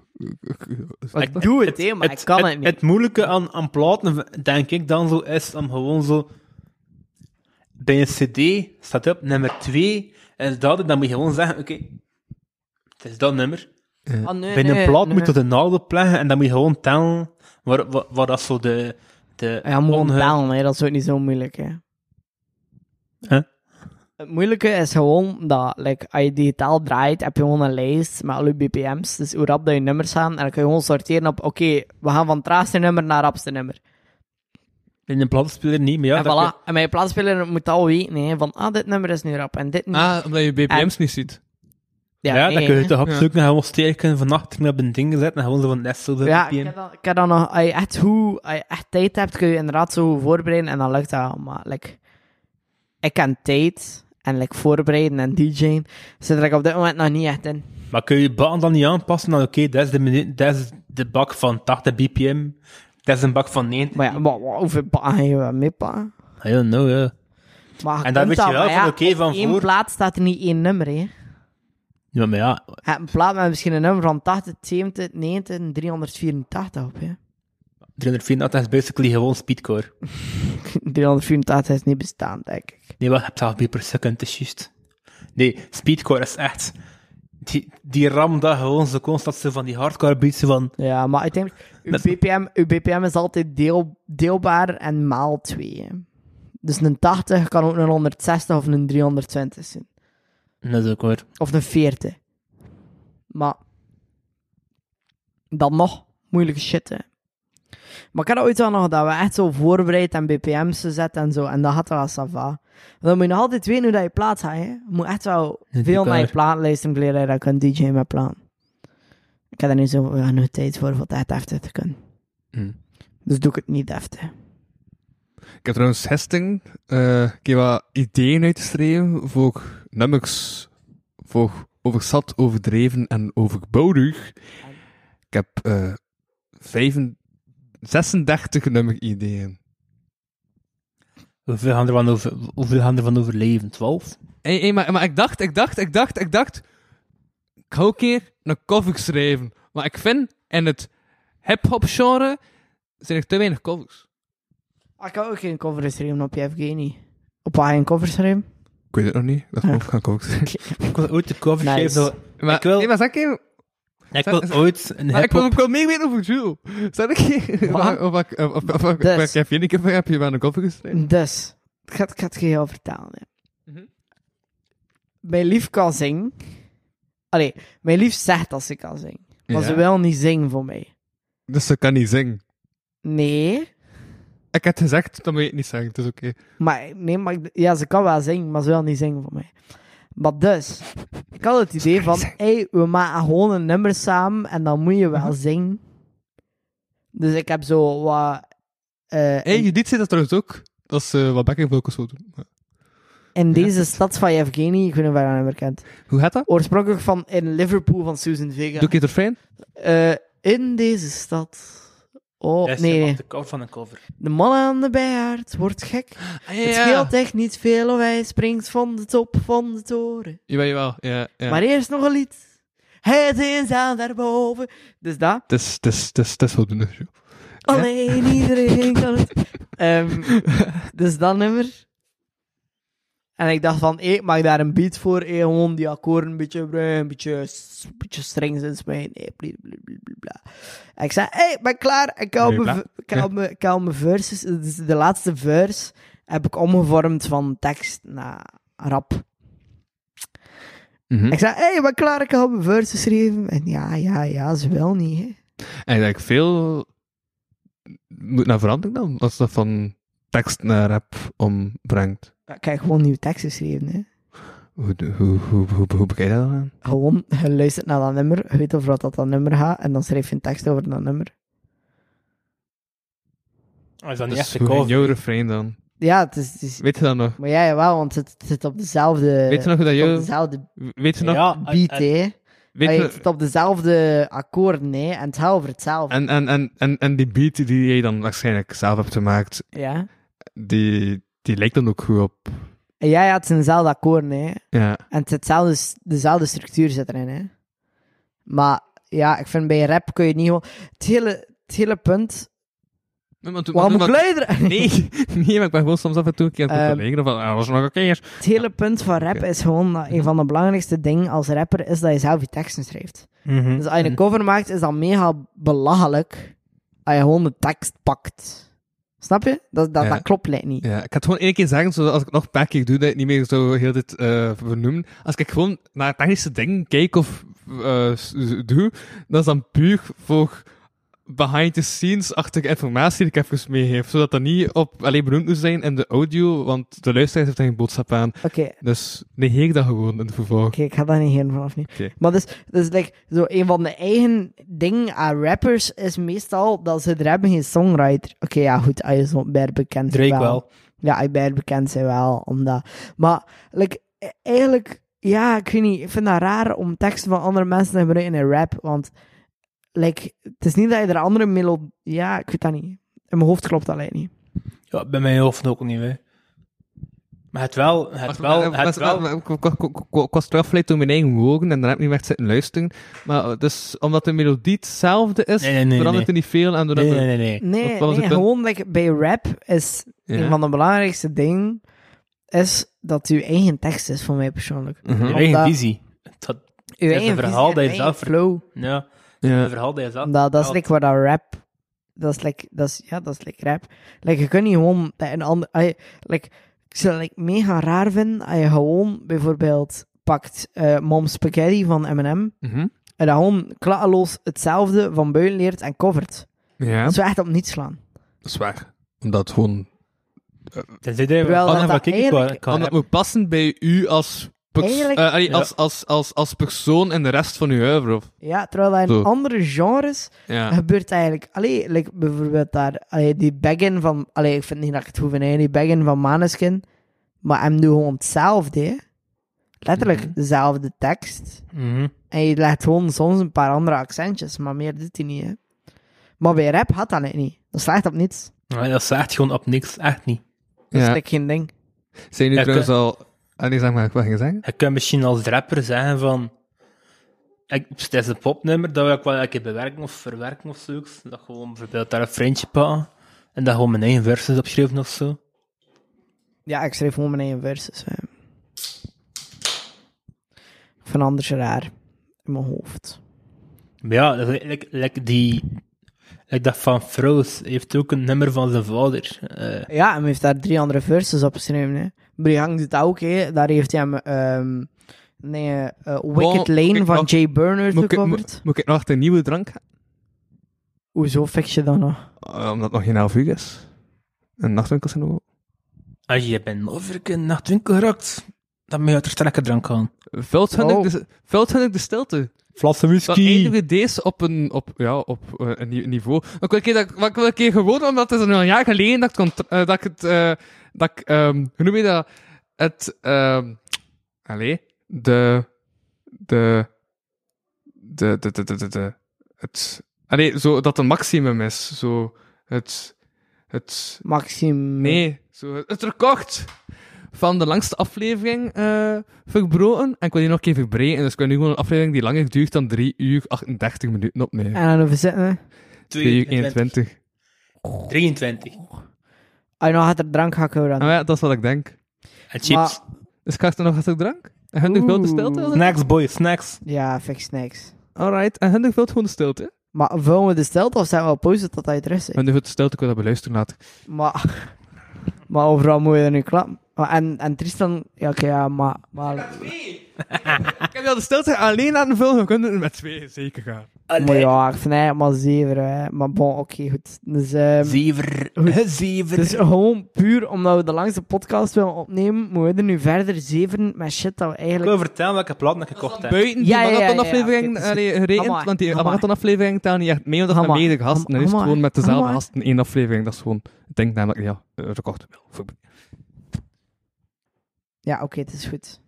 Speaker 3: Ik doe het, hè, maar ik kan het, niet.
Speaker 6: Het moeilijke aan, aan platen, denk ik dan zo, is om gewoon zo... Bij een cd staat op nummer 2, en dat, en dan moet je gewoon zeggen, oké, het is dat nummer.
Speaker 3: Ah, nee,
Speaker 6: Bij
Speaker 3: nee,
Speaker 6: een plaat
Speaker 3: nee.
Speaker 6: moet je de naalden plagen, en dan moet je gewoon tellen waar, waar, waar dat zo de... de
Speaker 3: Ah Ja, moet
Speaker 6: onge-
Speaker 3: gewoon tellen, hè. dat is ook niet zo moeilijk. Hè.
Speaker 6: Huh?
Speaker 3: Het moeilijke is gewoon dat, like, als je digitaal draait, heb je gewoon een lijst met alle BPM's. Dus hoe rap dat je nummers gaan. En dan kun je gewoon sorteren op, oké, we gaan van het traagste nummer naar het rapste nummer.
Speaker 6: In een platenspeler niet, maar ja...
Speaker 3: en
Speaker 6: dat
Speaker 3: Ah, voilà. En mijn plaatspeler moet dat al weten, hè, van, ah, dit nummer is nu rap en dit niet.
Speaker 2: Ah, omdat je BPM's niet ziet.
Speaker 6: kun- ja, dan kun je
Speaker 3: hè.
Speaker 6: toch op
Speaker 2: Ja.
Speaker 6: zoek naar gewoon sterker vannacht op een ding gezet en gewoon zo van net zo de
Speaker 3: Ja, ik
Speaker 6: BPM.
Speaker 3: heb, dan, ik heb dan nog, als je echt, hoe, als je echt tijd hebt, kun je inderdaad zo voorbereiden en dan lukt dat. Maar like, ik kan tijd en like, voorbereiden en DJ'en zit er like, op dit moment nog niet echt in.
Speaker 6: Maar kun je je baan dan niet aanpassen? Dan oké, dat is de menu- dat is de bak van 80 bpm, dat is een bak van 90.
Speaker 3: Maar ja, maar, maar hoeveel pa ga je wel mee pa?
Speaker 6: I don't know, ja.
Speaker 3: Maar
Speaker 6: En dan
Speaker 3: kunt
Speaker 6: weet
Speaker 3: dat,
Speaker 6: je wel
Speaker 3: maar
Speaker 6: van, oké,
Speaker 3: op
Speaker 6: van
Speaker 3: één
Speaker 6: voor-
Speaker 3: plaat staat er niet één nummer, hè. Je
Speaker 6: Ja, maar ja,
Speaker 3: hebt een plaat met misschien een nummer van 80, 70, 90 en 384 op, hè.
Speaker 6: 384 is basically gewoon speedcore.
Speaker 3: 384 is niet bestaan, denk ik.
Speaker 6: Nee, wel, je hebt 12 beat per second, dat is juist. Nee, speedcore is echt... Die, die ram dat gewoon zo constant zo van die hardcore beats zo van...
Speaker 3: Ja, maar ik denk, uw
Speaker 6: Met-
Speaker 3: BPM, uw BPM is altijd deel, deelbaar en maal 2. Dus een 80 kan ook een 160 of een 320 zijn.
Speaker 6: Dat is ook hoor.
Speaker 3: Of een 40. Maar dan nog moeilijke shit, hè. Maar ik had dat ooit wel nog dat we echt zo voorbereid en BPM's zetten en zo. En dat had wel sava. Want dan moet je nog altijd weten hoe dat je plaat gaat, hè. Je moet echt wel
Speaker 6: Ja, die
Speaker 3: veel naar je
Speaker 6: kaart.
Speaker 3: plaat luisteren, leren dat je dat kan DJ met plaat. Ik heb er nu zo genoeg tijd voor om dat echt heftig te kunnen.
Speaker 6: Hmm.
Speaker 2: Hm.
Speaker 3: Dus doe ik het niet heftig.
Speaker 2: Ik heb trouwens gisteren eh, een keer wat ideeën uitgeschreven voor nummers. Voor overzat, overdreven en overboudig. Ik heb eh, vijfen- 36 nummerideeën.
Speaker 6: Hoeveel gaan er van, over, hoeveel gaan er van overleven? 12?
Speaker 2: Hey, hey, maar, maar ik dacht, ik dacht, ik dacht, ik dacht... Ik ga ook een keer een cover schrijven. Maar ik vind, in het hip-hop genre zijn er te weinig covers.
Speaker 3: Ah, Ik kan ook geen cover geschreven op Evgeny. Op waar je een cover schrijven?
Speaker 2: Ik weet het nog niet. Dat
Speaker 3: Ja.
Speaker 2: moet gaan covers zijn.
Speaker 6: Ik wil ooit de cover
Speaker 3: Nice.
Speaker 6: geven. zo-
Speaker 2: Maar,
Speaker 6: Ik wil-
Speaker 2: nee, maar zeg even...
Speaker 6: Ik wil ooit een
Speaker 2: Maar ik
Speaker 6: hip-hop...
Speaker 2: wil ook wel meer weten over Jules. Zal ik je...
Speaker 3: Wat?
Speaker 2: Of ik... Of ik... Of ik...
Speaker 3: Dus.
Speaker 2: Of ik... heb je- Heb je wel een koffer geschreven?
Speaker 3: Dus, ik ga, ik ga het geheel vertalen. Hè.
Speaker 2: Mhm.
Speaker 3: Mijn lief kan zingen. Allee, mijn lief zegt dat ze kan zingen. Maar
Speaker 2: Ja.
Speaker 3: ze wil niet zingen voor mij.
Speaker 2: Dus ze kan niet zingen.
Speaker 3: Nee,
Speaker 2: Ik had gezegd, dan moet je het niet zeggen. Het is oké.
Speaker 3: maar, nee, maar ik- ja, ze kan wel zingen, maar ze wil niet zingen voor mij. Maar dus, ik had het idee van, hey, we maken gewoon een nummer samen en dan moet je
Speaker 2: Mhm.
Speaker 3: wel zingen. Dus ik heb zo wat... eh,
Speaker 2: Hé, hey, Judith zei dat trouwens ook. Dat is eh, wat backing vocals wil doen. Maar-
Speaker 3: in deze stad van Evgeny, ik weet niet waar je hem herkent.
Speaker 2: Hoe gaat dat?
Speaker 3: Oorspronkelijk van in Liverpool van Susan Vega.
Speaker 2: Doe ik het refrein?
Speaker 3: Eh, in deze stad. Oh,
Speaker 6: Dat is
Speaker 3: nee, nee.
Speaker 6: de cover van een cover.
Speaker 3: De man aan de bijaard wordt gek.
Speaker 2: Ah,
Speaker 3: Het scheelt echt niet veel of hij springt van de top van de toren.
Speaker 2: Jawel, jawel. Ja, ja.
Speaker 3: Maar eerst nog een lied. Het is aan daarboven. Dus dat.
Speaker 2: Het is... Het is... Het is, het is voldoende, Jules.
Speaker 3: Alleen iedereen kan het. Ehm, dus dat nummer. En ik dacht van, eh, ik maak daar een beat voor. eh, gewoon die akkoorden een beetje bruin, een beetje, s- een beetje strings in smijten. eh, blie- blie- blie- blie- bla. En ik zei, hey, ik ben klaar. Ik hou
Speaker 2: Nee,
Speaker 3: mijn
Speaker 2: bla.
Speaker 3: v- ik hou mijn- ik hou mijn verses. Dus de laatste verse heb ik omgevormd van tekst naar rap.
Speaker 2: Mhm.
Speaker 3: Ik zei, hey, ik ben klaar. Ik hou mijn verses geschreven. En ja, ja, ja, ze wil niet. Hè.
Speaker 2: En dat ik veel... Moet naar verandering dan? Als dat van tekst naar rap ombrengt.
Speaker 3: Ik heb gewoon nieuwe teksten geschreven. Hè.
Speaker 2: Hoe, hoe, hoe, hoe, hoe bekijk je dat dan aan?
Speaker 3: gewoon, je luistert naar dat nummer, je weet over wat dat, dat nummer gaat, en dan schrijf je een tekst over dat nummer.
Speaker 6: Oh, is dat niet
Speaker 2: Dus
Speaker 6: echt
Speaker 2: hoe
Speaker 6: een
Speaker 2: ging
Speaker 6: cover?
Speaker 2: jouw refrein dan?
Speaker 3: Ja, het is... Het is
Speaker 2: Weet je dat nog?
Speaker 3: maar ja, jawel, want het het zit op dezelfde...
Speaker 2: Weet je nog hoe dat
Speaker 3: het
Speaker 2: je-
Speaker 3: Op dezelfde
Speaker 2: Weet je nog?
Speaker 6: Ja,
Speaker 3: beat,
Speaker 6: en-
Speaker 3: hè.
Speaker 2: Weet
Speaker 3: Allee,
Speaker 2: je
Speaker 3: het zit op dezelfde akkoorden, hè. En het gaat over hetzelfde.
Speaker 2: En, en, en, en, en die beat die je dan waarschijnlijk zelf hebt gemaakt,
Speaker 3: Ja.
Speaker 2: die, die lijkt dan ook goed op.
Speaker 3: Ja, ja, het zijn dezelfde akkoorden, hè.
Speaker 2: Ja.
Speaker 3: En het zit zelfs dezelfde structuur zit erin, hè. Maar ja, ik vind bij rap kun je niet gewoon... Het hele, het hele punt... Waarom moet ik luideren?
Speaker 2: Nee, nee, maar ik ben gewoon soms af en toe een keer aan het
Speaker 3: Ehm,
Speaker 2: overleggen of dat was nog oké is.
Speaker 3: Het hele punt van rap is gewoon... dat Een van de belangrijkste dingen als rapper is dat je zelf je teksten schrijft. Dus als je een cover maakt, is dat mega belachelijk als je gewoon de tekst pakt. Snap je? Dat, dat,
Speaker 2: Ja.
Speaker 3: dat klopt lijkt niet.
Speaker 2: Ja, ik had het gewoon één keer zeggen, zodat als ik het nog een paar keer doe, dat ik het niet meer zo heel dit eh benoem. Als ik gewoon naar technische dingen kijk of eh, s- s- doe, dat is dan puur voor behind-the-scenes-achtige informatie die ik even meegeef. Zodat dat niet op alleen benoemd moet zijn in de audio, want de luisteraar heeft daar geen boodschap aan.
Speaker 3: Oké,
Speaker 2: Dus negeer ik dat gewoon in het vervolg.
Speaker 3: Oké, ik ga daar niet heen vanaf nu.
Speaker 2: Oké.
Speaker 3: Maar dus, dus like, zo een van de eigen dingen aan rappers is meestal dat ze er hebben geen songwriter. Oké, ja, goed, als je zo bij bekend bent
Speaker 6: Drake wel.
Speaker 3: Ja, ik ben bekend zijn wel, omdat... Maar, like, e- eigenlijk... Ja, ik weet niet, ik vind dat raar om teksten van andere mensen te gebruiken in een rap, want, like, het is niet dat je er andere melo... Ja, ik weet dat niet. In mijn hoofd klopt dat eigenlijk niet.
Speaker 6: Ja, bij mij hoofd ook niet, hè. Maar het wel, het wel, het wel.
Speaker 2: Ik was teruggeleid door mijn eigen woorden en dan heb ik niet echt zitten luisteren. Maar eh, dus, omdat de melodie hetzelfde is,
Speaker 6: Nee, nee, nee,
Speaker 2: verandert
Speaker 6: nee.
Speaker 2: er niet veel aan. doordat
Speaker 6: Nee,
Speaker 2: we-
Speaker 6: nee, nee, nee.
Speaker 3: Nee,
Speaker 2: Wat was het
Speaker 3: nee
Speaker 2: punt?
Speaker 3: gewoon, like, bij rap is
Speaker 2: Ja.
Speaker 3: een van de belangrijkste dingen is dat uw eigen tekst is, voor mij persoonlijk.
Speaker 2: Mhm.
Speaker 6: Je eigen
Speaker 3: Omdat-
Speaker 6: visie. Dat,
Speaker 3: Uw
Speaker 6: is
Speaker 3: eigen
Speaker 6: een
Speaker 3: visie
Speaker 6: verhaal
Speaker 3: en
Speaker 6: dat je
Speaker 3: uw
Speaker 6: zelf
Speaker 3: eigen flow.
Speaker 6: ja,
Speaker 2: Ja.
Speaker 6: het verhaal dat je zelf...
Speaker 3: Dat, dat is
Speaker 6: vertelt.
Speaker 3: like waar dat rap... Dat is like... Dat is, ja, dat is like rap. Like, je kunt niet gewoon bij een ander... als je- Like, ik zou het like, mega raar vinden als je gewoon bijvoorbeeld pakt eh Mom Spaghetti van M&M
Speaker 2: Mhm.
Speaker 3: en dan gewoon klakkeloos hetzelfde van buiten leert en covert.
Speaker 2: Ja,
Speaker 3: Dat zou echt op niets slaan.
Speaker 2: dat is waar. Omdat gewoon...
Speaker 6: Tenzij dat je
Speaker 3: Terwijl
Speaker 6: wat
Speaker 3: dat
Speaker 6: van
Speaker 3: dat
Speaker 6: kijk ik
Speaker 3: eigenlijk-
Speaker 6: kan
Speaker 2: Omdat het moet passen bij u als, pers-
Speaker 3: Eigenlijk-
Speaker 2: eh, allee,
Speaker 6: Ja.
Speaker 2: als, als, als, als persoon en de rest van uw oeuvre. of-
Speaker 3: Ja, terwijl dat in
Speaker 2: Zo.
Speaker 3: andere genres
Speaker 2: Ja.
Speaker 3: gebeurt eigenlijk... Allee, like bijvoorbeeld daar... Allee, die baggin van... Allee, ik vind niet dat ik het hoef in die baggin van Maneskin. Maar hem doet gewoon hetzelfde, hè. Letterlijk dezelfde tekst.
Speaker 6: Mhm.
Speaker 3: En je legt gewoon soms een paar andere accentjes, maar meer doet hij niet, hè. Maar bij rap had dat net niet. Dat slaagt op niets.
Speaker 6: Nee, Dat slaat gewoon op niks, echt niet.
Speaker 3: Dat is
Speaker 2: ja.
Speaker 3: like geen ding.
Speaker 2: Zijn jullie
Speaker 6: Ja,
Speaker 2: trouwens al... Ah, nee, zeg maar, wat ging je zeggen?
Speaker 6: Je kunt misschien als rapper zeggen van... Ik, het is een popnummer, dat wil ik wel een keer bewerken of verwerken of zoiets. Dat gewoon bijvoorbeeld daar een vriendje pakken. En dat gewoon mijn eigen verses opschrijven of zo.
Speaker 3: Ja, ik schreef gewoon mijn eigen verses. Hè. Van anders raar. In mijn hoofd.
Speaker 6: Maar ja, dat is like, like die... Like dat van Froos heeft ook een nummer van zijn vader. Eh,
Speaker 3: Ja, en hij heeft daar drie andere verses op geschreven. Hè. Brihang doet dat ook, hè. Daar heeft hij hem... ehm, nee, eh, eh, Wicked
Speaker 2: Oh,
Speaker 3: Lane
Speaker 2: ik
Speaker 3: van
Speaker 2: nog-
Speaker 3: Jay Burner
Speaker 2: Moet ik, moet,
Speaker 3: gecoverd.
Speaker 2: moet ik nog achter een nieuwe drank gaan?
Speaker 3: Hoezo fix je dat nou? nog?
Speaker 2: Eh, omdat het nog geen half uur is. En nachtwinkels zijn nog open.
Speaker 6: Als je bent Moverken naar het winkel raakt, dan moet je uit de strakke drank aan.
Speaker 2: Vult hun
Speaker 3: Oh.
Speaker 2: ik de, vult hun ik de stilte.
Speaker 6: Vlasse
Speaker 2: Dan eindigen deze op een, op, ja, op eh, een nieuw niveau. Maar ik wil een keer, dat, ik- maar ik wil een keer gewoon, omdat het is al een jaar geleden dat ik, het cont- eh, dat ik het, eh, dat ik, ehm, hoe noem je dat? Het, ehm allee, de, de, de, de, de, de, de, de- het, allee, zo, dat een maximum is. Zo, het, het,
Speaker 3: Maxime...
Speaker 2: nee, zo, het record van de langste aflevering eh, verbroken. En ik wil die nog een keer verbreden. Dus ik wil nu gewoon een aflevering die langer duurt dan 3 uur 38 minuten opnemen.
Speaker 3: En dan hoeveel zitten we?
Speaker 2: 2 uur 21.
Speaker 3: Als
Speaker 6: 23.
Speaker 3: je nog Ah, nou, gaat er drank hakken, we dan.
Speaker 2: Ah, maar ja, dat is wat ik denk.
Speaker 6: En chips.
Speaker 2: Dus ik ga er nog wat drank. En Hundig vult de stilte.
Speaker 6: Snacks, boy, snacks.
Speaker 3: Ja, fix snacks.
Speaker 2: Alright, en Hundig vult gewoon de stilte.
Speaker 3: Maar vullen we de stilte of zijn we al pauze tot hij terug is?
Speaker 2: Hundig vult de stilte, ik wil dat beluisteren later.
Speaker 3: Maar, maar overal moet je er nu klappen. Maar, en, en Tristan, ja, oké, ja, maar, maar
Speaker 2: Ik heb wel de stilte alleen laten vullen, we kunnen er met twee zeker gaan.
Speaker 3: Maar ja, ik vind eigenlijk maar zever. Hè. Maar bon, oké, goed. Dus, ehm,
Speaker 6: Zever. Zever.
Speaker 3: dus gewoon puur omdat we de langste podcast willen opnemen, moeten we er nu verder zeveren met shit dat we
Speaker 6: ik
Speaker 3: eigenlijk...
Speaker 6: wil vertellen welke platen ik gekocht heb.
Speaker 2: Buiten die
Speaker 3: Ja, ja, ja, ja, ja.
Speaker 2: marathonaflevering
Speaker 3: Oké, het
Speaker 2: allee, gerekend,
Speaker 3: Hammer,
Speaker 2: want die
Speaker 3: hammer.
Speaker 2: marathonaflevering telt niet echt mee, want dat zijn
Speaker 3: Hammer,
Speaker 2: meerdere gasten. Dan is het
Speaker 3: hammer,
Speaker 2: gewoon met dezelfde
Speaker 3: hammer.
Speaker 2: gasten één aflevering. Dat is gewoon, ik denk namelijk, ja, eh, record.
Speaker 3: Ja, oké, het is goed.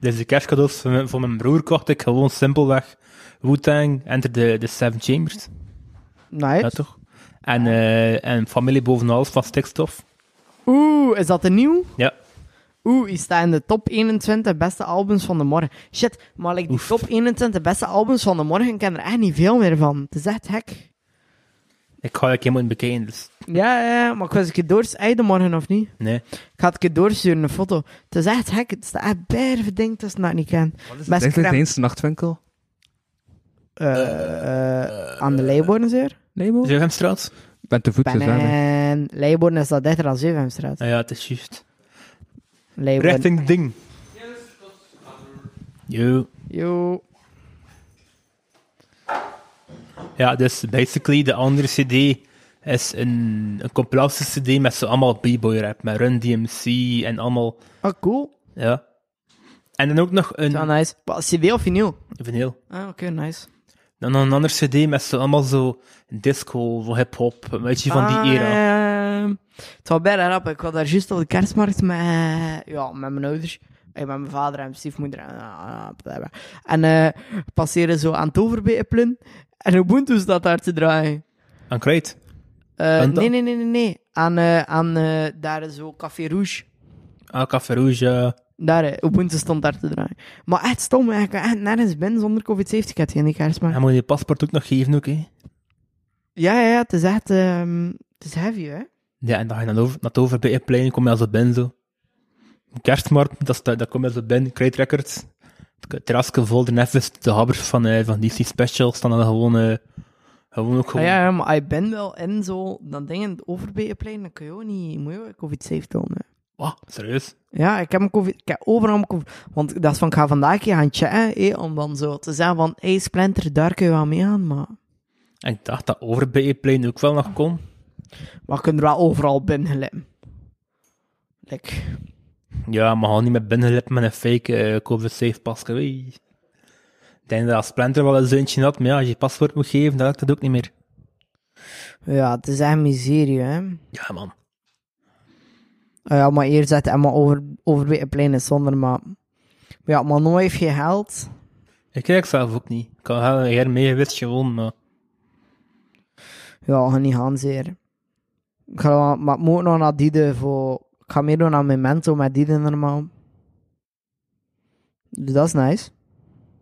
Speaker 6: Dus de kerstcadeaus van mijn, van mijn broer kocht ik gewoon simpelweg Wu-Tang, Enter the, the Seven Chambers.
Speaker 3: Nice.
Speaker 6: Ja, toch? En, eh, en Familie Boven Alles van Stikstof.
Speaker 3: Oeh, is dat een nieuw?
Speaker 6: Ja.
Speaker 3: Oeh, die staat in de top 21 beste albums van de morgen. Shit, maar like, die
Speaker 6: Oef.
Speaker 3: top 21 beste albums van de morgen ik ken er echt niet veel meer van. Het is echt hek.
Speaker 6: Ik ga ik helemaal in bekijken, dus
Speaker 3: Ja, ja, ja, maar ik was een keer doorsturen de morgen of niet?
Speaker 6: nee.
Speaker 3: Ik ga het een keer doorsturen, een foto. Het is echt hek. Het staat echt berven ding dat ze dat niet kennen. Best
Speaker 2: Denk dat het
Speaker 3: crème.
Speaker 2: eens nachtwinkel?
Speaker 3: Eh, eh, aan de Leiborn zeer.
Speaker 2: Nee, man.
Speaker 6: Zevenstraat?
Speaker 2: Ik ben te voet
Speaker 3: Ben eh,
Speaker 2: gegaan, hè.
Speaker 3: en Leiborn is dat dichter dan Zevenstraat.
Speaker 6: Ah ja, het is juist.
Speaker 3: Leiborn.
Speaker 6: Richting de ding. Yo.
Speaker 3: Yo.
Speaker 6: Ja, dus basically de andere CD is een, een compilatie CD met zo allemaal B-boy rap, met Run DMC en allemaal.
Speaker 3: Oh, cool.
Speaker 6: Ja. En dan ook nog
Speaker 3: Ja,
Speaker 6: een
Speaker 3: nice. Wat, CD of vinyl?
Speaker 6: vinyl.
Speaker 3: Ah, oké, nice.
Speaker 6: Dan nog een ander CD met zo allemaal zo disco, zo hip-hop, een beetje van
Speaker 3: Ah,
Speaker 6: die era.
Speaker 3: Ehm, het was bijna rap. Ik was daar juist op de kerstmarkt met, ja, met mijn ouders. Eh, met mijn vader en mijn stiefmoeder. En, eh, blablabla. en eh, we passeren zo aan het overbeepelen. En Ubuntu staat daar te draaien.
Speaker 6: En kwijt.
Speaker 3: Eh,
Speaker 6: En dan-
Speaker 3: nee, nee, nee, nee, nee. Aan, eh, aan eh, daar zo Café Rouge.
Speaker 6: Ah, Café Rouge. ja.
Speaker 3: Daar, eh, Ubuntu stond daar te draaien. Maar echt stom, hè. ik ben echt nergens binnen zonder covid-safety cat in die kerstmarkt.
Speaker 6: En moet je je paspoort ook nog geven, ook, hè?
Speaker 3: Ja, ja, ja, het is echt... ehm, het is heavy, hè.
Speaker 6: Ja, en dan ga je naar het over- naar het over bij je plein, kom je als een ben zo. Kerstmarkt, dat, is de- dat kom je als een ben, Crate Records. Het terrasje vol, de neffens, de habbers van, eh, van DC Special staan dan gewoon, eh, gewoon ook
Speaker 3: Ah
Speaker 6: gewoon.
Speaker 3: ja, ja, maar ik ben wel in zo, dan dingen overbeeplein, dan kun je ook niet, moet je ook covid safe doen. hè.
Speaker 6: Wat? Serieus?
Speaker 3: Ja, ik heb, mijn COVID, ik heb overal mijn COVID, want dat is van, ik ga vandaag een keer gaan chatten, hé, om dan zo te zeggen van, hey Splinter, daar kun je wel mee aan, maar
Speaker 6: En ik dacht dat over bij je plein ook wel nog kon.
Speaker 3: we kunnen er wel overal binnen glijden. Like,
Speaker 6: Ja, maar gewoon niet met binnenlippen met een fake eh, COVID-safe pasje. wee. Ik denk dat als Splinter wel een zoontje had, maar ja, als je paspoort moet geven, dan lukt dat ook niet meer.
Speaker 3: ja, het is echt miserie, hè.
Speaker 6: Ja, man.
Speaker 3: Ah ja, maar hier zet Emma over, overbeeplein is zonder, maar... maar Ja, maar nooit heeft je geld.
Speaker 6: Ik kijk zelf ook niet. Ik kan wel een jaar mee geweest gewoon, maar...
Speaker 3: Ja, ik ga niet gaan zeer. Ik ga wel- maar ik moet nog naar Dide voor... Ik ga meer doen aan Memento met Dide normaal. Dus dat is nice.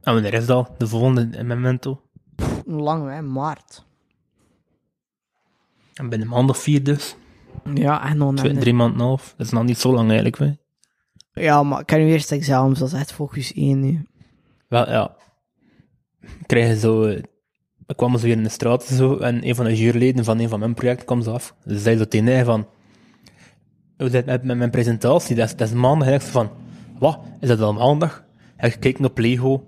Speaker 6: Ah, maar de rest al. De volgende eh, Memento.
Speaker 3: Pff, Hoe lang, hè? Maart.
Speaker 6: En binnen een maand of vier dus.
Speaker 3: Ja, en dan...
Speaker 6: Twee, drie maanden en een half. Dat is nog niet zo lang eigenlijk. Hè.
Speaker 3: Ja, maar ik kan nu eerst examens. Dat is echt focus 1 nu.
Speaker 6: Wel, ja. Krijgen zo... eh, We kwamen zo weer in de straat zo, en een van de juryleden van een van mijn projecten kwam ze af. Ze zei zo tegen mij van... Hoe zit het met- met mijn presentatie? Dat is, dat is maandag. En ik zei van... Wat? Is dat al maandag? En gekeken op Lego.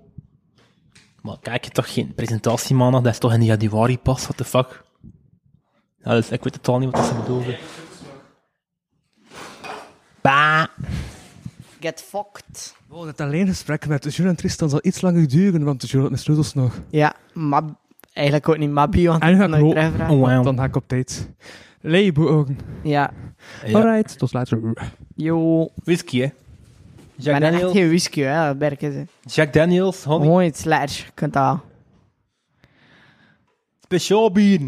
Speaker 6: Maar kijk je toch geen presentatie maandag? Dat is toch in januari pas? What the fuck? Ja, dus ik weet totaal niet wat ze bedoelden. Bah!
Speaker 3: Get fucked.
Speaker 2: Oh, dat alleen gesprek met de Jules en Tristan zal iets langer duren, want de Jules had mijn sleutels nog.
Speaker 3: Ja, maar... Eigenlijk ook niet Mabby, want
Speaker 2: En
Speaker 3: ik
Speaker 2: ga
Speaker 3: heb
Speaker 2: ik
Speaker 3: nooit
Speaker 2: ook-
Speaker 3: treffer.
Speaker 6: Oh, wauw.
Speaker 2: Dan ga ik op tijd. Leibogen.
Speaker 3: Ja.
Speaker 6: Ja.
Speaker 2: Alright, tot later.
Speaker 3: Yo. Ik
Speaker 6: Whisky, hè? Jack,
Speaker 3: ben echt
Speaker 6: Daniels.
Speaker 3: geen whisky, hè. Dat werken ze.
Speaker 6: Jack Daniels, honey.
Speaker 3: Gewoon iets lekkers. Je kunt dat...
Speaker 6: Speciaal bier.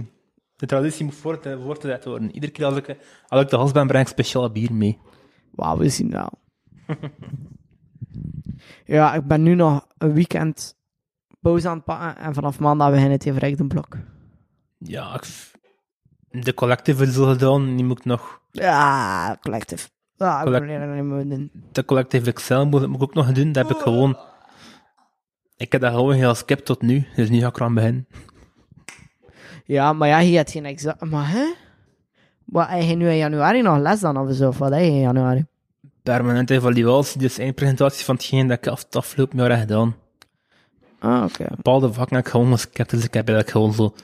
Speaker 6: De traditie moet voort- eh, voortgezet worden. Iedere keer als ik, als ik de gast ben, breng ik speciaal bier mee.
Speaker 3: Wauw, we zien wel. ja, ik ben nu nog een weekend pauze aan het pakken en vanaf maandag begin het in verrekte blok.
Speaker 6: Ja, ik f- de collective is al gedaan. Nu moet ik nog...
Speaker 3: Ja, collectief. Ja, ik
Speaker 6: Collect-
Speaker 3: wil er niet meer doen.
Speaker 6: De collective Excel moet, moet ik ook nog doen. Dat heb ik gewoon... Ik heb dat gewoon heel skip tot nu. Dus nu ga ik eraan beginnen.
Speaker 3: Ja, maar ja, je hebt geen examen. Maar hè? Wat, heb je nu in januari nog les dan of zo? Of wat heb je in januari?
Speaker 6: Permanente evaluatie, dus één presentatie van hetgeen dat ik af het afgelopen jaar heb gedaan.
Speaker 3: Ah, oké.
Speaker 6: bepaalde vakken heb ik gewoon sceptisch. Ik heb eigenlijk gewoon zo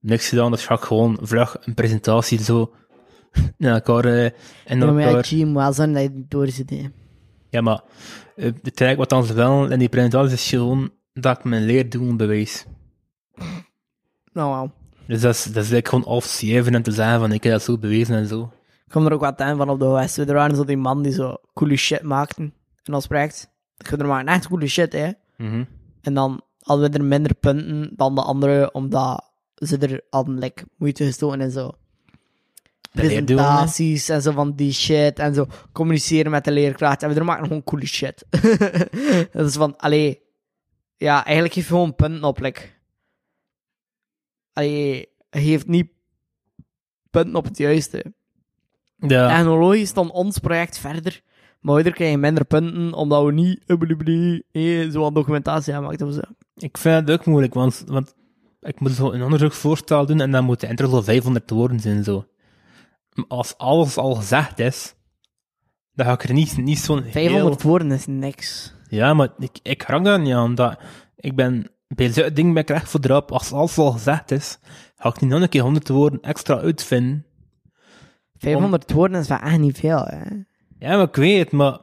Speaker 6: niks gedaan. Dus ga ik gewoon vlug een presentatie zo in elkaar eh, in
Speaker 3: Ja, maar ja,
Speaker 6: elkaar.
Speaker 3: het moet wel zijn dat je het doorzit, hè.
Speaker 6: Ja, maar eh, het eigenlijk wat dan ze wel in die presentatie is gewoon dat ik mijn leerdoelen bewijs.
Speaker 3: Nou, wel.
Speaker 6: Dus dat is, dat is eigenlijk gewoon afschrijven en te zeggen van ik heb dat zo bewezen en zo.
Speaker 3: Ik kwam er ook wat aan van op de OS. Er waren zo die man die zo coole shit maakten in ons project. Ik vind er maar een echt coole shit, hè.
Speaker 6: Mhm.
Speaker 3: En dan hadden we er minder punten dan de anderen, omdat ze er hadden like, moeite gestoken en zo.
Speaker 6: De leerdoelen, hè?
Speaker 3: Presentaties en zo van die shit en zo. Communiceren met de leerkracht. En we er maken gewoon coole shit. dat is van, allee. Ja, eigenlijk geef je gewoon punten op. Like. Allee, je geeft niet punten op het juiste.
Speaker 6: Ja,
Speaker 3: Technologisch stond ons project verder. Maar we krijgen minder punten, omdat we niet ubbelubbelie, eh, zo aan documentatie aanmaakt of zo.
Speaker 6: ik vind het ook moeilijk, want, want ik moet zo een onderzoeksvoorstel doen en dan moet de intro zo 500 woorden zijn zo. Maar als alles al gezegd is, dan ga ik er niet, niet zo'n heel-
Speaker 3: 500 woorden is niks.
Speaker 6: Ja, maar ik, ik hang daar niet aan. Dat, ik ben bij zo'n ding ben ik recht voor drap. Als alles al gezegd is, ga ik niet nog een keer 100 woorden extra uitvinden.
Speaker 3: 500 woorden is wel echt niet veel, hè.
Speaker 6: Ja, maar ik weet het, maar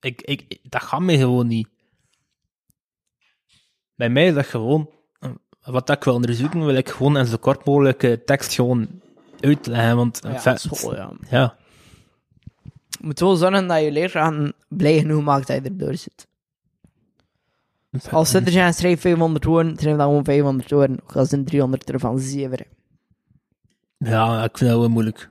Speaker 6: ik, ik, ik- dat gaat mij gewoon niet. Bij mij is dat gewoon, eh, wat dat ik wil onderzoeken, wil ik gewoon in zo kort mogelijke tekst gewoon uitleggen. Want, eh,
Speaker 3: Ja,
Speaker 6: fa-
Speaker 3: school, ja.
Speaker 6: ja.
Speaker 3: Je moet wel zorgen dat je leerkrachten blij genoeg maakt dat je erdoor zit. Als ze er zijn, schrijf 500 woorden, schrijf dan gewoon 500 woorden. Ook al zijn 300 ervan zeven.
Speaker 6: Ja, ik vind dat wel moeilijk.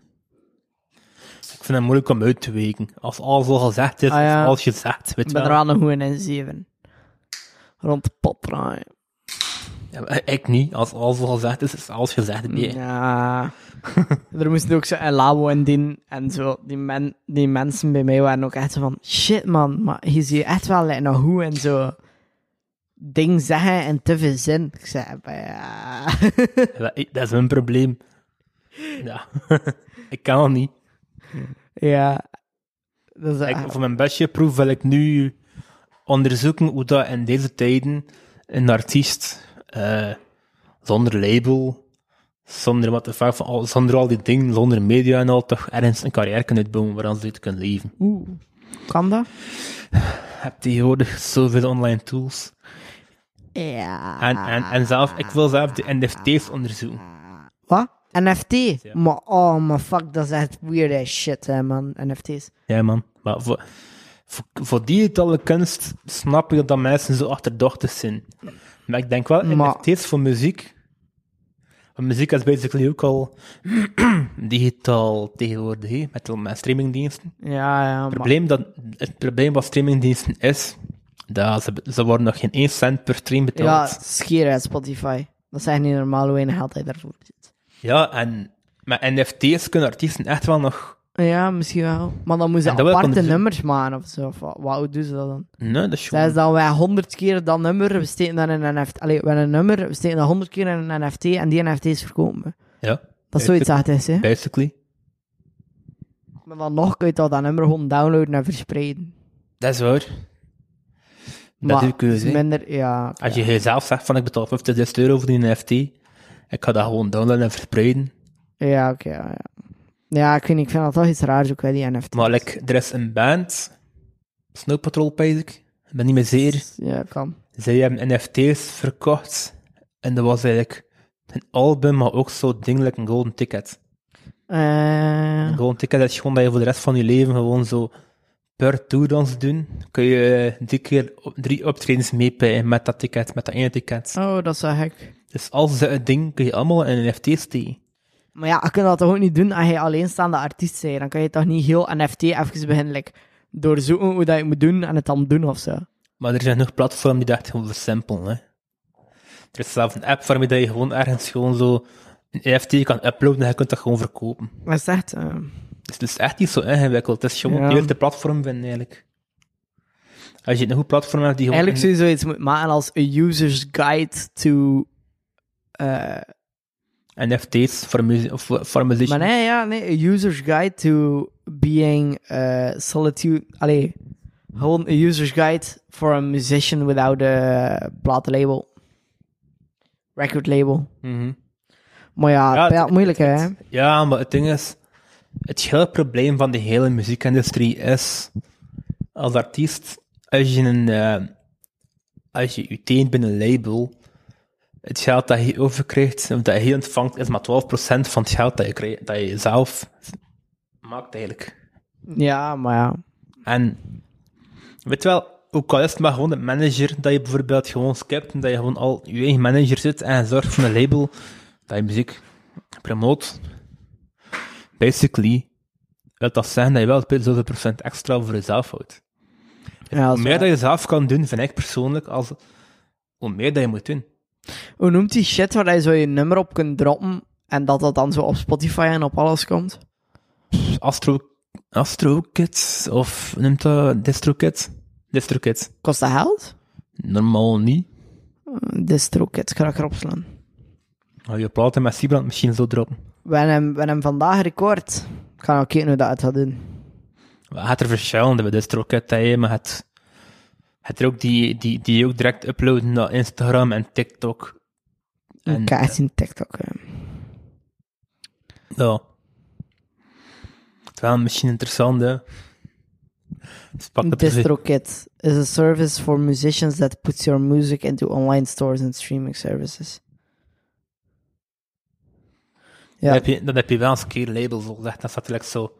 Speaker 6: Ik vind het moeilijk om uit te weken. Als alles al gezegd is,
Speaker 3: Ah, ja.
Speaker 6: als alles gezegd, weet
Speaker 3: Ik
Speaker 6: je
Speaker 3: ben
Speaker 6: wel.
Speaker 3: er aan een goede in zeven. Rond de pot draaien.
Speaker 6: Ja, maar ik niet. Als alles al gezegd is, is alles gezegd. Nee.
Speaker 3: Mm, Ja. er moesten ook zo een labo in doen en zo. Die, men, die mensen bij mij waren ook echt zo van... Shit, man. Maar je ziet echt wel like, nog hoe en zo... Ding zeggen en te veel zin. Ik zei, "Eh, maar ja...
Speaker 6: Dat, dat is mijn probleem. Ja. ik kan het niet.
Speaker 3: ja. Dat is eh,
Speaker 6: Ik,
Speaker 3: echt-
Speaker 6: voor mijn bestjeproef wil ik nu onderzoeken hoe dat in deze tijden een artiest eh, zonder label, zonder wat de fuck van al, zonder al die dingen, zonder media en al, toch ergens een carrière kan uitbouwen waaraan ze uit kunnen leven.
Speaker 3: Oeh. Kan dat?
Speaker 6: Je hebt tegenwoordig zoveel online tools.
Speaker 3: Ja.
Speaker 6: En, en, en zelf, ik wil zelf de NFT's onderzoeken.
Speaker 3: Wat? NFT? Maar oh, maar fuck, dat is echt weird as shit, hè, man. NFT's.
Speaker 6: Ja, man. Maar voor, voor, voor digitale kunst snap ik dat mensen zo achterdochtig zijn. Maar ik denk wel,
Speaker 3: Maar-
Speaker 6: NFT's voor muziek. Want muziek is basically ook al digitaal tegenwoordig, hè, met, de- met streamingdiensten.
Speaker 3: Ja, ja,
Speaker 6: Het
Speaker 3: maar...
Speaker 6: probleem, dat, het probleem van streamingdiensten is dat ze, ze worden nog geen 1 cent per stream
Speaker 3: Ja,
Speaker 6: betaald.
Speaker 3: scheer uit Spotify. Dat is echt niet normaal hoe weinig geld hij daarvoor zit.
Speaker 6: Ja, en met NFT's kunnen artiesten echt wel nog...
Speaker 3: Ja, misschien wel. Maar dan moeten
Speaker 6: En
Speaker 3: ze
Speaker 6: dat wil ik
Speaker 3: aparte
Speaker 6: onderzoeken.
Speaker 3: nummers maken of zo. Of wat, wat- hoe doen ze dat dan?
Speaker 6: Nee, dat is
Speaker 3: Dat
Speaker 6: gewoon-
Speaker 3: is dan wij honderd keer dat nummer, we steken dan in een NFT. Allee, we hebben een nummer, we steken dat honderd keer in een NFT en die NFT's verkopen we.
Speaker 6: Ja,
Speaker 3: Dat is zoiets echt is, hè.
Speaker 6: basically.
Speaker 3: Maar dan nog kun je dat, dat nummer gewoon downloaden en verspreiden.
Speaker 6: Dat is waar.
Speaker 3: maar
Speaker 6: Dat is uw keuze, hè.
Speaker 3: Minder, ja.
Speaker 6: Als je zelf zegt van ik betaal 50 euro voor die NFT, ik ga dat gewoon downloaden en verspreiden.
Speaker 3: Ja, oké, ja, ja. Ja, ik weet niet, ik vind dat toch iets raars ook wel, die NFT's.
Speaker 6: Maar like, er is een band, Snow Patrol basic, ik ben niet meer zeer.
Speaker 3: Ja, kan.
Speaker 6: Zij hebben NFT's verkocht en dat was eigenlijk een album, maar ook zo'n ding, like een golden ticket.
Speaker 3: Eh,
Speaker 6: Een golden ticket is gewoon dat je voor de rest van je leven gewoon zo per tour dans doen. Kun je eh, drie keer op- drie optredens meepijden met dat ticket, met dat ene ticket.
Speaker 3: oh, dat is wel gek.
Speaker 6: Dus als ze het ding kun je allemaal in NFT's steken.
Speaker 3: Maar ja, je kunt dat toch ook niet doen als je alleenstaande artiest bent. Dan kan je toch niet heel NFT even beginnen like, doorzoeken hoe dat je moet doen en het dan doen of zo.
Speaker 6: Maar er zijn nog platformen die dat echt gewoon versimpelen. Hè. Er is zelf een app waarmee dat je gewoon ergens gewoon zo een NFT kan uploaden en je kunt dat gewoon verkopen.
Speaker 3: Dat is echt... eh,
Speaker 6: Dus het is echt niet zo ingewikkeld. Het is gewoon
Speaker 3: Ja.
Speaker 6: heel de platform vinden eigenlijk. Als je een goed platform hebt die gewoon...
Speaker 3: eigenlijk zou je zoiets moeten maken als a user's guide to... eh,
Speaker 6: NFT's voor, muzie- of voor- voor
Speaker 3: maar
Speaker 6: musicians.
Speaker 3: nee, ja, nee, a user's guide to being eh solitude... Allee, Gewoon een user's guide for a musician without a platenlabel. Record label. Maar ja,
Speaker 6: Ja, het-
Speaker 3: pijl- moeilijk hè.
Speaker 6: Ja, maar het ding is, het hele probleem van de hele muziekindustrie is, als artiest, als je een, eh, als je je teent binnen een label, het geld dat je overkrijgt, of dat je ontvangt, is maar 12% van het geld dat je, krij- dat je zelf maakt eigenlijk.
Speaker 3: Ja, maar ja.
Speaker 6: En, weet je wel, ook al is het maar gewoon een manager, dat je bijvoorbeeld gewoon skipt, en dat je gewoon al je eigen manager zit en zorgt voor een label, dat je muziek promoot. Basically, wil dat zeggen dat je wel speel- zoveel procent extra voor jezelf houdt.
Speaker 3: ja dat
Speaker 6: Hoe
Speaker 3: is
Speaker 6: meer
Speaker 3: waar.
Speaker 6: dat je zelf kan doen, vind ik persoonlijk, als, hoe meer dat je moet doen.
Speaker 3: Hoe noemt die shit waar je zo je nummer op kunt droppen en dat dat dan zo op Spotify en op alles komt?
Speaker 6: Astro, Astro Kids, of noemt dat Distro Kids? Distro Kids.
Speaker 3: Kost dat geld?
Speaker 6: Normaal niet.
Speaker 3: DistroKids, ga ik erop slaan.
Speaker 6: Als je platen met Sibrand misschien zo droppen.
Speaker 3: We hebben, hem- we hebben hem vandaag record. Ik ga ook kijken hoe dat het gaat doen.
Speaker 6: Je hebt er verschillende bij DistroKid, maar het, het er ook die, die, die ook direct uploaden naar Instagram en TikTok. En,
Speaker 3: Ik ga echt zien TikTok. hè.
Speaker 6: Ja. Het is wel misschien interessant, hè. Dus pak dat precies-
Speaker 3: DistroKid is a service for musicians that puts your music into online stores and streaming services. Ja.
Speaker 6: Dan, heb je, dan heb je wel eens een keer labels al gezegd. Dan staat er like zo...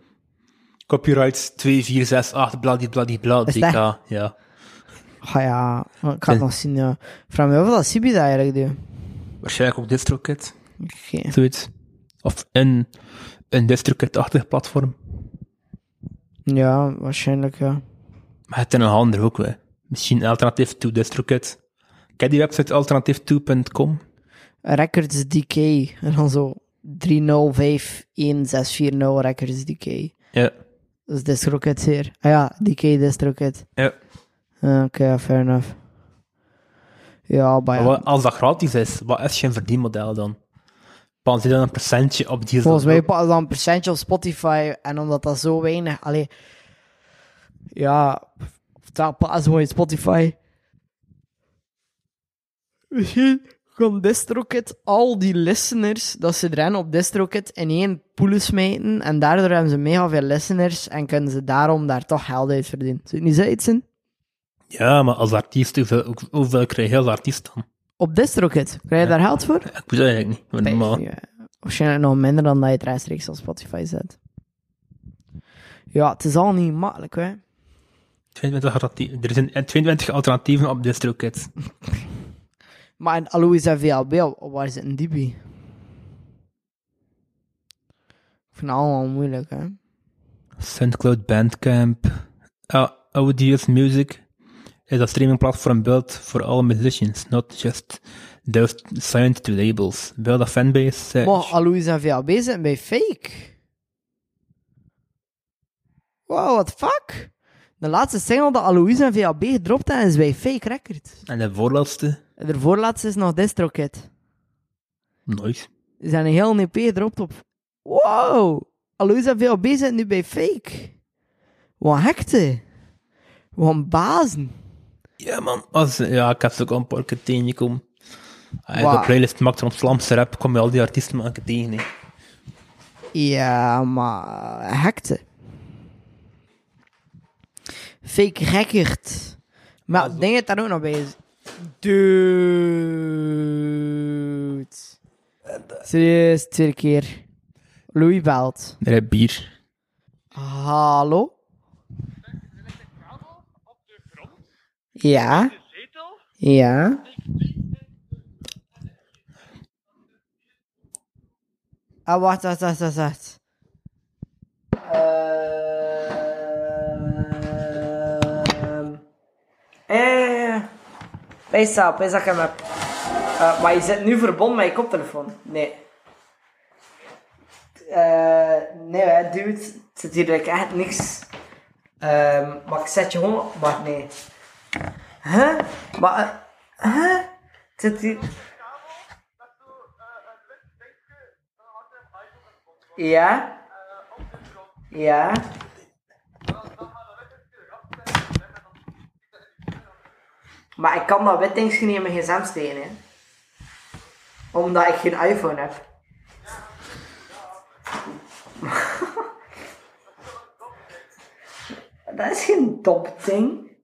Speaker 6: Copyrights 2468, bladibladibla,
Speaker 3: Is dat-
Speaker 6: DK. Ja.
Speaker 3: Ah ja, ik ga het nog zien. Ja. Vraag me af of dat Sibi dat eigenlijk doet.
Speaker 6: Waarschijnlijk ook DistroKid,
Speaker 3: Oké.
Speaker 6: zoiets. Of een, een DistroKid-achtig platform.
Speaker 3: Ja, waarschijnlijk ja.
Speaker 6: Maar het is nog ander ook, hè. Misschien alternatief to DistroKid. Ken die website alternatief2.com?
Speaker 3: Records Decay. En dan zo 3051640 Records Decay.
Speaker 6: Ja.
Speaker 3: Dat is DistroKid hier. Ah ja, Decay DistroKid.
Speaker 6: Ja.
Speaker 3: Ah, Oké, ja, fair enough. Ja, maar
Speaker 6: Maar
Speaker 3: ja,
Speaker 6: wat- als dat gratis is, wat is je verdienmodel dan? Pan ze dan een percentje op die...
Speaker 3: volgens mij pakken ze dan een percentje op Spotify. En omdat dat zo weinig... Allee, ja, of dat pakken ze gewoon in Spotify. Misschien kan DistroKid al die listeners dat ze erin op DistroKid in één pool smijten. En daardoor hebben ze mega veel listeners. En kunnen ze daarom daar toch geld uit verdienen. Zit niet zoiets in?
Speaker 6: Ja, maar als artiest, hoeveel, hoe- hoeveel krijg je als artiest dan?
Speaker 3: Op DistroKid, krijg je daar geld voor?
Speaker 6: Ik weet het eigenlijk niet. Maar normaal.
Speaker 3: Ja, waarschijnlijk nog nou minder dan dat je het rechtstreeks op Spotify zet. Ja, het is al niet makkelijk, hè.
Speaker 6: 22 alternatieven. Er zijn 22 alternatieven op DistroKid.
Speaker 3: Maar in Alois en VLB, wa- waar zit een DB? Ik vind het allemaal moeilijk, hè.
Speaker 6: Soundcloud, Bandcamp, uh, Audius Music is een streamingplatform built for all musicians, not just those signed to labels. Build a fanbase. search.
Speaker 3: Maar Alois en VLB zitten bij Fake. Wow, what the fuck? De laatste single dat Alois en VLB gedropt hebben is bij Fake Records.
Speaker 6: En de voorlaatste?
Speaker 3: En de voorlaatste is nog DistroKid.
Speaker 6: Nooit.
Speaker 3: Ze zijn een heel EP gedropt op. Wow! Aloisa VLB zit nu bij Fake. Wat hekte. Wat een bazen.
Speaker 6: Ja, man. Als, ja, ik heb ze ook al een paar keer tegengekomen. Als je
Speaker 3: Wauw.
Speaker 6: de playlist maakt van Vlaamse rap, kom je al die artiesten maken tegen. hè.
Speaker 3: Ja, maar hekte. Fake Rekkert. Maar ik denk dat daar ook nog bij is. Dude. Serieus, tweede keer. Louis belt.
Speaker 6: Er heb bier.
Speaker 3: Hallo? Ja. Ja. Ah, wacht, wacht, wacht, wacht, wacht. Ehm. Eh. Wees op, wees dat ik hem heb. Eh, maar je zit nu verbonden met je koptelefoon. Nee. Eh, nee, hè, dude. Het zit hier like, echt niks. Ehm, maar ik zet je gewoon op. Maar nee. Huh? Maar. eh, huh? Het zit hier. Ja? Ja? Maar ik kan dat wit dingetje niet in mijn gsm steken, hè. Omdat ik geen iPhone heb. dat is geen dom ding.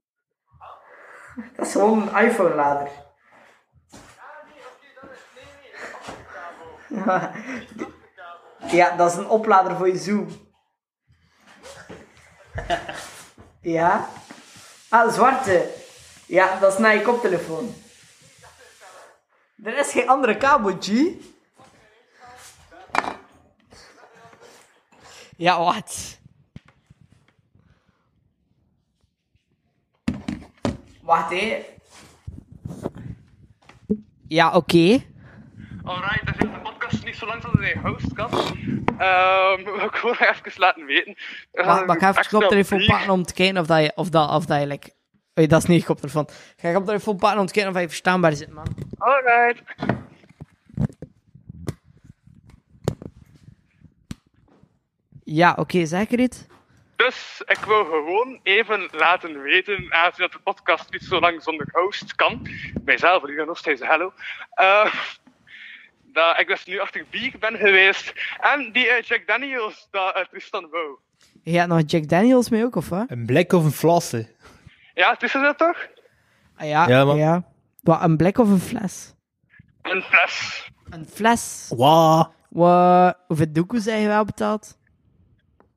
Speaker 3: Dat is gewoon een iPhone-lader. Ja, dat is een oplader voor je Zoom. Ja? Ah, zwarte. Ja, dat is naar je koptelefoon. Er is geen andere kabel, G. Ja, wat? Wacht, hé. Ja, oké.
Speaker 12: Alright, dat is de podcast niet zo lang zoals hij host kan. Ehm wil ik gewoon even laten weten.
Speaker 10: Ah,
Speaker 3: Wacht, maar ik ga even je koptelefoon
Speaker 12: pakken.
Speaker 3: pakken om te kijken of dat je... Of dat, of dat je, like... Oei, dat is niet je koptelefoon. Ik Ga je koptelefoon pakken om te kijken of hij verstaanbaar zit, man.
Speaker 12: Alright.
Speaker 3: Ja, oké, zeker dit?
Speaker 12: Dus ik wil gewoon even laten weten, aangezien dat de podcast niet zo lang zonder host kan, mijzelf, die dan nog steeds hello, eh, dat ik dus nu achter Biek ben geweest en die eh, Jack Daniels dat uit Tristan wou.
Speaker 3: Je hebt nog Jack Daniels mee ook, of wat?
Speaker 6: Een blik of een flassen.
Speaker 12: Ja, tussen dat toch?
Speaker 3: Ah, ja,
Speaker 6: Ja, man.
Speaker 3: ja. Wat, een blik of een fles?
Speaker 12: Een fles.
Speaker 3: Een fles.
Speaker 6: Wauw.
Speaker 3: Wat, hoeveel doekoe zijn je wel betaald?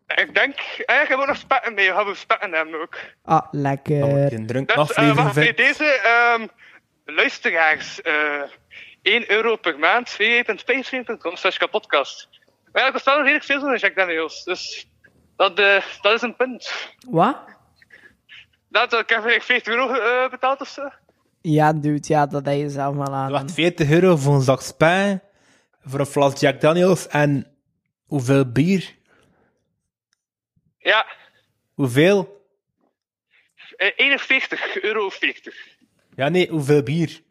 Speaker 12: Ik denk, eigenlijk hebben we nog spetten mee, we hebben spetten hem ook.
Speaker 3: Ah, lekker.
Speaker 6: Een drunk
Speaker 12: Dus eh
Speaker 6: aflevering.
Speaker 12: wacht, bij
Speaker 6: vind-
Speaker 12: deze ehm, luisteraars. eh 1 euro per maand, www.patreon.com slash kapodcast. Maar ja, ik bestel nog redelijk veel zo'n Jack Daniels. Dus dat, eh, dat is een punt.
Speaker 3: Wat?
Speaker 12: Dat, eh, ik heb eigenlijk 40 euro eh, betaald of zo.
Speaker 3: Ja, dude, ja, dat deed je zelf wel aan.
Speaker 6: Wacht, 40 euro voor een zak spijn, voor een fles Jack Daniels en hoeveel bier?
Speaker 12: Ja,
Speaker 6: Hoeveel?
Speaker 12: eh, 41 euro 40.
Speaker 6: Ja, nee, hoeveel bier?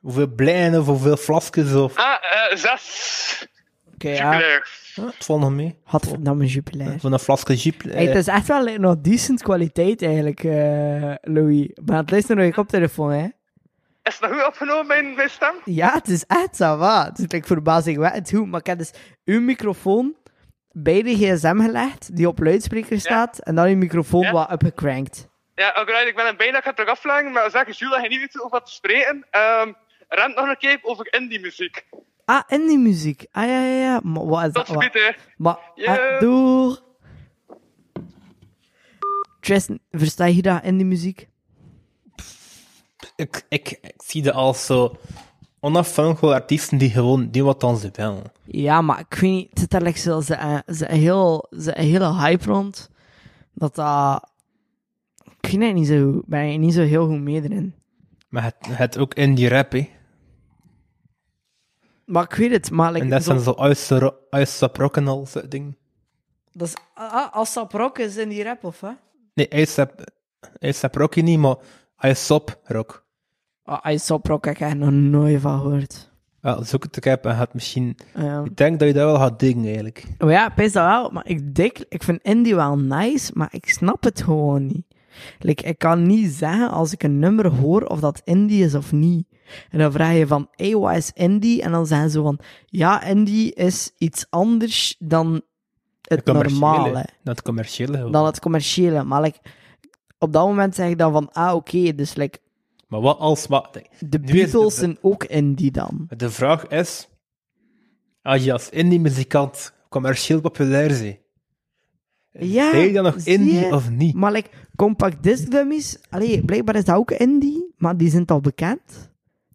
Speaker 6: Hoeveel blijen of hoeveel flasjes of...
Speaker 12: Ah, eh 6.
Speaker 3: Oké, ja. nou,
Speaker 12: Ja.
Speaker 6: Huh, het valt nog mee.
Speaker 3: Had verdamme jubilair.
Speaker 6: Van een flasje jeep. eh,
Speaker 3: Hey, het is echt wel nog decent kwaliteit eigenlijk, eh, Louis. Maar het luisteren naar je koptelefoon, hè?
Speaker 12: Is het nog goed opgenomen, mijn, mijn stem?
Speaker 3: Ja, het is echt zo wat. Het is like, verbazingwekkend hoe. Maar ik heb dus uw microfoon bij de gsm gelegd, die op luidspreker staat, en dan uw microfoon
Speaker 12: Ja.
Speaker 3: wat upgecrankt.
Speaker 12: Ja, alright, ik ben een bijna, ik ga het terug afleggen. Maar zeg eens, Jules, dat je niet weet over wat te spreken. Ehm rent nog een keer over indie-muziek.
Speaker 3: Ah, en die muziek. Ah, ja, ja, ja. Maar wat is
Speaker 12: Tot
Speaker 3: dat? Wat?
Speaker 12: ziens, hè.
Speaker 3: Maar,
Speaker 12: Ja.
Speaker 3: eh, door... Tristan, versta je dat in die muziek?
Speaker 6: ik, ik, ik zie dat als zo onafhankelijke artiesten die gewoon doen wat dan ze willen.
Speaker 3: Ja, maar ik weet niet, het zit er like zo- ze- eh, ze- een heel, ze- een hele hype rond, dat dat... Ik weet het niet zo, ben je niet zo heel goed mee erin.
Speaker 6: Maar het, het ook in die rap, hè.
Speaker 3: Maar ik weet het, maar... like,
Speaker 6: En dat
Speaker 3: zo-
Speaker 6: zijn zo uitstra- uitstaprokken en al zo'n ding.
Speaker 3: Dat is ah, ASAP Rock is in die rap, of hè?
Speaker 6: Nee, uitstap- uitstaprokken niet, maar uitstoprock.
Speaker 3: Ah, ASAP Rock heb ik echt nog nooit van gehoord.
Speaker 6: Wel, zoek het ook op en gaat misschien...
Speaker 3: Ehm,
Speaker 6: Ik denk dat je dat wel gaat dingen, eigenlijk.
Speaker 3: maar Oh ja, pees dat wel, maar ik, dik, ik vind indie wel nice, maar ik snap het gewoon niet. Like, ik kan niet zeggen als ik een nummer hoor of dat indie is of niet. En dan vraag je van, hey, wat is indie? En dan zeggen ze van, ja, indie is iets anders dan het
Speaker 6: commerciële.
Speaker 3: normale.
Speaker 6: Dat het commerciële gewoon.
Speaker 3: Dan het commerciële. Maar like, op dat moment zeg ik dan van, ah, oké, dus like,
Speaker 6: Maar wat als... Maar,
Speaker 3: de
Speaker 6: Nu is het-
Speaker 3: Beatles zijn ook indie dan.
Speaker 6: de vraag is... Als je als indie-muzikant commercieel populair bent...
Speaker 3: Ja,
Speaker 6: ben je dan nog
Speaker 3: zie
Speaker 6: indie
Speaker 3: je?
Speaker 6: of niet?
Speaker 3: Maar like, compact disc dummies, allee, blijkbaar is dat ook indie, maar die zijn al bekend.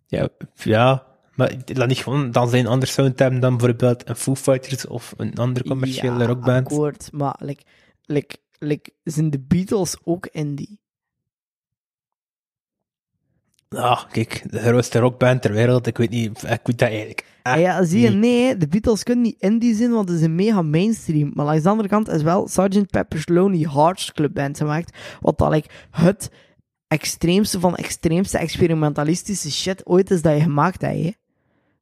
Speaker 6: Ja, ja maar laat niet gewoon dan zijn anders sound hebben dan bijvoorbeeld een Foo Fighters of een andere commerciële
Speaker 3: Ja,
Speaker 6: rockband.
Speaker 3: akkoord, maar like, like, like, zijn de Beatles ook indie?
Speaker 6: Ah, kijk, de grootste rockband ter wereld, ik weet niet, ik weet dat eigenlijk.
Speaker 3: Ah, ja, zie je,
Speaker 6: nee.
Speaker 3: nee, de Beatles kunnen niet indie zijn, want het is een mega mainstream. Maar langs de andere kant is wel Sgt. Pepper's Lonely Hearts Club Band gemaakt, wat dat like, het extreemste van extreemste experimentalistische shit ooit is dat je gemaakt hebt. hè.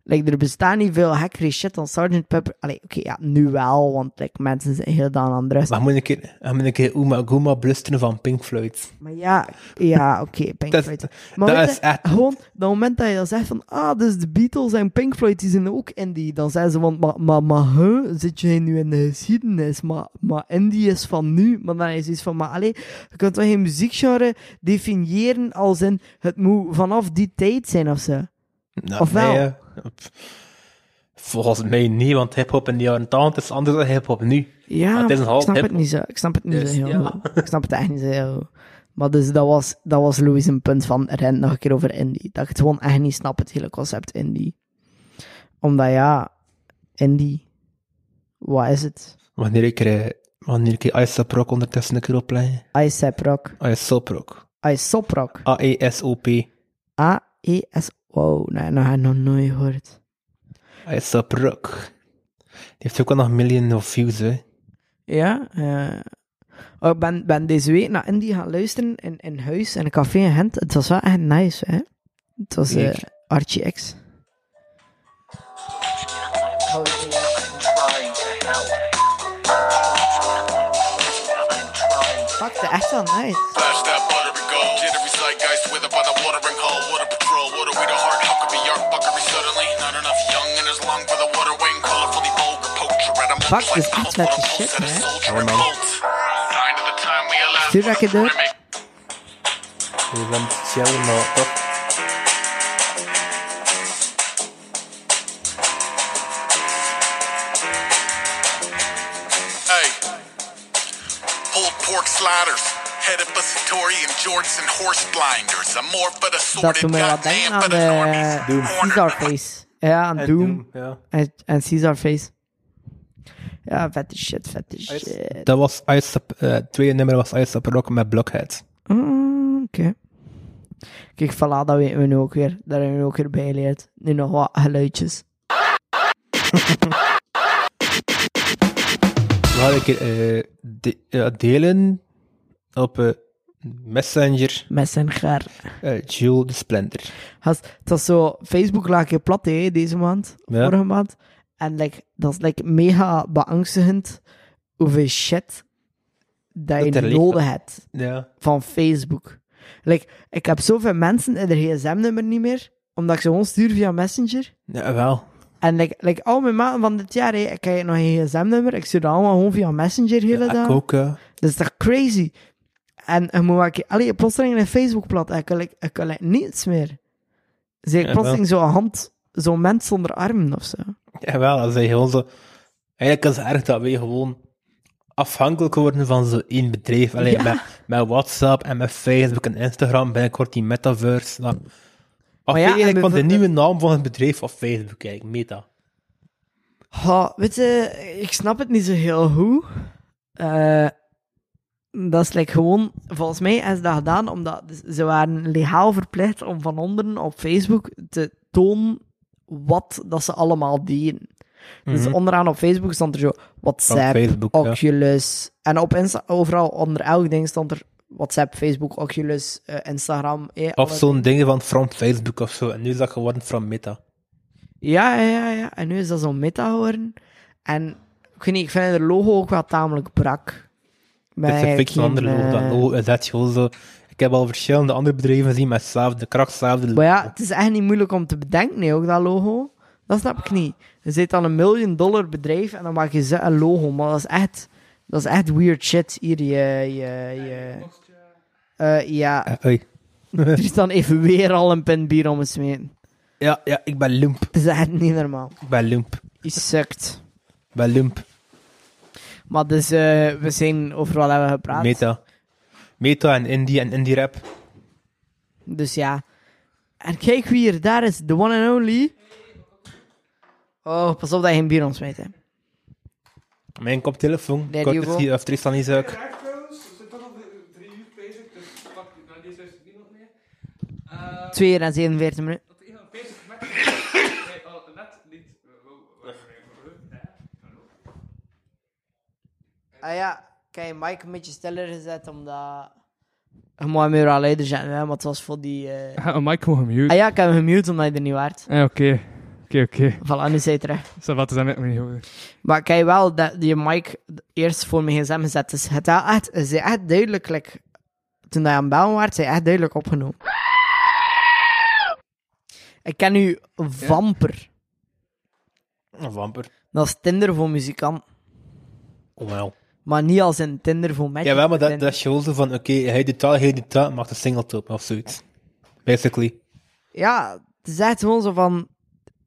Speaker 3: Like, er bestaan niet veel hackery shit dan Sgt. Pepper. Allee, oké, ja, nu wel, want like, mensen zijn heel dan aan de rest.
Speaker 6: Maar moet ik een keer, dan moet ik een keer Uma Guma blusteren van Pink Floyd.
Speaker 3: Maar ja, ja oké, Pink
Speaker 6: Dat-
Speaker 3: Floyd. Maar
Speaker 6: dat
Speaker 3: weet
Speaker 6: is
Speaker 3: je,
Speaker 6: echt-
Speaker 3: gewoon, dat moment dat je dan zegt van, ah, dus de Beatles en Pink Floyd, die zijn ook indie. Dan zeggen ze, want, maar, maar, maar huh, zit jij nu in de geschiedenis? Maar, maar indie is van nu. Maar dan is iets van, maar allee, je kunt toch geen muziekgenre definiëren als in, het moet vanaf die tijd zijn of zo.
Speaker 6: Nou,
Speaker 3: Of wel?
Speaker 6: nee, eh, pff. volgens mij niet, want hip-hop in de jaren 80 is anders dan hip-hop nu.
Speaker 3: Ja,
Speaker 6: het is een
Speaker 3: maar
Speaker 6: half
Speaker 3: ik snap het
Speaker 6: hip-hop.
Speaker 3: niet zo. Ik snap het niet
Speaker 6: Dus,
Speaker 3: zo heel
Speaker 6: ja.
Speaker 3: goed. Ik snap het echt niet zo heel goed. Maar dus dat was, dat was Louis een punt van rent nog een keer over indie. Dat ik het gewoon echt niet snap, het hele concept indie. Omdat ja, indie, wat is het?
Speaker 6: Wanneer ik er, wanneer ik ISAP Rock ondertussen een keer opleg.
Speaker 3: ISAP rock,
Speaker 6: ISOP Rock.
Speaker 3: ISOP rock, E
Speaker 6: E A-E-S-O-P.
Speaker 3: A-E-S... Wow, nee, nou heb ik nog nooit gehoord.
Speaker 6: ISAP Rock. Die heeft ook al nog miljoen of views, hè.
Speaker 3: Ja, eh, oh, ik ben, ben deze week naar indie gaan luisteren in, in huis, in een café in Gent. Het was wel echt nice, hè. Het was eh
Speaker 6: Zeker.
Speaker 3: Archie X. Fuck, dat is echt wel nice.
Speaker 13: Flash that buttery gold. Jittery zeitgeist with up on the watering hole. Water patrol, water we the heart. How could be yark buckery suddenly? Not enough young in his lung for the water wing. Colorfully vulgar poacher at a
Speaker 3: Fuck, dus this beat's like the shit, man.
Speaker 13: soldier in bolt. Sign of the time we allow.
Speaker 3: Stuur dat je doet.
Speaker 6: Die is aan het chillen, maar toch.
Speaker 13: Hey. Pulled pork sliders. Head of busatory and jorts and horse blinders. I'm more for the
Speaker 3: Dat
Speaker 13: sorted
Speaker 3: doet mij wat denken aan eh, de
Speaker 6: Doom.
Speaker 3: Caesarface. Ja, aan
Speaker 6: En
Speaker 3: Doom
Speaker 6: Doom, ja.
Speaker 3: en, en Caesarface. Ja, vette shit, vette shit.
Speaker 6: Dat was ISAP, eh, het tweede nummer was ISAP Rock met Blockhead.
Speaker 3: Mm, Oké. Kijk, voilà, dat weten we nu ook weer. Daar hebben we ook weer bij geleerd. Nu nog wat geluidjes.
Speaker 6: We hadden een keer eh, de- ja, delen op eh, Messenger,
Speaker 3: Met zijn gaar.
Speaker 6: eh Jules de Splendor.
Speaker 3: Gast, Het was zo, Facebook lag je plat hè, deze maand,
Speaker 6: Ja.
Speaker 3: vorige maand. En like, dat is like, mega beangstigend hoeveel shit dat je
Speaker 6: Dat er ligt,
Speaker 3: nodig
Speaker 6: ja.
Speaker 3: hebt.
Speaker 6: Ja.
Speaker 3: van Facebook. Like, ik heb zoveel mensen in de gsm-nummer niet meer, omdat ik ze gewoon stuur via Messenger.
Speaker 6: Ja, wel.
Speaker 3: En like, like, al mijn maten van dit jaar, hé, ik heb nog een gsm-nummer, ik stuur dat allemaal gewoon via Messenger de hele
Speaker 6: Ik
Speaker 3: dag.
Speaker 6: ook, ja.
Speaker 3: Dat is toch crazy? En je moet wel een keer- allee, plotseling een Facebook plat, ik kan, like, ik kan like, niets meer. Zie ik
Speaker 6: Ja,
Speaker 3: plotseling zo'n hand, zo'n mens zonder armen of zo.
Speaker 6: Jawel, dat is gewoon zo. Eigenlijk is het erg dat wij gewoon afhankelijk worden van zo'n één bedrijf. Alleen
Speaker 3: Ja.
Speaker 6: met, met WhatsApp en met Facebook en Instagram, binnenkort die metaverse. Nou, of
Speaker 3: Maar ja,
Speaker 6: eigenlijk
Speaker 3: en
Speaker 6: van de
Speaker 3: bijvoorbeeld-
Speaker 6: nieuwe naam van het bedrijf of Facebook, eigenlijk, Meta.
Speaker 3: Ha, weet je, ik snap het niet zo heel goed. Eh, dat is like gewoon, volgens mij hebben ze dat gedaan omdat ze waren legaal verplicht om van onderen op Facebook te tonen wat dat ze allemaal deden. Dus onderaan op Facebook stond er zo WhatsApp,
Speaker 6: Mhm. Op Facebook, ja.
Speaker 3: Oculus. En op Insta, overal onder elk ding stond er WhatsApp, Facebook, Oculus, eh, Instagram. eh,
Speaker 6: Of
Speaker 3: alle
Speaker 6: zo'n dingen van from Facebook of zo. En nu is dat geworden from Meta.
Speaker 3: Ja, ja, ja, ja. En nu is dat zo'n meta geworden. En ik weet niet, ik vind het logo ook wel tamelijk brak.
Speaker 6: Het is een
Speaker 3: eigenlijk
Speaker 6: fix ander
Speaker 3: geen,
Speaker 6: logo. Dat
Speaker 3: eh,
Speaker 6: logo is echt gewoon zo. Ik heb al verschillende andere bedrijven gezien met hetzelfde, kracht, hetzelfde logo.
Speaker 3: Maar ja, het is echt niet moeilijk om te bedenken, nee, ook dat logo. Dat snap ik niet. Je zit dan een miljoen dollar bedrijf en dan maak je ze een logo. Maar dat is echt, dat is echt weird shit. Hier, je... je, je Eh, ja,
Speaker 6: Eh, oei.
Speaker 3: er is dan even weer al een pint bier om het smeten.
Speaker 6: Ja, ja, ik ben lump.
Speaker 3: Het is echt niet normaal.
Speaker 6: Ik ben lump.
Speaker 3: Je sukt.
Speaker 6: Ik ben lump.
Speaker 3: Maar dus, eh, we zijn overal hebben we gepraat.
Speaker 6: Meta. Meta en indie en indie rap.
Speaker 3: Dus ja. En kijk wie er daar is. The one and only. Oh, pas op dat je geen bier omsmijt, hè.
Speaker 6: Mijn koptelefoon.
Speaker 3: Nee,
Speaker 6: Kort
Speaker 3: Diogo.
Speaker 6: is hier, of Tristan is ook.
Speaker 3: Twee uur en 47 minuten. Ah ja, kijk, Mike een beetje stiller gezet, omdat... Je moet hem weer al luider zetten, hè, maar het was voor die... eh,
Speaker 14: Ah, Mike, gewoon gemute.
Speaker 3: Ah ja, ik heb hem gemute, omdat hij er niet waard.
Speaker 14: Ah, oké.
Speaker 2: Oké, oké.
Speaker 3: Voilà, nu zei het recht.
Speaker 2: Zo, wat is dat met mijn hoofd?
Speaker 3: Maar kijk wel dat je mic eerst voor mijn gsm gezet is. Het had echt, ze echt duidelijk, like, toen hij aan het bellen was, ze echt duidelijk opgenomen. Ik ken nu Vamper.
Speaker 6: Een vamper.
Speaker 3: Dat is Tinder voor muzikant.
Speaker 6: Oh, wel.
Speaker 3: Maar niet als een Tinder voor matches.
Speaker 6: Jawel, maar dat,
Speaker 3: Tinder.
Speaker 6: dat is gewoon zo van, oké, hij doet dat, hij doet dat, maakt een single op of zoiets. Basically.
Speaker 3: Ja, het is echt gewoon zo van...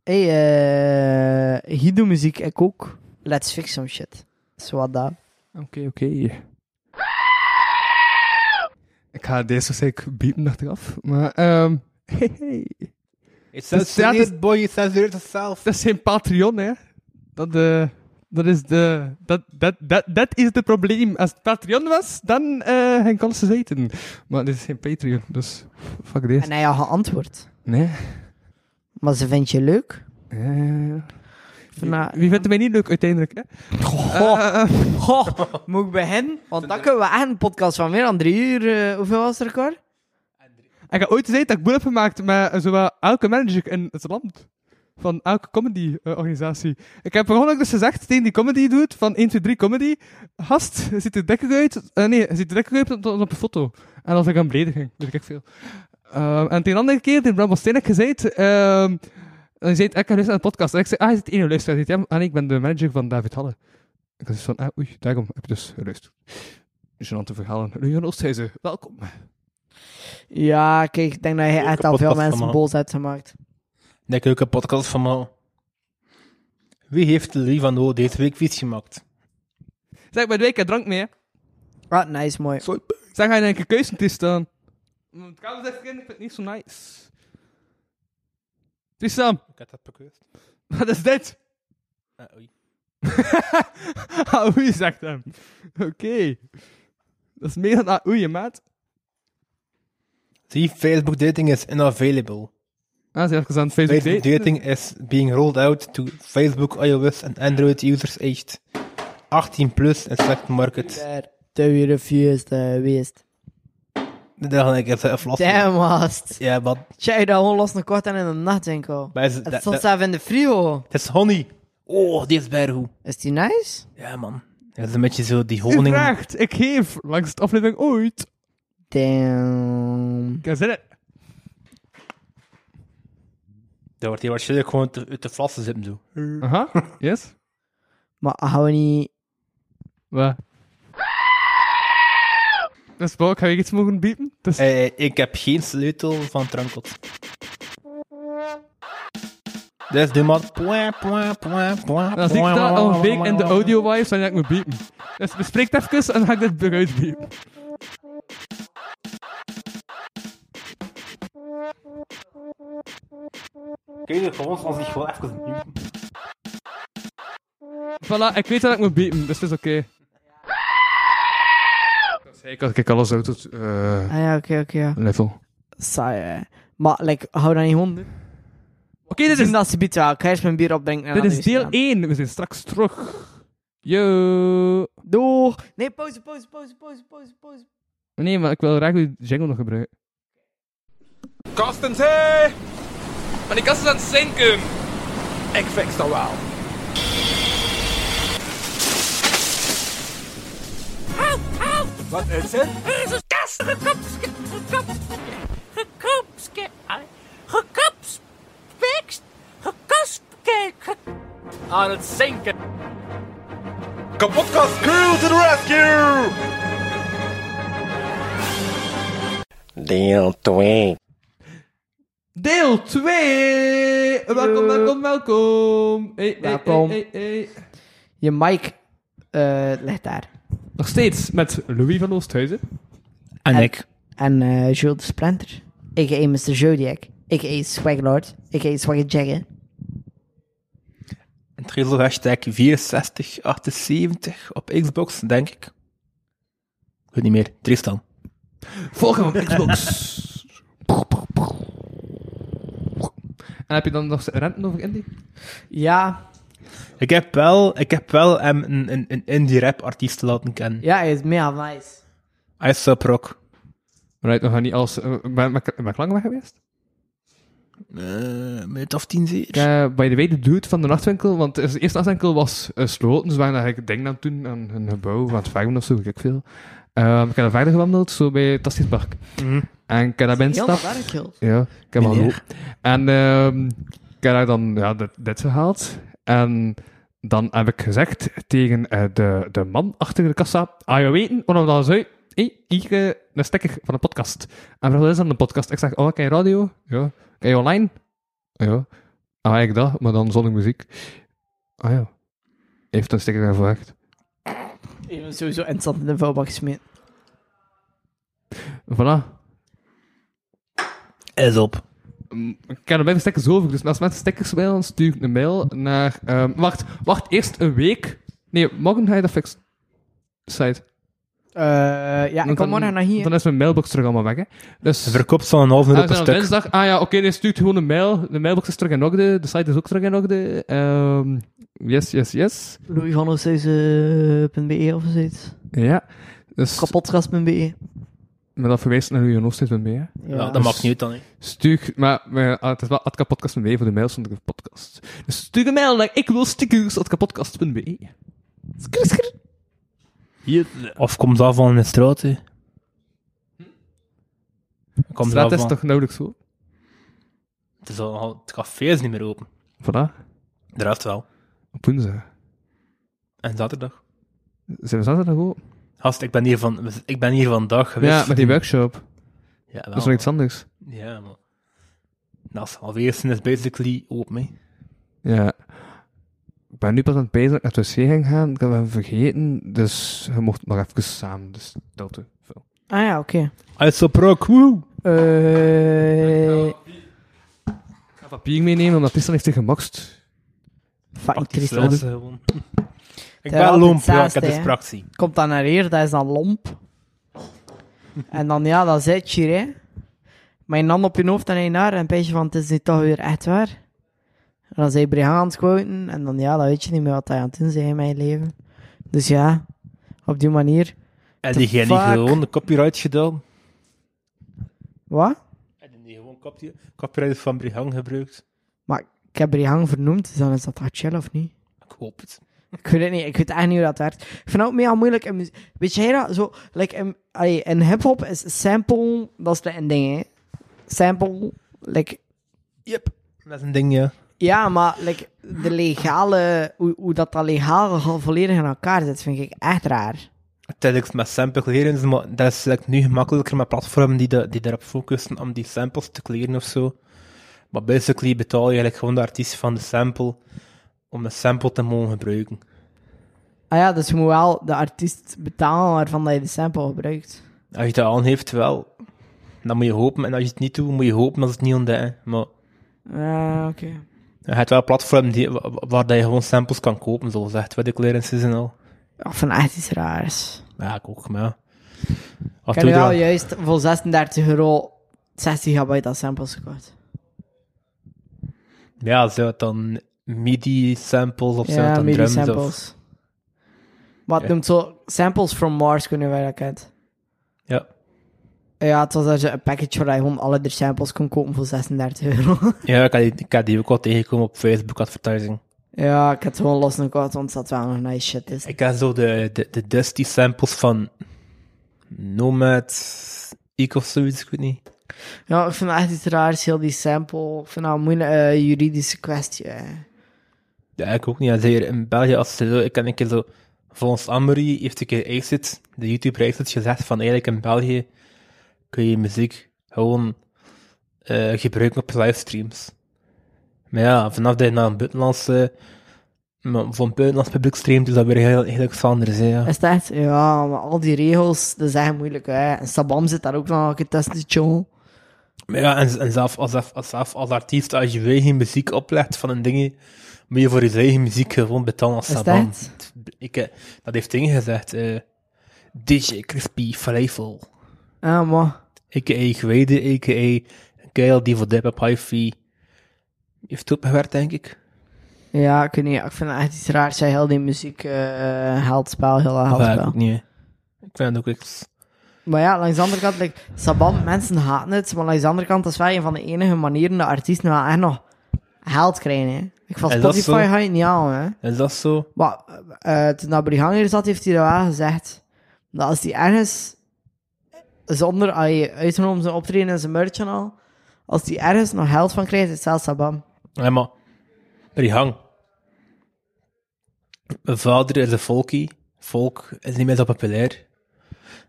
Speaker 3: Hé, hey, eh hier doe muziek, ik ook. Let's fix some shit. Zo wat dat.
Speaker 2: Oké, oké. Ik ga deze waarschijnlijk biepen achteraf, maar... ehm hey, hey.
Speaker 6: Het
Speaker 2: censureert,
Speaker 6: censureert, boy, je censureert jezelf.
Speaker 2: Dat is geen Patreon, hè. Dat, eh, dat is de... Dat, dat, dat, dat is het probleem. Als het Patreon was, dan eh geen kans te zeten. Maar dit is geen Patreon, dus fuck dit.
Speaker 3: En hij had geantwoord.
Speaker 2: Nee.
Speaker 3: Maar ze vindt je leuk.
Speaker 2: Eh,
Speaker 3: Van, eh,
Speaker 2: wie vindt mij niet leuk uiteindelijk, hè?
Speaker 3: Goh, goh, moet ik beginnen? Want dan kunnen we echt een podcast van meer dan drie uur. eh, hoeveel was er, Cor?
Speaker 2: Ik heb ooit gezegd dat ik boel heb gemaakt met eh, zowel elke manager in het land. Van elke comedy-organisatie. ik heb per ongeluk dus gezegd tegen die comedy doet van 1, 2, 3 comedy. Gast, je ziet er dikker uit. eh, nee, je ziet er dikker uit dan, dan op een foto. En als ik aan belediging, weet ik echt veel. Ehm, en tegen de andere keer, tegen Bram Bosteen heb ik gezegd. ehm hij zei, ik heb luisteren aan de podcast. En ik zei, ah, je zit één luisteraar. Hij zei, ja, en ik ben de manager van David Halle. Ik was van, ah, oei, daarom heb je dus geluisterd. Genante verhalen. Leon Oosthuizen, welkom.
Speaker 3: Ja, kijk, ik denk dat je
Speaker 6: Leuke
Speaker 3: echt al veel
Speaker 6: podcast
Speaker 3: mensen
Speaker 6: allemaal.
Speaker 3: boos hebt gemaakt.
Speaker 6: Denk ook een podcast van me. Wie heeft Lee van O deze week fiets gemaakt?
Speaker 2: Zeg, bij de week, ik heb drank mee, hè.
Speaker 3: Ah, nice, mooi.
Speaker 2: Zeg hij denk ik keuze te staan. Mm, Het kan zegt ik vind het niet zo nice. Tristan,
Speaker 6: Ik heb dat Ah, bekust.
Speaker 2: wat is dit? Aoei, zegt hem. Oké. Dat is meer dan aoei, maat.
Speaker 6: Zie, Facebook dating is unavailable.
Speaker 2: Ah, ze heeft gezegd Facebook
Speaker 6: Facebook
Speaker 2: date.
Speaker 6: dating is being rolled out to Facebook, iOS en Android users aged 18 plus en select markets.
Speaker 3: Daar, twee reviews eh, geweest.
Speaker 6: Dat ga ik even aflossen.
Speaker 3: Damn, was
Speaker 6: Ja, wat?
Speaker 3: Tja, je dat gewoon los een kort en in de nachtwinkel.
Speaker 6: Maar is-
Speaker 3: Het
Speaker 6: dat-
Speaker 3: stond
Speaker 6: dat-
Speaker 3: zelf in de frigo.
Speaker 6: Het is honey. Oh, die is bijna goed.
Speaker 3: Is die nice?
Speaker 6: Ja, man. Dat is een beetje zo die
Speaker 2: U
Speaker 6: honing.
Speaker 2: vraagt, ik geef langs de aflevering ooit.
Speaker 3: Damn.
Speaker 2: Kijk, zit het.
Speaker 6: Dat wordt hier waarschijnlijk gewoon te- uit de flassen zitten, zo.
Speaker 2: Aha, yes.
Speaker 3: Maar hou niet...
Speaker 2: Wat? Dat is wel, ga ik iets mogen bieden? Dat is-
Speaker 6: Eh, ik heb geen sleutel van Trankot. Dus doe maar. Point, point, point, point,
Speaker 2: Dan zie ik dat al een week in de audio-wives en dan ga ik me biepen. Dus bespreek het even en dan ga ik dit eruit biepen.
Speaker 6: Kun je gewoon als ik gewoon even muten?
Speaker 2: Voilà, ik weet dat ik moet biepen, dus het is oké. Dat zei ik als ik alles uit het eh,
Speaker 3: Ah ja, oké, oké, ja.
Speaker 2: level.
Speaker 3: Saai, hè. Maar, like, hou dat niet gewoon... Oké,
Speaker 2: Oké, dit
Speaker 3: Zien
Speaker 2: is,
Speaker 3: dat ze biedt wel. Ik ga eerst mijn bier opdrinken. en
Speaker 2: dit
Speaker 3: dan
Speaker 2: is
Speaker 3: doe je
Speaker 2: deel
Speaker 3: het
Speaker 2: 1. We zijn straks terug. Yo.
Speaker 3: aan. Doeg. Nee, pauze, pauze, pauze, pauze, pauze, pauze.
Speaker 2: Nee, maar ik wil graag uw jingle nog gebruiken.
Speaker 15: Kastens, hé! Maar die kast is aan het zinken. Ik fix dat wel. Wat is het?
Speaker 5: Er is een kast gekopske, gekopske, gekopske, gekopspekst, gekopske, aan het zinken.
Speaker 15: Kapotkast crew to the rescue!
Speaker 2: Deel 2! Welkom, welkom, Eh. welkom. Hey, hey,
Speaker 3: Welkom.
Speaker 2: hey, hey, hey.
Speaker 3: Je mic eh, ligt daar.
Speaker 2: Nog steeds met Louis van Oosthuizen.
Speaker 6: En ik.
Speaker 3: En eh Jules de Splinter. A.k.a. Mr. Zodiac. A.k.a. Swag Lord. A.k.a. Swag Jagger.
Speaker 6: En Trizel hashtag 6478 op Xbox, denk ik. Goed niet meer. Tristan.
Speaker 2: Volg hem op Xbox. En heb je dan nog renten over Indie?
Speaker 3: Ja.
Speaker 6: Ik heb wel, ik heb wel hem een, een, een indie rap artiest laten kennen.
Speaker 3: Ja, hij is mega nice.
Speaker 6: Ice Rock.
Speaker 2: Right, nog niet als. eh, Ben ben ik ben ik lang weg geweest?
Speaker 16: Uh, met of tien zeer.
Speaker 2: Uh, by the way, de dude van de nachtwinkel, want de eerste nachtwinkel was eh, dus gesloten. ze waren eigenlijk denk aan toen aan een gebouw van het Vagum of zo, ik veel. Uh, ik heb daar verder gewandeld, zo bij het Tastisch Park. Mm. En ik heb daar
Speaker 8: Heel
Speaker 2: binnenstap.
Speaker 8: sterk, joh.
Speaker 2: Ja, ik heb al
Speaker 8: Meneer.
Speaker 2: En ehm, ik heb daar dan ja, dit, dit gehaald. En dan heb ik gezegd tegen eh, de, de man achter de kassa: Ah, je weten, waarom dat zei? Hé, hier eh, een sticker van een podcast. En vroeg, wat is dan een podcast? Ik zeg: Oh, kan je radio? Ja. Kan je online? Ja. Ah, eigenlijk dat, maar dan zonder muziek. Ah ja. Heeft een sticker gevraagd.
Speaker 3: Ik ben sowieso instant in de vuilbak gesmeed.
Speaker 2: Voilà.
Speaker 6: Is op.
Speaker 2: Mm, Ik kan er bij de stickers over. Dus als mensen stickers willen, stuur ik een mail naar. ehm, wacht, wacht, eerst een week. Nee, morgen ga je dat fixen. Site.
Speaker 3: Eh, ja, ik kom morgen naar hier.
Speaker 2: Dan is mijn mailbox terug allemaal weg. Hè. Dus.
Speaker 6: Verkoopt ze al een halve
Speaker 2: Ah,
Speaker 6: minuut
Speaker 2: we
Speaker 6: per
Speaker 2: zijn op
Speaker 6: stuk.
Speaker 2: dinsdag. Ah ja, oké, nee, stuurt gewoon een mail. De mailbox is terug in orde. De site is ook terug in orde. Ehm, yes, yes, yes.
Speaker 8: eh, louisvanhofsthuizen.be E of zoiets.
Speaker 2: Ja. Dus
Speaker 3: E.
Speaker 8: Kapotgast.be.
Speaker 2: met dat verwijst naar uw nog steeds met mee.
Speaker 8: Ja, dat mag
Speaker 6: niet dan, hè.
Speaker 2: Stuur, maar, maar ah, het is wel atkapodcast mee voor de mails van de podcast. Dus stuur een mail naar ik wil stickers atkapodcast.be.
Speaker 6: Of komt dat van een straat, hè? Komt
Speaker 2: Straat
Speaker 6: dat
Speaker 2: is toch nauwelijks zo?
Speaker 6: Het, is al, het café is niet meer open.
Speaker 2: Voilà.
Speaker 6: De rest wel.
Speaker 2: Op woensdag.
Speaker 6: En zaterdag.
Speaker 2: Zijn we zaterdag ook?
Speaker 6: Gast, ik ben hier, van, ik ben hier vandaag geweest.
Speaker 2: Ja, met die workshop.
Speaker 6: Ja, wel.
Speaker 2: dat is nog iets anders.
Speaker 6: Ja, man. Dat is alweer is basically open, hè.
Speaker 2: Ja. Ik ben nu pas aan het bezig dat ik naar het wc ging gaan. Ik heb hem vergeten, dus je mocht nog even samen. Dus dat te veel.
Speaker 3: Ah ja, oké.
Speaker 6: Isoproc, woe!
Speaker 3: Eh,
Speaker 2: Ik ga papier meenemen, omdat Tristan heeft zich gemakst.
Speaker 3: Fuck, Tristan.
Speaker 6: Zelfs, eh, gewoon. Ik ben lomp, ja, ik heb distractie.
Speaker 3: Komt dan naar hier, dat is dan lomp. en dan, ja, dat zit je hier, hè. Met je hand op je hoofd en een haar en een beetje van, het is niet toch weer echt waar. En dan zei Brian aan het quoten en dan, ja, dan weet je niet meer wat hij aan het doen is hè, in mijn leven. Dus ja, op die manier.
Speaker 6: En
Speaker 3: The
Speaker 6: die jij niet
Speaker 3: fuck?
Speaker 6: gewoon de copyright gedaan?
Speaker 3: Wat?
Speaker 6: En die niet gewoon copy, copyright van Brihang gebruikt?
Speaker 3: Maar ik heb Brian vernoemd, dus dan is dat toch chill of niet?
Speaker 6: Ik hoop het.
Speaker 3: Ik weet het niet, ik weet echt niet hoe dat werkt. Ik vind het ook mega moeilijk. in muzie- Weet jij dat? Zo, like in, allee, in hip-hop is sample, dat is like een ding, hè? Sample, like,
Speaker 6: Yep. Dat is een ding, ja.
Speaker 3: ja, maar like, de legale, hoe, hoe dat, dat legale gewoon volledig in elkaar zit, vind ik echt raar.
Speaker 6: Tijdens met sample leren, maar dat is like, nu gemakkelijker met platformen die, de, die daarop focussen om die samples te clearen of zo. Maar basically betaal je eigenlijk gewoon de artiest van de sample om de sample te mogen gebruiken.
Speaker 3: Ah ja, dus je moet wel de artiest betalen waarvan dat je de sample gebruikt.
Speaker 6: Als je dat aan heeft, wel, dan moet je hopen. En als je het niet doet, moet je hopen dat ze het niet ontdekken. Maar
Speaker 3: Ah, oké.
Speaker 6: je hebt wel platformen die, wa- wa- waar dat je gewoon samples kan kopen, zoals echt wat ik leer in seasonal.
Speaker 3: Ja, Ik vind het echt iets raars.
Speaker 6: Ja, ik ook, maar ja.
Speaker 3: Ik
Speaker 6: Wat
Speaker 3: heb
Speaker 6: doe
Speaker 3: nu
Speaker 6: je
Speaker 3: wel
Speaker 6: dan?
Speaker 3: juist voor 36 euro 60 gigabyte aan samples gekocht.
Speaker 6: Ja, zijn het dan MIDI-samples of zijn het
Speaker 3: ja,
Speaker 6: dan
Speaker 3: MIDI
Speaker 6: drums? of-
Speaker 3: samples. Wat
Speaker 6: Ja.
Speaker 3: noemt zo samples from Mars kunnen wij dat kent.
Speaker 6: Ja.
Speaker 3: Ja, het was daar zo een package waar je gewoon alle de samples kon kopen voor 36 euro.
Speaker 6: Ja, ik had, die, ik had die ook al tegengekomen op Facebook advertising.
Speaker 3: ja, ik heb het gewoon los gekocht, want dat wel nog nice shit is.
Speaker 6: Ik had zo de, de, de Dusty samples van Nomad Ik of zoiets, ik weet niet.
Speaker 3: Ja, ik vind het echt iets raars, heel die sample. Ik vind dat een moeilijke eh, juridische kwestie. eh.
Speaker 6: Ja, ik ook niet. Ja, zeker in België, als ze zo, ik ken een keer zo, volgens Anne-Marie heeft een keer Exit, de YouTube Exit, gezegd van eigenlijk in België kun je muziek gewoon eh, gebruiken op livestreams. Maar ja, vanaf dat je naar een buitenlandse, maar voor een buitenlands publiek streamt, is dat weer heel, heel iets anders, hè, ja.
Speaker 3: Is dat echt? Ja, maar al die regels, dat is echt moeilijk. Hè. En Sabam zit daar ook nog een keer tussen, die jongen.
Speaker 6: Maar ja, en, en zelf, als, als, als, zelf als artiest, als je je eigen muziek oplegt van een ding, moet je voor je eigen muziek gewoon betalen als
Speaker 3: Is
Speaker 6: Saban.
Speaker 3: dat?
Speaker 6: Ik, eh, dat heeft dingen gezegd. eh, DJ Crispy Flevel.
Speaker 3: Ah, maar...
Speaker 6: A.k.a. Gwede, a.k.a. Gail die voor Deb op Hi-Fi heeft opgewerkt, denk ik.
Speaker 3: Ja, ik weet niet. Ik vind het echt iets raars. Zij heel die muziek eh eh, heldspel, heel
Speaker 6: Ja, ik
Speaker 3: heldspel.
Speaker 6: ook niet. hè. Ik vind het ook iets...
Speaker 3: Maar ja, langs de andere kant, like, Saban, mensen haten het. Maar langs de andere kant, dat is wel een van de enige manieren dat artiesten wel echt nog geld krijgen. Hè. Ik van
Speaker 6: Is dat
Speaker 3: Spotify
Speaker 6: zo?
Speaker 3: ga je het niet halen.
Speaker 6: Is dat zo?
Speaker 3: Maar eh, toen dat Brihan hier zat, heeft hij dat wel gezegd. Dat als die ergens, zonder, als je uitgenomen zijn optreden en zijn merch en al, als die ergens nog geld van krijgt, is het zelfs Saban.
Speaker 6: Ja, maar... Rihang. Mijn vader is een folkie. Folk is niet meer zo populair.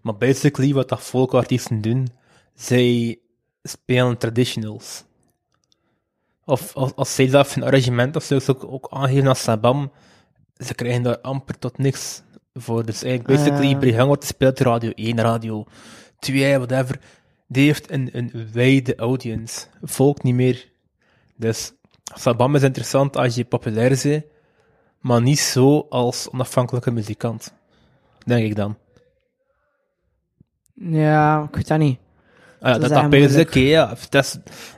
Speaker 6: Maar basically, wat dat folkartiesten doen, zij spelen traditionals. Of als, als zij zelf een arrangement of zo ze ook, ook aangeven als Sabam, ze krijgen daar amper tot niks voor. Dus eigenlijk, basically,
Speaker 3: Ah.
Speaker 6: uh. Brigham wordt speelt Radio 1, Radio 2, whatever. Die heeft een, een wijde audience. Volk niet meer. Dus Sabam is interessant als je populair bent, maar niet zo als onafhankelijke muzikant. Denk ik dan.
Speaker 3: Ja, ik weet dat niet.
Speaker 6: Ah ja,
Speaker 3: Dat is echt
Speaker 6: dat dat is
Speaker 3: moeilijk.
Speaker 6: oké, ja. Dat is,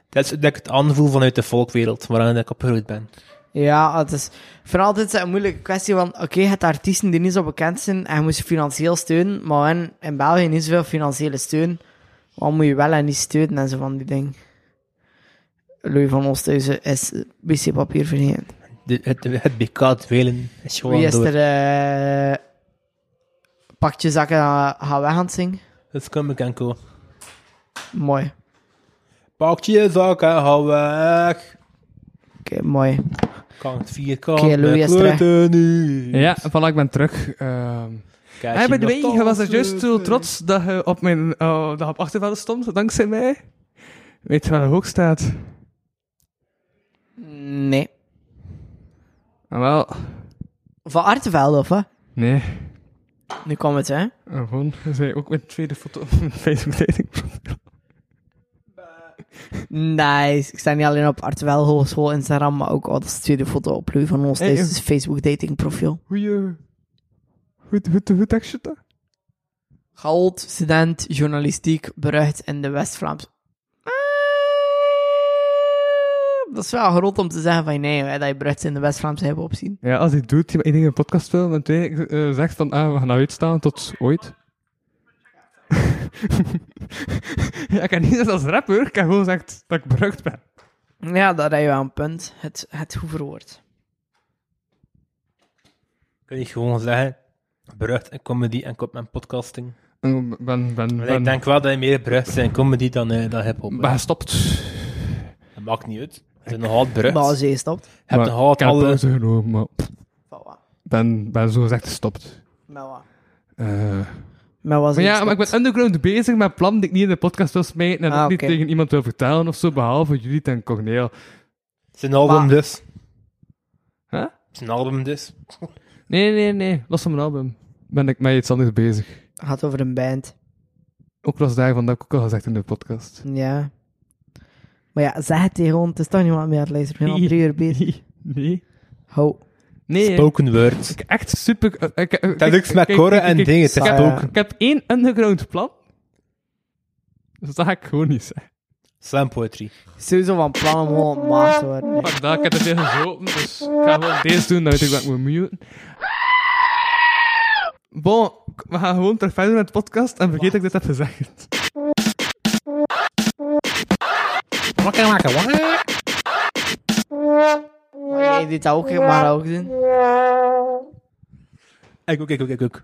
Speaker 6: dat is dat ik het aanvoel vanuit de volkwereld, waarin ik opgegroeid ben.
Speaker 3: Ja, het is vooral dit is een moeilijke kwestie, want oké, je hebt artiesten die niet zo bekend zijn en je moet ze financieel steunen, maar in, in België niet zoveel financiële steun. Wat moet je wel en niet steunen en zo van die dingen. Louis van Oosthuizen is wc-papier vergeten.
Speaker 6: De, het, het BK dwelen is gewoon
Speaker 3: Wie is
Speaker 6: door.
Speaker 3: er... eh pak je zakken en ga weg aan het zingen.
Speaker 6: Dat is Kumbe Kenko.
Speaker 3: Mooi.
Speaker 6: Pak je zak en hou weg.
Speaker 3: Oké, mooi.
Speaker 6: Kan het vierkant
Speaker 2: Oké, Louis
Speaker 6: met
Speaker 2: is terug.
Speaker 6: kleuter nu.
Speaker 2: Ja, voilà, ik ben terug. Ehm
Speaker 6: Kijk,
Speaker 2: hey, by the way,
Speaker 6: je mag
Speaker 2: je was er
Speaker 6: dansen.
Speaker 2: juist zo trots dat je op mijn eh, dat je op achterveld stond, dankzij mij. Weet je waar je hoog staat?
Speaker 3: Nee.
Speaker 2: Ah, wel.
Speaker 3: Van Artevelde, of wat?
Speaker 2: Nee.
Speaker 3: Nu komt het, hè?
Speaker 2: Ah, Gewoon, zei ook mijn tweede foto op mijn Facebook-dating.
Speaker 3: Nice. Ik sta niet alleen op Artwel Hogeschool Instagram, maar ook al de tweede foto op Louis van ons.
Speaker 2: Hey,
Speaker 3: Dit is
Speaker 2: eh.
Speaker 3: het Facebook dating profiel.
Speaker 2: Hoe, eh, hoe, hoe, hoe, hoe tekst je dat?
Speaker 3: Gaold, student, journalistiek, berucht in de West-Vlaams. Eh, Dat is wel groot om te zeggen van nee, hè, dat je berucht in de West-Vlaamse hebben opzien.
Speaker 2: Ja, als hij doet, die maar één ding in een podcast wil, en twee eh, zegt van, ah, we gaan uitstaan tot ooit. ja, ik kan niet zeggen als rapper, ik kan gewoon zeggen dat ik berucht ben.
Speaker 3: Ja, daar heb je wel een punt. Het, het hoeverwoord.
Speaker 6: Kun je gewoon zeggen, berucht in comedy en op mijn podcasting.
Speaker 2: En Ik ben, ben,
Speaker 6: Maar
Speaker 2: ben,
Speaker 6: ik denk wel dat je meer berucht bent in comedy dan, eh, dan hip-hop. hè.
Speaker 2: ben gestopt.
Speaker 6: Dat maakt niet uit. Je bent nog altijd berucht.
Speaker 3: Maar als je stopt.
Speaker 6: Je hebt
Speaker 2: Maar
Speaker 6: nog altijd
Speaker 2: ik heb
Speaker 6: alle...
Speaker 2: pauze genomen, maar pff, ben, ben zo gezegd gestopt.
Speaker 3: Met wat?
Speaker 2: Eh,
Speaker 3: Met wat
Speaker 2: Maar ja,
Speaker 3: is-
Speaker 2: maar ik ben underground bezig met plannen die ik niet in de podcast wil smijten en
Speaker 3: Ah,
Speaker 2: ook niet
Speaker 3: oké.
Speaker 2: tegen iemand wil vertellen of zo, behalve Judith en Corneel.
Speaker 6: Het is een album
Speaker 2: Maar-
Speaker 6: dus.
Speaker 2: Huh?
Speaker 6: Het is een album dus.
Speaker 2: Nee, nee, nee, los van mijn album. Ben ik met iets anders bezig.
Speaker 3: Het gaat over een band.
Speaker 2: Ook los daarvan, dat heb ik ook al gezegd in de podcast.
Speaker 3: Ja. Maar ja, zeg het hier gewoon. Het is toch niet wat meer aan het lezen. We zijn al drie uur bezig.
Speaker 2: Nee.
Speaker 3: Ho.
Speaker 2: Nee.
Speaker 6: Spoken word.
Speaker 2: Ik echt super... eh, ik- ik-
Speaker 6: Dat
Speaker 2: ik-
Speaker 6: lukt met
Speaker 2: kijk,
Speaker 6: koren
Speaker 2: kijk,
Speaker 6: en
Speaker 2: kijk,
Speaker 6: dingen, het
Speaker 2: Ik
Speaker 6: is
Speaker 2: heb,
Speaker 6: spoken.
Speaker 2: ik heb één underground plan. Dus dat ga ik gewoon niet zeggen.
Speaker 6: Slam poetry.
Speaker 3: Sowieso van plan om gewoon ontmaagd te worden. hè.
Speaker 2: Fuck dat, ik heb het tegen gezopen, dus ik ga gewoon deze doen, dan weet ik wat ik moet muten. Bon, we gaan gewoon terug verder met de podcast en vergeet dat ik dit heb gezegd.
Speaker 6: Wakker maken, wakker.
Speaker 3: Maar jij doet dat ook, ik mag dat ook doen.
Speaker 6: Ik ook, ik ook, ik ook.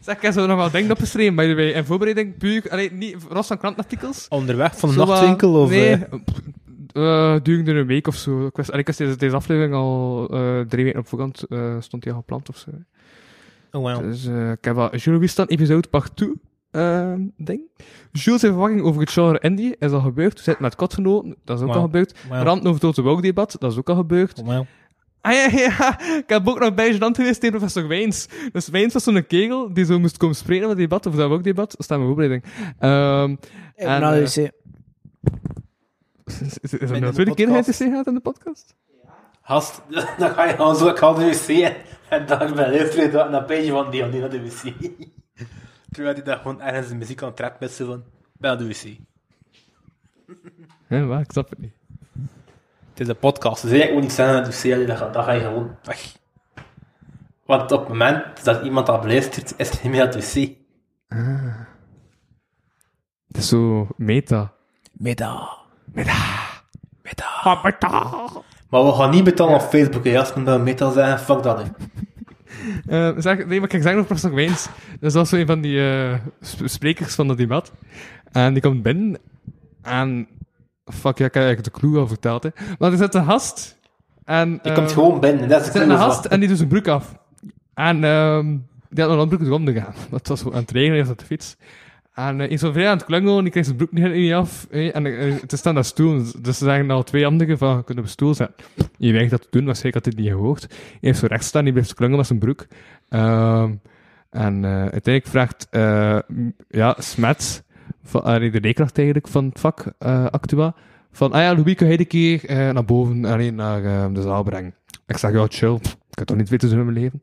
Speaker 2: Zeg, ik heb zo nog wel dingen opgeschreven, by the way. En voorbereiding puur, alleen niet los van krantenartikels.
Speaker 6: Onderweg van de
Speaker 2: Zo wat-
Speaker 6: nachtwinkel of...
Speaker 2: Nee,
Speaker 6: eh,
Speaker 2: eh, durende een week of zo. Ik was, allee, ik was deze, deze aflevering al eh, drie weken op voorhand, eh, stond die al gepland of zo.
Speaker 6: Oh, wow.
Speaker 2: Dus eh, ik heb al Jules Wistan episode partout eh, ding. Jules' verwachting over het genre indie is al gebeurd. Zit met kotgenoten, dat is ook
Speaker 6: Wow.
Speaker 2: al gebeurd.
Speaker 6: Wow.
Speaker 2: Rand over het Woke debat, dat is ook al gebeurd.
Speaker 6: Oh, wow.
Speaker 2: Ah ja, ja, ik heb ook nog bij Genant geweest tegen professor Wijns. Dus Wijns was zo'n kegel die zo moest komen spreken op het debat, of dat ook debat, dat staat in mijn opleiding. Ehm
Speaker 3: Ik ben
Speaker 2: en,
Speaker 9: nou,
Speaker 3: al
Speaker 2: eh,
Speaker 3: eens, hè.
Speaker 2: is, is, is dat
Speaker 6: in
Speaker 2: nou
Speaker 6: de
Speaker 2: de tweede keer dat je
Speaker 6: podcast.
Speaker 2: het gaat in de podcast?
Speaker 6: Gast, dan ga je gewoon zo ik ga naar de wc en dan ben je twee dagen een page van die, die naar de wc. Terwijl hij daar gewoon ergens de muziek aan het trappen is, zo van, ben naar de wc.
Speaker 2: Ja, waar, ik snap het niet.
Speaker 6: Het is een podcast. Dus ik moet niet zeggen, dus ja, dat, ga- dat ga je gewoon weg. Want op het moment dat iemand dat beluistert, is het niet meer dat dossier.
Speaker 2: Ah. Het is zo meta.
Speaker 6: Meta.
Speaker 2: Meta. Meta.
Speaker 6: Maar we gaan niet betalen op Facebook, hè. Als men dat meta zeggen, fuck dat, hè.
Speaker 2: Eh, zeg, nee, maar ik zeg nog pas nog eens. Dus dat is zo een van die eh, sp- sprekers van dat debat. En die komt binnen. En. Fuck, ja, ik heb eigenlijk de clue al verteld. Hè. Maar er zit een gast. En, eh,
Speaker 6: Je komt gewoon binnen, dat is de
Speaker 2: Er zit
Speaker 6: clue,
Speaker 2: een gast
Speaker 6: wacht.
Speaker 2: en die doet zijn broek af. En ehm, die had nog een broek eronder omgegaan. Dat was zo aan het regenen, hij zat op de fiets. En eh, is zo vrij aan het klungelen, die kreeg zijn broek niet, niet af. eh, en eh, het is dan dat stoel. Dus ze zeggen al twee anderen van, kunnen op een stoel zetten. Je weigert dat te doen, waarschijnlijk had hij het niet gehoord. Hij heeft zo recht staan, die blijft klungelen met zijn broek. Ehm, en eh, uiteindelijk vraagt eh, m- ja, Smet, van, eh, nee, de leerkracht eigenlijk van het vak eh, Actua, van, ah ja, Louis, kun jij de keer eh, naar boven, alleen naar eh, de zaal brengen? Ik zeg, ja, chill, pff, ik heb toch niet weten in mijn leven.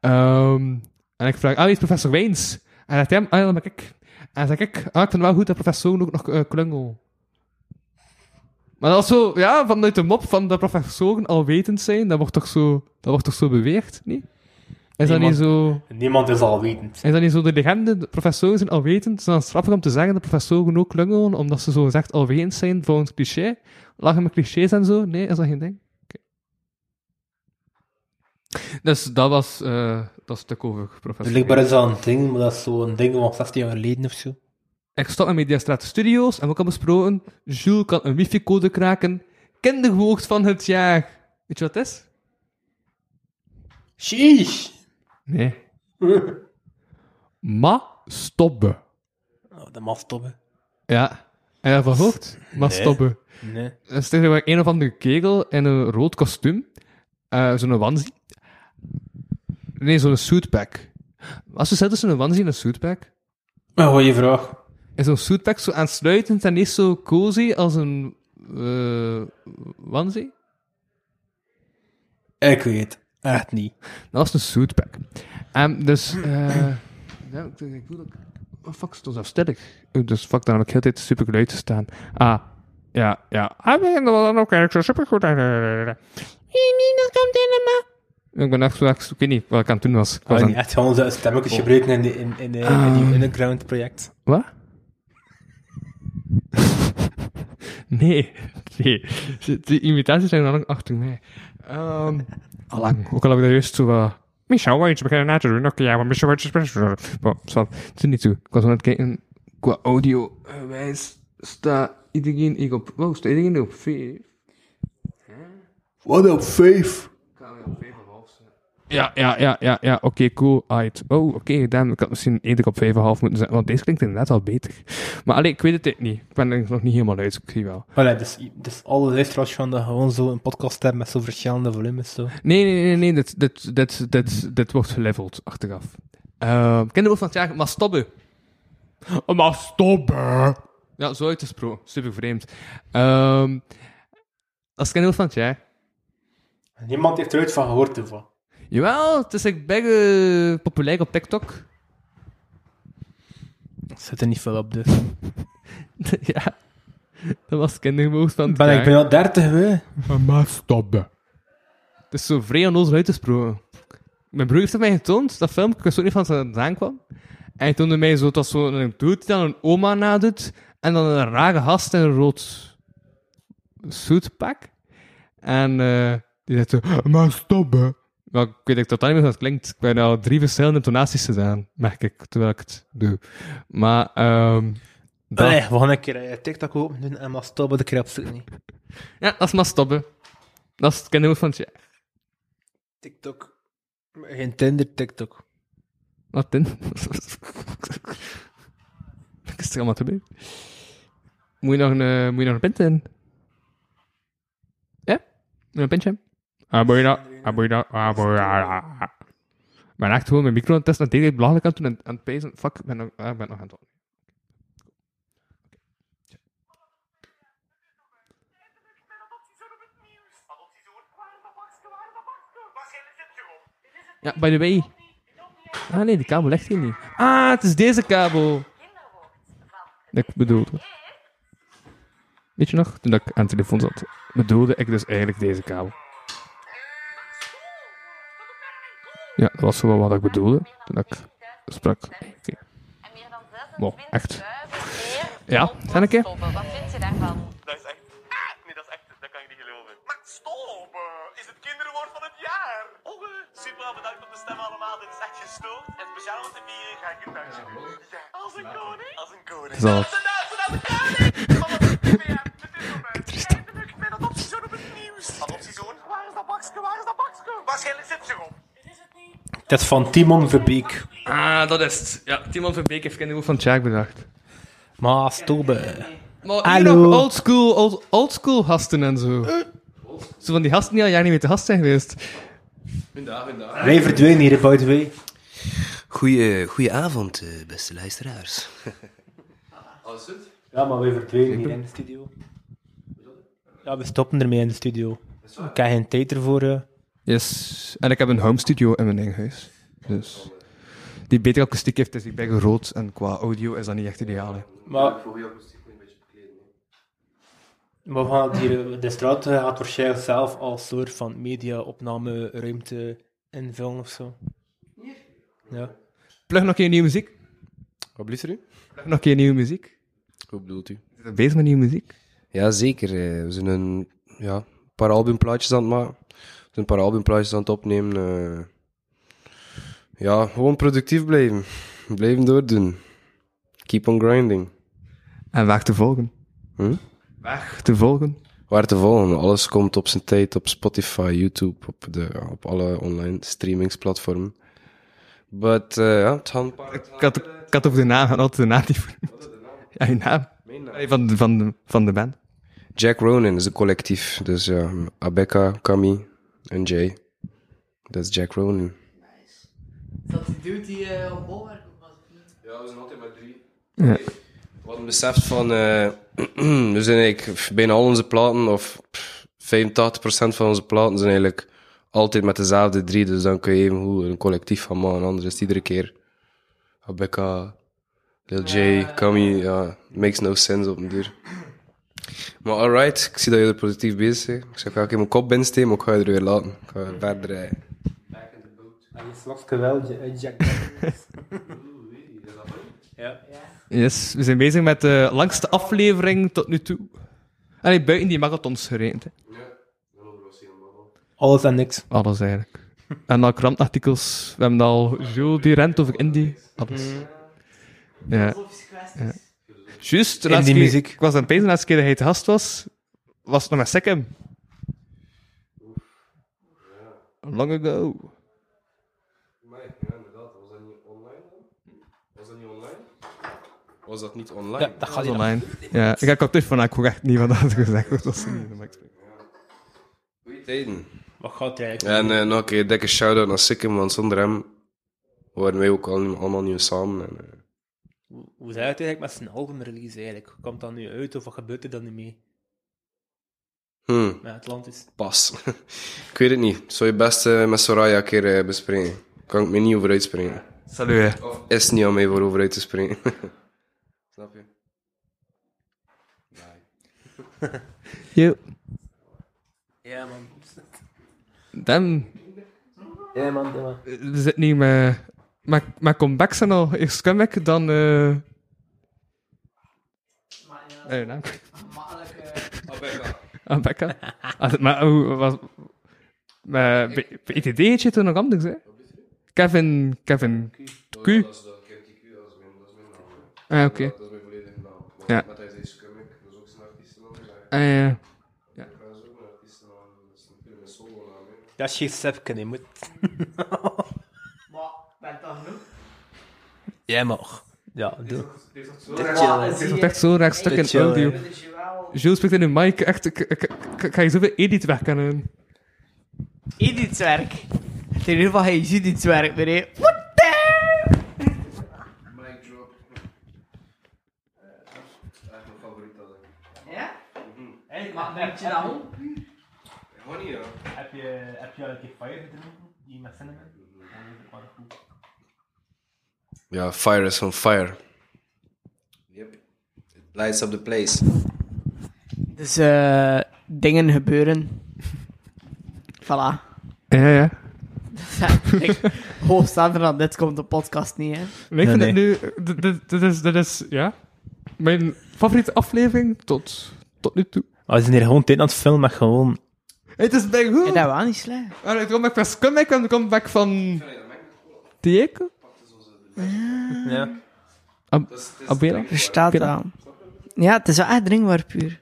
Speaker 2: Ehm, en ik vraag, ah, wie is professor Wijns? En hij zegt, hem, ah ja, dat ben ik. En dan zeg ik, ah, ik vind het wel goed dat professor ook nog eh, klungel. Maar dat is zo, ja, vanuit de mop van dat professoren al wetend zijn, dat wordt toch zo, dat wordt toch zo beweerd, niet? Is dat
Speaker 6: Niemand-
Speaker 2: niet zo...
Speaker 6: Niemand is al weten.
Speaker 2: Is dat niet zo de legende? De professoren zijn alwetend. Het is dan grappig om te zeggen dat professoren ook klungelen, omdat ze zo gezegd alwetend zijn volgens cliché. Lachen met clichés en zo? Nee, is dat geen ding? Oké. Dus dat was eh, dat stuk over professor.
Speaker 6: Blijkbaar is dat een ding, maar dat is zo'n ding van 16 jaar geleden of zo.
Speaker 2: Ik stop met Mediastraat Studios en we al besproken, Jules kan een wifi-code kraken. Kinderwoord van het jaar. Weet je wat het is?
Speaker 6: Sheesh.
Speaker 2: Nee. Ma stoppen.
Speaker 6: Oh, dat mag stoppen.
Speaker 2: Ja. En dat van hoort? Maar
Speaker 6: Nee.
Speaker 2: stoppen.
Speaker 6: Nee.
Speaker 2: Er is tegenwoordig een of andere kegel in een rood kostuum. eh, zo'n onesie. Nee, zo'n suitpack. Als je zet tussen een onesie en een suitpack,
Speaker 6: Een goeie vraag.
Speaker 2: is zo'n suitpack zo aansluitend en niet zo cozy als een eh onesie?
Speaker 6: Ik weet het echt niet.
Speaker 2: Dat was een suitpack. Ehm dus, eh ja, ik ik voel ook... Oh, fuck, het was afstellig. Dus fuck, dan heb ik heel de tijd super geluid te staan. Ah, ja, ja. Ah, nee, dat was dan ook eigenlijk zo supergoed. eh,
Speaker 5: Nina komt in de ma.
Speaker 2: Ik ben echt zo, ik weet niet wat ik aan het doen was. Ik was
Speaker 6: Kan
Speaker 2: aan-
Speaker 6: niet echt gewoon zo'n stemmetjes gebruiken in, die, in, in, in, in die
Speaker 2: Ah.
Speaker 6: underground project.
Speaker 2: Wat? nee, nee. De, de imitaties zijn dan ook achter mij. Ehm allang, ook al heb ik daar juist zo wat... Michel, wil je iets beginnen na te doen? Oké, ja, maar Michel, wat je beginnen Het is er niet toe. Ik was aan het kijken, qua audio eh, wijs staat iedereen hier op... Wow, staat iedereen op vijf?
Speaker 6: Wat op vijf?
Speaker 2: Ja, ja, ja, ja, ja. Oké, cool. Alright. Oh, oké, dan. Ik had misschien eerder op 5,5 moeten zetten, want deze klinkt inderdaad al beter. Maar allee, ik weet het echt niet. Ik ben er nog niet helemaal uit, ik zie wel.
Speaker 6: Allee, dus, dus alle luisteraars van dat gewoon zo een podcast hebben met zo verschillende volumes. Zo.
Speaker 2: Nee, nee, nee, nee. Dit, dit, dit, dit, dit wordt geleveld achteraf. Uh, Kinderwoord van het jaar, maar stoppen.
Speaker 6: Oh,
Speaker 2: Maar stoppen. Ja, zo uitgesproken. Super vreemd. Ehm als kinderwoord van het jaar.
Speaker 6: Niemand heeft eruit van gehoord ervan.
Speaker 2: Jawel, het is echt big, eh, populair op TikTok.
Speaker 6: Zit er niet veel op dus.
Speaker 2: ja, dat was kinderwoord van het
Speaker 6: Ben,
Speaker 2: jaar.
Speaker 6: ik ben al 30 we.
Speaker 2: Maar stoppen. Het is zo vrij onnozel uitgesproken. Mijn broer heeft het mij getoond, dat filmpje. Ik wist ook niet van waar het vandaan kwam. En hij toonde mij zo, dat zo een dude die dan een oma nadoet. En dan een rare gast in een rood suitpak. En eh, die zegt zo, maar stoppen. Maar ik weet echt totaal niet meer hoe dat klinkt. Ik ben al drie verschillende tonaties gedaan, merk ik, terwijl ik het doe. Maar, ehm dat-
Speaker 6: Allee, we gaan een keer eh, TikTok open doen en maar stoppen de keer op zoek niet.
Speaker 2: ja, dat is maar stoppen. Dat is het kenmerk van het jaar.
Speaker 6: TikTok. Geen Tinder, TikTok.
Speaker 2: Wat dan? Wat is er allemaal te doen? Moet je nog een, eh, moet je nog een pint in? Ja? Nog een pintje? Ah, boeien dat. Ah, boeien dat. Ah, boeien dat. Ik ben echt gewoon mijn micro aan het testen. Dat deed ik belachelijk aan het doen en aan het pezen. Fuck, ik ben nog, ah, ik ben nog aan het doen. Ja, by the way. Ah nee, die kabel ligt hier niet. Ah, het is deze kabel. Dat ik bedoelde. Weet je nog? Toen ik aan de telefoon zat, bedoelde ik dus eigenlijk deze kabel. Ja, dat was gewoon wat ik bedoelde toen ik sprak. Oké. Wow, echt. Ja, zijn ik hè?
Speaker 17: Wat vind je daarvan?
Speaker 10: Dat is echt. Ah, Nee, dat is echt. Dat kan ik niet geloven. Maar stop! eh, Is het kinderwoord van het jaar? Oh, eh, super bedankt voor de stem allemaal. Dit is echt gestoord. En speciaal om te vieren ga ik een dansje doen. Ja, Als een koning? Als een koning.
Speaker 2: Zal het.
Speaker 10: Dansen, dansen, als een koning! Kom op, dit is voorbij. Eindelijk, mijn adoptiezoon op het nieuws. Adoptiezoon? Waar is dat bakske? Waar is dat bakske? Waarschijnlijk zit ze op.
Speaker 6: Dat is van Timon Verbeek.
Speaker 2: Ah, dat is het. Ja, Timon Verbeek heeft kinderwoord van Tjaak bedacht.
Speaker 6: Maar stobe.
Speaker 2: Maar hier nog oldschool old, oldschool gasten en zo. Zo van die gasten die al jaren niet meer te gast zijn geweest.
Speaker 12: Goedendag, goedendag.
Speaker 6: Wij verdwenen hier, by the way.
Speaker 12: Goeie, goeie avond, eh, beste luisteraars.
Speaker 6: Alles goed? Ja, maar wij verdwenen hier in de studio. Ja, we stoppen ermee in de studio. Ik heb geen tijd ervoor. eh.
Speaker 2: Yes. En ik heb een home studio in mijn eigen huis. Dus die betere akoestiek heeft, dus is die bij groot. En qua audio is dat niet echt ideaal. Hè.
Speaker 6: Maar... Maar we gaan het hier, eh, de straat eh, gaat waarschijnlijk zelf als soort van media-opname-ruimte invullen of zo. Ja.
Speaker 2: Plug nog een keer nieuwe muziek.
Speaker 12: Wat blieft er u?
Speaker 2: Plug nog een keer nieuwe muziek.
Speaker 12: Hoe bedoelt u?
Speaker 2: Zijn we Bezig met nieuwe muziek.
Speaker 12: Ja, zeker. eh, We zijn een ja, paar albumplaatjes aan het maken. We zijn een paar albumplaatjes aan het opnemen. eh. ja, gewoon productief blijven. Blijven doordoen. Keep on grinding.
Speaker 2: En waar te volgen.
Speaker 12: Hm?
Speaker 2: Waar te volgen.
Speaker 12: Waar te volgen. Alles komt op zijn tijd op Spotify, YouTube, op, de, ja, op alle online streamingsplatformen. But, eh, ja, het hand...
Speaker 2: Ik had, ik had over de naam, had altijd de naam niet voor. Ja, je naam. Allee, Van, de- van, de- van de band.
Speaker 12: Jack Ronin is een collectief. Dus ja, Abeka, Kami en Jay. Dat is Jack Ronin.
Speaker 8: Is dat die dude die eh, op bol werkt?
Speaker 12: Ja, we zijn altijd maar drie.
Speaker 2: Ja.
Speaker 12: We hadden beseft van, eh, we zijn eigenlijk pff, bijna al onze platen, of pff, 85% van onze platen zijn eigenlijk altijd met dezelfde drie. Dus dan kun je even hoe een collectief van maken. Anders is het iedere keer Abeka, Lil J, Kami, ja, makes no sense op een duur. Maar alright, ik zie dat je er productief bezig bent. Ik zeg, ga ik in mijn kop binnensteken, maar ik ga je er weer laten. Ik ga verder rijden.
Speaker 6: En je slacht geweld, Jack. ja.
Speaker 2: Yes, we zijn bezig met de langste aflevering tot nu toe. Allee, buiten die marathons gerekend. hè.
Speaker 6: Alles en niks.
Speaker 2: Alles eigenlijk. En al krantartikels. We hebben al Jules die rent over Indie. Alles. Ja. ja. Juist, de laatste
Speaker 6: Indie
Speaker 2: keer-
Speaker 6: muziek.
Speaker 2: Ik was aan het pezen, de laatste keer dat hij te gast was, was het nog met Sekkem. Long ago.
Speaker 12: Was dat niet online?
Speaker 6: Ja, dat gaat niet
Speaker 2: online. Ja, ik heb op van, ik hoor echt niet wat dat gezegd wordt. Dat is niet normaal.
Speaker 12: Goeie tijden.
Speaker 6: Wat gaat hij eigenlijk?
Speaker 12: En eh, nog een keer dikke shout-out naar Sikkim, want zonder hem waren wij ook al, allemaal niet meer samen. En, eh,
Speaker 6: Hoe- Hoe zijn het eigenlijk met zijn albumrelease eigenlijk? Hoe Komt dat nu uit of wat gebeurt er dan nu mee?
Speaker 12: hmm,
Speaker 6: Met Atlantis?
Speaker 12: pas. ik weet het niet. Zou je best eh, met Soraya een keer eh, bespreken? Kan ik me niet over uitspringen.
Speaker 2: Salut, hè.
Speaker 12: Of is niet aan mij voor over uit te springen. Snap je?
Speaker 2: Yo.
Speaker 6: Ja, man.
Speaker 2: Damn.
Speaker 6: Ja, man, ja, man.
Speaker 2: We zitten niet met... Maar, maar comebacks en al. Eerst comeback, dan... eh Eh, naam. Ah, Becca. Ah, dat- maar hoe was. Maar bij bij ITD heet je toen nog anders, hè? Kevin. Kevin. Q. Ah, oké. Ja. Ah, ja.
Speaker 6: Dat is geen sepken, je moet...
Speaker 8: Maar, bent dat genoeg?
Speaker 6: Jij mag. Ja, doe.
Speaker 2: Het is ook echt zo'n raar stuk in audio. Jules spreekt in de mic. Echt, ik, ik, ik, ik ga je zoveel edit weg kunnen.
Speaker 8: Edietswerk. In ieder geval, je ziet iets werk meer, hè. What the? Ja? Hey, maar moet je dat om?
Speaker 6: Heb je, heb je al een keer fire gedronken? Die met cinnamon?
Speaker 12: Ja, fire is on fire. Lights up the place.
Speaker 3: Dus eh, dingen gebeuren. Voilà.
Speaker 2: Ja, ja.
Speaker 3: Ik, hoogstaander dan dit komt de podcast niet, hè.
Speaker 2: Maar ik vind het nu... dit- dit- Dit is, dit is... Ja. Mijn favoriete aflevering tot, tot nu toe.
Speaker 6: Als je hier gewoon tijd aan het filmen, maar gewoon...
Speaker 2: Het is bij goed.
Speaker 3: Ja, dat was niet slecht.
Speaker 2: Allee, de comeback was comeback en de comeback van... Diego?
Speaker 6: Ja.
Speaker 2: Ab- Abela?
Speaker 3: Er staat
Speaker 2: Abela?
Speaker 3: aan. Ja, het is wel echt drinkbaar puur.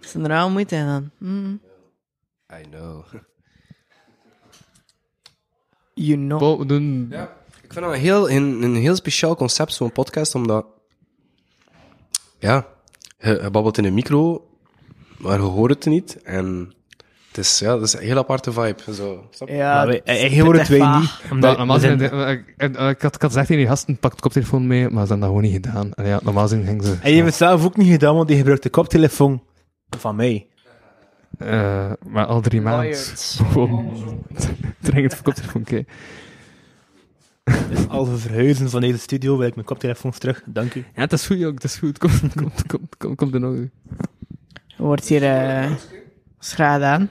Speaker 3: Ze zijn er wel moeite in aan. Mm.
Speaker 12: I know.
Speaker 3: You know.
Speaker 2: Paul, we doen...
Speaker 12: Ik vind dat een Nou, heel, een, een heel speciaal concept, zo'n podcast, omdat... Ja, je, je babbelt in een micro, maar je hoort het niet. En het is, ja, dat is een heel aparte vibe. Zo. Snap je?
Speaker 3: Ja,
Speaker 6: Maar wij- hij- hij hoort het wij niet.
Speaker 2: Maar
Speaker 6: Omdat
Speaker 2: normaal eh,
Speaker 6: we zijn-
Speaker 2: zijn... Ik, ik, ik had ik had gezegd tegen die gasten, pak de koptelefoon mee, maar ze hebben dat gewoon niet gedaan. En ja, normaal zijn gingen ze...
Speaker 6: Hij heeft het zelf ook niet gedaan, want hij gebruikt de koptelefoon van mij.
Speaker 2: eh, maar al drie maanden.
Speaker 3: Wired.
Speaker 2: Gewoon... Dringend voor koptelefoon, oké.
Speaker 6: Dus al we verhuizen van deze studio wil ik mijn koptelefoons terug. Dank u.
Speaker 2: Ja, het is goed, jong. Het is goed. Kom, kom, kom, kom, kom er nog. een.
Speaker 3: Er wordt hier eh schade aan.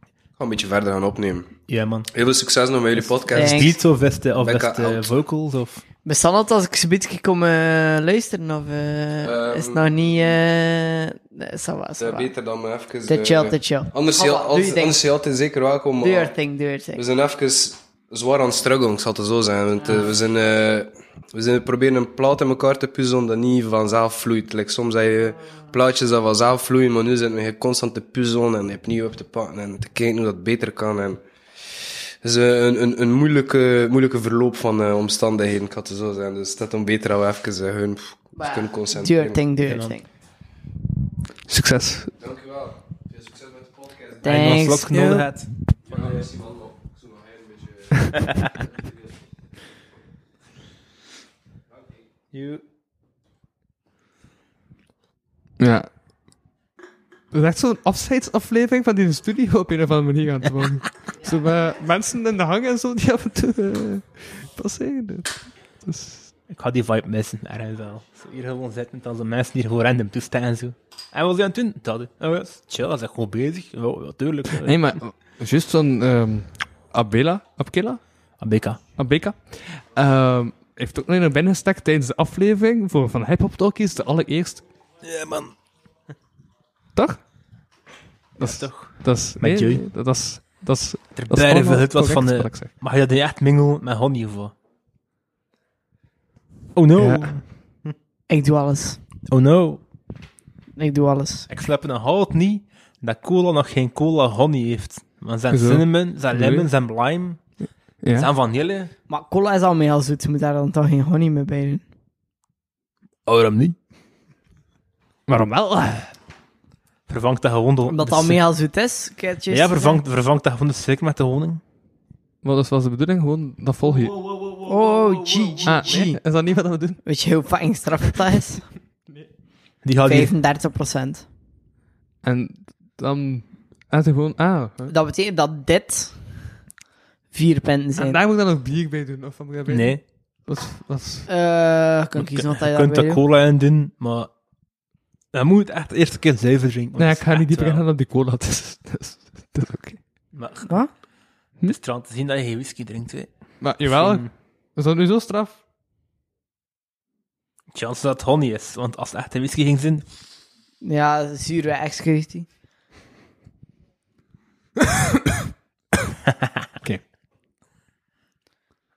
Speaker 12: Ik ga een beetje verder gaan opnemen.
Speaker 6: Ja, man.
Speaker 12: Heel veel succes nog met jullie podcast.
Speaker 6: Is
Speaker 3: Thanks.
Speaker 6: dit of is de, of is
Speaker 12: Becca
Speaker 6: het, eh,
Speaker 12: out.
Speaker 6: vocals? Of...
Speaker 3: Bestaan het als ik zo'n beetje kom eh, luisteren? Of eh,
Speaker 12: Ehm,
Speaker 3: is het nog niet... eh nee, ça va, ça
Speaker 12: Het is
Speaker 3: va.
Speaker 12: Eh, beter dan me even...
Speaker 3: Te
Speaker 12: eh,
Speaker 3: chill, te chill.
Speaker 12: Anders,
Speaker 3: Papa,
Speaker 12: heel,
Speaker 3: doe
Speaker 12: anders,
Speaker 3: je ding.
Speaker 12: anders heel altijd zeker welkom.
Speaker 3: Do your
Speaker 12: maar-
Speaker 3: thing, do your
Speaker 12: We
Speaker 3: thing.
Speaker 12: zijn even zwaar aan het struggelen, ik zal het zo zijn. Want, eh, we, zijn eh, we zijn proberen een plaat in elkaar te puzzelen dat niet vanzelf vloeit. Like, soms heb je plaatjes dat vanzelf vloeien, maar nu zijn we hier constant te puzzelen en opnieuw op te pakken en te kijken hoe dat beter kan. En het is eh, een, een, een moeilijke, moeilijke verloop van eh, omstandigheden, ik zal het zo zijn. Dus het is dan beter dat we even eh, hun pff, ons
Speaker 3: Do your
Speaker 12: kunnen concentreren.
Speaker 3: thing, do your thing.
Speaker 2: Succes.
Speaker 12: Dankjewel. Veel succes met de podcast.
Speaker 6: En als
Speaker 3: Thanks.
Speaker 6: Lotke nodig
Speaker 3: yo.
Speaker 6: had.
Speaker 2: Ja. Dat is echt zo'n afscheidsaflevering van die studio op een of andere manier aan het worden. Zo met mensen in de hang en zo die af en toe eh, passeren. Dus,
Speaker 6: Ik had die vibe missen, ergens wel. Zo hier gewoon zitten, dan zo mensen die hier gewoon random toestaan en zo. En wat zijn aan het doen? Dat, hè. oh, ja, is chill, dat is echt gewoon bezig. Ja, ja, tuurlijk. Ja.
Speaker 2: nee, maar juist van ehm, Abela, Abkela,
Speaker 6: Abeka.
Speaker 2: Abeka, ehm, heeft ook nog naar binnen gestakt tijdens de aflevering voor, van Hip Hop Talkies, de allereerste.
Speaker 6: Ja, man.
Speaker 2: Dag?
Speaker 6: Dat is toch.
Speaker 2: Dat is...
Speaker 6: Met
Speaker 2: nee,
Speaker 6: Joey.
Speaker 2: nee, Dat is... Dat is...
Speaker 6: Er
Speaker 2: Dat is
Speaker 6: blijven
Speaker 2: allemaal
Speaker 6: het was van
Speaker 2: correct
Speaker 6: de.
Speaker 2: wat ik zeg.
Speaker 6: Mag je dat niet echt mingelen met honey voor? Oh no.
Speaker 2: Ja.
Speaker 3: Ik doe alles.
Speaker 6: Oh no.
Speaker 3: Ik doe alles.
Speaker 6: Ik slaap een hout niet dat cola nog geen cola honey heeft. Want zijn
Speaker 2: Hoezo?
Speaker 6: cinnamon, zijn
Speaker 2: Nee.
Speaker 6: lemon, zijn lime,
Speaker 2: Ja.
Speaker 6: zijn vanille.
Speaker 3: Maar cola is al mee als zoet. Je moet daar dan toch geen honey mee bij doen.
Speaker 6: Oh, waarom niet?
Speaker 2: Waarom wel?
Speaker 6: Vervangt dat gewoon door.
Speaker 3: Omdat het al mee als zoet is. Ik heb het juist
Speaker 6: Ja,
Speaker 3: gezegd.
Speaker 6: vervangt, vervangt dat gewoon de suiker met de honing.
Speaker 2: Wat is- was de bedoeling? Gewoon, dat volg je.
Speaker 3: Oh, gee, gee,
Speaker 2: Ah,
Speaker 3: gee.
Speaker 2: nee, is dat niet wat we doen?
Speaker 3: Weet je hoe fucking straf dat is?
Speaker 6: Die gaat hier
Speaker 3: 35 procent.
Speaker 2: En dan... En ze gewoon... Ah, hè.
Speaker 3: Dat betekent dat dit vier punten
Speaker 2: en
Speaker 3: zijn.
Speaker 2: daar moet ik dan nog bier bij doen? Of wat moet ik daarbij doen?
Speaker 6: Nee,
Speaker 2: Dat is- dat is...
Speaker 3: Eh, ik kan kiezen wat
Speaker 6: je
Speaker 3: hij
Speaker 6: kunt
Speaker 3: daarbij
Speaker 6: er
Speaker 3: doet.
Speaker 6: cola in doen, maar dan moet je het echt de eerste keer zuiver drinken.
Speaker 2: Nee, ik ga niet dieper
Speaker 6: in
Speaker 2: ingaan op die cola. Dat is, dat is, dat is oké.
Speaker 6: Maar
Speaker 3: Wat?
Speaker 6: het is trouwens te zien dat je geen whisky drinkt. Hè.
Speaker 2: Maar Hm? jawel,
Speaker 6: Geen
Speaker 2: is dat nu zo straf?
Speaker 6: Chance dat het honey is, want als het echt een whisky ging zijn,
Speaker 3: Ja, zuur bij excursie.
Speaker 2: Oké.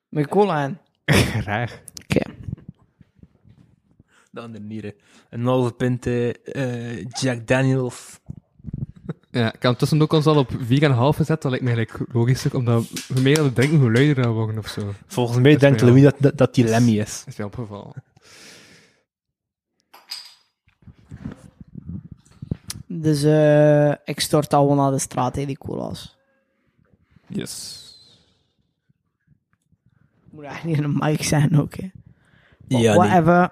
Speaker 3: Met cola aan.
Speaker 2: Graag.
Speaker 3: Oké.
Speaker 6: dan de nieren. Een halve pint eh, eh, Jack Daniels.
Speaker 2: Ja, ik heb tussen ook ons al op 4,5 gezet. Dat lijkt mij eigenlijk logischer, omdat hoe meer aan het drinken, hoe luider dat we worden of zo.
Speaker 6: Volgens mij
Speaker 2: Dat is
Speaker 6: denkt
Speaker 2: mij
Speaker 6: Louis dat, dat, dat die Lemmy is.
Speaker 2: Is mij opgevallen.
Speaker 3: Dus eh, ik stort al wel naar de straat, hè, die cola's.
Speaker 2: Yes.
Speaker 3: Moet eigenlijk niet in een mic zijn ook, hè. But
Speaker 6: Ja, nee.
Speaker 3: whatever.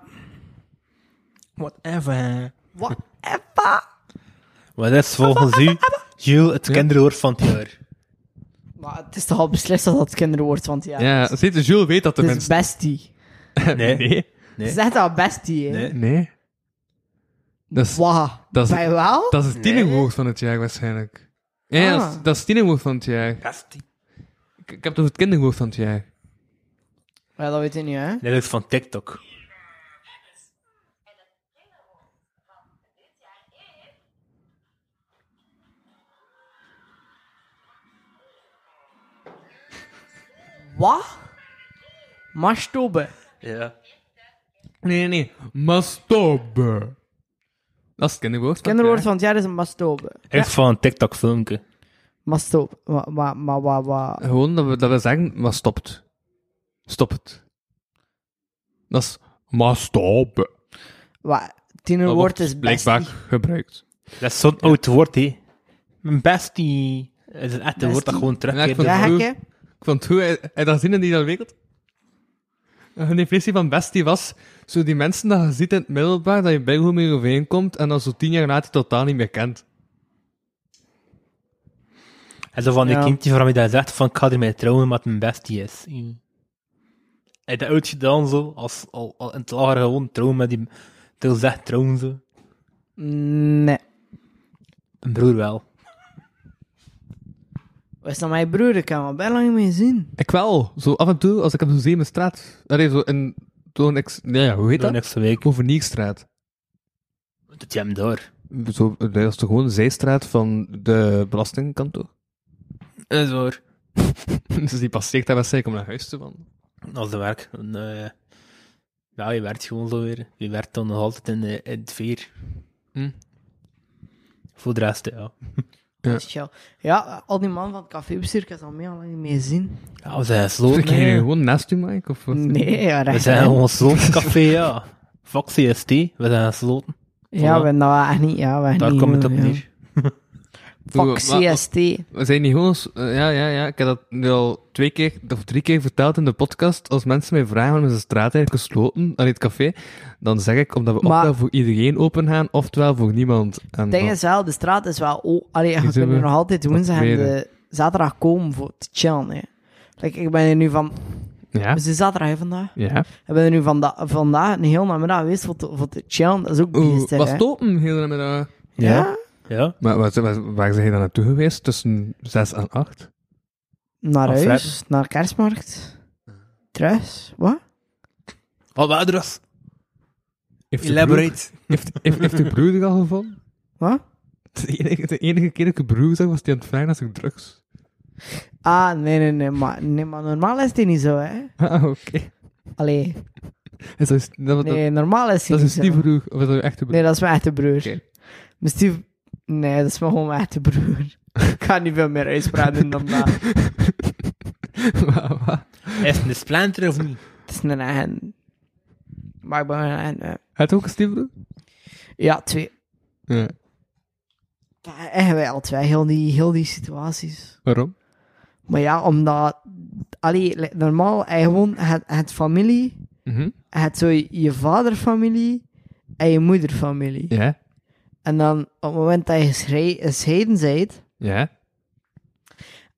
Speaker 6: Whatever.
Speaker 3: Whatever.
Speaker 6: Wat is volgens u, Jules, het kinderwoord van het jaar?
Speaker 3: Maar het is toch al beslist dat dat kinderwoord, want ja...
Speaker 2: Ja,
Speaker 3: het
Speaker 2: ziet de Jules weet dat de
Speaker 3: is- het is
Speaker 2: mensen.
Speaker 3: bestie.
Speaker 6: Nee.
Speaker 2: Nee.
Speaker 3: Het is echt al bestie, hè.
Speaker 6: Nee.
Speaker 2: Nee. Dat is,
Speaker 8: Wauw.
Speaker 2: dat is,
Speaker 8: Bij wel?
Speaker 2: dat is het tiende woord van het jaar waarschijnlijk. Ja, ja, dat is-
Speaker 8: Ah.
Speaker 2: dat is het tiende woord van het jaar. Ik, ik heb dus het over het kinderwoord van het jaar.
Speaker 3: Ja, dat weet ik niet, hè?
Speaker 6: Dat is van TikTok.
Speaker 3: Wat? Mastobe.
Speaker 6: Ja.
Speaker 2: Nee, nee, nee. Masturbe. Dat is het kinderwoord van
Speaker 3: Kinderwoord
Speaker 2: het
Speaker 3: van het jaar is een mastobe.
Speaker 6: Echt van een TikTok-filmpje.
Speaker 3: Mastobe. Maar, maar, maar, maar, maar.
Speaker 2: jaar. Gewoon dat we, dat we zeggen, maar stopt. Stop het. Dat is masturbe.
Speaker 3: Wat? Tienerwoord is
Speaker 2: Oh, blijkbaar
Speaker 3: bestie.
Speaker 2: gebruikt.
Speaker 6: Dat is zo'n oud woord, hè. Mijn bestie is een echte woord dat
Speaker 3: Bestie.
Speaker 6: gewoon
Speaker 2: Ja,
Speaker 6: terugkeert.
Speaker 2: ik vond
Speaker 3: Ja,
Speaker 2: het goed.
Speaker 3: gek, hè?
Speaker 2: Ik vond het goed. Hij- Hij dat zin in die dat wereld. Een definitie van bestie was zo die mensen dat je ziet in het middelbaar, dat je bij hoe mee overeenkomt en dan zo tien jaar later totaal niet meer kent.
Speaker 6: En zo van die
Speaker 3: Ja.
Speaker 6: kindje van wie dat zegt van ik ga ermee trouwen maar het mijn bestie is. Mm. Hij dat oudje dan zo, als, al, al in het lager gewoon trouwen met die... Toen zegt trouwen zo.
Speaker 3: Nee.
Speaker 6: Mijn broer wel.
Speaker 3: Was dat nou mijn broer? Ik heb hem al bijna lang niet meer gezien.
Speaker 2: Ik wel. Zo af en toe, als ik op zo'n zeemenstraat... Allee, zo in... Toen ik... Nee, ja, hoe heet
Speaker 6: Door
Speaker 2: dat?
Speaker 6: niks week.
Speaker 2: Overniekstraat.
Speaker 6: Dat jij hem door.
Speaker 2: Zo, dat is toch gewoon een zijstraat van de belastingkantoor?
Speaker 6: Dat is waar.
Speaker 2: dus die passeert daar waarschijnlijk om naar huis te wandelen.
Speaker 6: Als de werk. Dan, eh, ja, je werkt gewoon zo weer. Je werkt dan nog altijd in, eh, in het veer.
Speaker 2: Hm.
Speaker 6: Voor de rest, ja.
Speaker 2: Ja.
Speaker 3: Ja. ja, al die man van het cafébestuur, ik heb ze al meer al lang niet meer gezien.
Speaker 6: Ja, we zijn sloot.
Speaker 2: Ik ging gewoon naast u, Mike? Of wat?
Speaker 3: Nee, ja,
Speaker 6: We
Speaker 3: recht.
Speaker 6: zijn
Speaker 3: hè.
Speaker 6: gewoon een slootcafé, ja. Fox CST, we zijn gesloten.
Speaker 3: Ja, we nou echt niet. Ja, we echt
Speaker 6: Daar
Speaker 3: niet
Speaker 6: komt het op
Speaker 3: doen, ja.
Speaker 6: neer.
Speaker 3: Fuck
Speaker 2: Wa- wa-
Speaker 3: CST.
Speaker 2: We zijn niet gewoon... s- eh, ja, ja, ja. Ik heb dat nu al twee keer of drie keer verteld in de podcast. Als mensen mij vragen waarom is de straat eigenlijk gesloten, allee, het café, dan zeg ik omdat we
Speaker 3: Maar-
Speaker 2: ofwel voor iedereen open gaan, oftewel voor niemand. En
Speaker 3: Het ding
Speaker 2: dan-
Speaker 3: is wel, de straat is wel... Oh, allee, je kunt
Speaker 2: zullen
Speaker 3: er
Speaker 2: we
Speaker 3: nog altijd woensdag en
Speaker 2: proberen.
Speaker 3: de zaterdag komen voor te chillen. Hè. Like, ik ben er nu van...
Speaker 2: Ja.
Speaker 3: Het is de zaterdag hè, vandaag.
Speaker 2: Ja.
Speaker 3: Ik ben er nu vanda vandaag een heel namiddag geweest voor te, voor te chillen. Dat is ook
Speaker 2: Oeh,
Speaker 3: biester,
Speaker 2: was
Speaker 3: hè.
Speaker 2: het open heel de middag?
Speaker 3: Ja?
Speaker 6: Ja.
Speaker 2: Maar waar, waar, waar zijn je dan naartoe geweest? Tussen 6 en 8?
Speaker 3: Naar
Speaker 6: Of
Speaker 3: huis, naar kerstmarkt. Thuis, wat?
Speaker 6: Wat oh, adres?
Speaker 2: Heeft je broer-
Speaker 6: Elaborate.
Speaker 2: Heeft, heeft, heeft je broer er al gevonden?
Speaker 3: Wat?
Speaker 2: De enige, de enige keer dat ik een broer zag, was die aan het vragen naar zijn drugs.
Speaker 3: Ah, nee, nee, nee, maar, nee, maar normaal is die niet zo, hè.
Speaker 2: Ah, oké.
Speaker 3: Allee,
Speaker 2: Is dat, dat, dat,
Speaker 3: nee, normaal is die
Speaker 2: dat is een
Speaker 3: niet zo.
Speaker 2: stiefbroer, of is dat een echte broer?
Speaker 3: Nee, dat is mijn echte broer.
Speaker 2: Oké.
Speaker 3: Mijn stief... Nee, dat is maar gewoon mijn echte broer. ik ga niet veel meer uitspraak doen dan dat.
Speaker 2: Wa- wa-
Speaker 6: Is het een splinter of niet?
Speaker 3: Het is een eigen... Maar ik ben een eigen... eh,
Speaker 2: Had ook een stiefbroer?
Speaker 3: Ja, twee.
Speaker 2: Ja.
Speaker 3: En wij al twee, heel die, heel die situaties.
Speaker 2: Waarom?
Speaker 3: Maar ja, omdat... Allee, like, normaal, hij gewoon... Het, het familie...
Speaker 2: Mhm.
Speaker 3: Het zo je, je vaderfamilie... En je moederfamilie.
Speaker 2: Ja,
Speaker 3: En dan, op het moment dat je geschre- gescheiden bent...
Speaker 2: ja.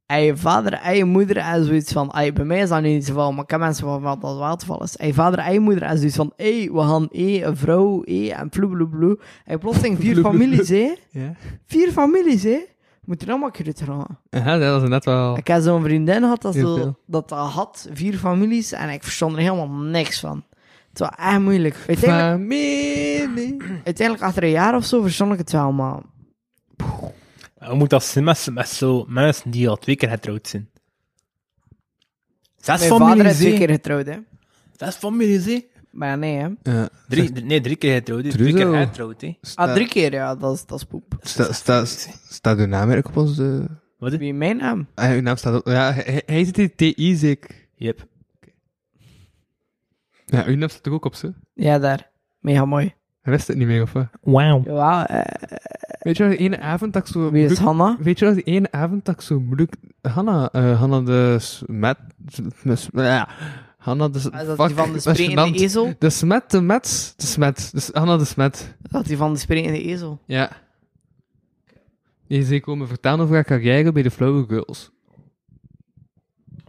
Speaker 3: En je vader en je moeder en zoiets van... Ey, bij mij is dat nu niet zo van, maar ik ken mensen van wat dat wel het geval is. En je vader en je moeder en zoiets van... Hé, we gaan hé, een vrouw, hé, en vloebloebloe. En plotseling vier families, hé.
Speaker 2: Ja.
Speaker 3: Vier families, hè. Moet er allemaal kruid gaan.
Speaker 2: Aha, dat was net wel...
Speaker 3: Ik heb zo'n vriendin gehad dat,
Speaker 2: Heel
Speaker 3: zo-
Speaker 2: veel.
Speaker 3: dat dat had. Vier families. En ik verstond er helemaal niks van. Het was echt moeilijk. Uiteindelijk,
Speaker 2: Familie.
Speaker 3: uiteindelijk achter een jaar of zo, verstond ik het wel, maar...
Speaker 6: We moeten als met, met zo mensen die al twee keer getrouwd zijn.
Speaker 3: Mijn
Speaker 6: Zes
Speaker 3: vader is
Speaker 6: families,
Speaker 3: twee keer
Speaker 6: hè?
Speaker 3: getrouwd, hè.
Speaker 6: Zes families, hè?
Speaker 3: Maar nee, hè.
Speaker 2: Ja.
Speaker 6: Drie, drie- nee, drie keer getrouwd, hè? Drie
Speaker 2: Trudeau.
Speaker 6: keer getrouwd, hè?
Speaker 3: Ah, drie keer, ja. Dat is, dat is poep.
Speaker 2: Sta- sta- sta- Staat uw naam eigenlijk op onze...
Speaker 6: Wat, hè?
Speaker 3: Wie mijn ehm. naam?
Speaker 2: Ah, uw naam staat op... Ja, hij, hij zit in TI, zeker.
Speaker 6: Yep.
Speaker 2: Ja, uw naam staat toch ook op, ze?
Speaker 3: Ja, daar. Mega mooi.
Speaker 2: Hij wist het niet meer, of wat?
Speaker 6: Wauw.
Speaker 3: Jawel, eh,
Speaker 2: Weet je wel, die ene avond dat ik zo...
Speaker 3: wie is
Speaker 2: moeilijk-
Speaker 3: Hanna?
Speaker 2: Weet je wel, die ene avond dat ik zo moeilijk... Hanna, eh Hanna de Smet... Smet- Smet- Ja, Hanna de...
Speaker 3: Is dat
Speaker 2: fuck,
Speaker 3: die van de
Speaker 2: Ah, dat is
Speaker 3: sprekende
Speaker 2: gênant.
Speaker 3: ezel?
Speaker 2: De Smet, de Mets, de Smet. Dus Hanna de Smet.
Speaker 3: Is dat die van de sprekende ezel?
Speaker 2: Ja. Je zei komen vertellen over haar carrière bij de Flower Girls.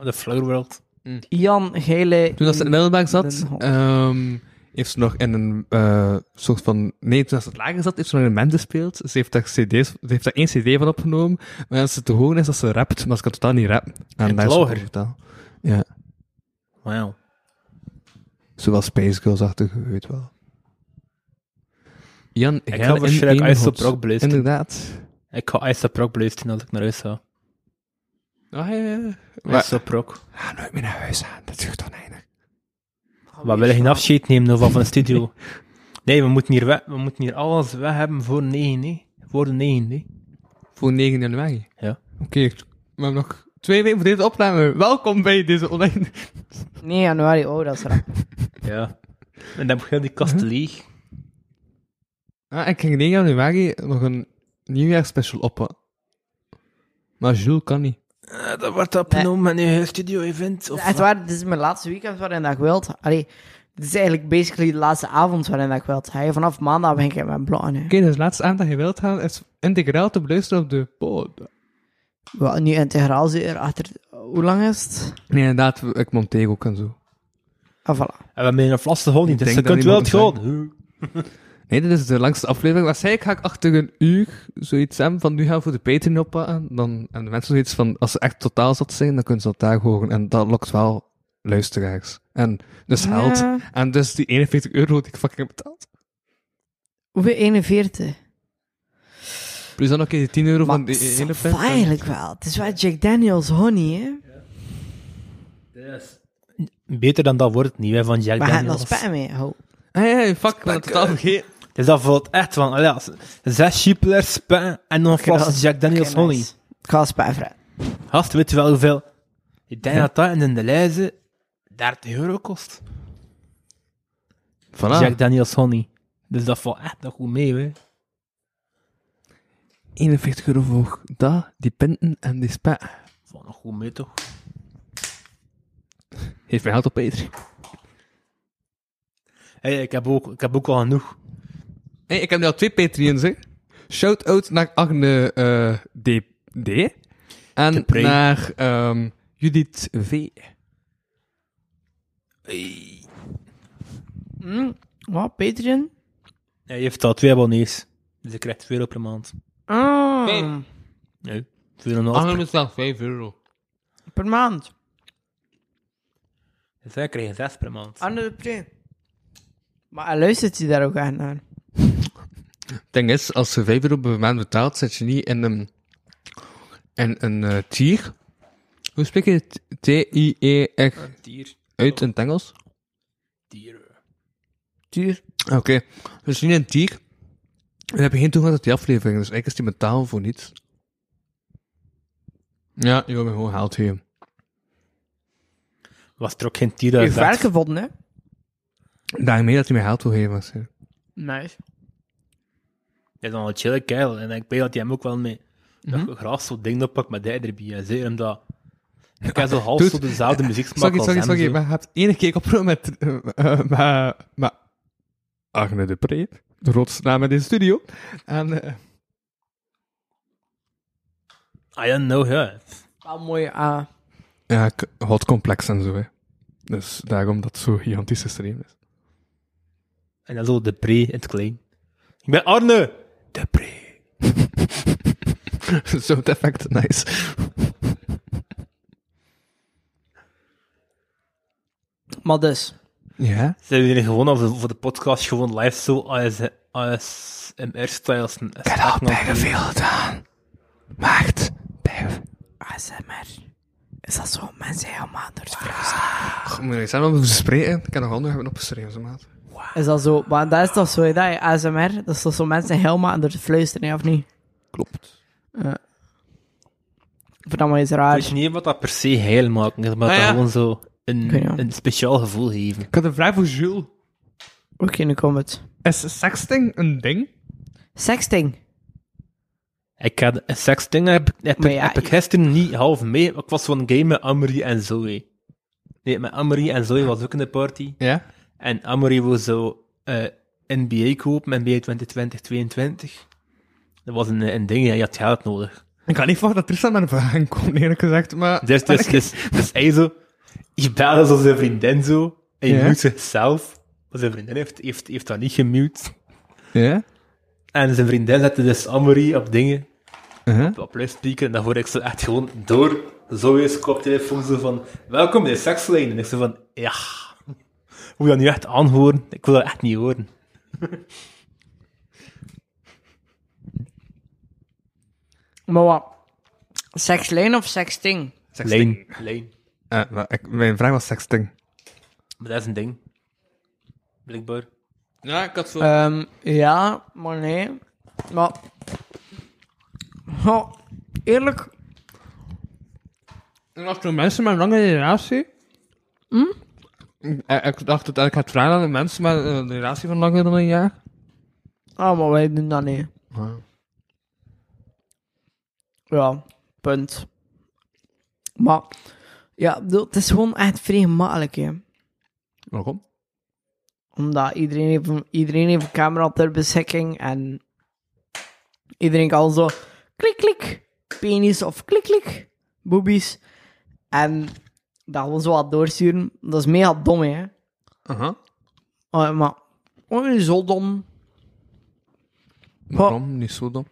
Speaker 6: The Flower World.
Speaker 3: Jan Gele...
Speaker 2: Toen dat ze in het middelbaar zat,
Speaker 3: Den Hop.
Speaker 2: ehm, heeft ze nog in een eh, soort van... Nee, toen ze het lager zat, heeft ze nog in een band gespeeld. Ze heeft daar, cd's, ze heeft daar één cd van opgenomen. Maar als ze te horen is, dat ze rapt. Maar ze kan totaal niet rappen.
Speaker 6: In het
Speaker 2: daar is ze
Speaker 6: lager?
Speaker 2: totaal- Ja.
Speaker 6: Wauw.
Speaker 2: Zowel Space Girls-achtig, je weet wel. Jan,
Speaker 6: Ik
Speaker 2: jij
Speaker 6: ga
Speaker 2: in
Speaker 6: waarschijnlijk
Speaker 2: één
Speaker 6: IJssel
Speaker 2: hot.
Speaker 6: Prok beluisteren.
Speaker 2: Inderdaad.
Speaker 6: Ik ga IJssel Prok beluisteren als ik naar huis ga.
Speaker 2: Ah, ja, ja.
Speaker 6: IJssel Prok.
Speaker 2: Ga nooit meer naar huis aan. Dat zucht oneindig.
Speaker 6: Maar wil je geen afscheid nemen nou, van van de studio? Nee, we moeten, hier weg, we moeten hier alles weg hebben voor 9, nee. Voor de 9, nee.
Speaker 2: Voor 9 januari.
Speaker 6: Ja.
Speaker 2: Oké, we hebben nog twee weken voor deze opname. Welkom bij deze online...
Speaker 3: 9 januari, oh, dat is raar.
Speaker 6: Ja. En dan begint die kast leeg.
Speaker 2: Ah, ik ging 9 januari nog een nieuwjaarspecial op. Maar Jules kan niet.
Speaker 16: Eh, dat wordt opgenomen met een studio-event. Of
Speaker 3: Echt
Speaker 16: wat?
Speaker 3: waar, dit is mijn laatste weekend waarin dat ik wilt. Allee, dit is eigenlijk basically de laatste avond waarin dat ik wilt. Hey, vanaf maandag ben ik met mijn plannen.
Speaker 2: Oké, dus laatste aan dat je wilt gaan is integraal te beluisteren op de pod.
Speaker 3: Wel, nu integraal zit er achter... Hoe lang is het?
Speaker 2: Nee, inderdaad, ik monteer ook en zo.
Speaker 3: Ah, voilà.
Speaker 6: En we hebben hier een vaste hond niet,
Speaker 2: Ik
Speaker 6: dus je
Speaker 2: denk
Speaker 6: kunt
Speaker 2: dat
Speaker 6: wel het
Speaker 2: niemand
Speaker 6: gewoon.
Speaker 2: Nee, dit is de langste aflevering. Waarschijnlijk ga ik achter een uur zoiets hebben van nu gaan we voor de Patreon oppakken. Dan, en de mensen zoiets van, als ze echt totaal zat zijn, dan kunnen ze dat daar horen. En dat lokt wel luisteraars. En dus geld.
Speaker 3: Ja.
Speaker 2: En dus die 41 euro die ik fucking heb betaald.
Speaker 3: Hoeveel? 41?
Speaker 2: Plus dan nog eens die 10 euro van
Speaker 3: Maar
Speaker 2: de
Speaker 3: het is
Speaker 2: hele
Speaker 3: toch
Speaker 2: pint.
Speaker 3: eigenlijk wel. Het is wel Jack Daniels honey, hè?
Speaker 6: Beter dan dat wordt het niet, hè, van Jack
Speaker 3: Maar hij had nog
Speaker 6: Daniels.
Speaker 3: spijt mee. Oh, Ho.
Speaker 2: Ah, ja, fuck, ik ben het totaal vergeten.
Speaker 6: Dus dat voelt echt van, allee, als- zes chipelers, spijn en nog een
Speaker 3: Oké, dat
Speaker 6: fles
Speaker 3: is-
Speaker 6: Jack Daniels
Speaker 3: oké, nice.
Speaker 6: honey.
Speaker 3: Ik ga spijt vrij.
Speaker 6: Gast, weet je wel hoeveel? Ik denk dat dat in de lijzen 30 euro kost.
Speaker 2: Voilà.
Speaker 6: Jack Daniels honey. Dus dat valt echt nog goed mee, hè.
Speaker 2: 41 euro voor dat, die pinten en die spa.
Speaker 6: Valt nog goed mee, toch?
Speaker 2: Heeft mij geld op Patreon.
Speaker 6: Hey, ik, heb ook, ik heb ook al genoeg.
Speaker 2: Nee, ik heb nu al twee Patreons, hè. Shout-out naar Agne eh, D. D. En
Speaker 6: Pre.
Speaker 2: naar ehm, Judith V.
Speaker 3: Hm? Wat, Patreon?
Speaker 6: Hij heeft al twee abonnees. Dus ik krijg 2 euro per maand.
Speaker 3: Ah,
Speaker 2: Nee.
Speaker 6: Nee, 4,5
Speaker 2: Agne moet 5 euro.
Speaker 3: per maand.
Speaker 6: Dus wij krijgen 6 per maand.
Speaker 3: Anne de Pre. Maar hij luistert hij daar ook aan naar?
Speaker 2: ding is, als je 5 euro per maand betaalt, zit je niet in een, in een eh, tier. Hoe spreek je het? T-I-E-R
Speaker 6: Tier.
Speaker 2: uit in het Engels?
Speaker 6: Tier.
Speaker 3: Duur.
Speaker 2: Oké, dus niet in een tier. Dan heb je geen toegang tot die aflevering, dus eigenlijk is die betaal voor niets. Ja, je wil me gewoon haalt hier.
Speaker 6: Was er ook geen tier dat
Speaker 3: Heeft
Speaker 6: werd-
Speaker 3: werk gevonden, hè?
Speaker 2: Daarmee dat hij mij haalt wil geven. waarschijnlijk.
Speaker 3: Nice.
Speaker 6: Dat is dan een chille keil. En ik weet dat hij hem ook wel mee. Dat
Speaker 2: Mhm.
Speaker 6: je graag zo'n ding oppakt met hij erbij. En zeker omdat. Ik heb zo half
Speaker 2: Dude,
Speaker 6: zo dezelfde muziek
Speaker 2: Sorry, sorry, sorry,
Speaker 6: Zo.
Speaker 2: maar je hebt één keer opgenomen met... eh, eh, maar, maar... Agne de Pre, de grootste naam in deze studio. En... eh,
Speaker 6: I don't know, ja.
Speaker 3: Wel mooi. ah.
Speaker 2: Ja, k- hot complex en zo, hè. Dus daarom dat het zo gigantisch stream is.
Speaker 6: En dan zo de pre in het klein. Ik ben Arne! De pre.
Speaker 2: Zo'n effect, nice.
Speaker 3: Maar dus,
Speaker 2: Ja?
Speaker 6: Zijn jullie gewoon al voor de podcast gewoon live zo AS, ASMR-styles? Ik heb
Speaker 2: aan. Maakt.
Speaker 3: ASMR. Is dat zo? Mensen helemaal door het
Speaker 2: Goed, moet je iets aan om te spreken? Ik kan nog handen hebben opgeschreven, zo maat.
Speaker 3: Is dat zo? Maar dat is toch zo, hè, dat je ASMR, dat is toch zo mensen helemaal aan het fluisteren, hè, of niet?
Speaker 2: Klopt.
Speaker 3: Ja. Ik vind dat maar iets
Speaker 6: Weet
Speaker 3: raar.
Speaker 6: je niet wat dat per se heil maakt, maar dat
Speaker 2: Ah, ja.
Speaker 6: gewoon zo een,
Speaker 3: Ik weet niet.
Speaker 6: een speciaal gevoel geven.
Speaker 2: Ik had een vraag voor Jules.
Speaker 3: Oké, nu komt het.
Speaker 2: Is sexting een ding?
Speaker 3: Sexting.
Speaker 6: Ik had een seksding heb, heb,
Speaker 3: Maar ja,
Speaker 6: heb ik
Speaker 3: je-
Speaker 6: gisteren niet half mee. maar Ik was van een game met Amory en Zoe. Nee, met Amory en Zoe was ook in de party.
Speaker 2: Ja?
Speaker 6: En Amory wil zo eh, NBA kopen, NBA 2020-22. Dat was een, een ding, ja, je had geld nodig.
Speaker 2: Ik had niet verwacht dat Tristan met een vraag komt, eerlijk gezegd, maar...
Speaker 6: Dus, dus, dus, dus hij zo, je belde zo zijn vriendin zo, en je
Speaker 2: Ja.
Speaker 6: moet zichzelf zijn vriendin heeft, heeft, heeft dat niet gemute.
Speaker 2: Ja?
Speaker 6: En zijn vriendin zette dus Amory op dingen.
Speaker 2: Uh-huh.
Speaker 6: Op, op luidspreker. En dan hoorde ik ze echt gewoon door Zoe's koptelefoon zo van... Welkom bij de sekslijn. En ik zei van... Ja. Hoe dat nu echt aanhoren? Ik wil dat echt niet horen.
Speaker 3: Maar wat? Sekslijn of sexting?
Speaker 6: Lijn. Lijn.
Speaker 2: Eh, maar ik- mijn vraag was sexting.
Speaker 6: Maar dat is een ding. Blijkbaar.
Speaker 18: Ja, ik had zo...
Speaker 3: Ehm, ja, maar nee. Maar... Goh, eerlijk...
Speaker 2: En als er mensen met een lange relatie... Hm? Eh, Ik dacht dat ik had vragen aan de mensen met eh, een relatie van langer dan een jaar.
Speaker 3: Ah, maar wij doen dat niet.
Speaker 2: Ah.
Speaker 3: Ja, punt. Maar... Ja, ik bedoel, het is gewoon echt vrij gemakkelijk, hè.
Speaker 2: Waarom?
Speaker 3: Omdat iedereen heeft, een- iedereen heeft een camera ter beschikking en iedereen kan zo klik klik, penis of klik klik, boobies. En dat gewoon zo wat doorsturen, dat is mega dom, hè.
Speaker 2: Aha.
Speaker 3: Oh, maar, oh, zo dom.
Speaker 2: Waarom? Niet zo dan.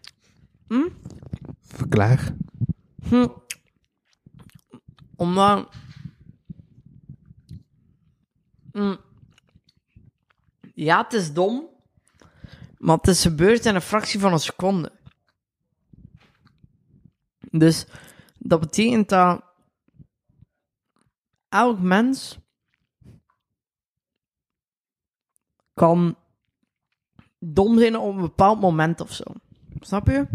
Speaker 3: Hm?
Speaker 2: Verklaar.
Speaker 3: Hm. Omdat... Hm. Ja, het is dom. Maar het is gebeurd in een fractie van een seconde. Dus dat betekent dat... Elk mens... Kan dom zijn op een bepaald moment of zo. Snap je?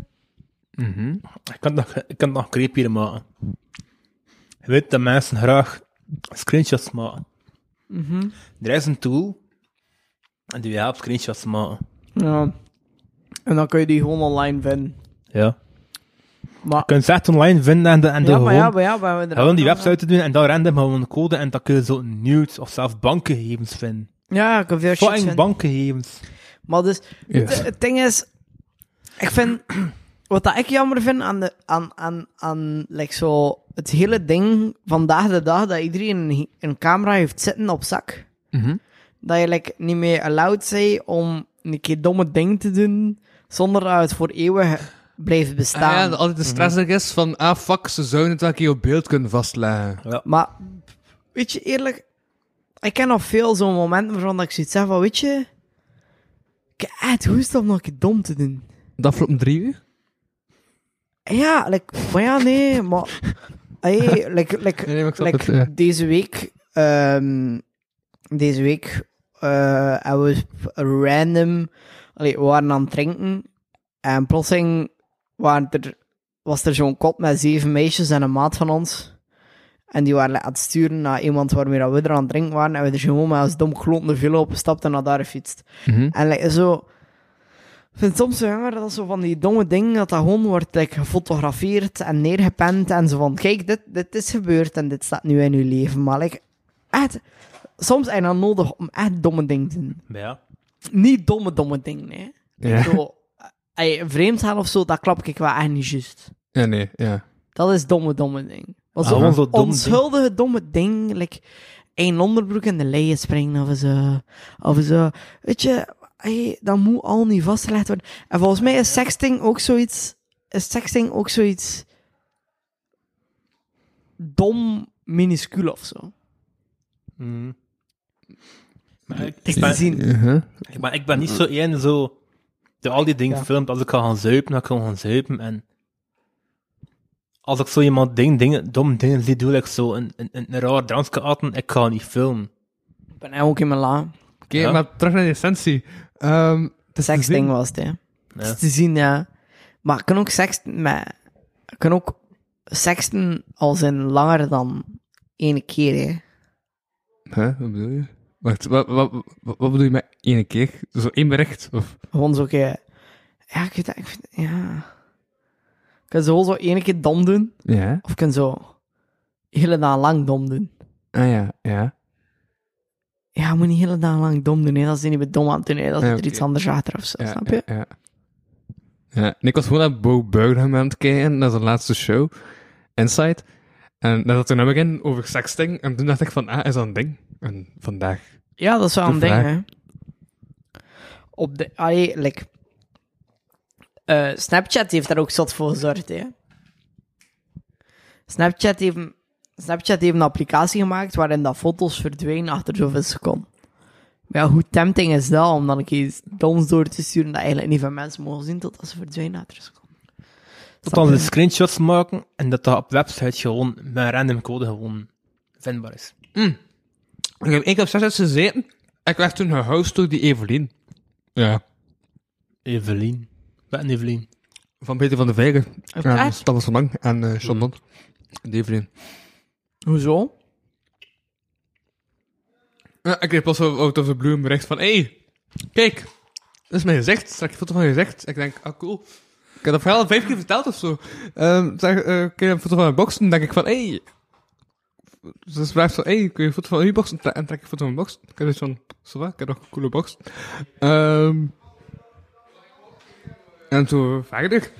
Speaker 6: Ik kan het nog, ik kan het nog creepier maken. Je weet dat mensen graag screenshots maken.
Speaker 3: Mhm.
Speaker 6: Er is een tool en die helpt screenshots maken.
Speaker 3: Ja. En dan kun je die gewoon online vinden.
Speaker 6: Ja.
Speaker 3: Maar,
Speaker 6: Je kunt ze echt online vinden en, de, en
Speaker 3: ja,
Speaker 6: dan
Speaker 3: maar
Speaker 6: gewoon,
Speaker 3: ja, maar ja, maar we
Speaker 6: gewoon die website te doen en dan random gewoon een code en dan kun je zo nudes of zelf bankgegevens vinden.
Speaker 3: Ja, ik heb veel shit
Speaker 6: Fucking
Speaker 3: vinden.
Speaker 6: bankgegevens.
Speaker 3: Maar dus,
Speaker 6: Yes.
Speaker 3: het, het ding is, ik vind, wat dat ik jammer vind aan, de, aan, aan, aan like zo, het hele ding vandaag de dag, dat iedereen een, een camera heeft zitten op zak,
Speaker 2: Mhm.
Speaker 3: dat je like, niet meer allowed bent om een keer domme dingen te doen, zonder dat het voor eeuwig blijft
Speaker 2: Ah, ja,
Speaker 3: bestaan.
Speaker 2: dat altijd de stress er is van, ah fuck, ze zouden het wel een keer op beeld kunnen vastleggen.
Speaker 3: Maar, weet je, eerlijk, ik ken nog veel zo'n momenten waarvan ik zoiets zeg van, weet je, ik heb echt hoest om nog een keer dom te doen.
Speaker 2: De afgelopen drie uur?
Speaker 3: Ja, like, van ja, nee, maar... Hey, like, like,
Speaker 2: Nee, nee, maar ik snap
Speaker 3: like
Speaker 2: het, eh. ja.
Speaker 3: deze week... ehm, deze week eh, hebben we random... Allee, we waren aan het drinken. En plotseling waren er, was er zo'n kop met zeven meisjes en een maat van ons. En die waren like, aan het sturen naar iemand waarmee dat we er aan het drinken waren. En we er gewoon met als dom klotende vullen opgestapt en naar daar gefietst.
Speaker 2: Mhm.
Speaker 3: En like, zo... Ik vind het soms zo jammer dat zo van die domme dingen, dat dat gewoon wordt like, gefotografeerd en neergepend en zo van, kijk, dit, dit is gebeurd en dit staat nu in uw leven. Maar like, echt, soms is dat nodig om echt domme dingen te doen.
Speaker 6: Ja.
Speaker 3: Niet domme, domme dingen, hè.
Speaker 2: Ja.
Speaker 3: Zo, ey, vreemd gaan of zo, dat klap ik wel echt niet juist.
Speaker 2: Ja, nee, ja.
Speaker 3: Dat is domme, domme ding. Want
Speaker 2: Ah,
Speaker 3: zo'n
Speaker 2: gewoon zo'n dom ding.
Speaker 3: onschuldige, domme ding. Like, een onderbroek in de leien springen of zo. Of zo. Weet je, hey, dat moet al niet vastgelegd worden. En volgens mij is sexting ook zoiets... Is sexting ook zoiets... Dom, minuscuul of zo.
Speaker 6: Maar ik, Mm.
Speaker 3: is te zien.
Speaker 2: Uh-huh.
Speaker 6: Ik ben, ik ben niet zo één zo. die al die dingen filmt. Als ik ga gaan zuipen, dan kan ik gaan zuipen. En als ik zo iemand ding, dingen, dom dingen zie, doe ik zo een, een, een, een raar drankje aten. Ik ga niet filmen.
Speaker 3: Ik ben eigenlijk ook in mijn la.
Speaker 2: Oké,
Speaker 6: Ja.
Speaker 2: maar terug naar de essentie. Ehm, het is te
Speaker 3: Sexting
Speaker 2: zien.
Speaker 3: was het, hè. Het is te zien, ja. Maar ik kan ook sexten met... Ik kan ook sexten als in langer dan één keer, hè.
Speaker 2: Hè, wat bedoel je? Wacht, wat, wat, wat, wat bedoel je met één keer? Zo één bericht? Of...
Speaker 3: Gewoon zo keer... Ja, ik weet dat... Ik vind, ja... Ik kan zo zo één keer dom doen.
Speaker 2: Ja.
Speaker 3: Of ik kan zo... Hele dag lang dom doen.
Speaker 2: Ah ja, ja.
Speaker 3: Ja, je moet niet hele dag lang dom doen, hè. Dat is niet meer dom aan het doen, hè. Dat is
Speaker 2: Ja,
Speaker 3: er iets
Speaker 2: oké.
Speaker 3: anders achter of zo,
Speaker 2: Ja,
Speaker 3: snap je?
Speaker 2: Ja, ja. Ja, en ik was gewoon naar Bo Burnham aan het kijken, naar zijn laatste show, Inside. En daar zat een nummer in over sexting, en toen dacht ik van, ah, is dat een ding? En vandaag
Speaker 3: Ja, dat is wel
Speaker 2: De
Speaker 3: een ding,
Speaker 2: vraag.
Speaker 3: hè. Op de... Allee, like... eh, Snapchat heeft daar ook zot voor gezorgd, hè. Snapchat heeft, een- Snapchat heeft een applicatie gemaakt waarin dat foto's verdwijnen achter zoveel seconden. Maar ja, hoe tempting is dat om dan een keer iets doms door te sturen dat eigenlijk niet van mensen mogen zien totdat ze verdwijnen achter een seconde.
Speaker 6: Tot dan ze screenshots maken en dat dat op websites gewoon met een random code gewoon vindbaar is.
Speaker 2: Ik heb één keer op zes gezeten en ik werd toen gehost door die Evelien. Ja.
Speaker 6: Evelien. Wat een Evelien?
Speaker 2: Van Peter van de Vijgen.
Speaker 6: Echt?
Speaker 2: En dat was van Lang en eh John Don. Die Evelien.
Speaker 3: Hoezo?
Speaker 2: Ja, ik kreeg pas out of the blue een bericht van, hey, kijk, dat is mijn gezicht. Daar heb ik een foto van mijn gezicht. Ik denk, ah, cool. Ik heb dat verhaal vijf keer verteld of zo. Ehm zeg, eh, kun je een foto van mijn boxen? Dan denk ik van, hey. Dus Ze schrijft van, hey, kun je een foto van uw boxen? Tra- En trek ik een foto van mijn boxen. Ik heb dus van, zo wat, ik heb nog een coole box. Ehm en toen verder.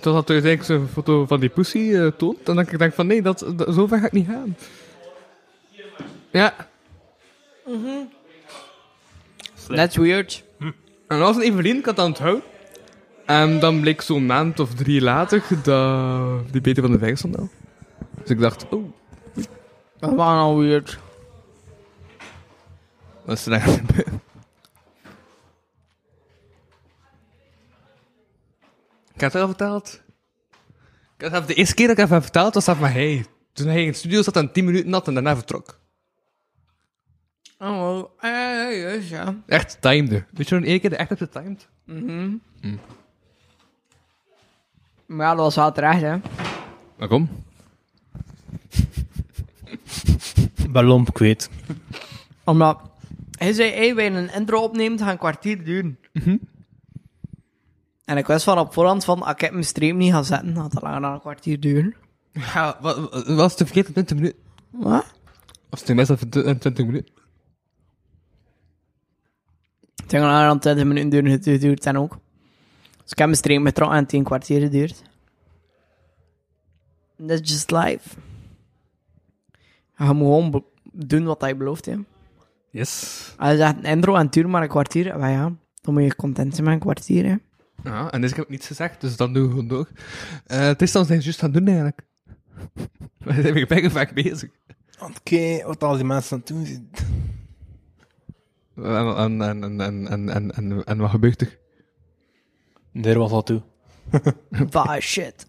Speaker 2: Totdat hij uiteindelijk zijn foto van die pussy eh, toont. En dan denk ik van, nee, dat, dat, zo ver ga ik niet gaan. Ja.
Speaker 3: That's weird.
Speaker 2: En als een Evelien, ik had het aan het houden. En dan bleek zo'n maand of drie later dat die Peter van de Vijg stond al. Dus ik dacht, oh,
Speaker 3: Dat was nou weird.
Speaker 2: wat is er eigenlijk gebeurd? Ik had het al verteld. Ik had het- de eerste keer dat ik het heb verteld was dat maar hij. Toen hij in het studio zat en 10 minuten had en daarna vertrok.
Speaker 3: Oh, wel. Eh, ja, ja.
Speaker 2: Echt timede. Weet je nog één keer dat echt heb getimed?
Speaker 3: Mhm.
Speaker 2: Hm.
Speaker 3: Maar ja, dat was wel terecht, hè.
Speaker 2: Waarom?
Speaker 6: Ballon kwijt.
Speaker 3: Omdat hij zei, hey, wij een intro opnemen, het gaat een kwartier duren. En ik wist van op voorhand van, als ik mijn stream niet ga zetten, gaat dat langer dan een kwartier duren.
Speaker 2: Ja, wat, wat was het verkeerd in 20 minuten?
Speaker 3: Wat?
Speaker 2: Of het meestal in 20 eh, minuten?
Speaker 3: Het ging langer dan 20 minuten duren, het duurt dan ook. Dus ik heb mijn stream getrokken en 10 kwartier geduurd. That's just life. Je moet gewoon be- doen wat hij belooft, hè.
Speaker 2: Yes.
Speaker 3: Hij zegt een intro en het duurt maar een kwartier. Maar ja, dan moet je content zijn met een kwartier, hè.
Speaker 2: Ja, en dus ik heb niets gezegd, dus dan doen we gewoon door. Eh, Het is dan zijn juist gaan doen eigenlijk. We zijn weer bijna vaak bezig.
Speaker 6: Oké, wat al die mensen aan het doen zijn.
Speaker 2: En, en, en, en, en, en, en, en, en wat gebeurt er?
Speaker 6: Deur was al toe.
Speaker 3: Bah, shit.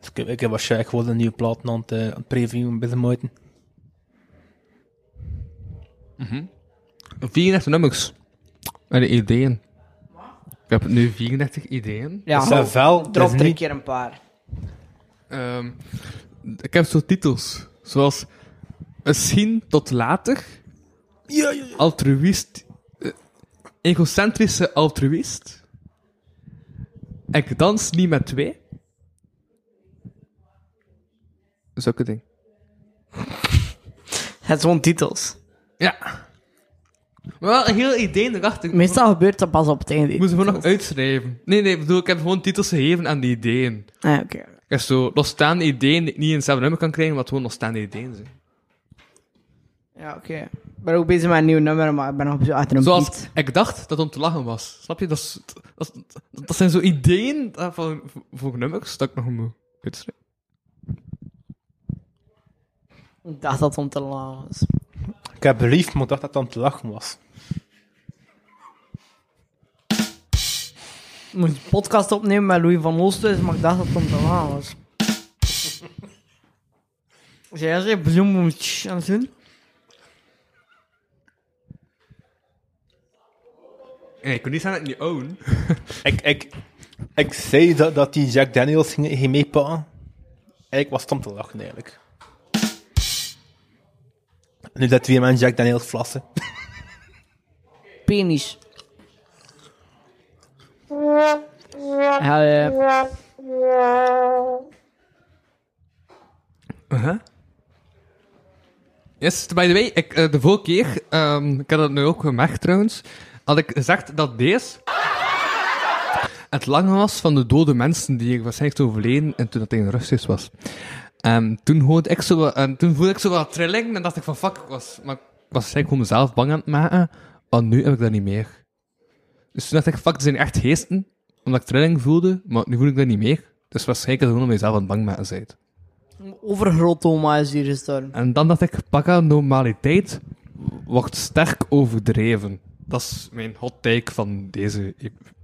Speaker 6: Dus ik, ik heb waarschijnlijk gewoon een nieuwe plaat aan het, eh, aan het previewen bij de moeite.
Speaker 2: 34 nummers. En ideeën. Ik heb nu 34 ideeën.
Speaker 6: Ah,
Speaker 3: Ja,
Speaker 2: dat
Speaker 6: oh,
Speaker 3: drop er een keer een paar.
Speaker 2: Ehm, ik heb zo titels, zoals Misschien tot later, altruïst, eh, egocentrische altruïst, Ik dans niet met twee. Zulke ding.
Speaker 3: Het is gewoon titels.
Speaker 2: Ja. Maar wel een heel idee erachter.
Speaker 3: Meestal gebeurt dat pas op het einde.
Speaker 2: Moeten we nog uitschrijven? Nee, nee, ik bedoel, ik heb gewoon titels gegeven aan die ideeën.
Speaker 3: Ah, oké.
Speaker 2: Ik heb zo losstaande ideeën die ik niet in hetzelfde nummer kan krijgen, wat gewoon losstaande ideeën zijn.
Speaker 3: Ja, oké. Ik ben ook bezig met een nieuw nummer, maar ik ben nog op zoek achter een
Speaker 2: Zoals
Speaker 3: beat.
Speaker 2: ik dacht dat om te lachen was. Snap je? Dat, is- dat, is- dat zijn zo ideeën eh, van, voor nummers dat ik nog moet uitschrijven.
Speaker 3: Ik dacht dat het om te lang was.
Speaker 6: Ik heb beliefd, maar dacht dat het aan het lachen was.
Speaker 3: Ik moest een podcast opnemen met Louis van Oosthuizen, maar ik dacht dat het om te lang was. Zij jij zei bloem tsch, aan het doen?
Speaker 2: Nee, ik kon niet zeggen dat ik niet own.
Speaker 6: Ik, ik, ik zei dat, dat die Jack Daniels ging, ging meepakken. En ik was stom te lachen, eigenlijk. Nu dat twee mensen Jack Daniels flassen.
Speaker 3: Penis. Ja, eh.
Speaker 2: Uh-huh. Yes, by the way, ik, eh, de vorige keer, ehm, ik had dat nu ook gemerkt trouwens, had ik gezegd dat deze het lange was van de dode mensen die ik waarschijnlijk overleden en toen dat tegen Russisch was. En toen, hoorde ik zo, wat- en toen voelde ik zo wat trilling en dacht ik van fuck, ik was, maar ik was eigenlijk gewoon mezelf bang aan het maken. Maar nu heb ik dat niet meer. Dus toen dacht ik fuck, het zijn echt geesten. Omdat ik trilling voelde, maar nu voel ik dat niet meer. Dus waarschijnlijk is het gewoon om mezelf aan het bang maken zijn.
Speaker 3: Overgrootoma is hier gestorven.
Speaker 2: En dan dacht ik, paranormaliteit wordt sterk overdreven. Dat is mijn hot take van deze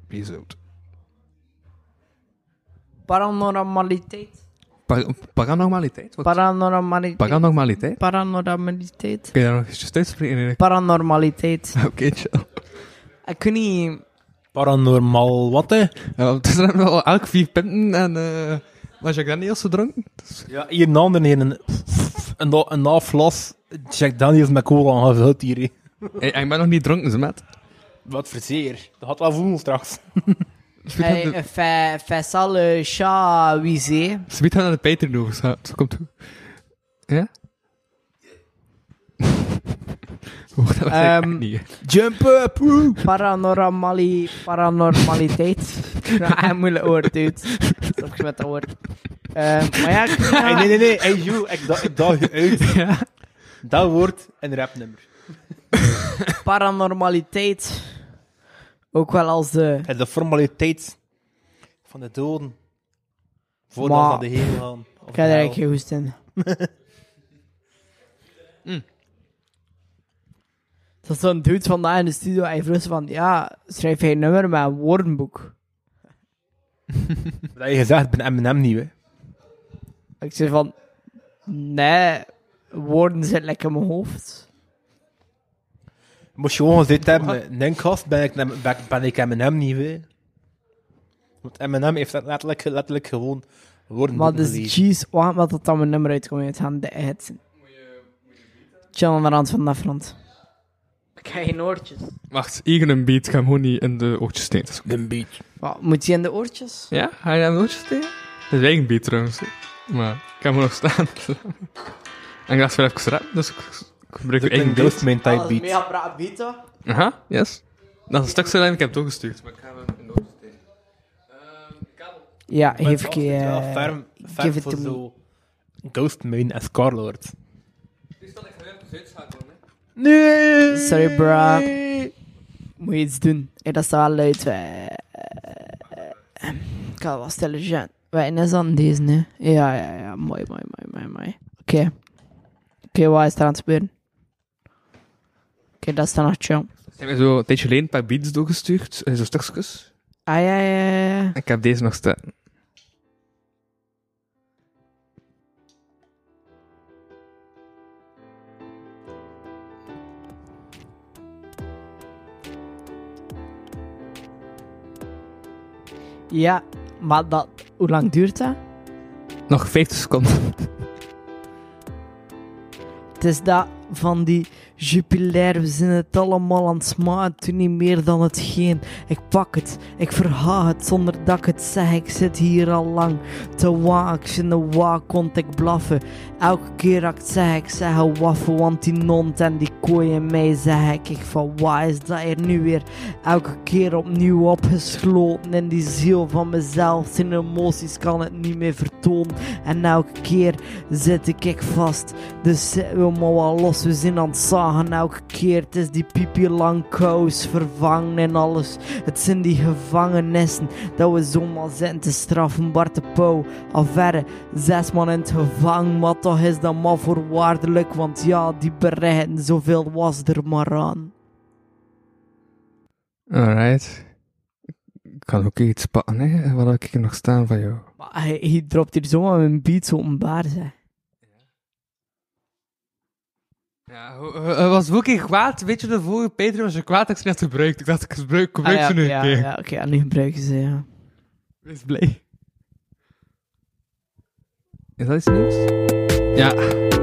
Speaker 2: episode.
Speaker 3: Paranormaliteit.
Speaker 2: Par- paranormaliteit? Wat-
Speaker 3: Paranormaliteit.
Speaker 2: Paranormaliteit?
Speaker 3: Paranormaliteit.
Speaker 2: Kun je daar nog eens uitspreken? Erik?
Speaker 3: Paranormaliteit.
Speaker 2: Oké, chill.
Speaker 3: Ik weet niet...
Speaker 6: Paranormaal wat, hè?
Speaker 2: Ja, het is er wel elk vier pinten en... eh was je dan niet als ze dronken?
Speaker 6: Ja, hier een ander, hier een, een, na- een half glas Jack Daniels met cola aangevuld hier, hè.
Speaker 2: Hey, ik ben nog niet dronken, ze met.
Speaker 6: Wat verzeer. Dat had wel voelen straks.
Speaker 3: Hey, eh, fa- Faisal eh, Shah Wizé.
Speaker 2: Ze biedt aan de Patreon over, zo zo komt toe. Ja? Hoor, dat was eigenlijk
Speaker 3: Ehm,
Speaker 2: niet, hè.
Speaker 3: Jump up! Paranormali, paranormaliteit. nou, een moeilijk woord, dude. Stop je met dat woord. Ehm, maar ja, ik-
Speaker 6: Hey, nee, nee, nee. Hey, Joe, ik, da ik daag je uit. Dat wordt een rapnummer.
Speaker 3: paranormaliteit. Ook wel als de...
Speaker 6: En de formaliteit van de doden. Voordat
Speaker 3: Maar-
Speaker 6: ze naar de hemel gaan. Of
Speaker 3: Ik heb
Speaker 6: de
Speaker 3: er
Speaker 6: hel.
Speaker 3: eigenlijk geen hoest in. Dat is zo'n dude vandaag in de studio en hij vroeg ze van, ja, schrijf jij een nummer met een woordenboek?
Speaker 6: Dat je gezegd, ik ben M&M nieuw, hè.
Speaker 3: Ik zei van, nee, woorden zitten lekker in mijn hoofd.
Speaker 6: Moest je gewoon gezegd hebben, Ninkast, ben ik, nem- ben, ben ik M&M niet weer. Want M&M heeft dat letterlijk, letterlijk gewoon woorden
Speaker 3: Maar dus,
Speaker 6: gelezen.
Speaker 3: jeez, wacht maar tot dat mijn nummer uitkomt uit gaan de hits. Chill aan de rand van dat front. Ik heb geen oortjes.
Speaker 2: Wacht, eigen een beat, ga hem gewoon niet in de oortjes steken. Dat is goed.
Speaker 6: Een beat.
Speaker 3: Wat, moet je in de oortjes?
Speaker 2: Ja, ga je aan de oortjes steken? Dat is eigen beat trouwens. hè. Maar ik heb hem nog staan. en ik dacht wel even rap, dus ik ik gebruik
Speaker 6: Dit
Speaker 2: uw
Speaker 6: is
Speaker 2: eigen
Speaker 6: een
Speaker 2: beat.
Speaker 6: Ghostman type
Speaker 3: Dat is
Speaker 6: beat.
Speaker 3: mega braaf beat, hoor.
Speaker 2: Aha, yes. Dat is een stukje dat ik heb toegestuurd. Maar ik ga hem in de oortjes steken.
Speaker 3: Ja,
Speaker 6: Maar
Speaker 3: geef ik
Speaker 6: het
Speaker 3: je...
Speaker 6: is wel
Speaker 3: eh,
Speaker 6: ferm, ferm
Speaker 3: give it
Speaker 6: voor
Speaker 3: to me.
Speaker 6: zo Ghostman en Scarlord. Nee!
Speaker 3: Sorry, bra. Moet je iets doen. Hey, dat is wel luid. eh, eh, Ik had wel stellen, Jean. Wij is dan deze, hè? Ja, ja, ja. Mooi, mooi, mooi, mooi, mooi. Oké. Oké, wat is er aan het gebeuren? Oké, dat is dan nog chill.
Speaker 2: Ik heb zo een tijdje geleden een paar beats doorgestuurd, eh, zo stukjes.
Speaker 3: Ah, ja, ja, ja, ja.
Speaker 2: Ik heb deze nog staan.
Speaker 3: Ja, maar dat... Hoe lang duurt dat?
Speaker 2: Nog 50 seconden.
Speaker 3: Het is dat van die jupilair, we zijn het allemaal aan het smaken, toen niet meer dan hetgeen. Ik pak het, ik verhaal het zonder dat ik het zeg. Ik zit hier al lang te waak, ik vind de waak, want ik blaffen. Elke keer dat ik het zeg, ik zeg een waffel, want die nont en die kooien mij zeg ik. Ik van waar is dat hier nu weer? Elke keer opnieuw opgesloten in die ziel van mezelf. Zijn emoties kan het niet meer vertonen. En elke keer zit ik ik vast. Dus zet we maar wel los, we zijn aan het zagen elke keer. Het is die piepje lang kous, vervangen en alles. Het zijn die gevangenissen dat we zomaar zitten te straffen. Bart de Pauw, al verre, zes man in het gevang. Maar toch is dat maar voorwaardelijk, want ja, die bereiden, zoveel was er maar aan.
Speaker 2: Alright. Ik kan ook iets pakken, hè? Wat heb ik hier nog staan van jou?
Speaker 3: Maar hij, hij dropt hier zomaar een beat zo openbaar, zeg.
Speaker 2: Ja, was ook in kwaad. Weet je, de vorige Patreon was je kwaad dat ik ze net gebruikt. Ik dacht, ik gebruik, gebruik
Speaker 3: Ah,
Speaker 2: ze
Speaker 3: ja,
Speaker 2: nu een
Speaker 3: ja,
Speaker 2: keer.
Speaker 3: ja, oké, nu gebruiken ze, ja.
Speaker 2: Wees blij. Is dat iets nieuws? Ja.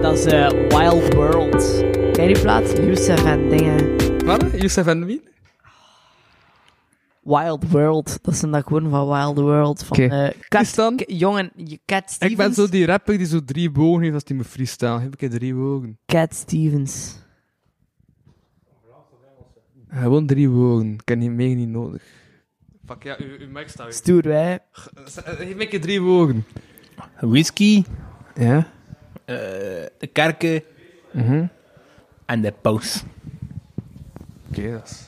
Speaker 3: Dat is eh, Wild World. Ken je die plaat? Youssef en dingen.
Speaker 2: Wat? Youssef en wie?
Speaker 3: Wild World. Dat is een dag gewoon van Wild World. Van,
Speaker 2: Oké.
Speaker 3: eh, Cat- K- jongen, je Cat Stevens.
Speaker 2: Ik ben zo die rapper die zo drie bogen heeft als die me freestyle. Heb ik er drie bogen?
Speaker 3: Cat Stevens.
Speaker 2: Gewoon drie bogen. Ik heb die meer niet nodig. Fuck ja, uw, uw mic staat eh,
Speaker 3: Stoer, hè?
Speaker 2: Geef me een keer drie bogen.
Speaker 6: Whisky,
Speaker 2: Ja.
Speaker 6: Eh, de kerken
Speaker 2: Mhm.
Speaker 6: en de paus.
Speaker 2: Oké, dat is...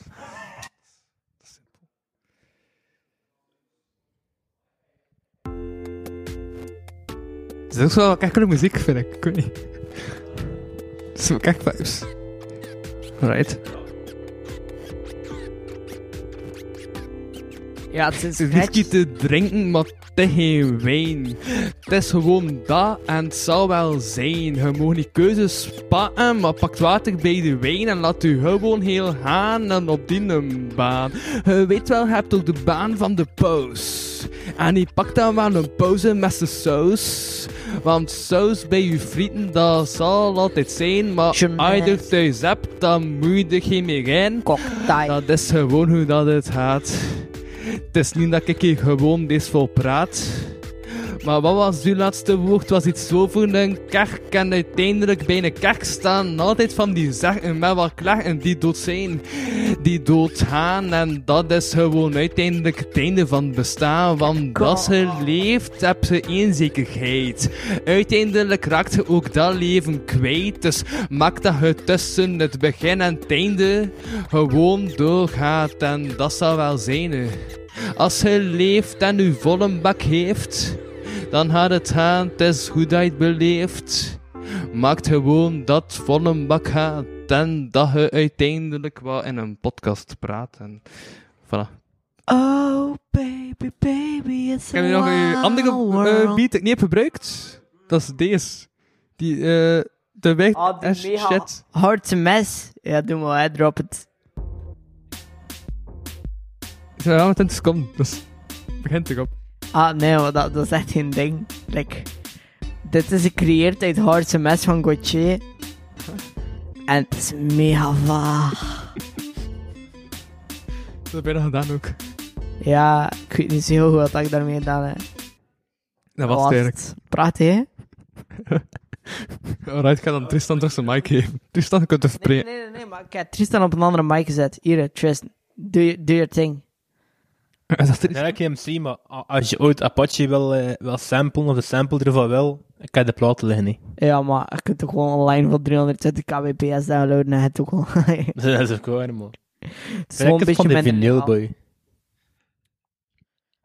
Speaker 2: Het is ook zo wel kerkelijke muziek, vind ik. Ik weet niet. Het is wel kerkvibes. Right.
Speaker 3: Ja, het is
Speaker 2: whisky te drinken, maar het is geen wijn. Het is gewoon dat en het zal wel zijn. Je mag niet keuzes pakken, maar pakt water bij de wijn en laat u gewoon heel gaan en op die een baan. Je weet wel, je hebt ook de baan van de paus. En die pakt dan wel een pauze met zijn saus. Want saus bij je frieten, dat zal altijd zijn, maar als je er thuis hebt, dan moet je er geen meer in. Dat is gewoon hoe dat het gaat. Het is niet dat ik hier gewoon deze vol praat. Maar wat was uw laatste woord? Was iets over een kerk en uiteindelijk bij een kerk staan altijd van die zaken met wat klachten die dood zijn, die dood gaan en dat is gewoon uiteindelijk het einde van het bestaan, want als je leeft heb je eenzekerheid. Uiteindelijk raakt je ook dat leven kwijt, dus maak dat je tussen het begin en het einde gewoon doorgaat en dat zal wel zijn. hè. Als je leeft en je volle bak heeft, dan gaat het gaan, het is hoe dat je het beleeft. Maakt gewoon dat van een bak gaat en dat je uiteindelijk wel in een podcast praat. En voilà.
Speaker 8: Oh, baby, baby, it's
Speaker 2: Ken je nog een andere eh, beat die ik niet heb gebruikt? Dat is deze. Die, eh de weg...
Speaker 3: Ah, die
Speaker 2: eh,
Speaker 3: mega-
Speaker 2: shit.
Speaker 3: Hard to mess. Ja, doe maar, hè, drop het.
Speaker 2: Ik zou wel meteen te komen, dus begint erop.
Speaker 3: Ah, nee, maar dat, dat is echt geen ding. Like, dit is gecreëerd uit Hard to mess van Gauthier. En het is mega vaag.
Speaker 2: Dat heb je dan gedaan ook.
Speaker 3: Ja, ik weet niet zo heel goed wat ik daarmee gedaan heb.
Speaker 2: Dat was het eigenlijk.
Speaker 3: Praat, hè?
Speaker 2: Alright, ik ga dan Tristan terug zijn mic geven. Tristan, je kunt even
Speaker 3: Nee,
Speaker 2: spreken.
Speaker 3: nee, nee, nee, maar ik heb Tristan op een andere mic gezet. Hier, Tristan, do, your- do your thing.
Speaker 2: Eh,
Speaker 6: Ik heb geen MC, maar a- als je ooit Apache wil, eh, wil samplen of de sample ervan wil, ik heb de platen liggen niet.
Speaker 3: Ja, maar je kunt toch gewoon online van 320 kbps downloaden en het ook wel. het
Speaker 6: Dat is ook waar, man.
Speaker 3: is gewoon een beetje
Speaker 6: van de
Speaker 3: minder
Speaker 6: vinyl,
Speaker 3: legaal.
Speaker 6: boy.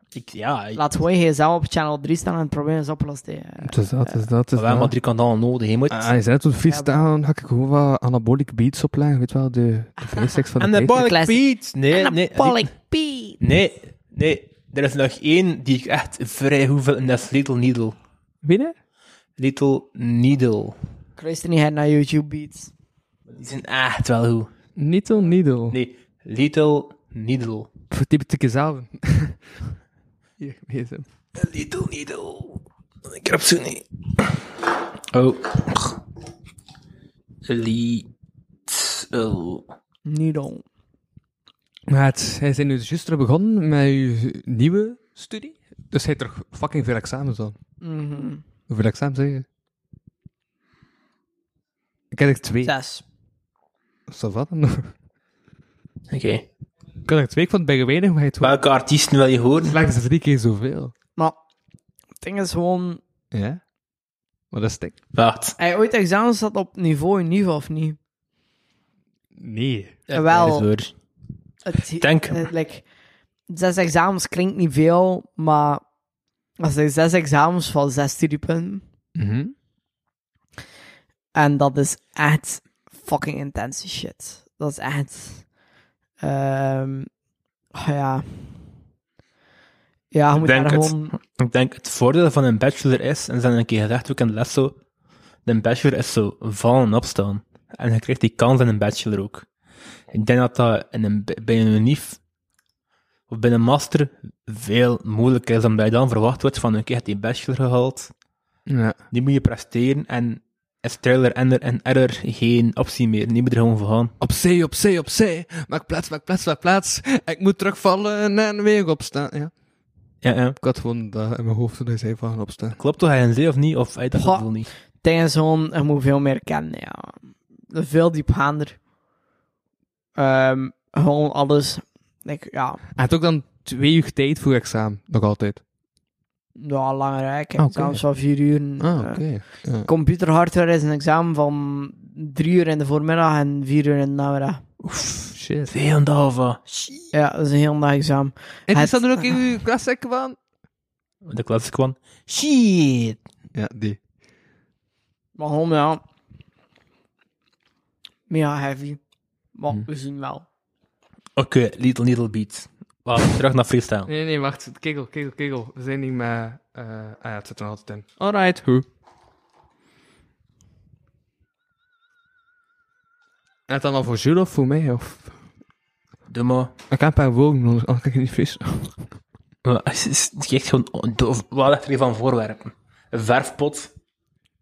Speaker 6: Ik, ja, ik,
Speaker 3: Laat gewoon je gsm op channel 3 staan en het probleem is opgelost. hè.
Speaker 2: Het is dat, het is dat, het is
Speaker 6: we hebben maar
Speaker 2: dat.
Speaker 6: drie kanalen nodig, je moet...
Speaker 2: Ah, je zei het op fiets staan, ga ik gewoon wat anabolic beats opleggen, weet wel, de, de vraagstuk van de tijd.
Speaker 6: Anabolic
Speaker 3: Classic.
Speaker 6: Beat! Nee, nee.
Speaker 3: Anabolic
Speaker 6: Beat! Nee, nee. Er is nog één die ik echt vrij hoeveel en dat is Little Needle.
Speaker 2: Binnen?
Speaker 6: Little Needle.
Speaker 3: Kruis er niet uit naar YouTube Beats.
Speaker 6: Die zijn echt wel hoe.
Speaker 2: Needle, needle.
Speaker 6: Nee, Little Needle.
Speaker 2: Verdiep het ik zelf. Hier, gsm.
Speaker 6: Little Needle. Ik heb ze niet. Oh. Little.
Speaker 3: Needle.
Speaker 2: Maat, hij zijn nu juist er begonnen met je nieuwe studie. Dus hij heeft er fucking veel examens aan.
Speaker 3: Mhm.
Speaker 2: Hoeveel examens zeg je? Ik heb er twee.
Speaker 3: Zes.
Speaker 2: Zo wat dan nog?
Speaker 6: Oké.
Speaker 2: Ik had er twee, ik vond het bij je weinig, maar hij heeft
Speaker 6: Welke artiesten wil je horen?
Speaker 2: slechts drie keer zoveel.
Speaker 3: Maar het ding is gewoon...
Speaker 2: Ja? Maar dat is dik.
Speaker 6: Wacht.
Speaker 3: Hij ooit examens had op niveau niveau of niet?
Speaker 2: Nee.
Speaker 3: Wel,
Speaker 6: Dat is waar.
Speaker 3: het,
Speaker 6: Denk.
Speaker 3: het- like, zes examens klinkt niet veel, maar als er zes examens van zes studiepunten.
Speaker 2: Mhm.
Speaker 3: En dat is echt fucking intense shit. Dat is echt. ehm, ah ja. Ja, je
Speaker 6: Ik
Speaker 3: moet
Speaker 6: denk,
Speaker 3: daar
Speaker 6: het,
Speaker 3: gewoon.
Speaker 6: ik denk het voordeel van een bachelor is, en ze hebben een keer gezegd ook in de les zo, een bachelor is zo vallen en opstaan. En je krijgt die kans in een bachelor ook. Ik denk dat dat in een, bij een unief of bij een master veel moeilijker is, omdat je dan verwacht wordt van, oké, je hebt die bachelor gehaald,
Speaker 2: Ja.
Speaker 6: die moet je presteren, en is trailer en er en error geen optie meer, die moet er gewoon voor gaan.
Speaker 2: Opzij, opzij, opzij. Maak plaats, maak plaats, maak plaats. Ik moet terugvallen en weer opstaan. Ja.
Speaker 6: Ja, ja.
Speaker 2: Ik had gewoon dat in mijn hoofd toen hij zei van opstaan.
Speaker 6: Klopt toch, hij een zee of niet, of hij dat
Speaker 3: Goh.
Speaker 6: gevoel niet?
Speaker 3: Het ding is gewoon, je moet veel meer kennen. Ja. Veel diepgaander. Ehm, gewoon alles. Like, ja.
Speaker 2: Hij had ook dan twee uur tijd voor examen. Nog altijd.
Speaker 3: Ja, nou, langer hè. Ik heb
Speaker 2: Ah, oké.
Speaker 3: examens van vier uur.
Speaker 2: Ah,
Speaker 3: Eh,
Speaker 2: oké. Ja.
Speaker 3: Computerhardware is een examen van drie uur in de voormiddag en vier uur in de namiddag. Oef,
Speaker 2: shit.
Speaker 3: Heel dag van. Ja, dat is een heel dag examen.
Speaker 2: En die
Speaker 3: Het-
Speaker 2: staat er ook in uw klassiek van?
Speaker 6: De klassieke one.
Speaker 3: Shit.
Speaker 2: Ja, die.
Speaker 3: Waarom ja? Maar ja, heavy. Maar we zien wel.
Speaker 6: Oké, Little Needle Beat. Wacht, terug naar freestyle.
Speaker 2: Nee, nee, nee, wacht. Kegel, kegel, kegel. We zijn niet meer... eh, ah ja, het zit er nog altijd in. Alright, hoe? En het allemaal voor Jules of voor mij? Of...
Speaker 6: Doe maar.
Speaker 2: Ik heb een paar woorden, anders anders kan ik het niet vies.
Speaker 6: Maar het is het is echt gewoon... doof. Wat ligt er hier van voorwerpen? Een verfpot.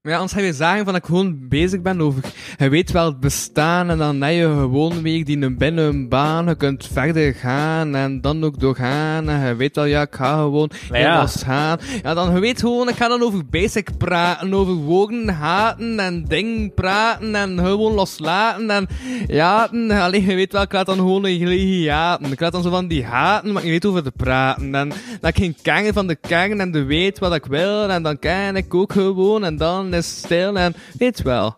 Speaker 2: Ja, anders ga je zeggen van dat ik gewoon bezig ben over... Je weet wel het bestaan en dan heb je gewoon weer die een binnen een baan. Je kunt verder gaan en dan ook doorgaan. En je weet wel, ja, ik ga gewoon
Speaker 6: ja.
Speaker 2: helemaal gaan. Ja, dan je weet gewoon, ik ga dan over basic praten. Over woorden, haten en ding praten en gewoon loslaten en jaten. Alleen je weet wel, ik laat dan gewoon een gelegen jaten. Ik laat dan zo van die haten, maar ik weet over te praten. En dat ik geen kangen van de kangen en de weet wat ik wil. En dan ken ik ook gewoon en dan is het stil en weet wel.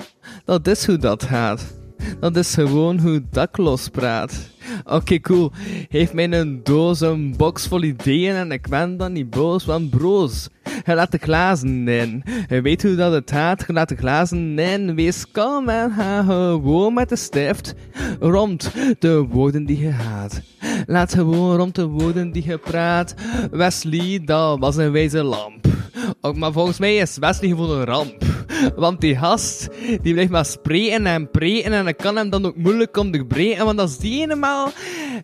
Speaker 2: Dat is hoe dat gaat. Dat is gewoon hoe dat lospraat. Oké, cool. Geef mij een doos, een box vol ideeën en ik ben dan niet boos, want broos. Hij laat de glazen in. Hij weet hoe dat het gaat, hij laat de glazen in. Wees kalm en ga gewoon met de stift rond de woorden die je haat. Laat gewoon rond de woorden die je praat. Wesley, dat was een wijze lamp. Ook, maar volgens mij is Wesley gewoon een ramp. Want die gast, die blijft maar spreken en preten en dat kan hem dan ook moeilijk om te breken. Want als die eenmaal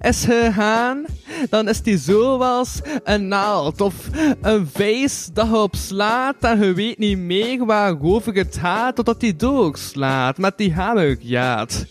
Speaker 2: is gegaan, dan is die zoals een naald of een vijs dat je op slaat en je weet niet meer waarover het gaat totdat die doorslaat met die hamerjaat.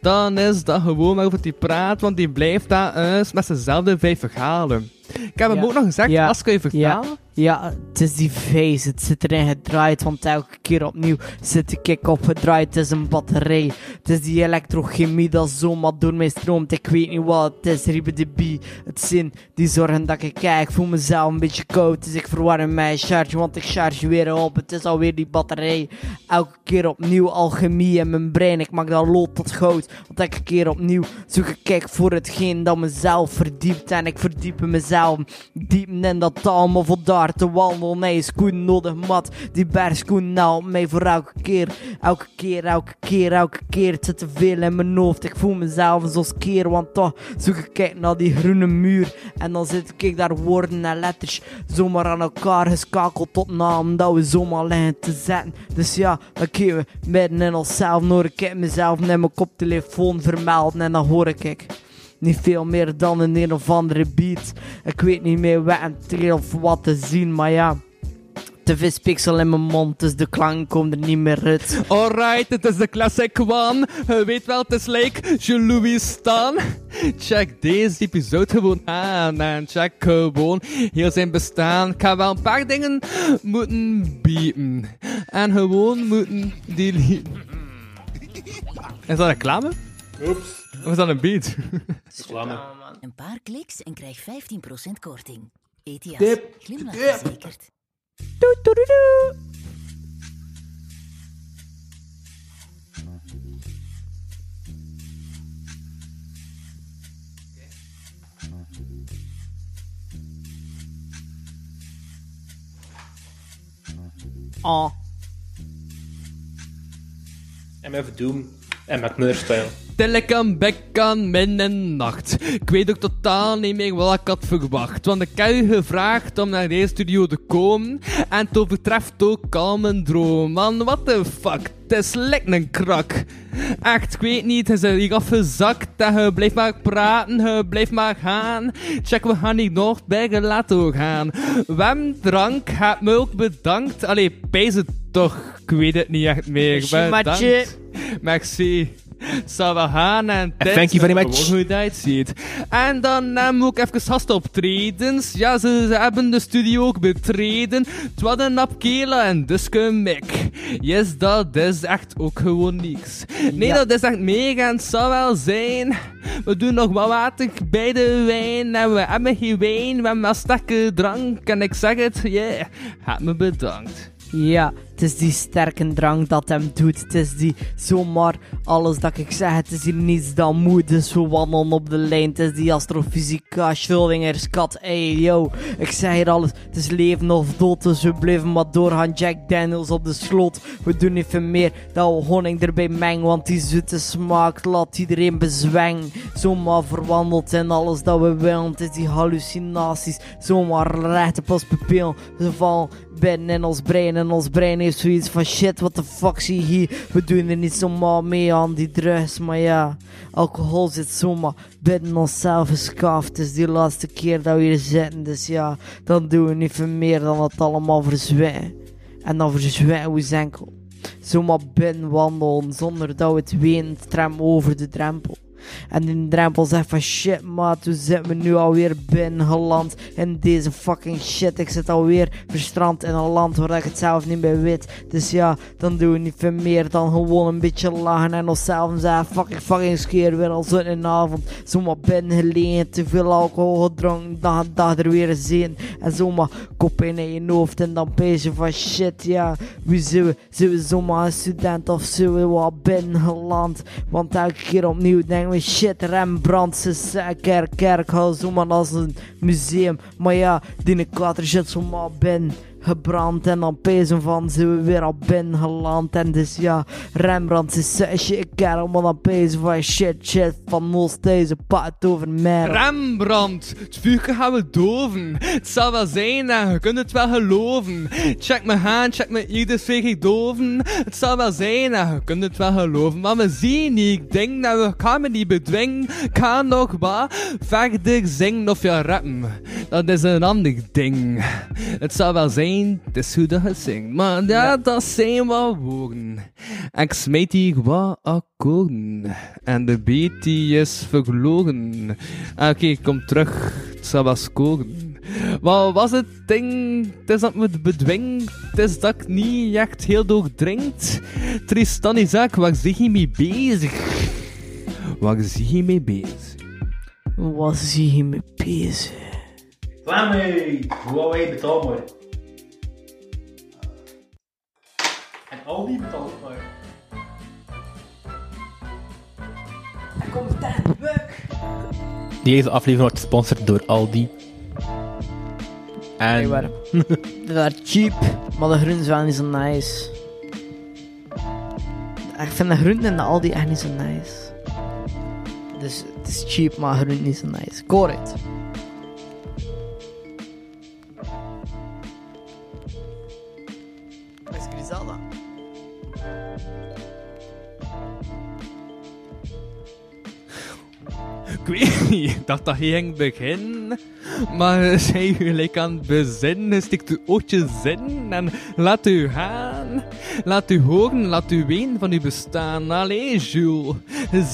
Speaker 2: Dan is dat gewoon waarover die praat, want die blijft daar eens met zijnzelfde vijf verhalen. Ik heb hem
Speaker 3: Ja.
Speaker 2: ook nog gezegd,
Speaker 3: Ja.
Speaker 2: als kun je vertalen?
Speaker 3: Ja, het is die face. Het zit erin gedraaid, want elke keer opnieuw zit de kick opgedraaid. Het is een batterij. Het is die elektrochemie dat zomaar door mij stroomt. Ik weet niet wat het is. Riebe de bie. Het zin die zorgen dat ik kijk. Ik voel mezelf een beetje koud. Dus ik verwarm mijn charge, want ik charge weer op. Het is alweer die batterij. Elke keer opnieuw alchemie in mijn brein. Ik maak dat lot tot goud. Want elke keer opnieuw zoek ik kijk voor hetgeen dat mezelf verdiept. En ik verdiep in mezelf. Diep in dat talm of op daar te wandelen. Nee, is koen nodig mat. Die bergskoen nou mee voor elke keer. Elke keer, elke keer, elke keer. Het zit te veel in mijn hoofd. Ik voel mezelf zoals keer. Want toch zoek ik kijk naar die groene muur. En dan zit ik daar woorden en letters zomaar aan elkaar geschakeld tot naam. Dat we zomaar liggen te zetten. Dus ja, dan kiezen we midden in onszelf. Noor ik heb mezelf naar mijn koptelefoon vermelden. En dan hoor ik. ik. Niet veel meer dan een een of andere beat. Ik weet niet meer wat en tegen of wat te zien, maar ja. Te veel speeksel in mijn mond, dus de klank komt er niet meer uit.
Speaker 2: Alright, het is de classic one. Je weet wel, het is like Jean-Louis Stan. Check deze episode gewoon aan. En check gewoon heel zijn bestaan. Ik ga wel een paar dingen moeten biepen. En gewoon moeten deleten. Is dat reclame? Oeps. Of is dat een beat?
Speaker 17: Reclame. Een paar kliks en krijg 15% korting. ETIAS.
Speaker 2: Tip.
Speaker 17: Glimlach
Speaker 2: Tip.
Speaker 17: verzekerd.
Speaker 3: Ah.
Speaker 6: MF Doom en McNair-style.
Speaker 2: Tel ik aan bek aan middernacht. Ik weet ook totaal niet meer wat ik had verwacht. Want ik heb u gevraagd om naar deze studio te komen. En het overtreft ook al mijn droom. Man, what the fuck? Het is lekker een krak. Echt, ik weet niet, het is hier afgezakt. En je blijft maar praten, je blijft Eh, maar gaan. Check, we gaan niet nog bij gelato gaan. Wem drank, heb me ook bedankt. Allee, pijs het toch. Ik weet het niet echt meer.
Speaker 3: Merci, Mathieu.
Speaker 2: Merci. zou wel gaan en
Speaker 6: thank you very much.
Speaker 2: Gewoon hoe je dat ziet. En dan hebben we ook even gastoptredens. Ja, ze, ze hebben de studio ook betreden. Het was een Napkela en Duske Mick. Yes, dat is echt ook gewoon niks. Nee,
Speaker 3: Ja.
Speaker 2: dat is echt mega en het zou wel zijn. We doen nog wat water bij de wijn en we hebben geen wijn, we hebben wel sterke drank. En ik zeg het, yeah, gaat me bedankt.
Speaker 3: Ja, het is die sterke drang dat hem doet. Het is die zomaar alles dat ik zeg. Het is hier niets dan moe, dus we wandelen op de lijn. Het is die astrofysica, Schrödinger's kat. Hey yo, ik zeg hier alles. Het is leven of dood, dus we blijven maar doorgaan. Jack Daniels op de slot. We doen even meer dan we honing erbij mengen. Want die zoete smaak laat iedereen bezwengen. Zomaar verwandeld in alles dat we willen. Het is die hallucinaties, zomaar recht op ons pupil. Ze vallen ben in ons brein. En ons brein heeft zoiets van shit, what the fuck zie je hier? We doen er niet zomaar mee aan die drugs. Maar ja, alcohol zit zomaar binnen onszelf geschaafd. Het is die laatste keer dat we hier zitten. Dus ja, dan doen we niet veel meer dan het allemaal verzwijgen. En dan verzwijgen we enkel. Zomaar binnen wandelen zonder dat we het weten. Tram over de drempel. En die drempel zegt van shit maat, hoe zitten we nu alweer binnen geland in deze fucking shit. Ik zit alweer verstrand in een land waar ik het zelf niet meer weet. Dus ja, dan doen we niet veel meer dan gewoon een beetje lachen en onszelf zeggen fucking fucking skeer weer al zo'n avond. Zomaar binnen gelegen, te veel alcohol gedronken, dag en dag er weer eens zin. En zomaar kop in je hoofd en dan pees je van shit ja, wie zijn we? Zijn we zomaar een student of zijn we wat binnen geland? Want elke keer opnieuw denken we shit, Rembrandt, ze eh, zei, kerk, kerkhuis, zo maar als een museum. Maar ja, die kwater shit zomaar ben gebrand en dan pezen van zijn we weer al binnen geland en dus ja Rembrandt ze zei shit kerel maar dan pezen van shit shit van ons deze paard over merel
Speaker 2: Rembrandt, het vuur gaan we doven. Het zal wel zijn en je kunt het wel geloven. Check me aan, check me hier, dus veeg ik doven. Het zal wel zijn en je kunt het wel geloven. Maar we zien niet, ik denk dat we gaan me niet bedwingen. Ik Ga nog wat verder zingen of ja rappen. Dat is een ander ding. Het zal wel zijn, het is hoe dat je zingt. Maar ja, dat zijn wel woorden. En ik smijt hier wat akkoorden. En de beat die is verloren. Ah, Oké, ik kom terug. Het zal wel scoren. Wat was het ding? Het is dat me het bedwingt. Het is dat ik niet echt heel doordringt. Tristan Isaac, waar zie je mee bezig? Waar zie je mee bezig?
Speaker 3: Wat zie je mee bezig?
Speaker 6: Vlammy, Huawei betaal maar. En al die betaalt maar. Deze aflevering wordt gesponsord door Aldi. En...
Speaker 3: Nee, waar. Dat waren cheap, maar de groenten waren niet zo nice. Ik vind de groenten en de Aldi echt niet zo nice. Dus het is cheap, maar groenten niet zo nice. Correct. Is Griselda?
Speaker 2: Ik weet niet, ik dacht dat ging begin. Maar zij u gelijk aan het bezinnen, stikt uw ootjes in en laat u gaan. Laat u horen, laat u ween van uw bestaan. Allee, Jules,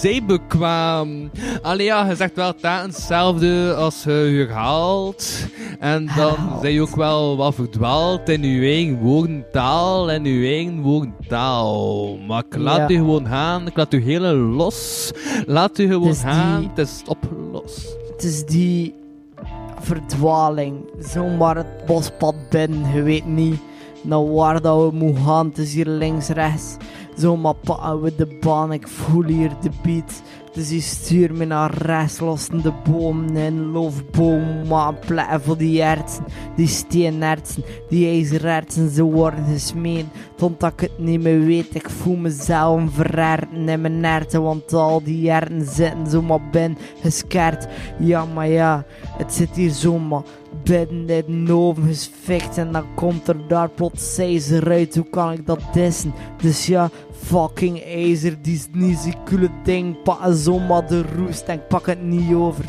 Speaker 2: zij bekwaam. Allee, ja, je zegt wel taal hetzelfde als je je haalt. En dan zij ook wel wat verdwaald in uw eigen woordentaal en uw eigen woordentaal. Maar ik laat
Speaker 3: Ja.
Speaker 2: u gewoon gaan, ik laat u hele los. Laat u gewoon
Speaker 3: Het is die-
Speaker 2: gaan, het is opgelost.
Speaker 3: Het is die verdwaling. Zomaar het bospad binnen, je weet niet naar waar dat we moeten gaan. Het is hier links, rechts. Zomaar pakken we de baan, ik voel hier de beat. Dus die stuur me naar rechts, lossen de bomen in. Loofboom, maar plekken voor die hertsen. Die steenertsen, die ijzerertsen, ze worden gesmeen. Totdat ik het niet meer weet, ik voel mezelf verherten in mijn herten. Want al die herten zitten zomaar binnen, geskerd. Ja, maar ja, het zit hier zomaar ben net noven gesfikt en dan komt er daar plots ijzer uit. Hoe kan ik dat dissen? Dus ja, fucking ijzer, die sneezy coole ding. Pak zomaar de roest en ik pak het niet over.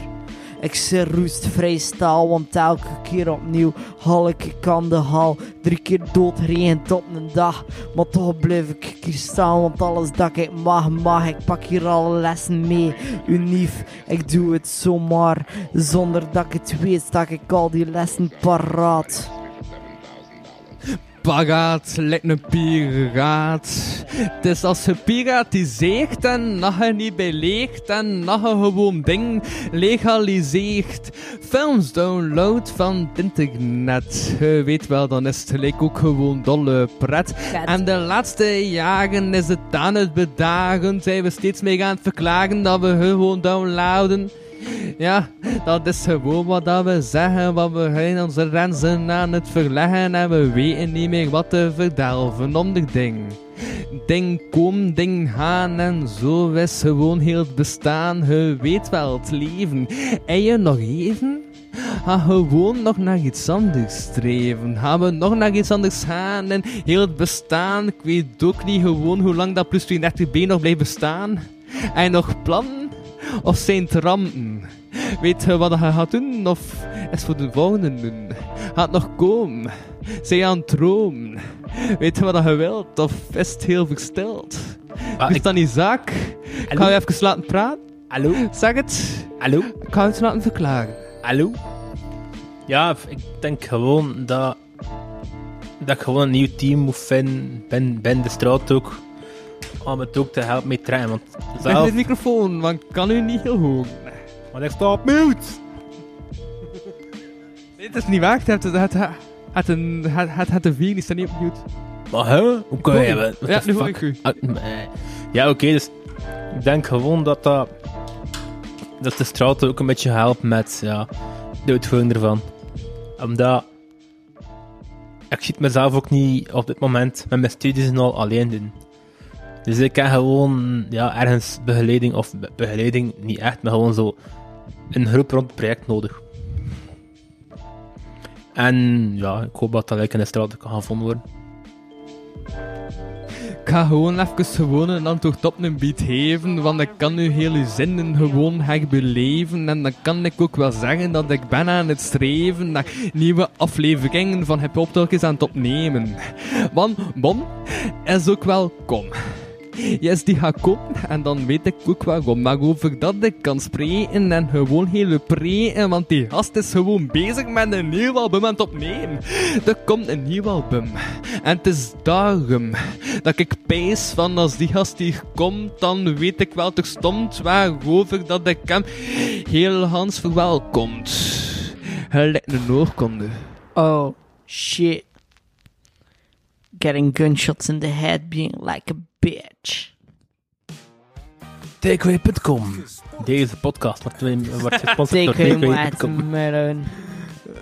Speaker 3: Ik roest freestyle, want elke keer opnieuw haal ik kan de hal. Drie keer doodregend op een dag, maar toch blijf ik hier staan, want alles dat ik mag, mag. Ik pak hier alle lessen mee, unief. Ik doe het zomaar, zonder dat ik het weet, sta ik al die lessen paraat.
Speaker 2: Pagaat lijkt een piraat. Het is als je piratiseert en nagen niet beleegt en nagen gewoon ding legaliseert. Films download van het internet. Je weet wel, dan is het gelijk ook gewoon dolle pret. En de laatste jaren is het aan het bedagen. Zijn we steeds meer gaan verklagen dat we gewoon downloaden. Ja, dat is gewoon wat dat we zeggen, want we zijn onze renzen aan het verleggen en we weten niet meer wat te verdelven om dit ding. Ding kom, ding gaan en zo is gewoon heel het bestaan, je weet wel het leven. En je nog even? Ga gewoon nog naar iets anders streven. Gaan we nog naar iets anders gaan en heel het bestaan, ik weet ook niet gewoon hoe lang dat plus 32b nog blijft bestaan. En nog plannen? Of zijn het rampen? Weet je wat je gaat doen? Of is voor de volgende doen? Gaat nog komen? Zijn je aan het dromen? Weet je wat je wilt? Of is het heel versteld?
Speaker 6: Ah,
Speaker 2: is
Speaker 6: ik-
Speaker 2: dat niet zaak? Ik ga je even laten praten.
Speaker 6: Hallo?
Speaker 2: Zeg het.
Speaker 6: Hallo?
Speaker 2: Ik ga het laten verklaren.
Speaker 6: Hallo? Ja, ik denk gewoon dat, dat ik gewoon een nieuw team moet vinden ben, ben de straat ook. Om het ook te helpen mee trainen. Want
Speaker 2: Leg
Speaker 6: zelf...
Speaker 2: dit microfoon, want ik kan u niet heel hoog.
Speaker 6: Want ik sta op mute!
Speaker 2: Nee, dat is niet waar. Het had, het had, het een, het, het, het een vier, die staat niet opnieuw.
Speaker 6: Maar hè? Hoe kan
Speaker 2: Hoor
Speaker 6: je
Speaker 2: je?
Speaker 6: dat? What
Speaker 2: Ja,
Speaker 6: the
Speaker 2: nu hoor
Speaker 6: fuck?
Speaker 2: ik u.
Speaker 6: Ah, m- eh, Ja, oké, dus ik denk gewoon dat dat... Dat de straat ook een beetje helpt met, ja, de uitvoering ervan. Omdat... Ik zie het mezelf ook niet op dit moment met mijn studies en al alleen doen. Dus ik heb gewoon, ja, ergens begeleiding, of be- begeleiding niet echt, maar gewoon zo een groep rond het project nodig. En ja, ik hoop dat dat lekker in de straat kan gevonden worden.
Speaker 2: Ik ga gewoon even gewoon een antwoord op een beat geven, want ik kan nu hele zinnen gewoon herbeleven. En dan kan ik ook wel zeggen dat ik ben aan het streven naar nieuwe afleveringen van Hip Hop Talk is aan het opnemen. Want Bon is ook wel kom. Yes, die gaat komen en dan weet ik ook waarom. Maar over dat ik kan spreken en gewoon hele preen, want die gast is gewoon bezig met een nieuw album aan het opnemen. Er komt een nieuw album. En het is daarom dat ik pees van als die gast hier komt, dan weet ik wel terstond waarover dat ik hem heel Hans verwelkomt. Gelijk een oorkonde.
Speaker 3: Oh, shit. Getting gunshots in the head, being like a bitch.
Speaker 6: Takeaway.com. Deze podcast wordt, wordt gesponsord door
Speaker 3: Take him at
Speaker 6: Takeaway.com.
Speaker 3: melon.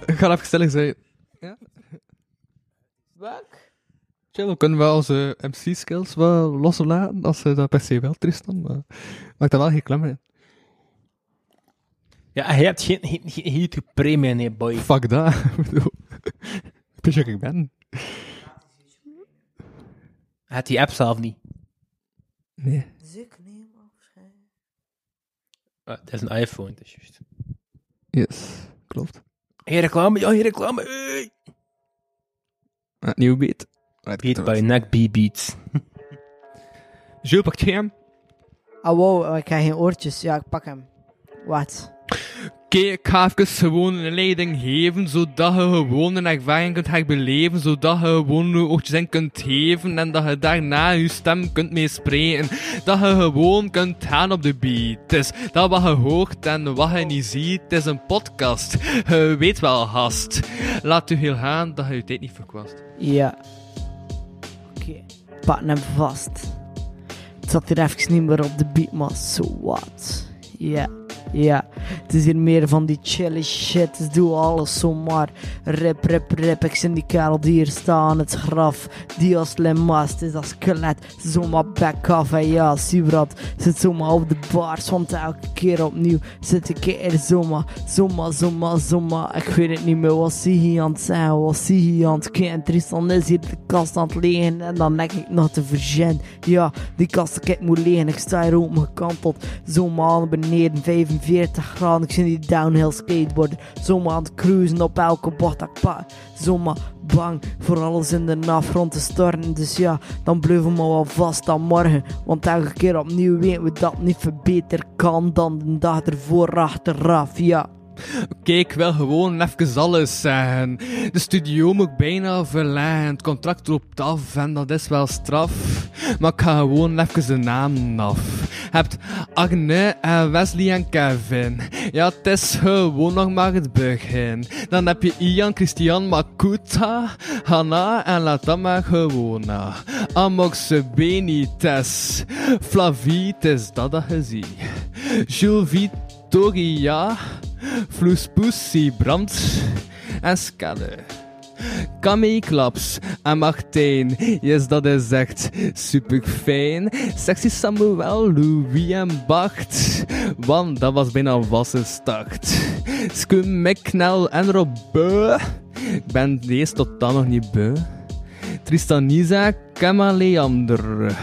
Speaker 2: Ik ga even stellig zijn. Ja? Chill, we kunnen wel onze MC-skills wel loslaten als ze dat per se wel, Tristan. Maar maakt daar wel geen klemmen in.
Speaker 6: Ja, je hebt geen, geen, geen YouTube premium, nee, boy.
Speaker 2: Fuck dat. Ik bedoel, ik weet waar ik ben.
Speaker 6: Hij had die app zelf niet.
Speaker 2: Nee.
Speaker 6: Ah, Het is een iPhone, dat is juist.
Speaker 2: Yes, klopt.
Speaker 6: Hey, reclame, ja, hey, reclame. hey.
Speaker 2: Ah, nieuwe beat.
Speaker 6: Beat by Neck B-Beats.
Speaker 2: Jules, pak je hem?
Speaker 3: Oh, wow, ik heb geen oortjes. Ja, ik pak hem. Wat?
Speaker 2: Oké, ik ga even gewoon een leiding geven, zodat je gewoon een ervaring kunt herbeleven, zodat je gewoon je oortjes in kunt geven en dat je daarna je stem kunt meespreken. Dat je gewoon kunt gaan op de beat. Dus dat wat je hoort en wat je niet ziet, het is een podcast. Je weet wel, gast. Laat u heel gaan dat je je tijd niet verkwast.
Speaker 3: Ja. Oké, pak hem vast. Het zat hier even niet meer op de beat, maar so what? Ja, ja. Het is hier meer van die chilly shit. Dus doe alles zomaar. Rip, rip, rip. Ik zie die kerel die hier staat aan het graf. Die als lemas, het is als skelet. Zomaar back off. En ja, zie je dat? Zit zomaar op de bars. Want elke keer opnieuw zit ik er zomaar. Zomaar, zomaar, zomaar. Ik weet het niet meer. Wat zie je aan het zijn? Wat zie je aan het kijken? Tristan is hier de kast aan het liggen. En dan leg ik nog te verzin. Ja, die kast ik moet liggen. Ik sta hier open gekanteld. Zomaar naar beneden. 5 45 graden. Ik zie die downhill skateboarden. Zomaar aan het cruisen op elke bocht. dat Ik pa. Zomaar bang voor alles in de afgrond te storten. Dus ja, dan blijven we maar wel vast aan morgen. Want elke keer opnieuw weten we dat het niet verbeter kan dan de dag ervoor achteraf. Ja.
Speaker 2: Oké, ik wil gewoon even alles zeggen. De studio moet bijna verleggen. Het contract loopt af en dat is wel straf. Maar ik ga gewoon even de naam af. Hebt Agne en Wesley en Kevin. Ja, het is gewoon nog maar het begin. Dan heb je Ian, Christian, Makuta, Hanna en laat dat maar gewoon eh. na. Amox Benites. Flavitis, dat dat gezien. Jules Victoria. Vloespoesie Brandt en Skadde. Camille Klaps en Martijn, yes dat is echt super fijn. Sexy Samuel, Louis en Bart, want dat was bijna wassen start. Skum McNell en Robbe, ik ben deze tot dan nog niet beu. Tristan Isaac en Leander.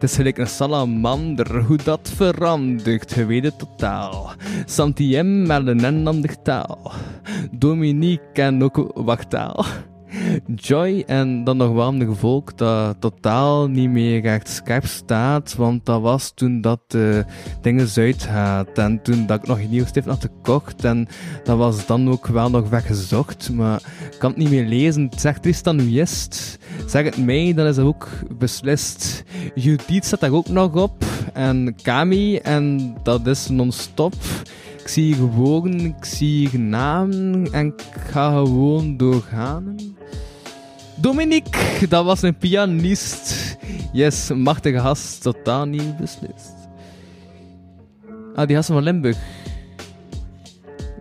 Speaker 2: Het is gelijk een salamander, hoe dat verandert, je weet het totaal. Santiem met een en ander taal. Dominique en ook wachttaal. Joy en dan nog warmde volk dat totaal niet meer echt scherp staat, want dat was toen dat eh, dingen uitgaat en toen dat ik nog een nieuw stift had gekocht en dat was dan ook wel nog weggezocht, maar ik kan het niet meer lezen. Zeg Tristan wie is het? Zeg het mij, dan is dat ook beslist. Judith staat daar ook nog op en Kami en dat is non-stop. Ik zie hier woorden, ik zie hier namen en ik ga gewoon doorgaan. Dominique, dat was een pianist. Yes, een machtige gast, totaal niet beslist. Ah, die gasten van Limburg.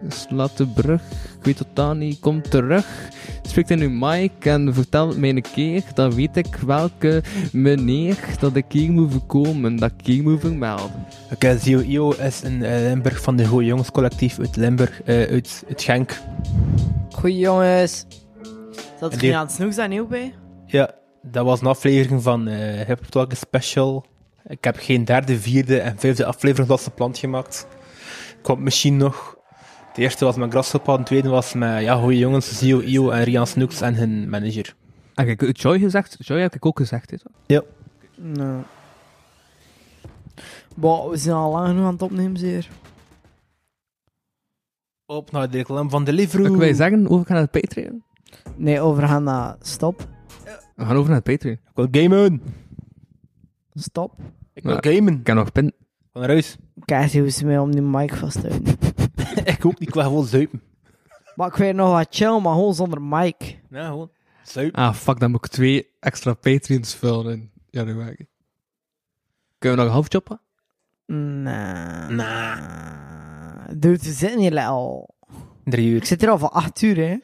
Speaker 2: Slaat de brug, ik weet totaal niet, kom terug. Spreekt in uw mic en vertelt het mij een keer. Dan weet ik welke meneer dat ik hier moet voorkomen, dat ik hier moet vermelden.
Speaker 6: Oké, Zio Io is een eh, Limburg van de Goeie Jongens Collectief uit Limburg, eh, uit, uit Genk.
Speaker 3: Goeie jongens. Zat
Speaker 6: En
Speaker 3: er
Speaker 6: die-
Speaker 3: geen aan het snoek zijn nieuw bij?
Speaker 6: Ja, dat was een aflevering van eh Hip Hop Talk Special. Ik heb geen derde, vierde en vijfde aflevering als gepland gemaakt. Komt misschien nog. De eerste was met Grasshopper, de tweede was met ja, Goeie Jongens, Zio Io en Rian Snoeks en hun manager.
Speaker 2: Ah, kijk, Joy gezegd, Joy heb ik ook gezegd. Hè, toch?
Speaker 3: Nee. Bah, we zijn al lang genoeg aan het opnemen, zeer.
Speaker 6: Op naar de reclame van Deliveroo.
Speaker 2: Ik wil zeggen, over gaan naar het Patreon.
Speaker 3: Nee, overgaan naar stop.
Speaker 2: We gaan over naar het Patreon.
Speaker 6: Ik wil gamen.
Speaker 3: Stop.
Speaker 6: Ik wil gamen.
Speaker 2: Ik heb nog pin.
Speaker 6: Van naar huis.
Speaker 3: Kijk hoe ze mij om die mic vast te houden.
Speaker 6: ik ook niet, ik wil gewoon zuipen.
Speaker 3: Maar ik weet nog wat chill, maar gewoon zonder mic.
Speaker 6: Ja, gewoon zuipen.
Speaker 2: Ah, fuck, dan moet ik twee extra Patreons vullen in januari. Kunnen we nog een half choppen?
Speaker 3: Nah. Dude, we zitten hier al...
Speaker 6: Drie
Speaker 3: Ik zit hier al van acht uur, hè.
Speaker 6: Ja.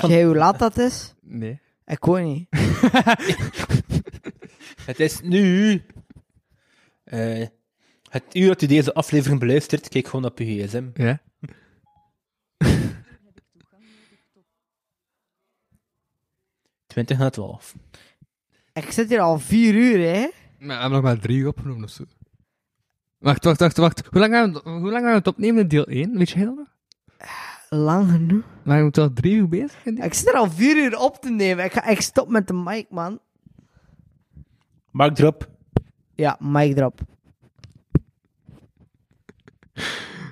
Speaker 3: Weet jij hoe laat dat is?
Speaker 2: Nee.
Speaker 3: Ik hoor niet.
Speaker 6: Het is nu. eh, het uur dat u deze aflevering beluistert, kijk gewoon op uw gsm.
Speaker 2: Ja.
Speaker 6: Twintig na twaalf.
Speaker 3: Ik zit hier al vier uur, hè.
Speaker 2: Maar we hebben nog maar drie opgenomen of zo. Wacht, wacht, wacht, wacht. Hoe lang gaan we, hoe lang gaan we het opnemen in deel 1? Weet je heel nog?
Speaker 3: Lang genoeg.
Speaker 2: Maar we moeten al drie uur bezig zijn.
Speaker 3: Ik zit er al vier uur op te nemen. Ik, ga, ik stop met de mic, man.
Speaker 6: Mark drop.
Speaker 3: Ja, mic drop.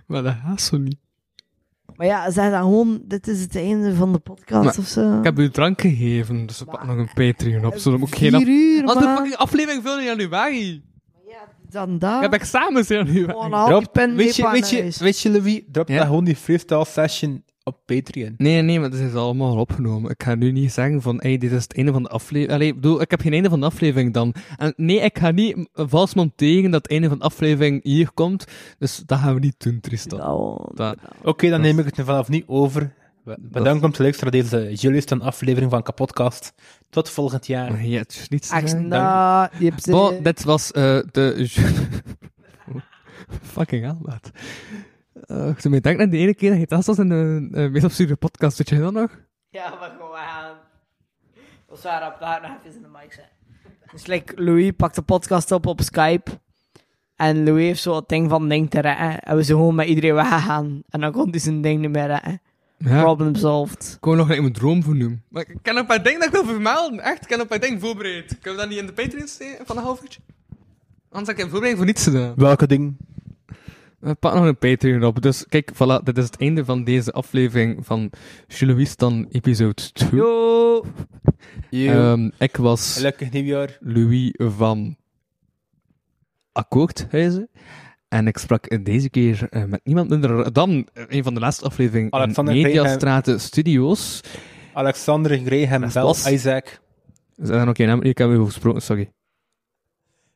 Speaker 2: Maar dat gaat zo niet.
Speaker 3: Maar ja, zeg dan gewoon, dit is het einde van de podcast
Speaker 2: Maar
Speaker 3: of zo.
Speaker 2: Ik heb u drank gegeven, dus we pakken nog een Patreon op. Zo, dan moet ik geen af...
Speaker 3: Vier uur,
Speaker 2: Als de
Speaker 3: man.
Speaker 2: fucking aflevering veel in januari.
Speaker 3: Dan daar.
Speaker 2: Ik heb examens in januari.
Speaker 3: Gewoon al die pen
Speaker 6: Weet je,
Speaker 3: mee
Speaker 6: weet,
Speaker 3: pannen
Speaker 6: je,
Speaker 3: is.
Speaker 6: weet je, Louis, drop
Speaker 2: Ja?
Speaker 6: dat gewoon die freestyle session op Patreon.
Speaker 2: Nee, nee, maar dit is allemaal opgenomen. Ik ga nu niet zeggen van, hey, dit is het einde van de aflevering. Allee, ik bedoel, ik heb geen einde van de aflevering dan. En nee, ik ga niet m- vals monteren dat het einde van de aflevering hier komt. Dus dat gaan we niet doen, Tristan. Dat-
Speaker 6: Oké, dan neem ik het vanaf nu over. Be- Bedankt om te luisteren naar deze Julius aflevering van Kapodcast. Tot volgend jaar.
Speaker 2: Ja, het is niet
Speaker 3: Ach,
Speaker 2: zeggen.
Speaker 3: nou, je hebt
Speaker 2: Bon, dit was eh, de... Fucking hell, maat. Eh, Ik uh, denk aan de ene keer dat je dat was in een eh, meest absurde podcast. Weet je dat nog?
Speaker 3: Ja, maar gewoon aan. Dat is waar, op daar nog even in de mic zijn. Dus like, Louis pakt de podcast op op Skype. En Louis heeft zo het ding van ding te redden. En we zijn gewoon met iedereen weggegaan. En dan kon hij zijn ding niet meer redden.
Speaker 2: Ja.
Speaker 3: Problem solved.
Speaker 2: Ik wou nog niet mijn droom vernoemen.
Speaker 19: Maar ik kan een paar dingen dat ik wil vermelden. Echt, ik kan een paar dingen voorbereid. Kunnen we dat niet in de Patreon steken van een half uurtje? Anders heb ik een voorbereiding voor niets gedaan.
Speaker 2: Welke ding? We pakken nog een Patreon op. Dus kijk, voilà, dit is het einde van deze aflevering van Jules dan episode 2.
Speaker 3: Yo!
Speaker 2: Ehm, ik was...
Speaker 6: Gelukkig nieuwjaar.
Speaker 2: Louis van Akkoordhuizen. En ik sprak deze keer eh, met niemand minder dan eh, een van de laatste afleveringen in
Speaker 6: Alexander
Speaker 2: Mediastraten Studios.
Speaker 6: Alexander Graham
Speaker 2: Dat
Speaker 6: Bell,
Speaker 2: was-
Speaker 6: Isaac.
Speaker 2: Is dat nog geen naam? Ik heb over gesproken, sorry.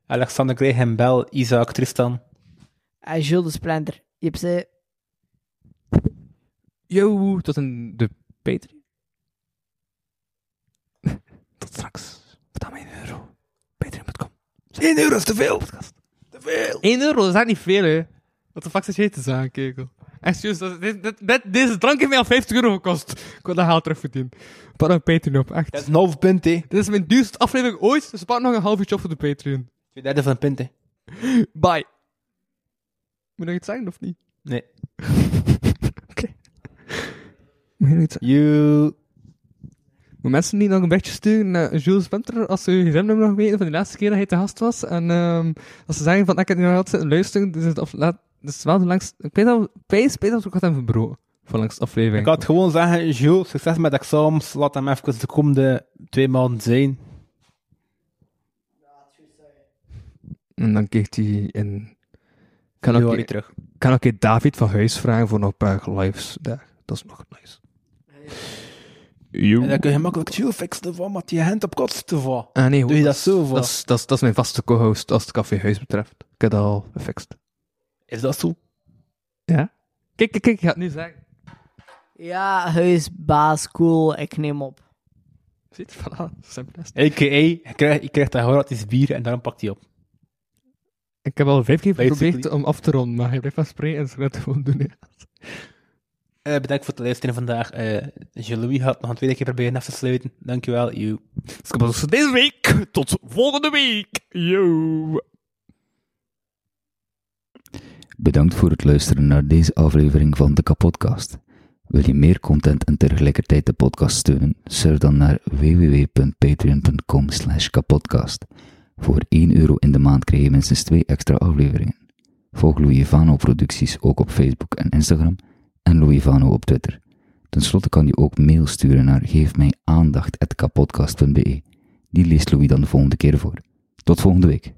Speaker 6: Alexander Graham Bell, Isaac, Tristan.
Speaker 3: En Jules de Splender. Je hebt ze...
Speaker 2: Yo, tot in de Patreon. tot straks. Betaal mij 1 euro. Patreon.com.
Speaker 16: 1 euro is te veel.
Speaker 2: 1 euro, dat is eigenlijk niet veel, hè.
Speaker 19: Wat de fuck zit je te zeggen, kekel? Echt, juist, dat- dit- dit- dit- deze drank heeft mij al 50 euro gekost. Ik wil dat geld terugverdienen.
Speaker 2: Pak een Patreon op, echt.
Speaker 6: Dat is een half punt, hè.
Speaker 19: Dit is mijn duurste aflevering ooit, dus pak nog een half uurtje op voor de Patreon.
Speaker 6: Twee derde van een punt, hè.
Speaker 19: Bye. Moet nog iets zeggen, of niet?
Speaker 6: Nee.
Speaker 2: You. Moet mensen niet nog een berichtje sturen naar Jules Spenter als ze hun gsm-nummer nog weten van de laatste keer dat hij te gast was. En ehm, als ze zeggen van, ik heb nu nog altijd zitten luisteren, dus het, af, laat, dus wel de langst... Ik weet dat, pijs, pijs dat ik had hem verbroken. Van langs de aflevering.
Speaker 6: Ik had gewoon zeggen, Jules, succes met examens. Laat hem even de komende twee maanden zijn.
Speaker 2: En dan kreeg hij in... Kan ook
Speaker 6: Januari
Speaker 2: een-
Speaker 6: terug.
Speaker 2: Kan ook een David van Huis vragen voor nog een paar lives daar. Dat is nog nice.
Speaker 16: En dan kun je makkelijk chill fixen ervan, maar je hand op kots te vallen.
Speaker 2: Ah nee,
Speaker 16: Doe je dat zo voor?
Speaker 2: Dat is, dat is, dat is mijn vaste co-host als het Café Huis betreft. Ik heb dat al gefixt.
Speaker 6: Is dat zo?
Speaker 2: Ja. Kijk, kijk, kijk, ik ga het nu zeggen.
Speaker 3: Ja, hij is baas, cool, ik neem op.
Speaker 2: Ziet, voilà, simpel.
Speaker 6: A.k.a. je krijgt, je krijgt dat gratis bier en daarom pakt hij op.
Speaker 2: Ik heb al vijf keer geprobeerd
Speaker 6: Basically.
Speaker 2: om af te ronden, maar hij blijft van spreken en ze gaat het gewoon doen. hè.
Speaker 6: Eh, bedankt voor het luisteren vandaag. Eh Jean-Louis gaat nog een tweede keer proberen af te sluiten. Dankjewel, you.
Speaker 2: Dus dat was het deze week. Tot volgende week. Yo.
Speaker 20: Bedankt voor het luisteren naar deze aflevering van de Kapodcast. Wil je meer content en tegelijkertijd de podcast steunen? Surf dan naar www.patreon.com kapodcast. Voor 1 euro in de maand krijg je minstens 2 extra afleveringen. Volg Louis Vano producties ook op Facebook en Instagram en Louis Vano op Twitter. Ten slotte kan je ook mail sturen naar geefmijaandacht.kapodcast.be. Die leest Louis dan de volgende keer voor. Tot volgende week.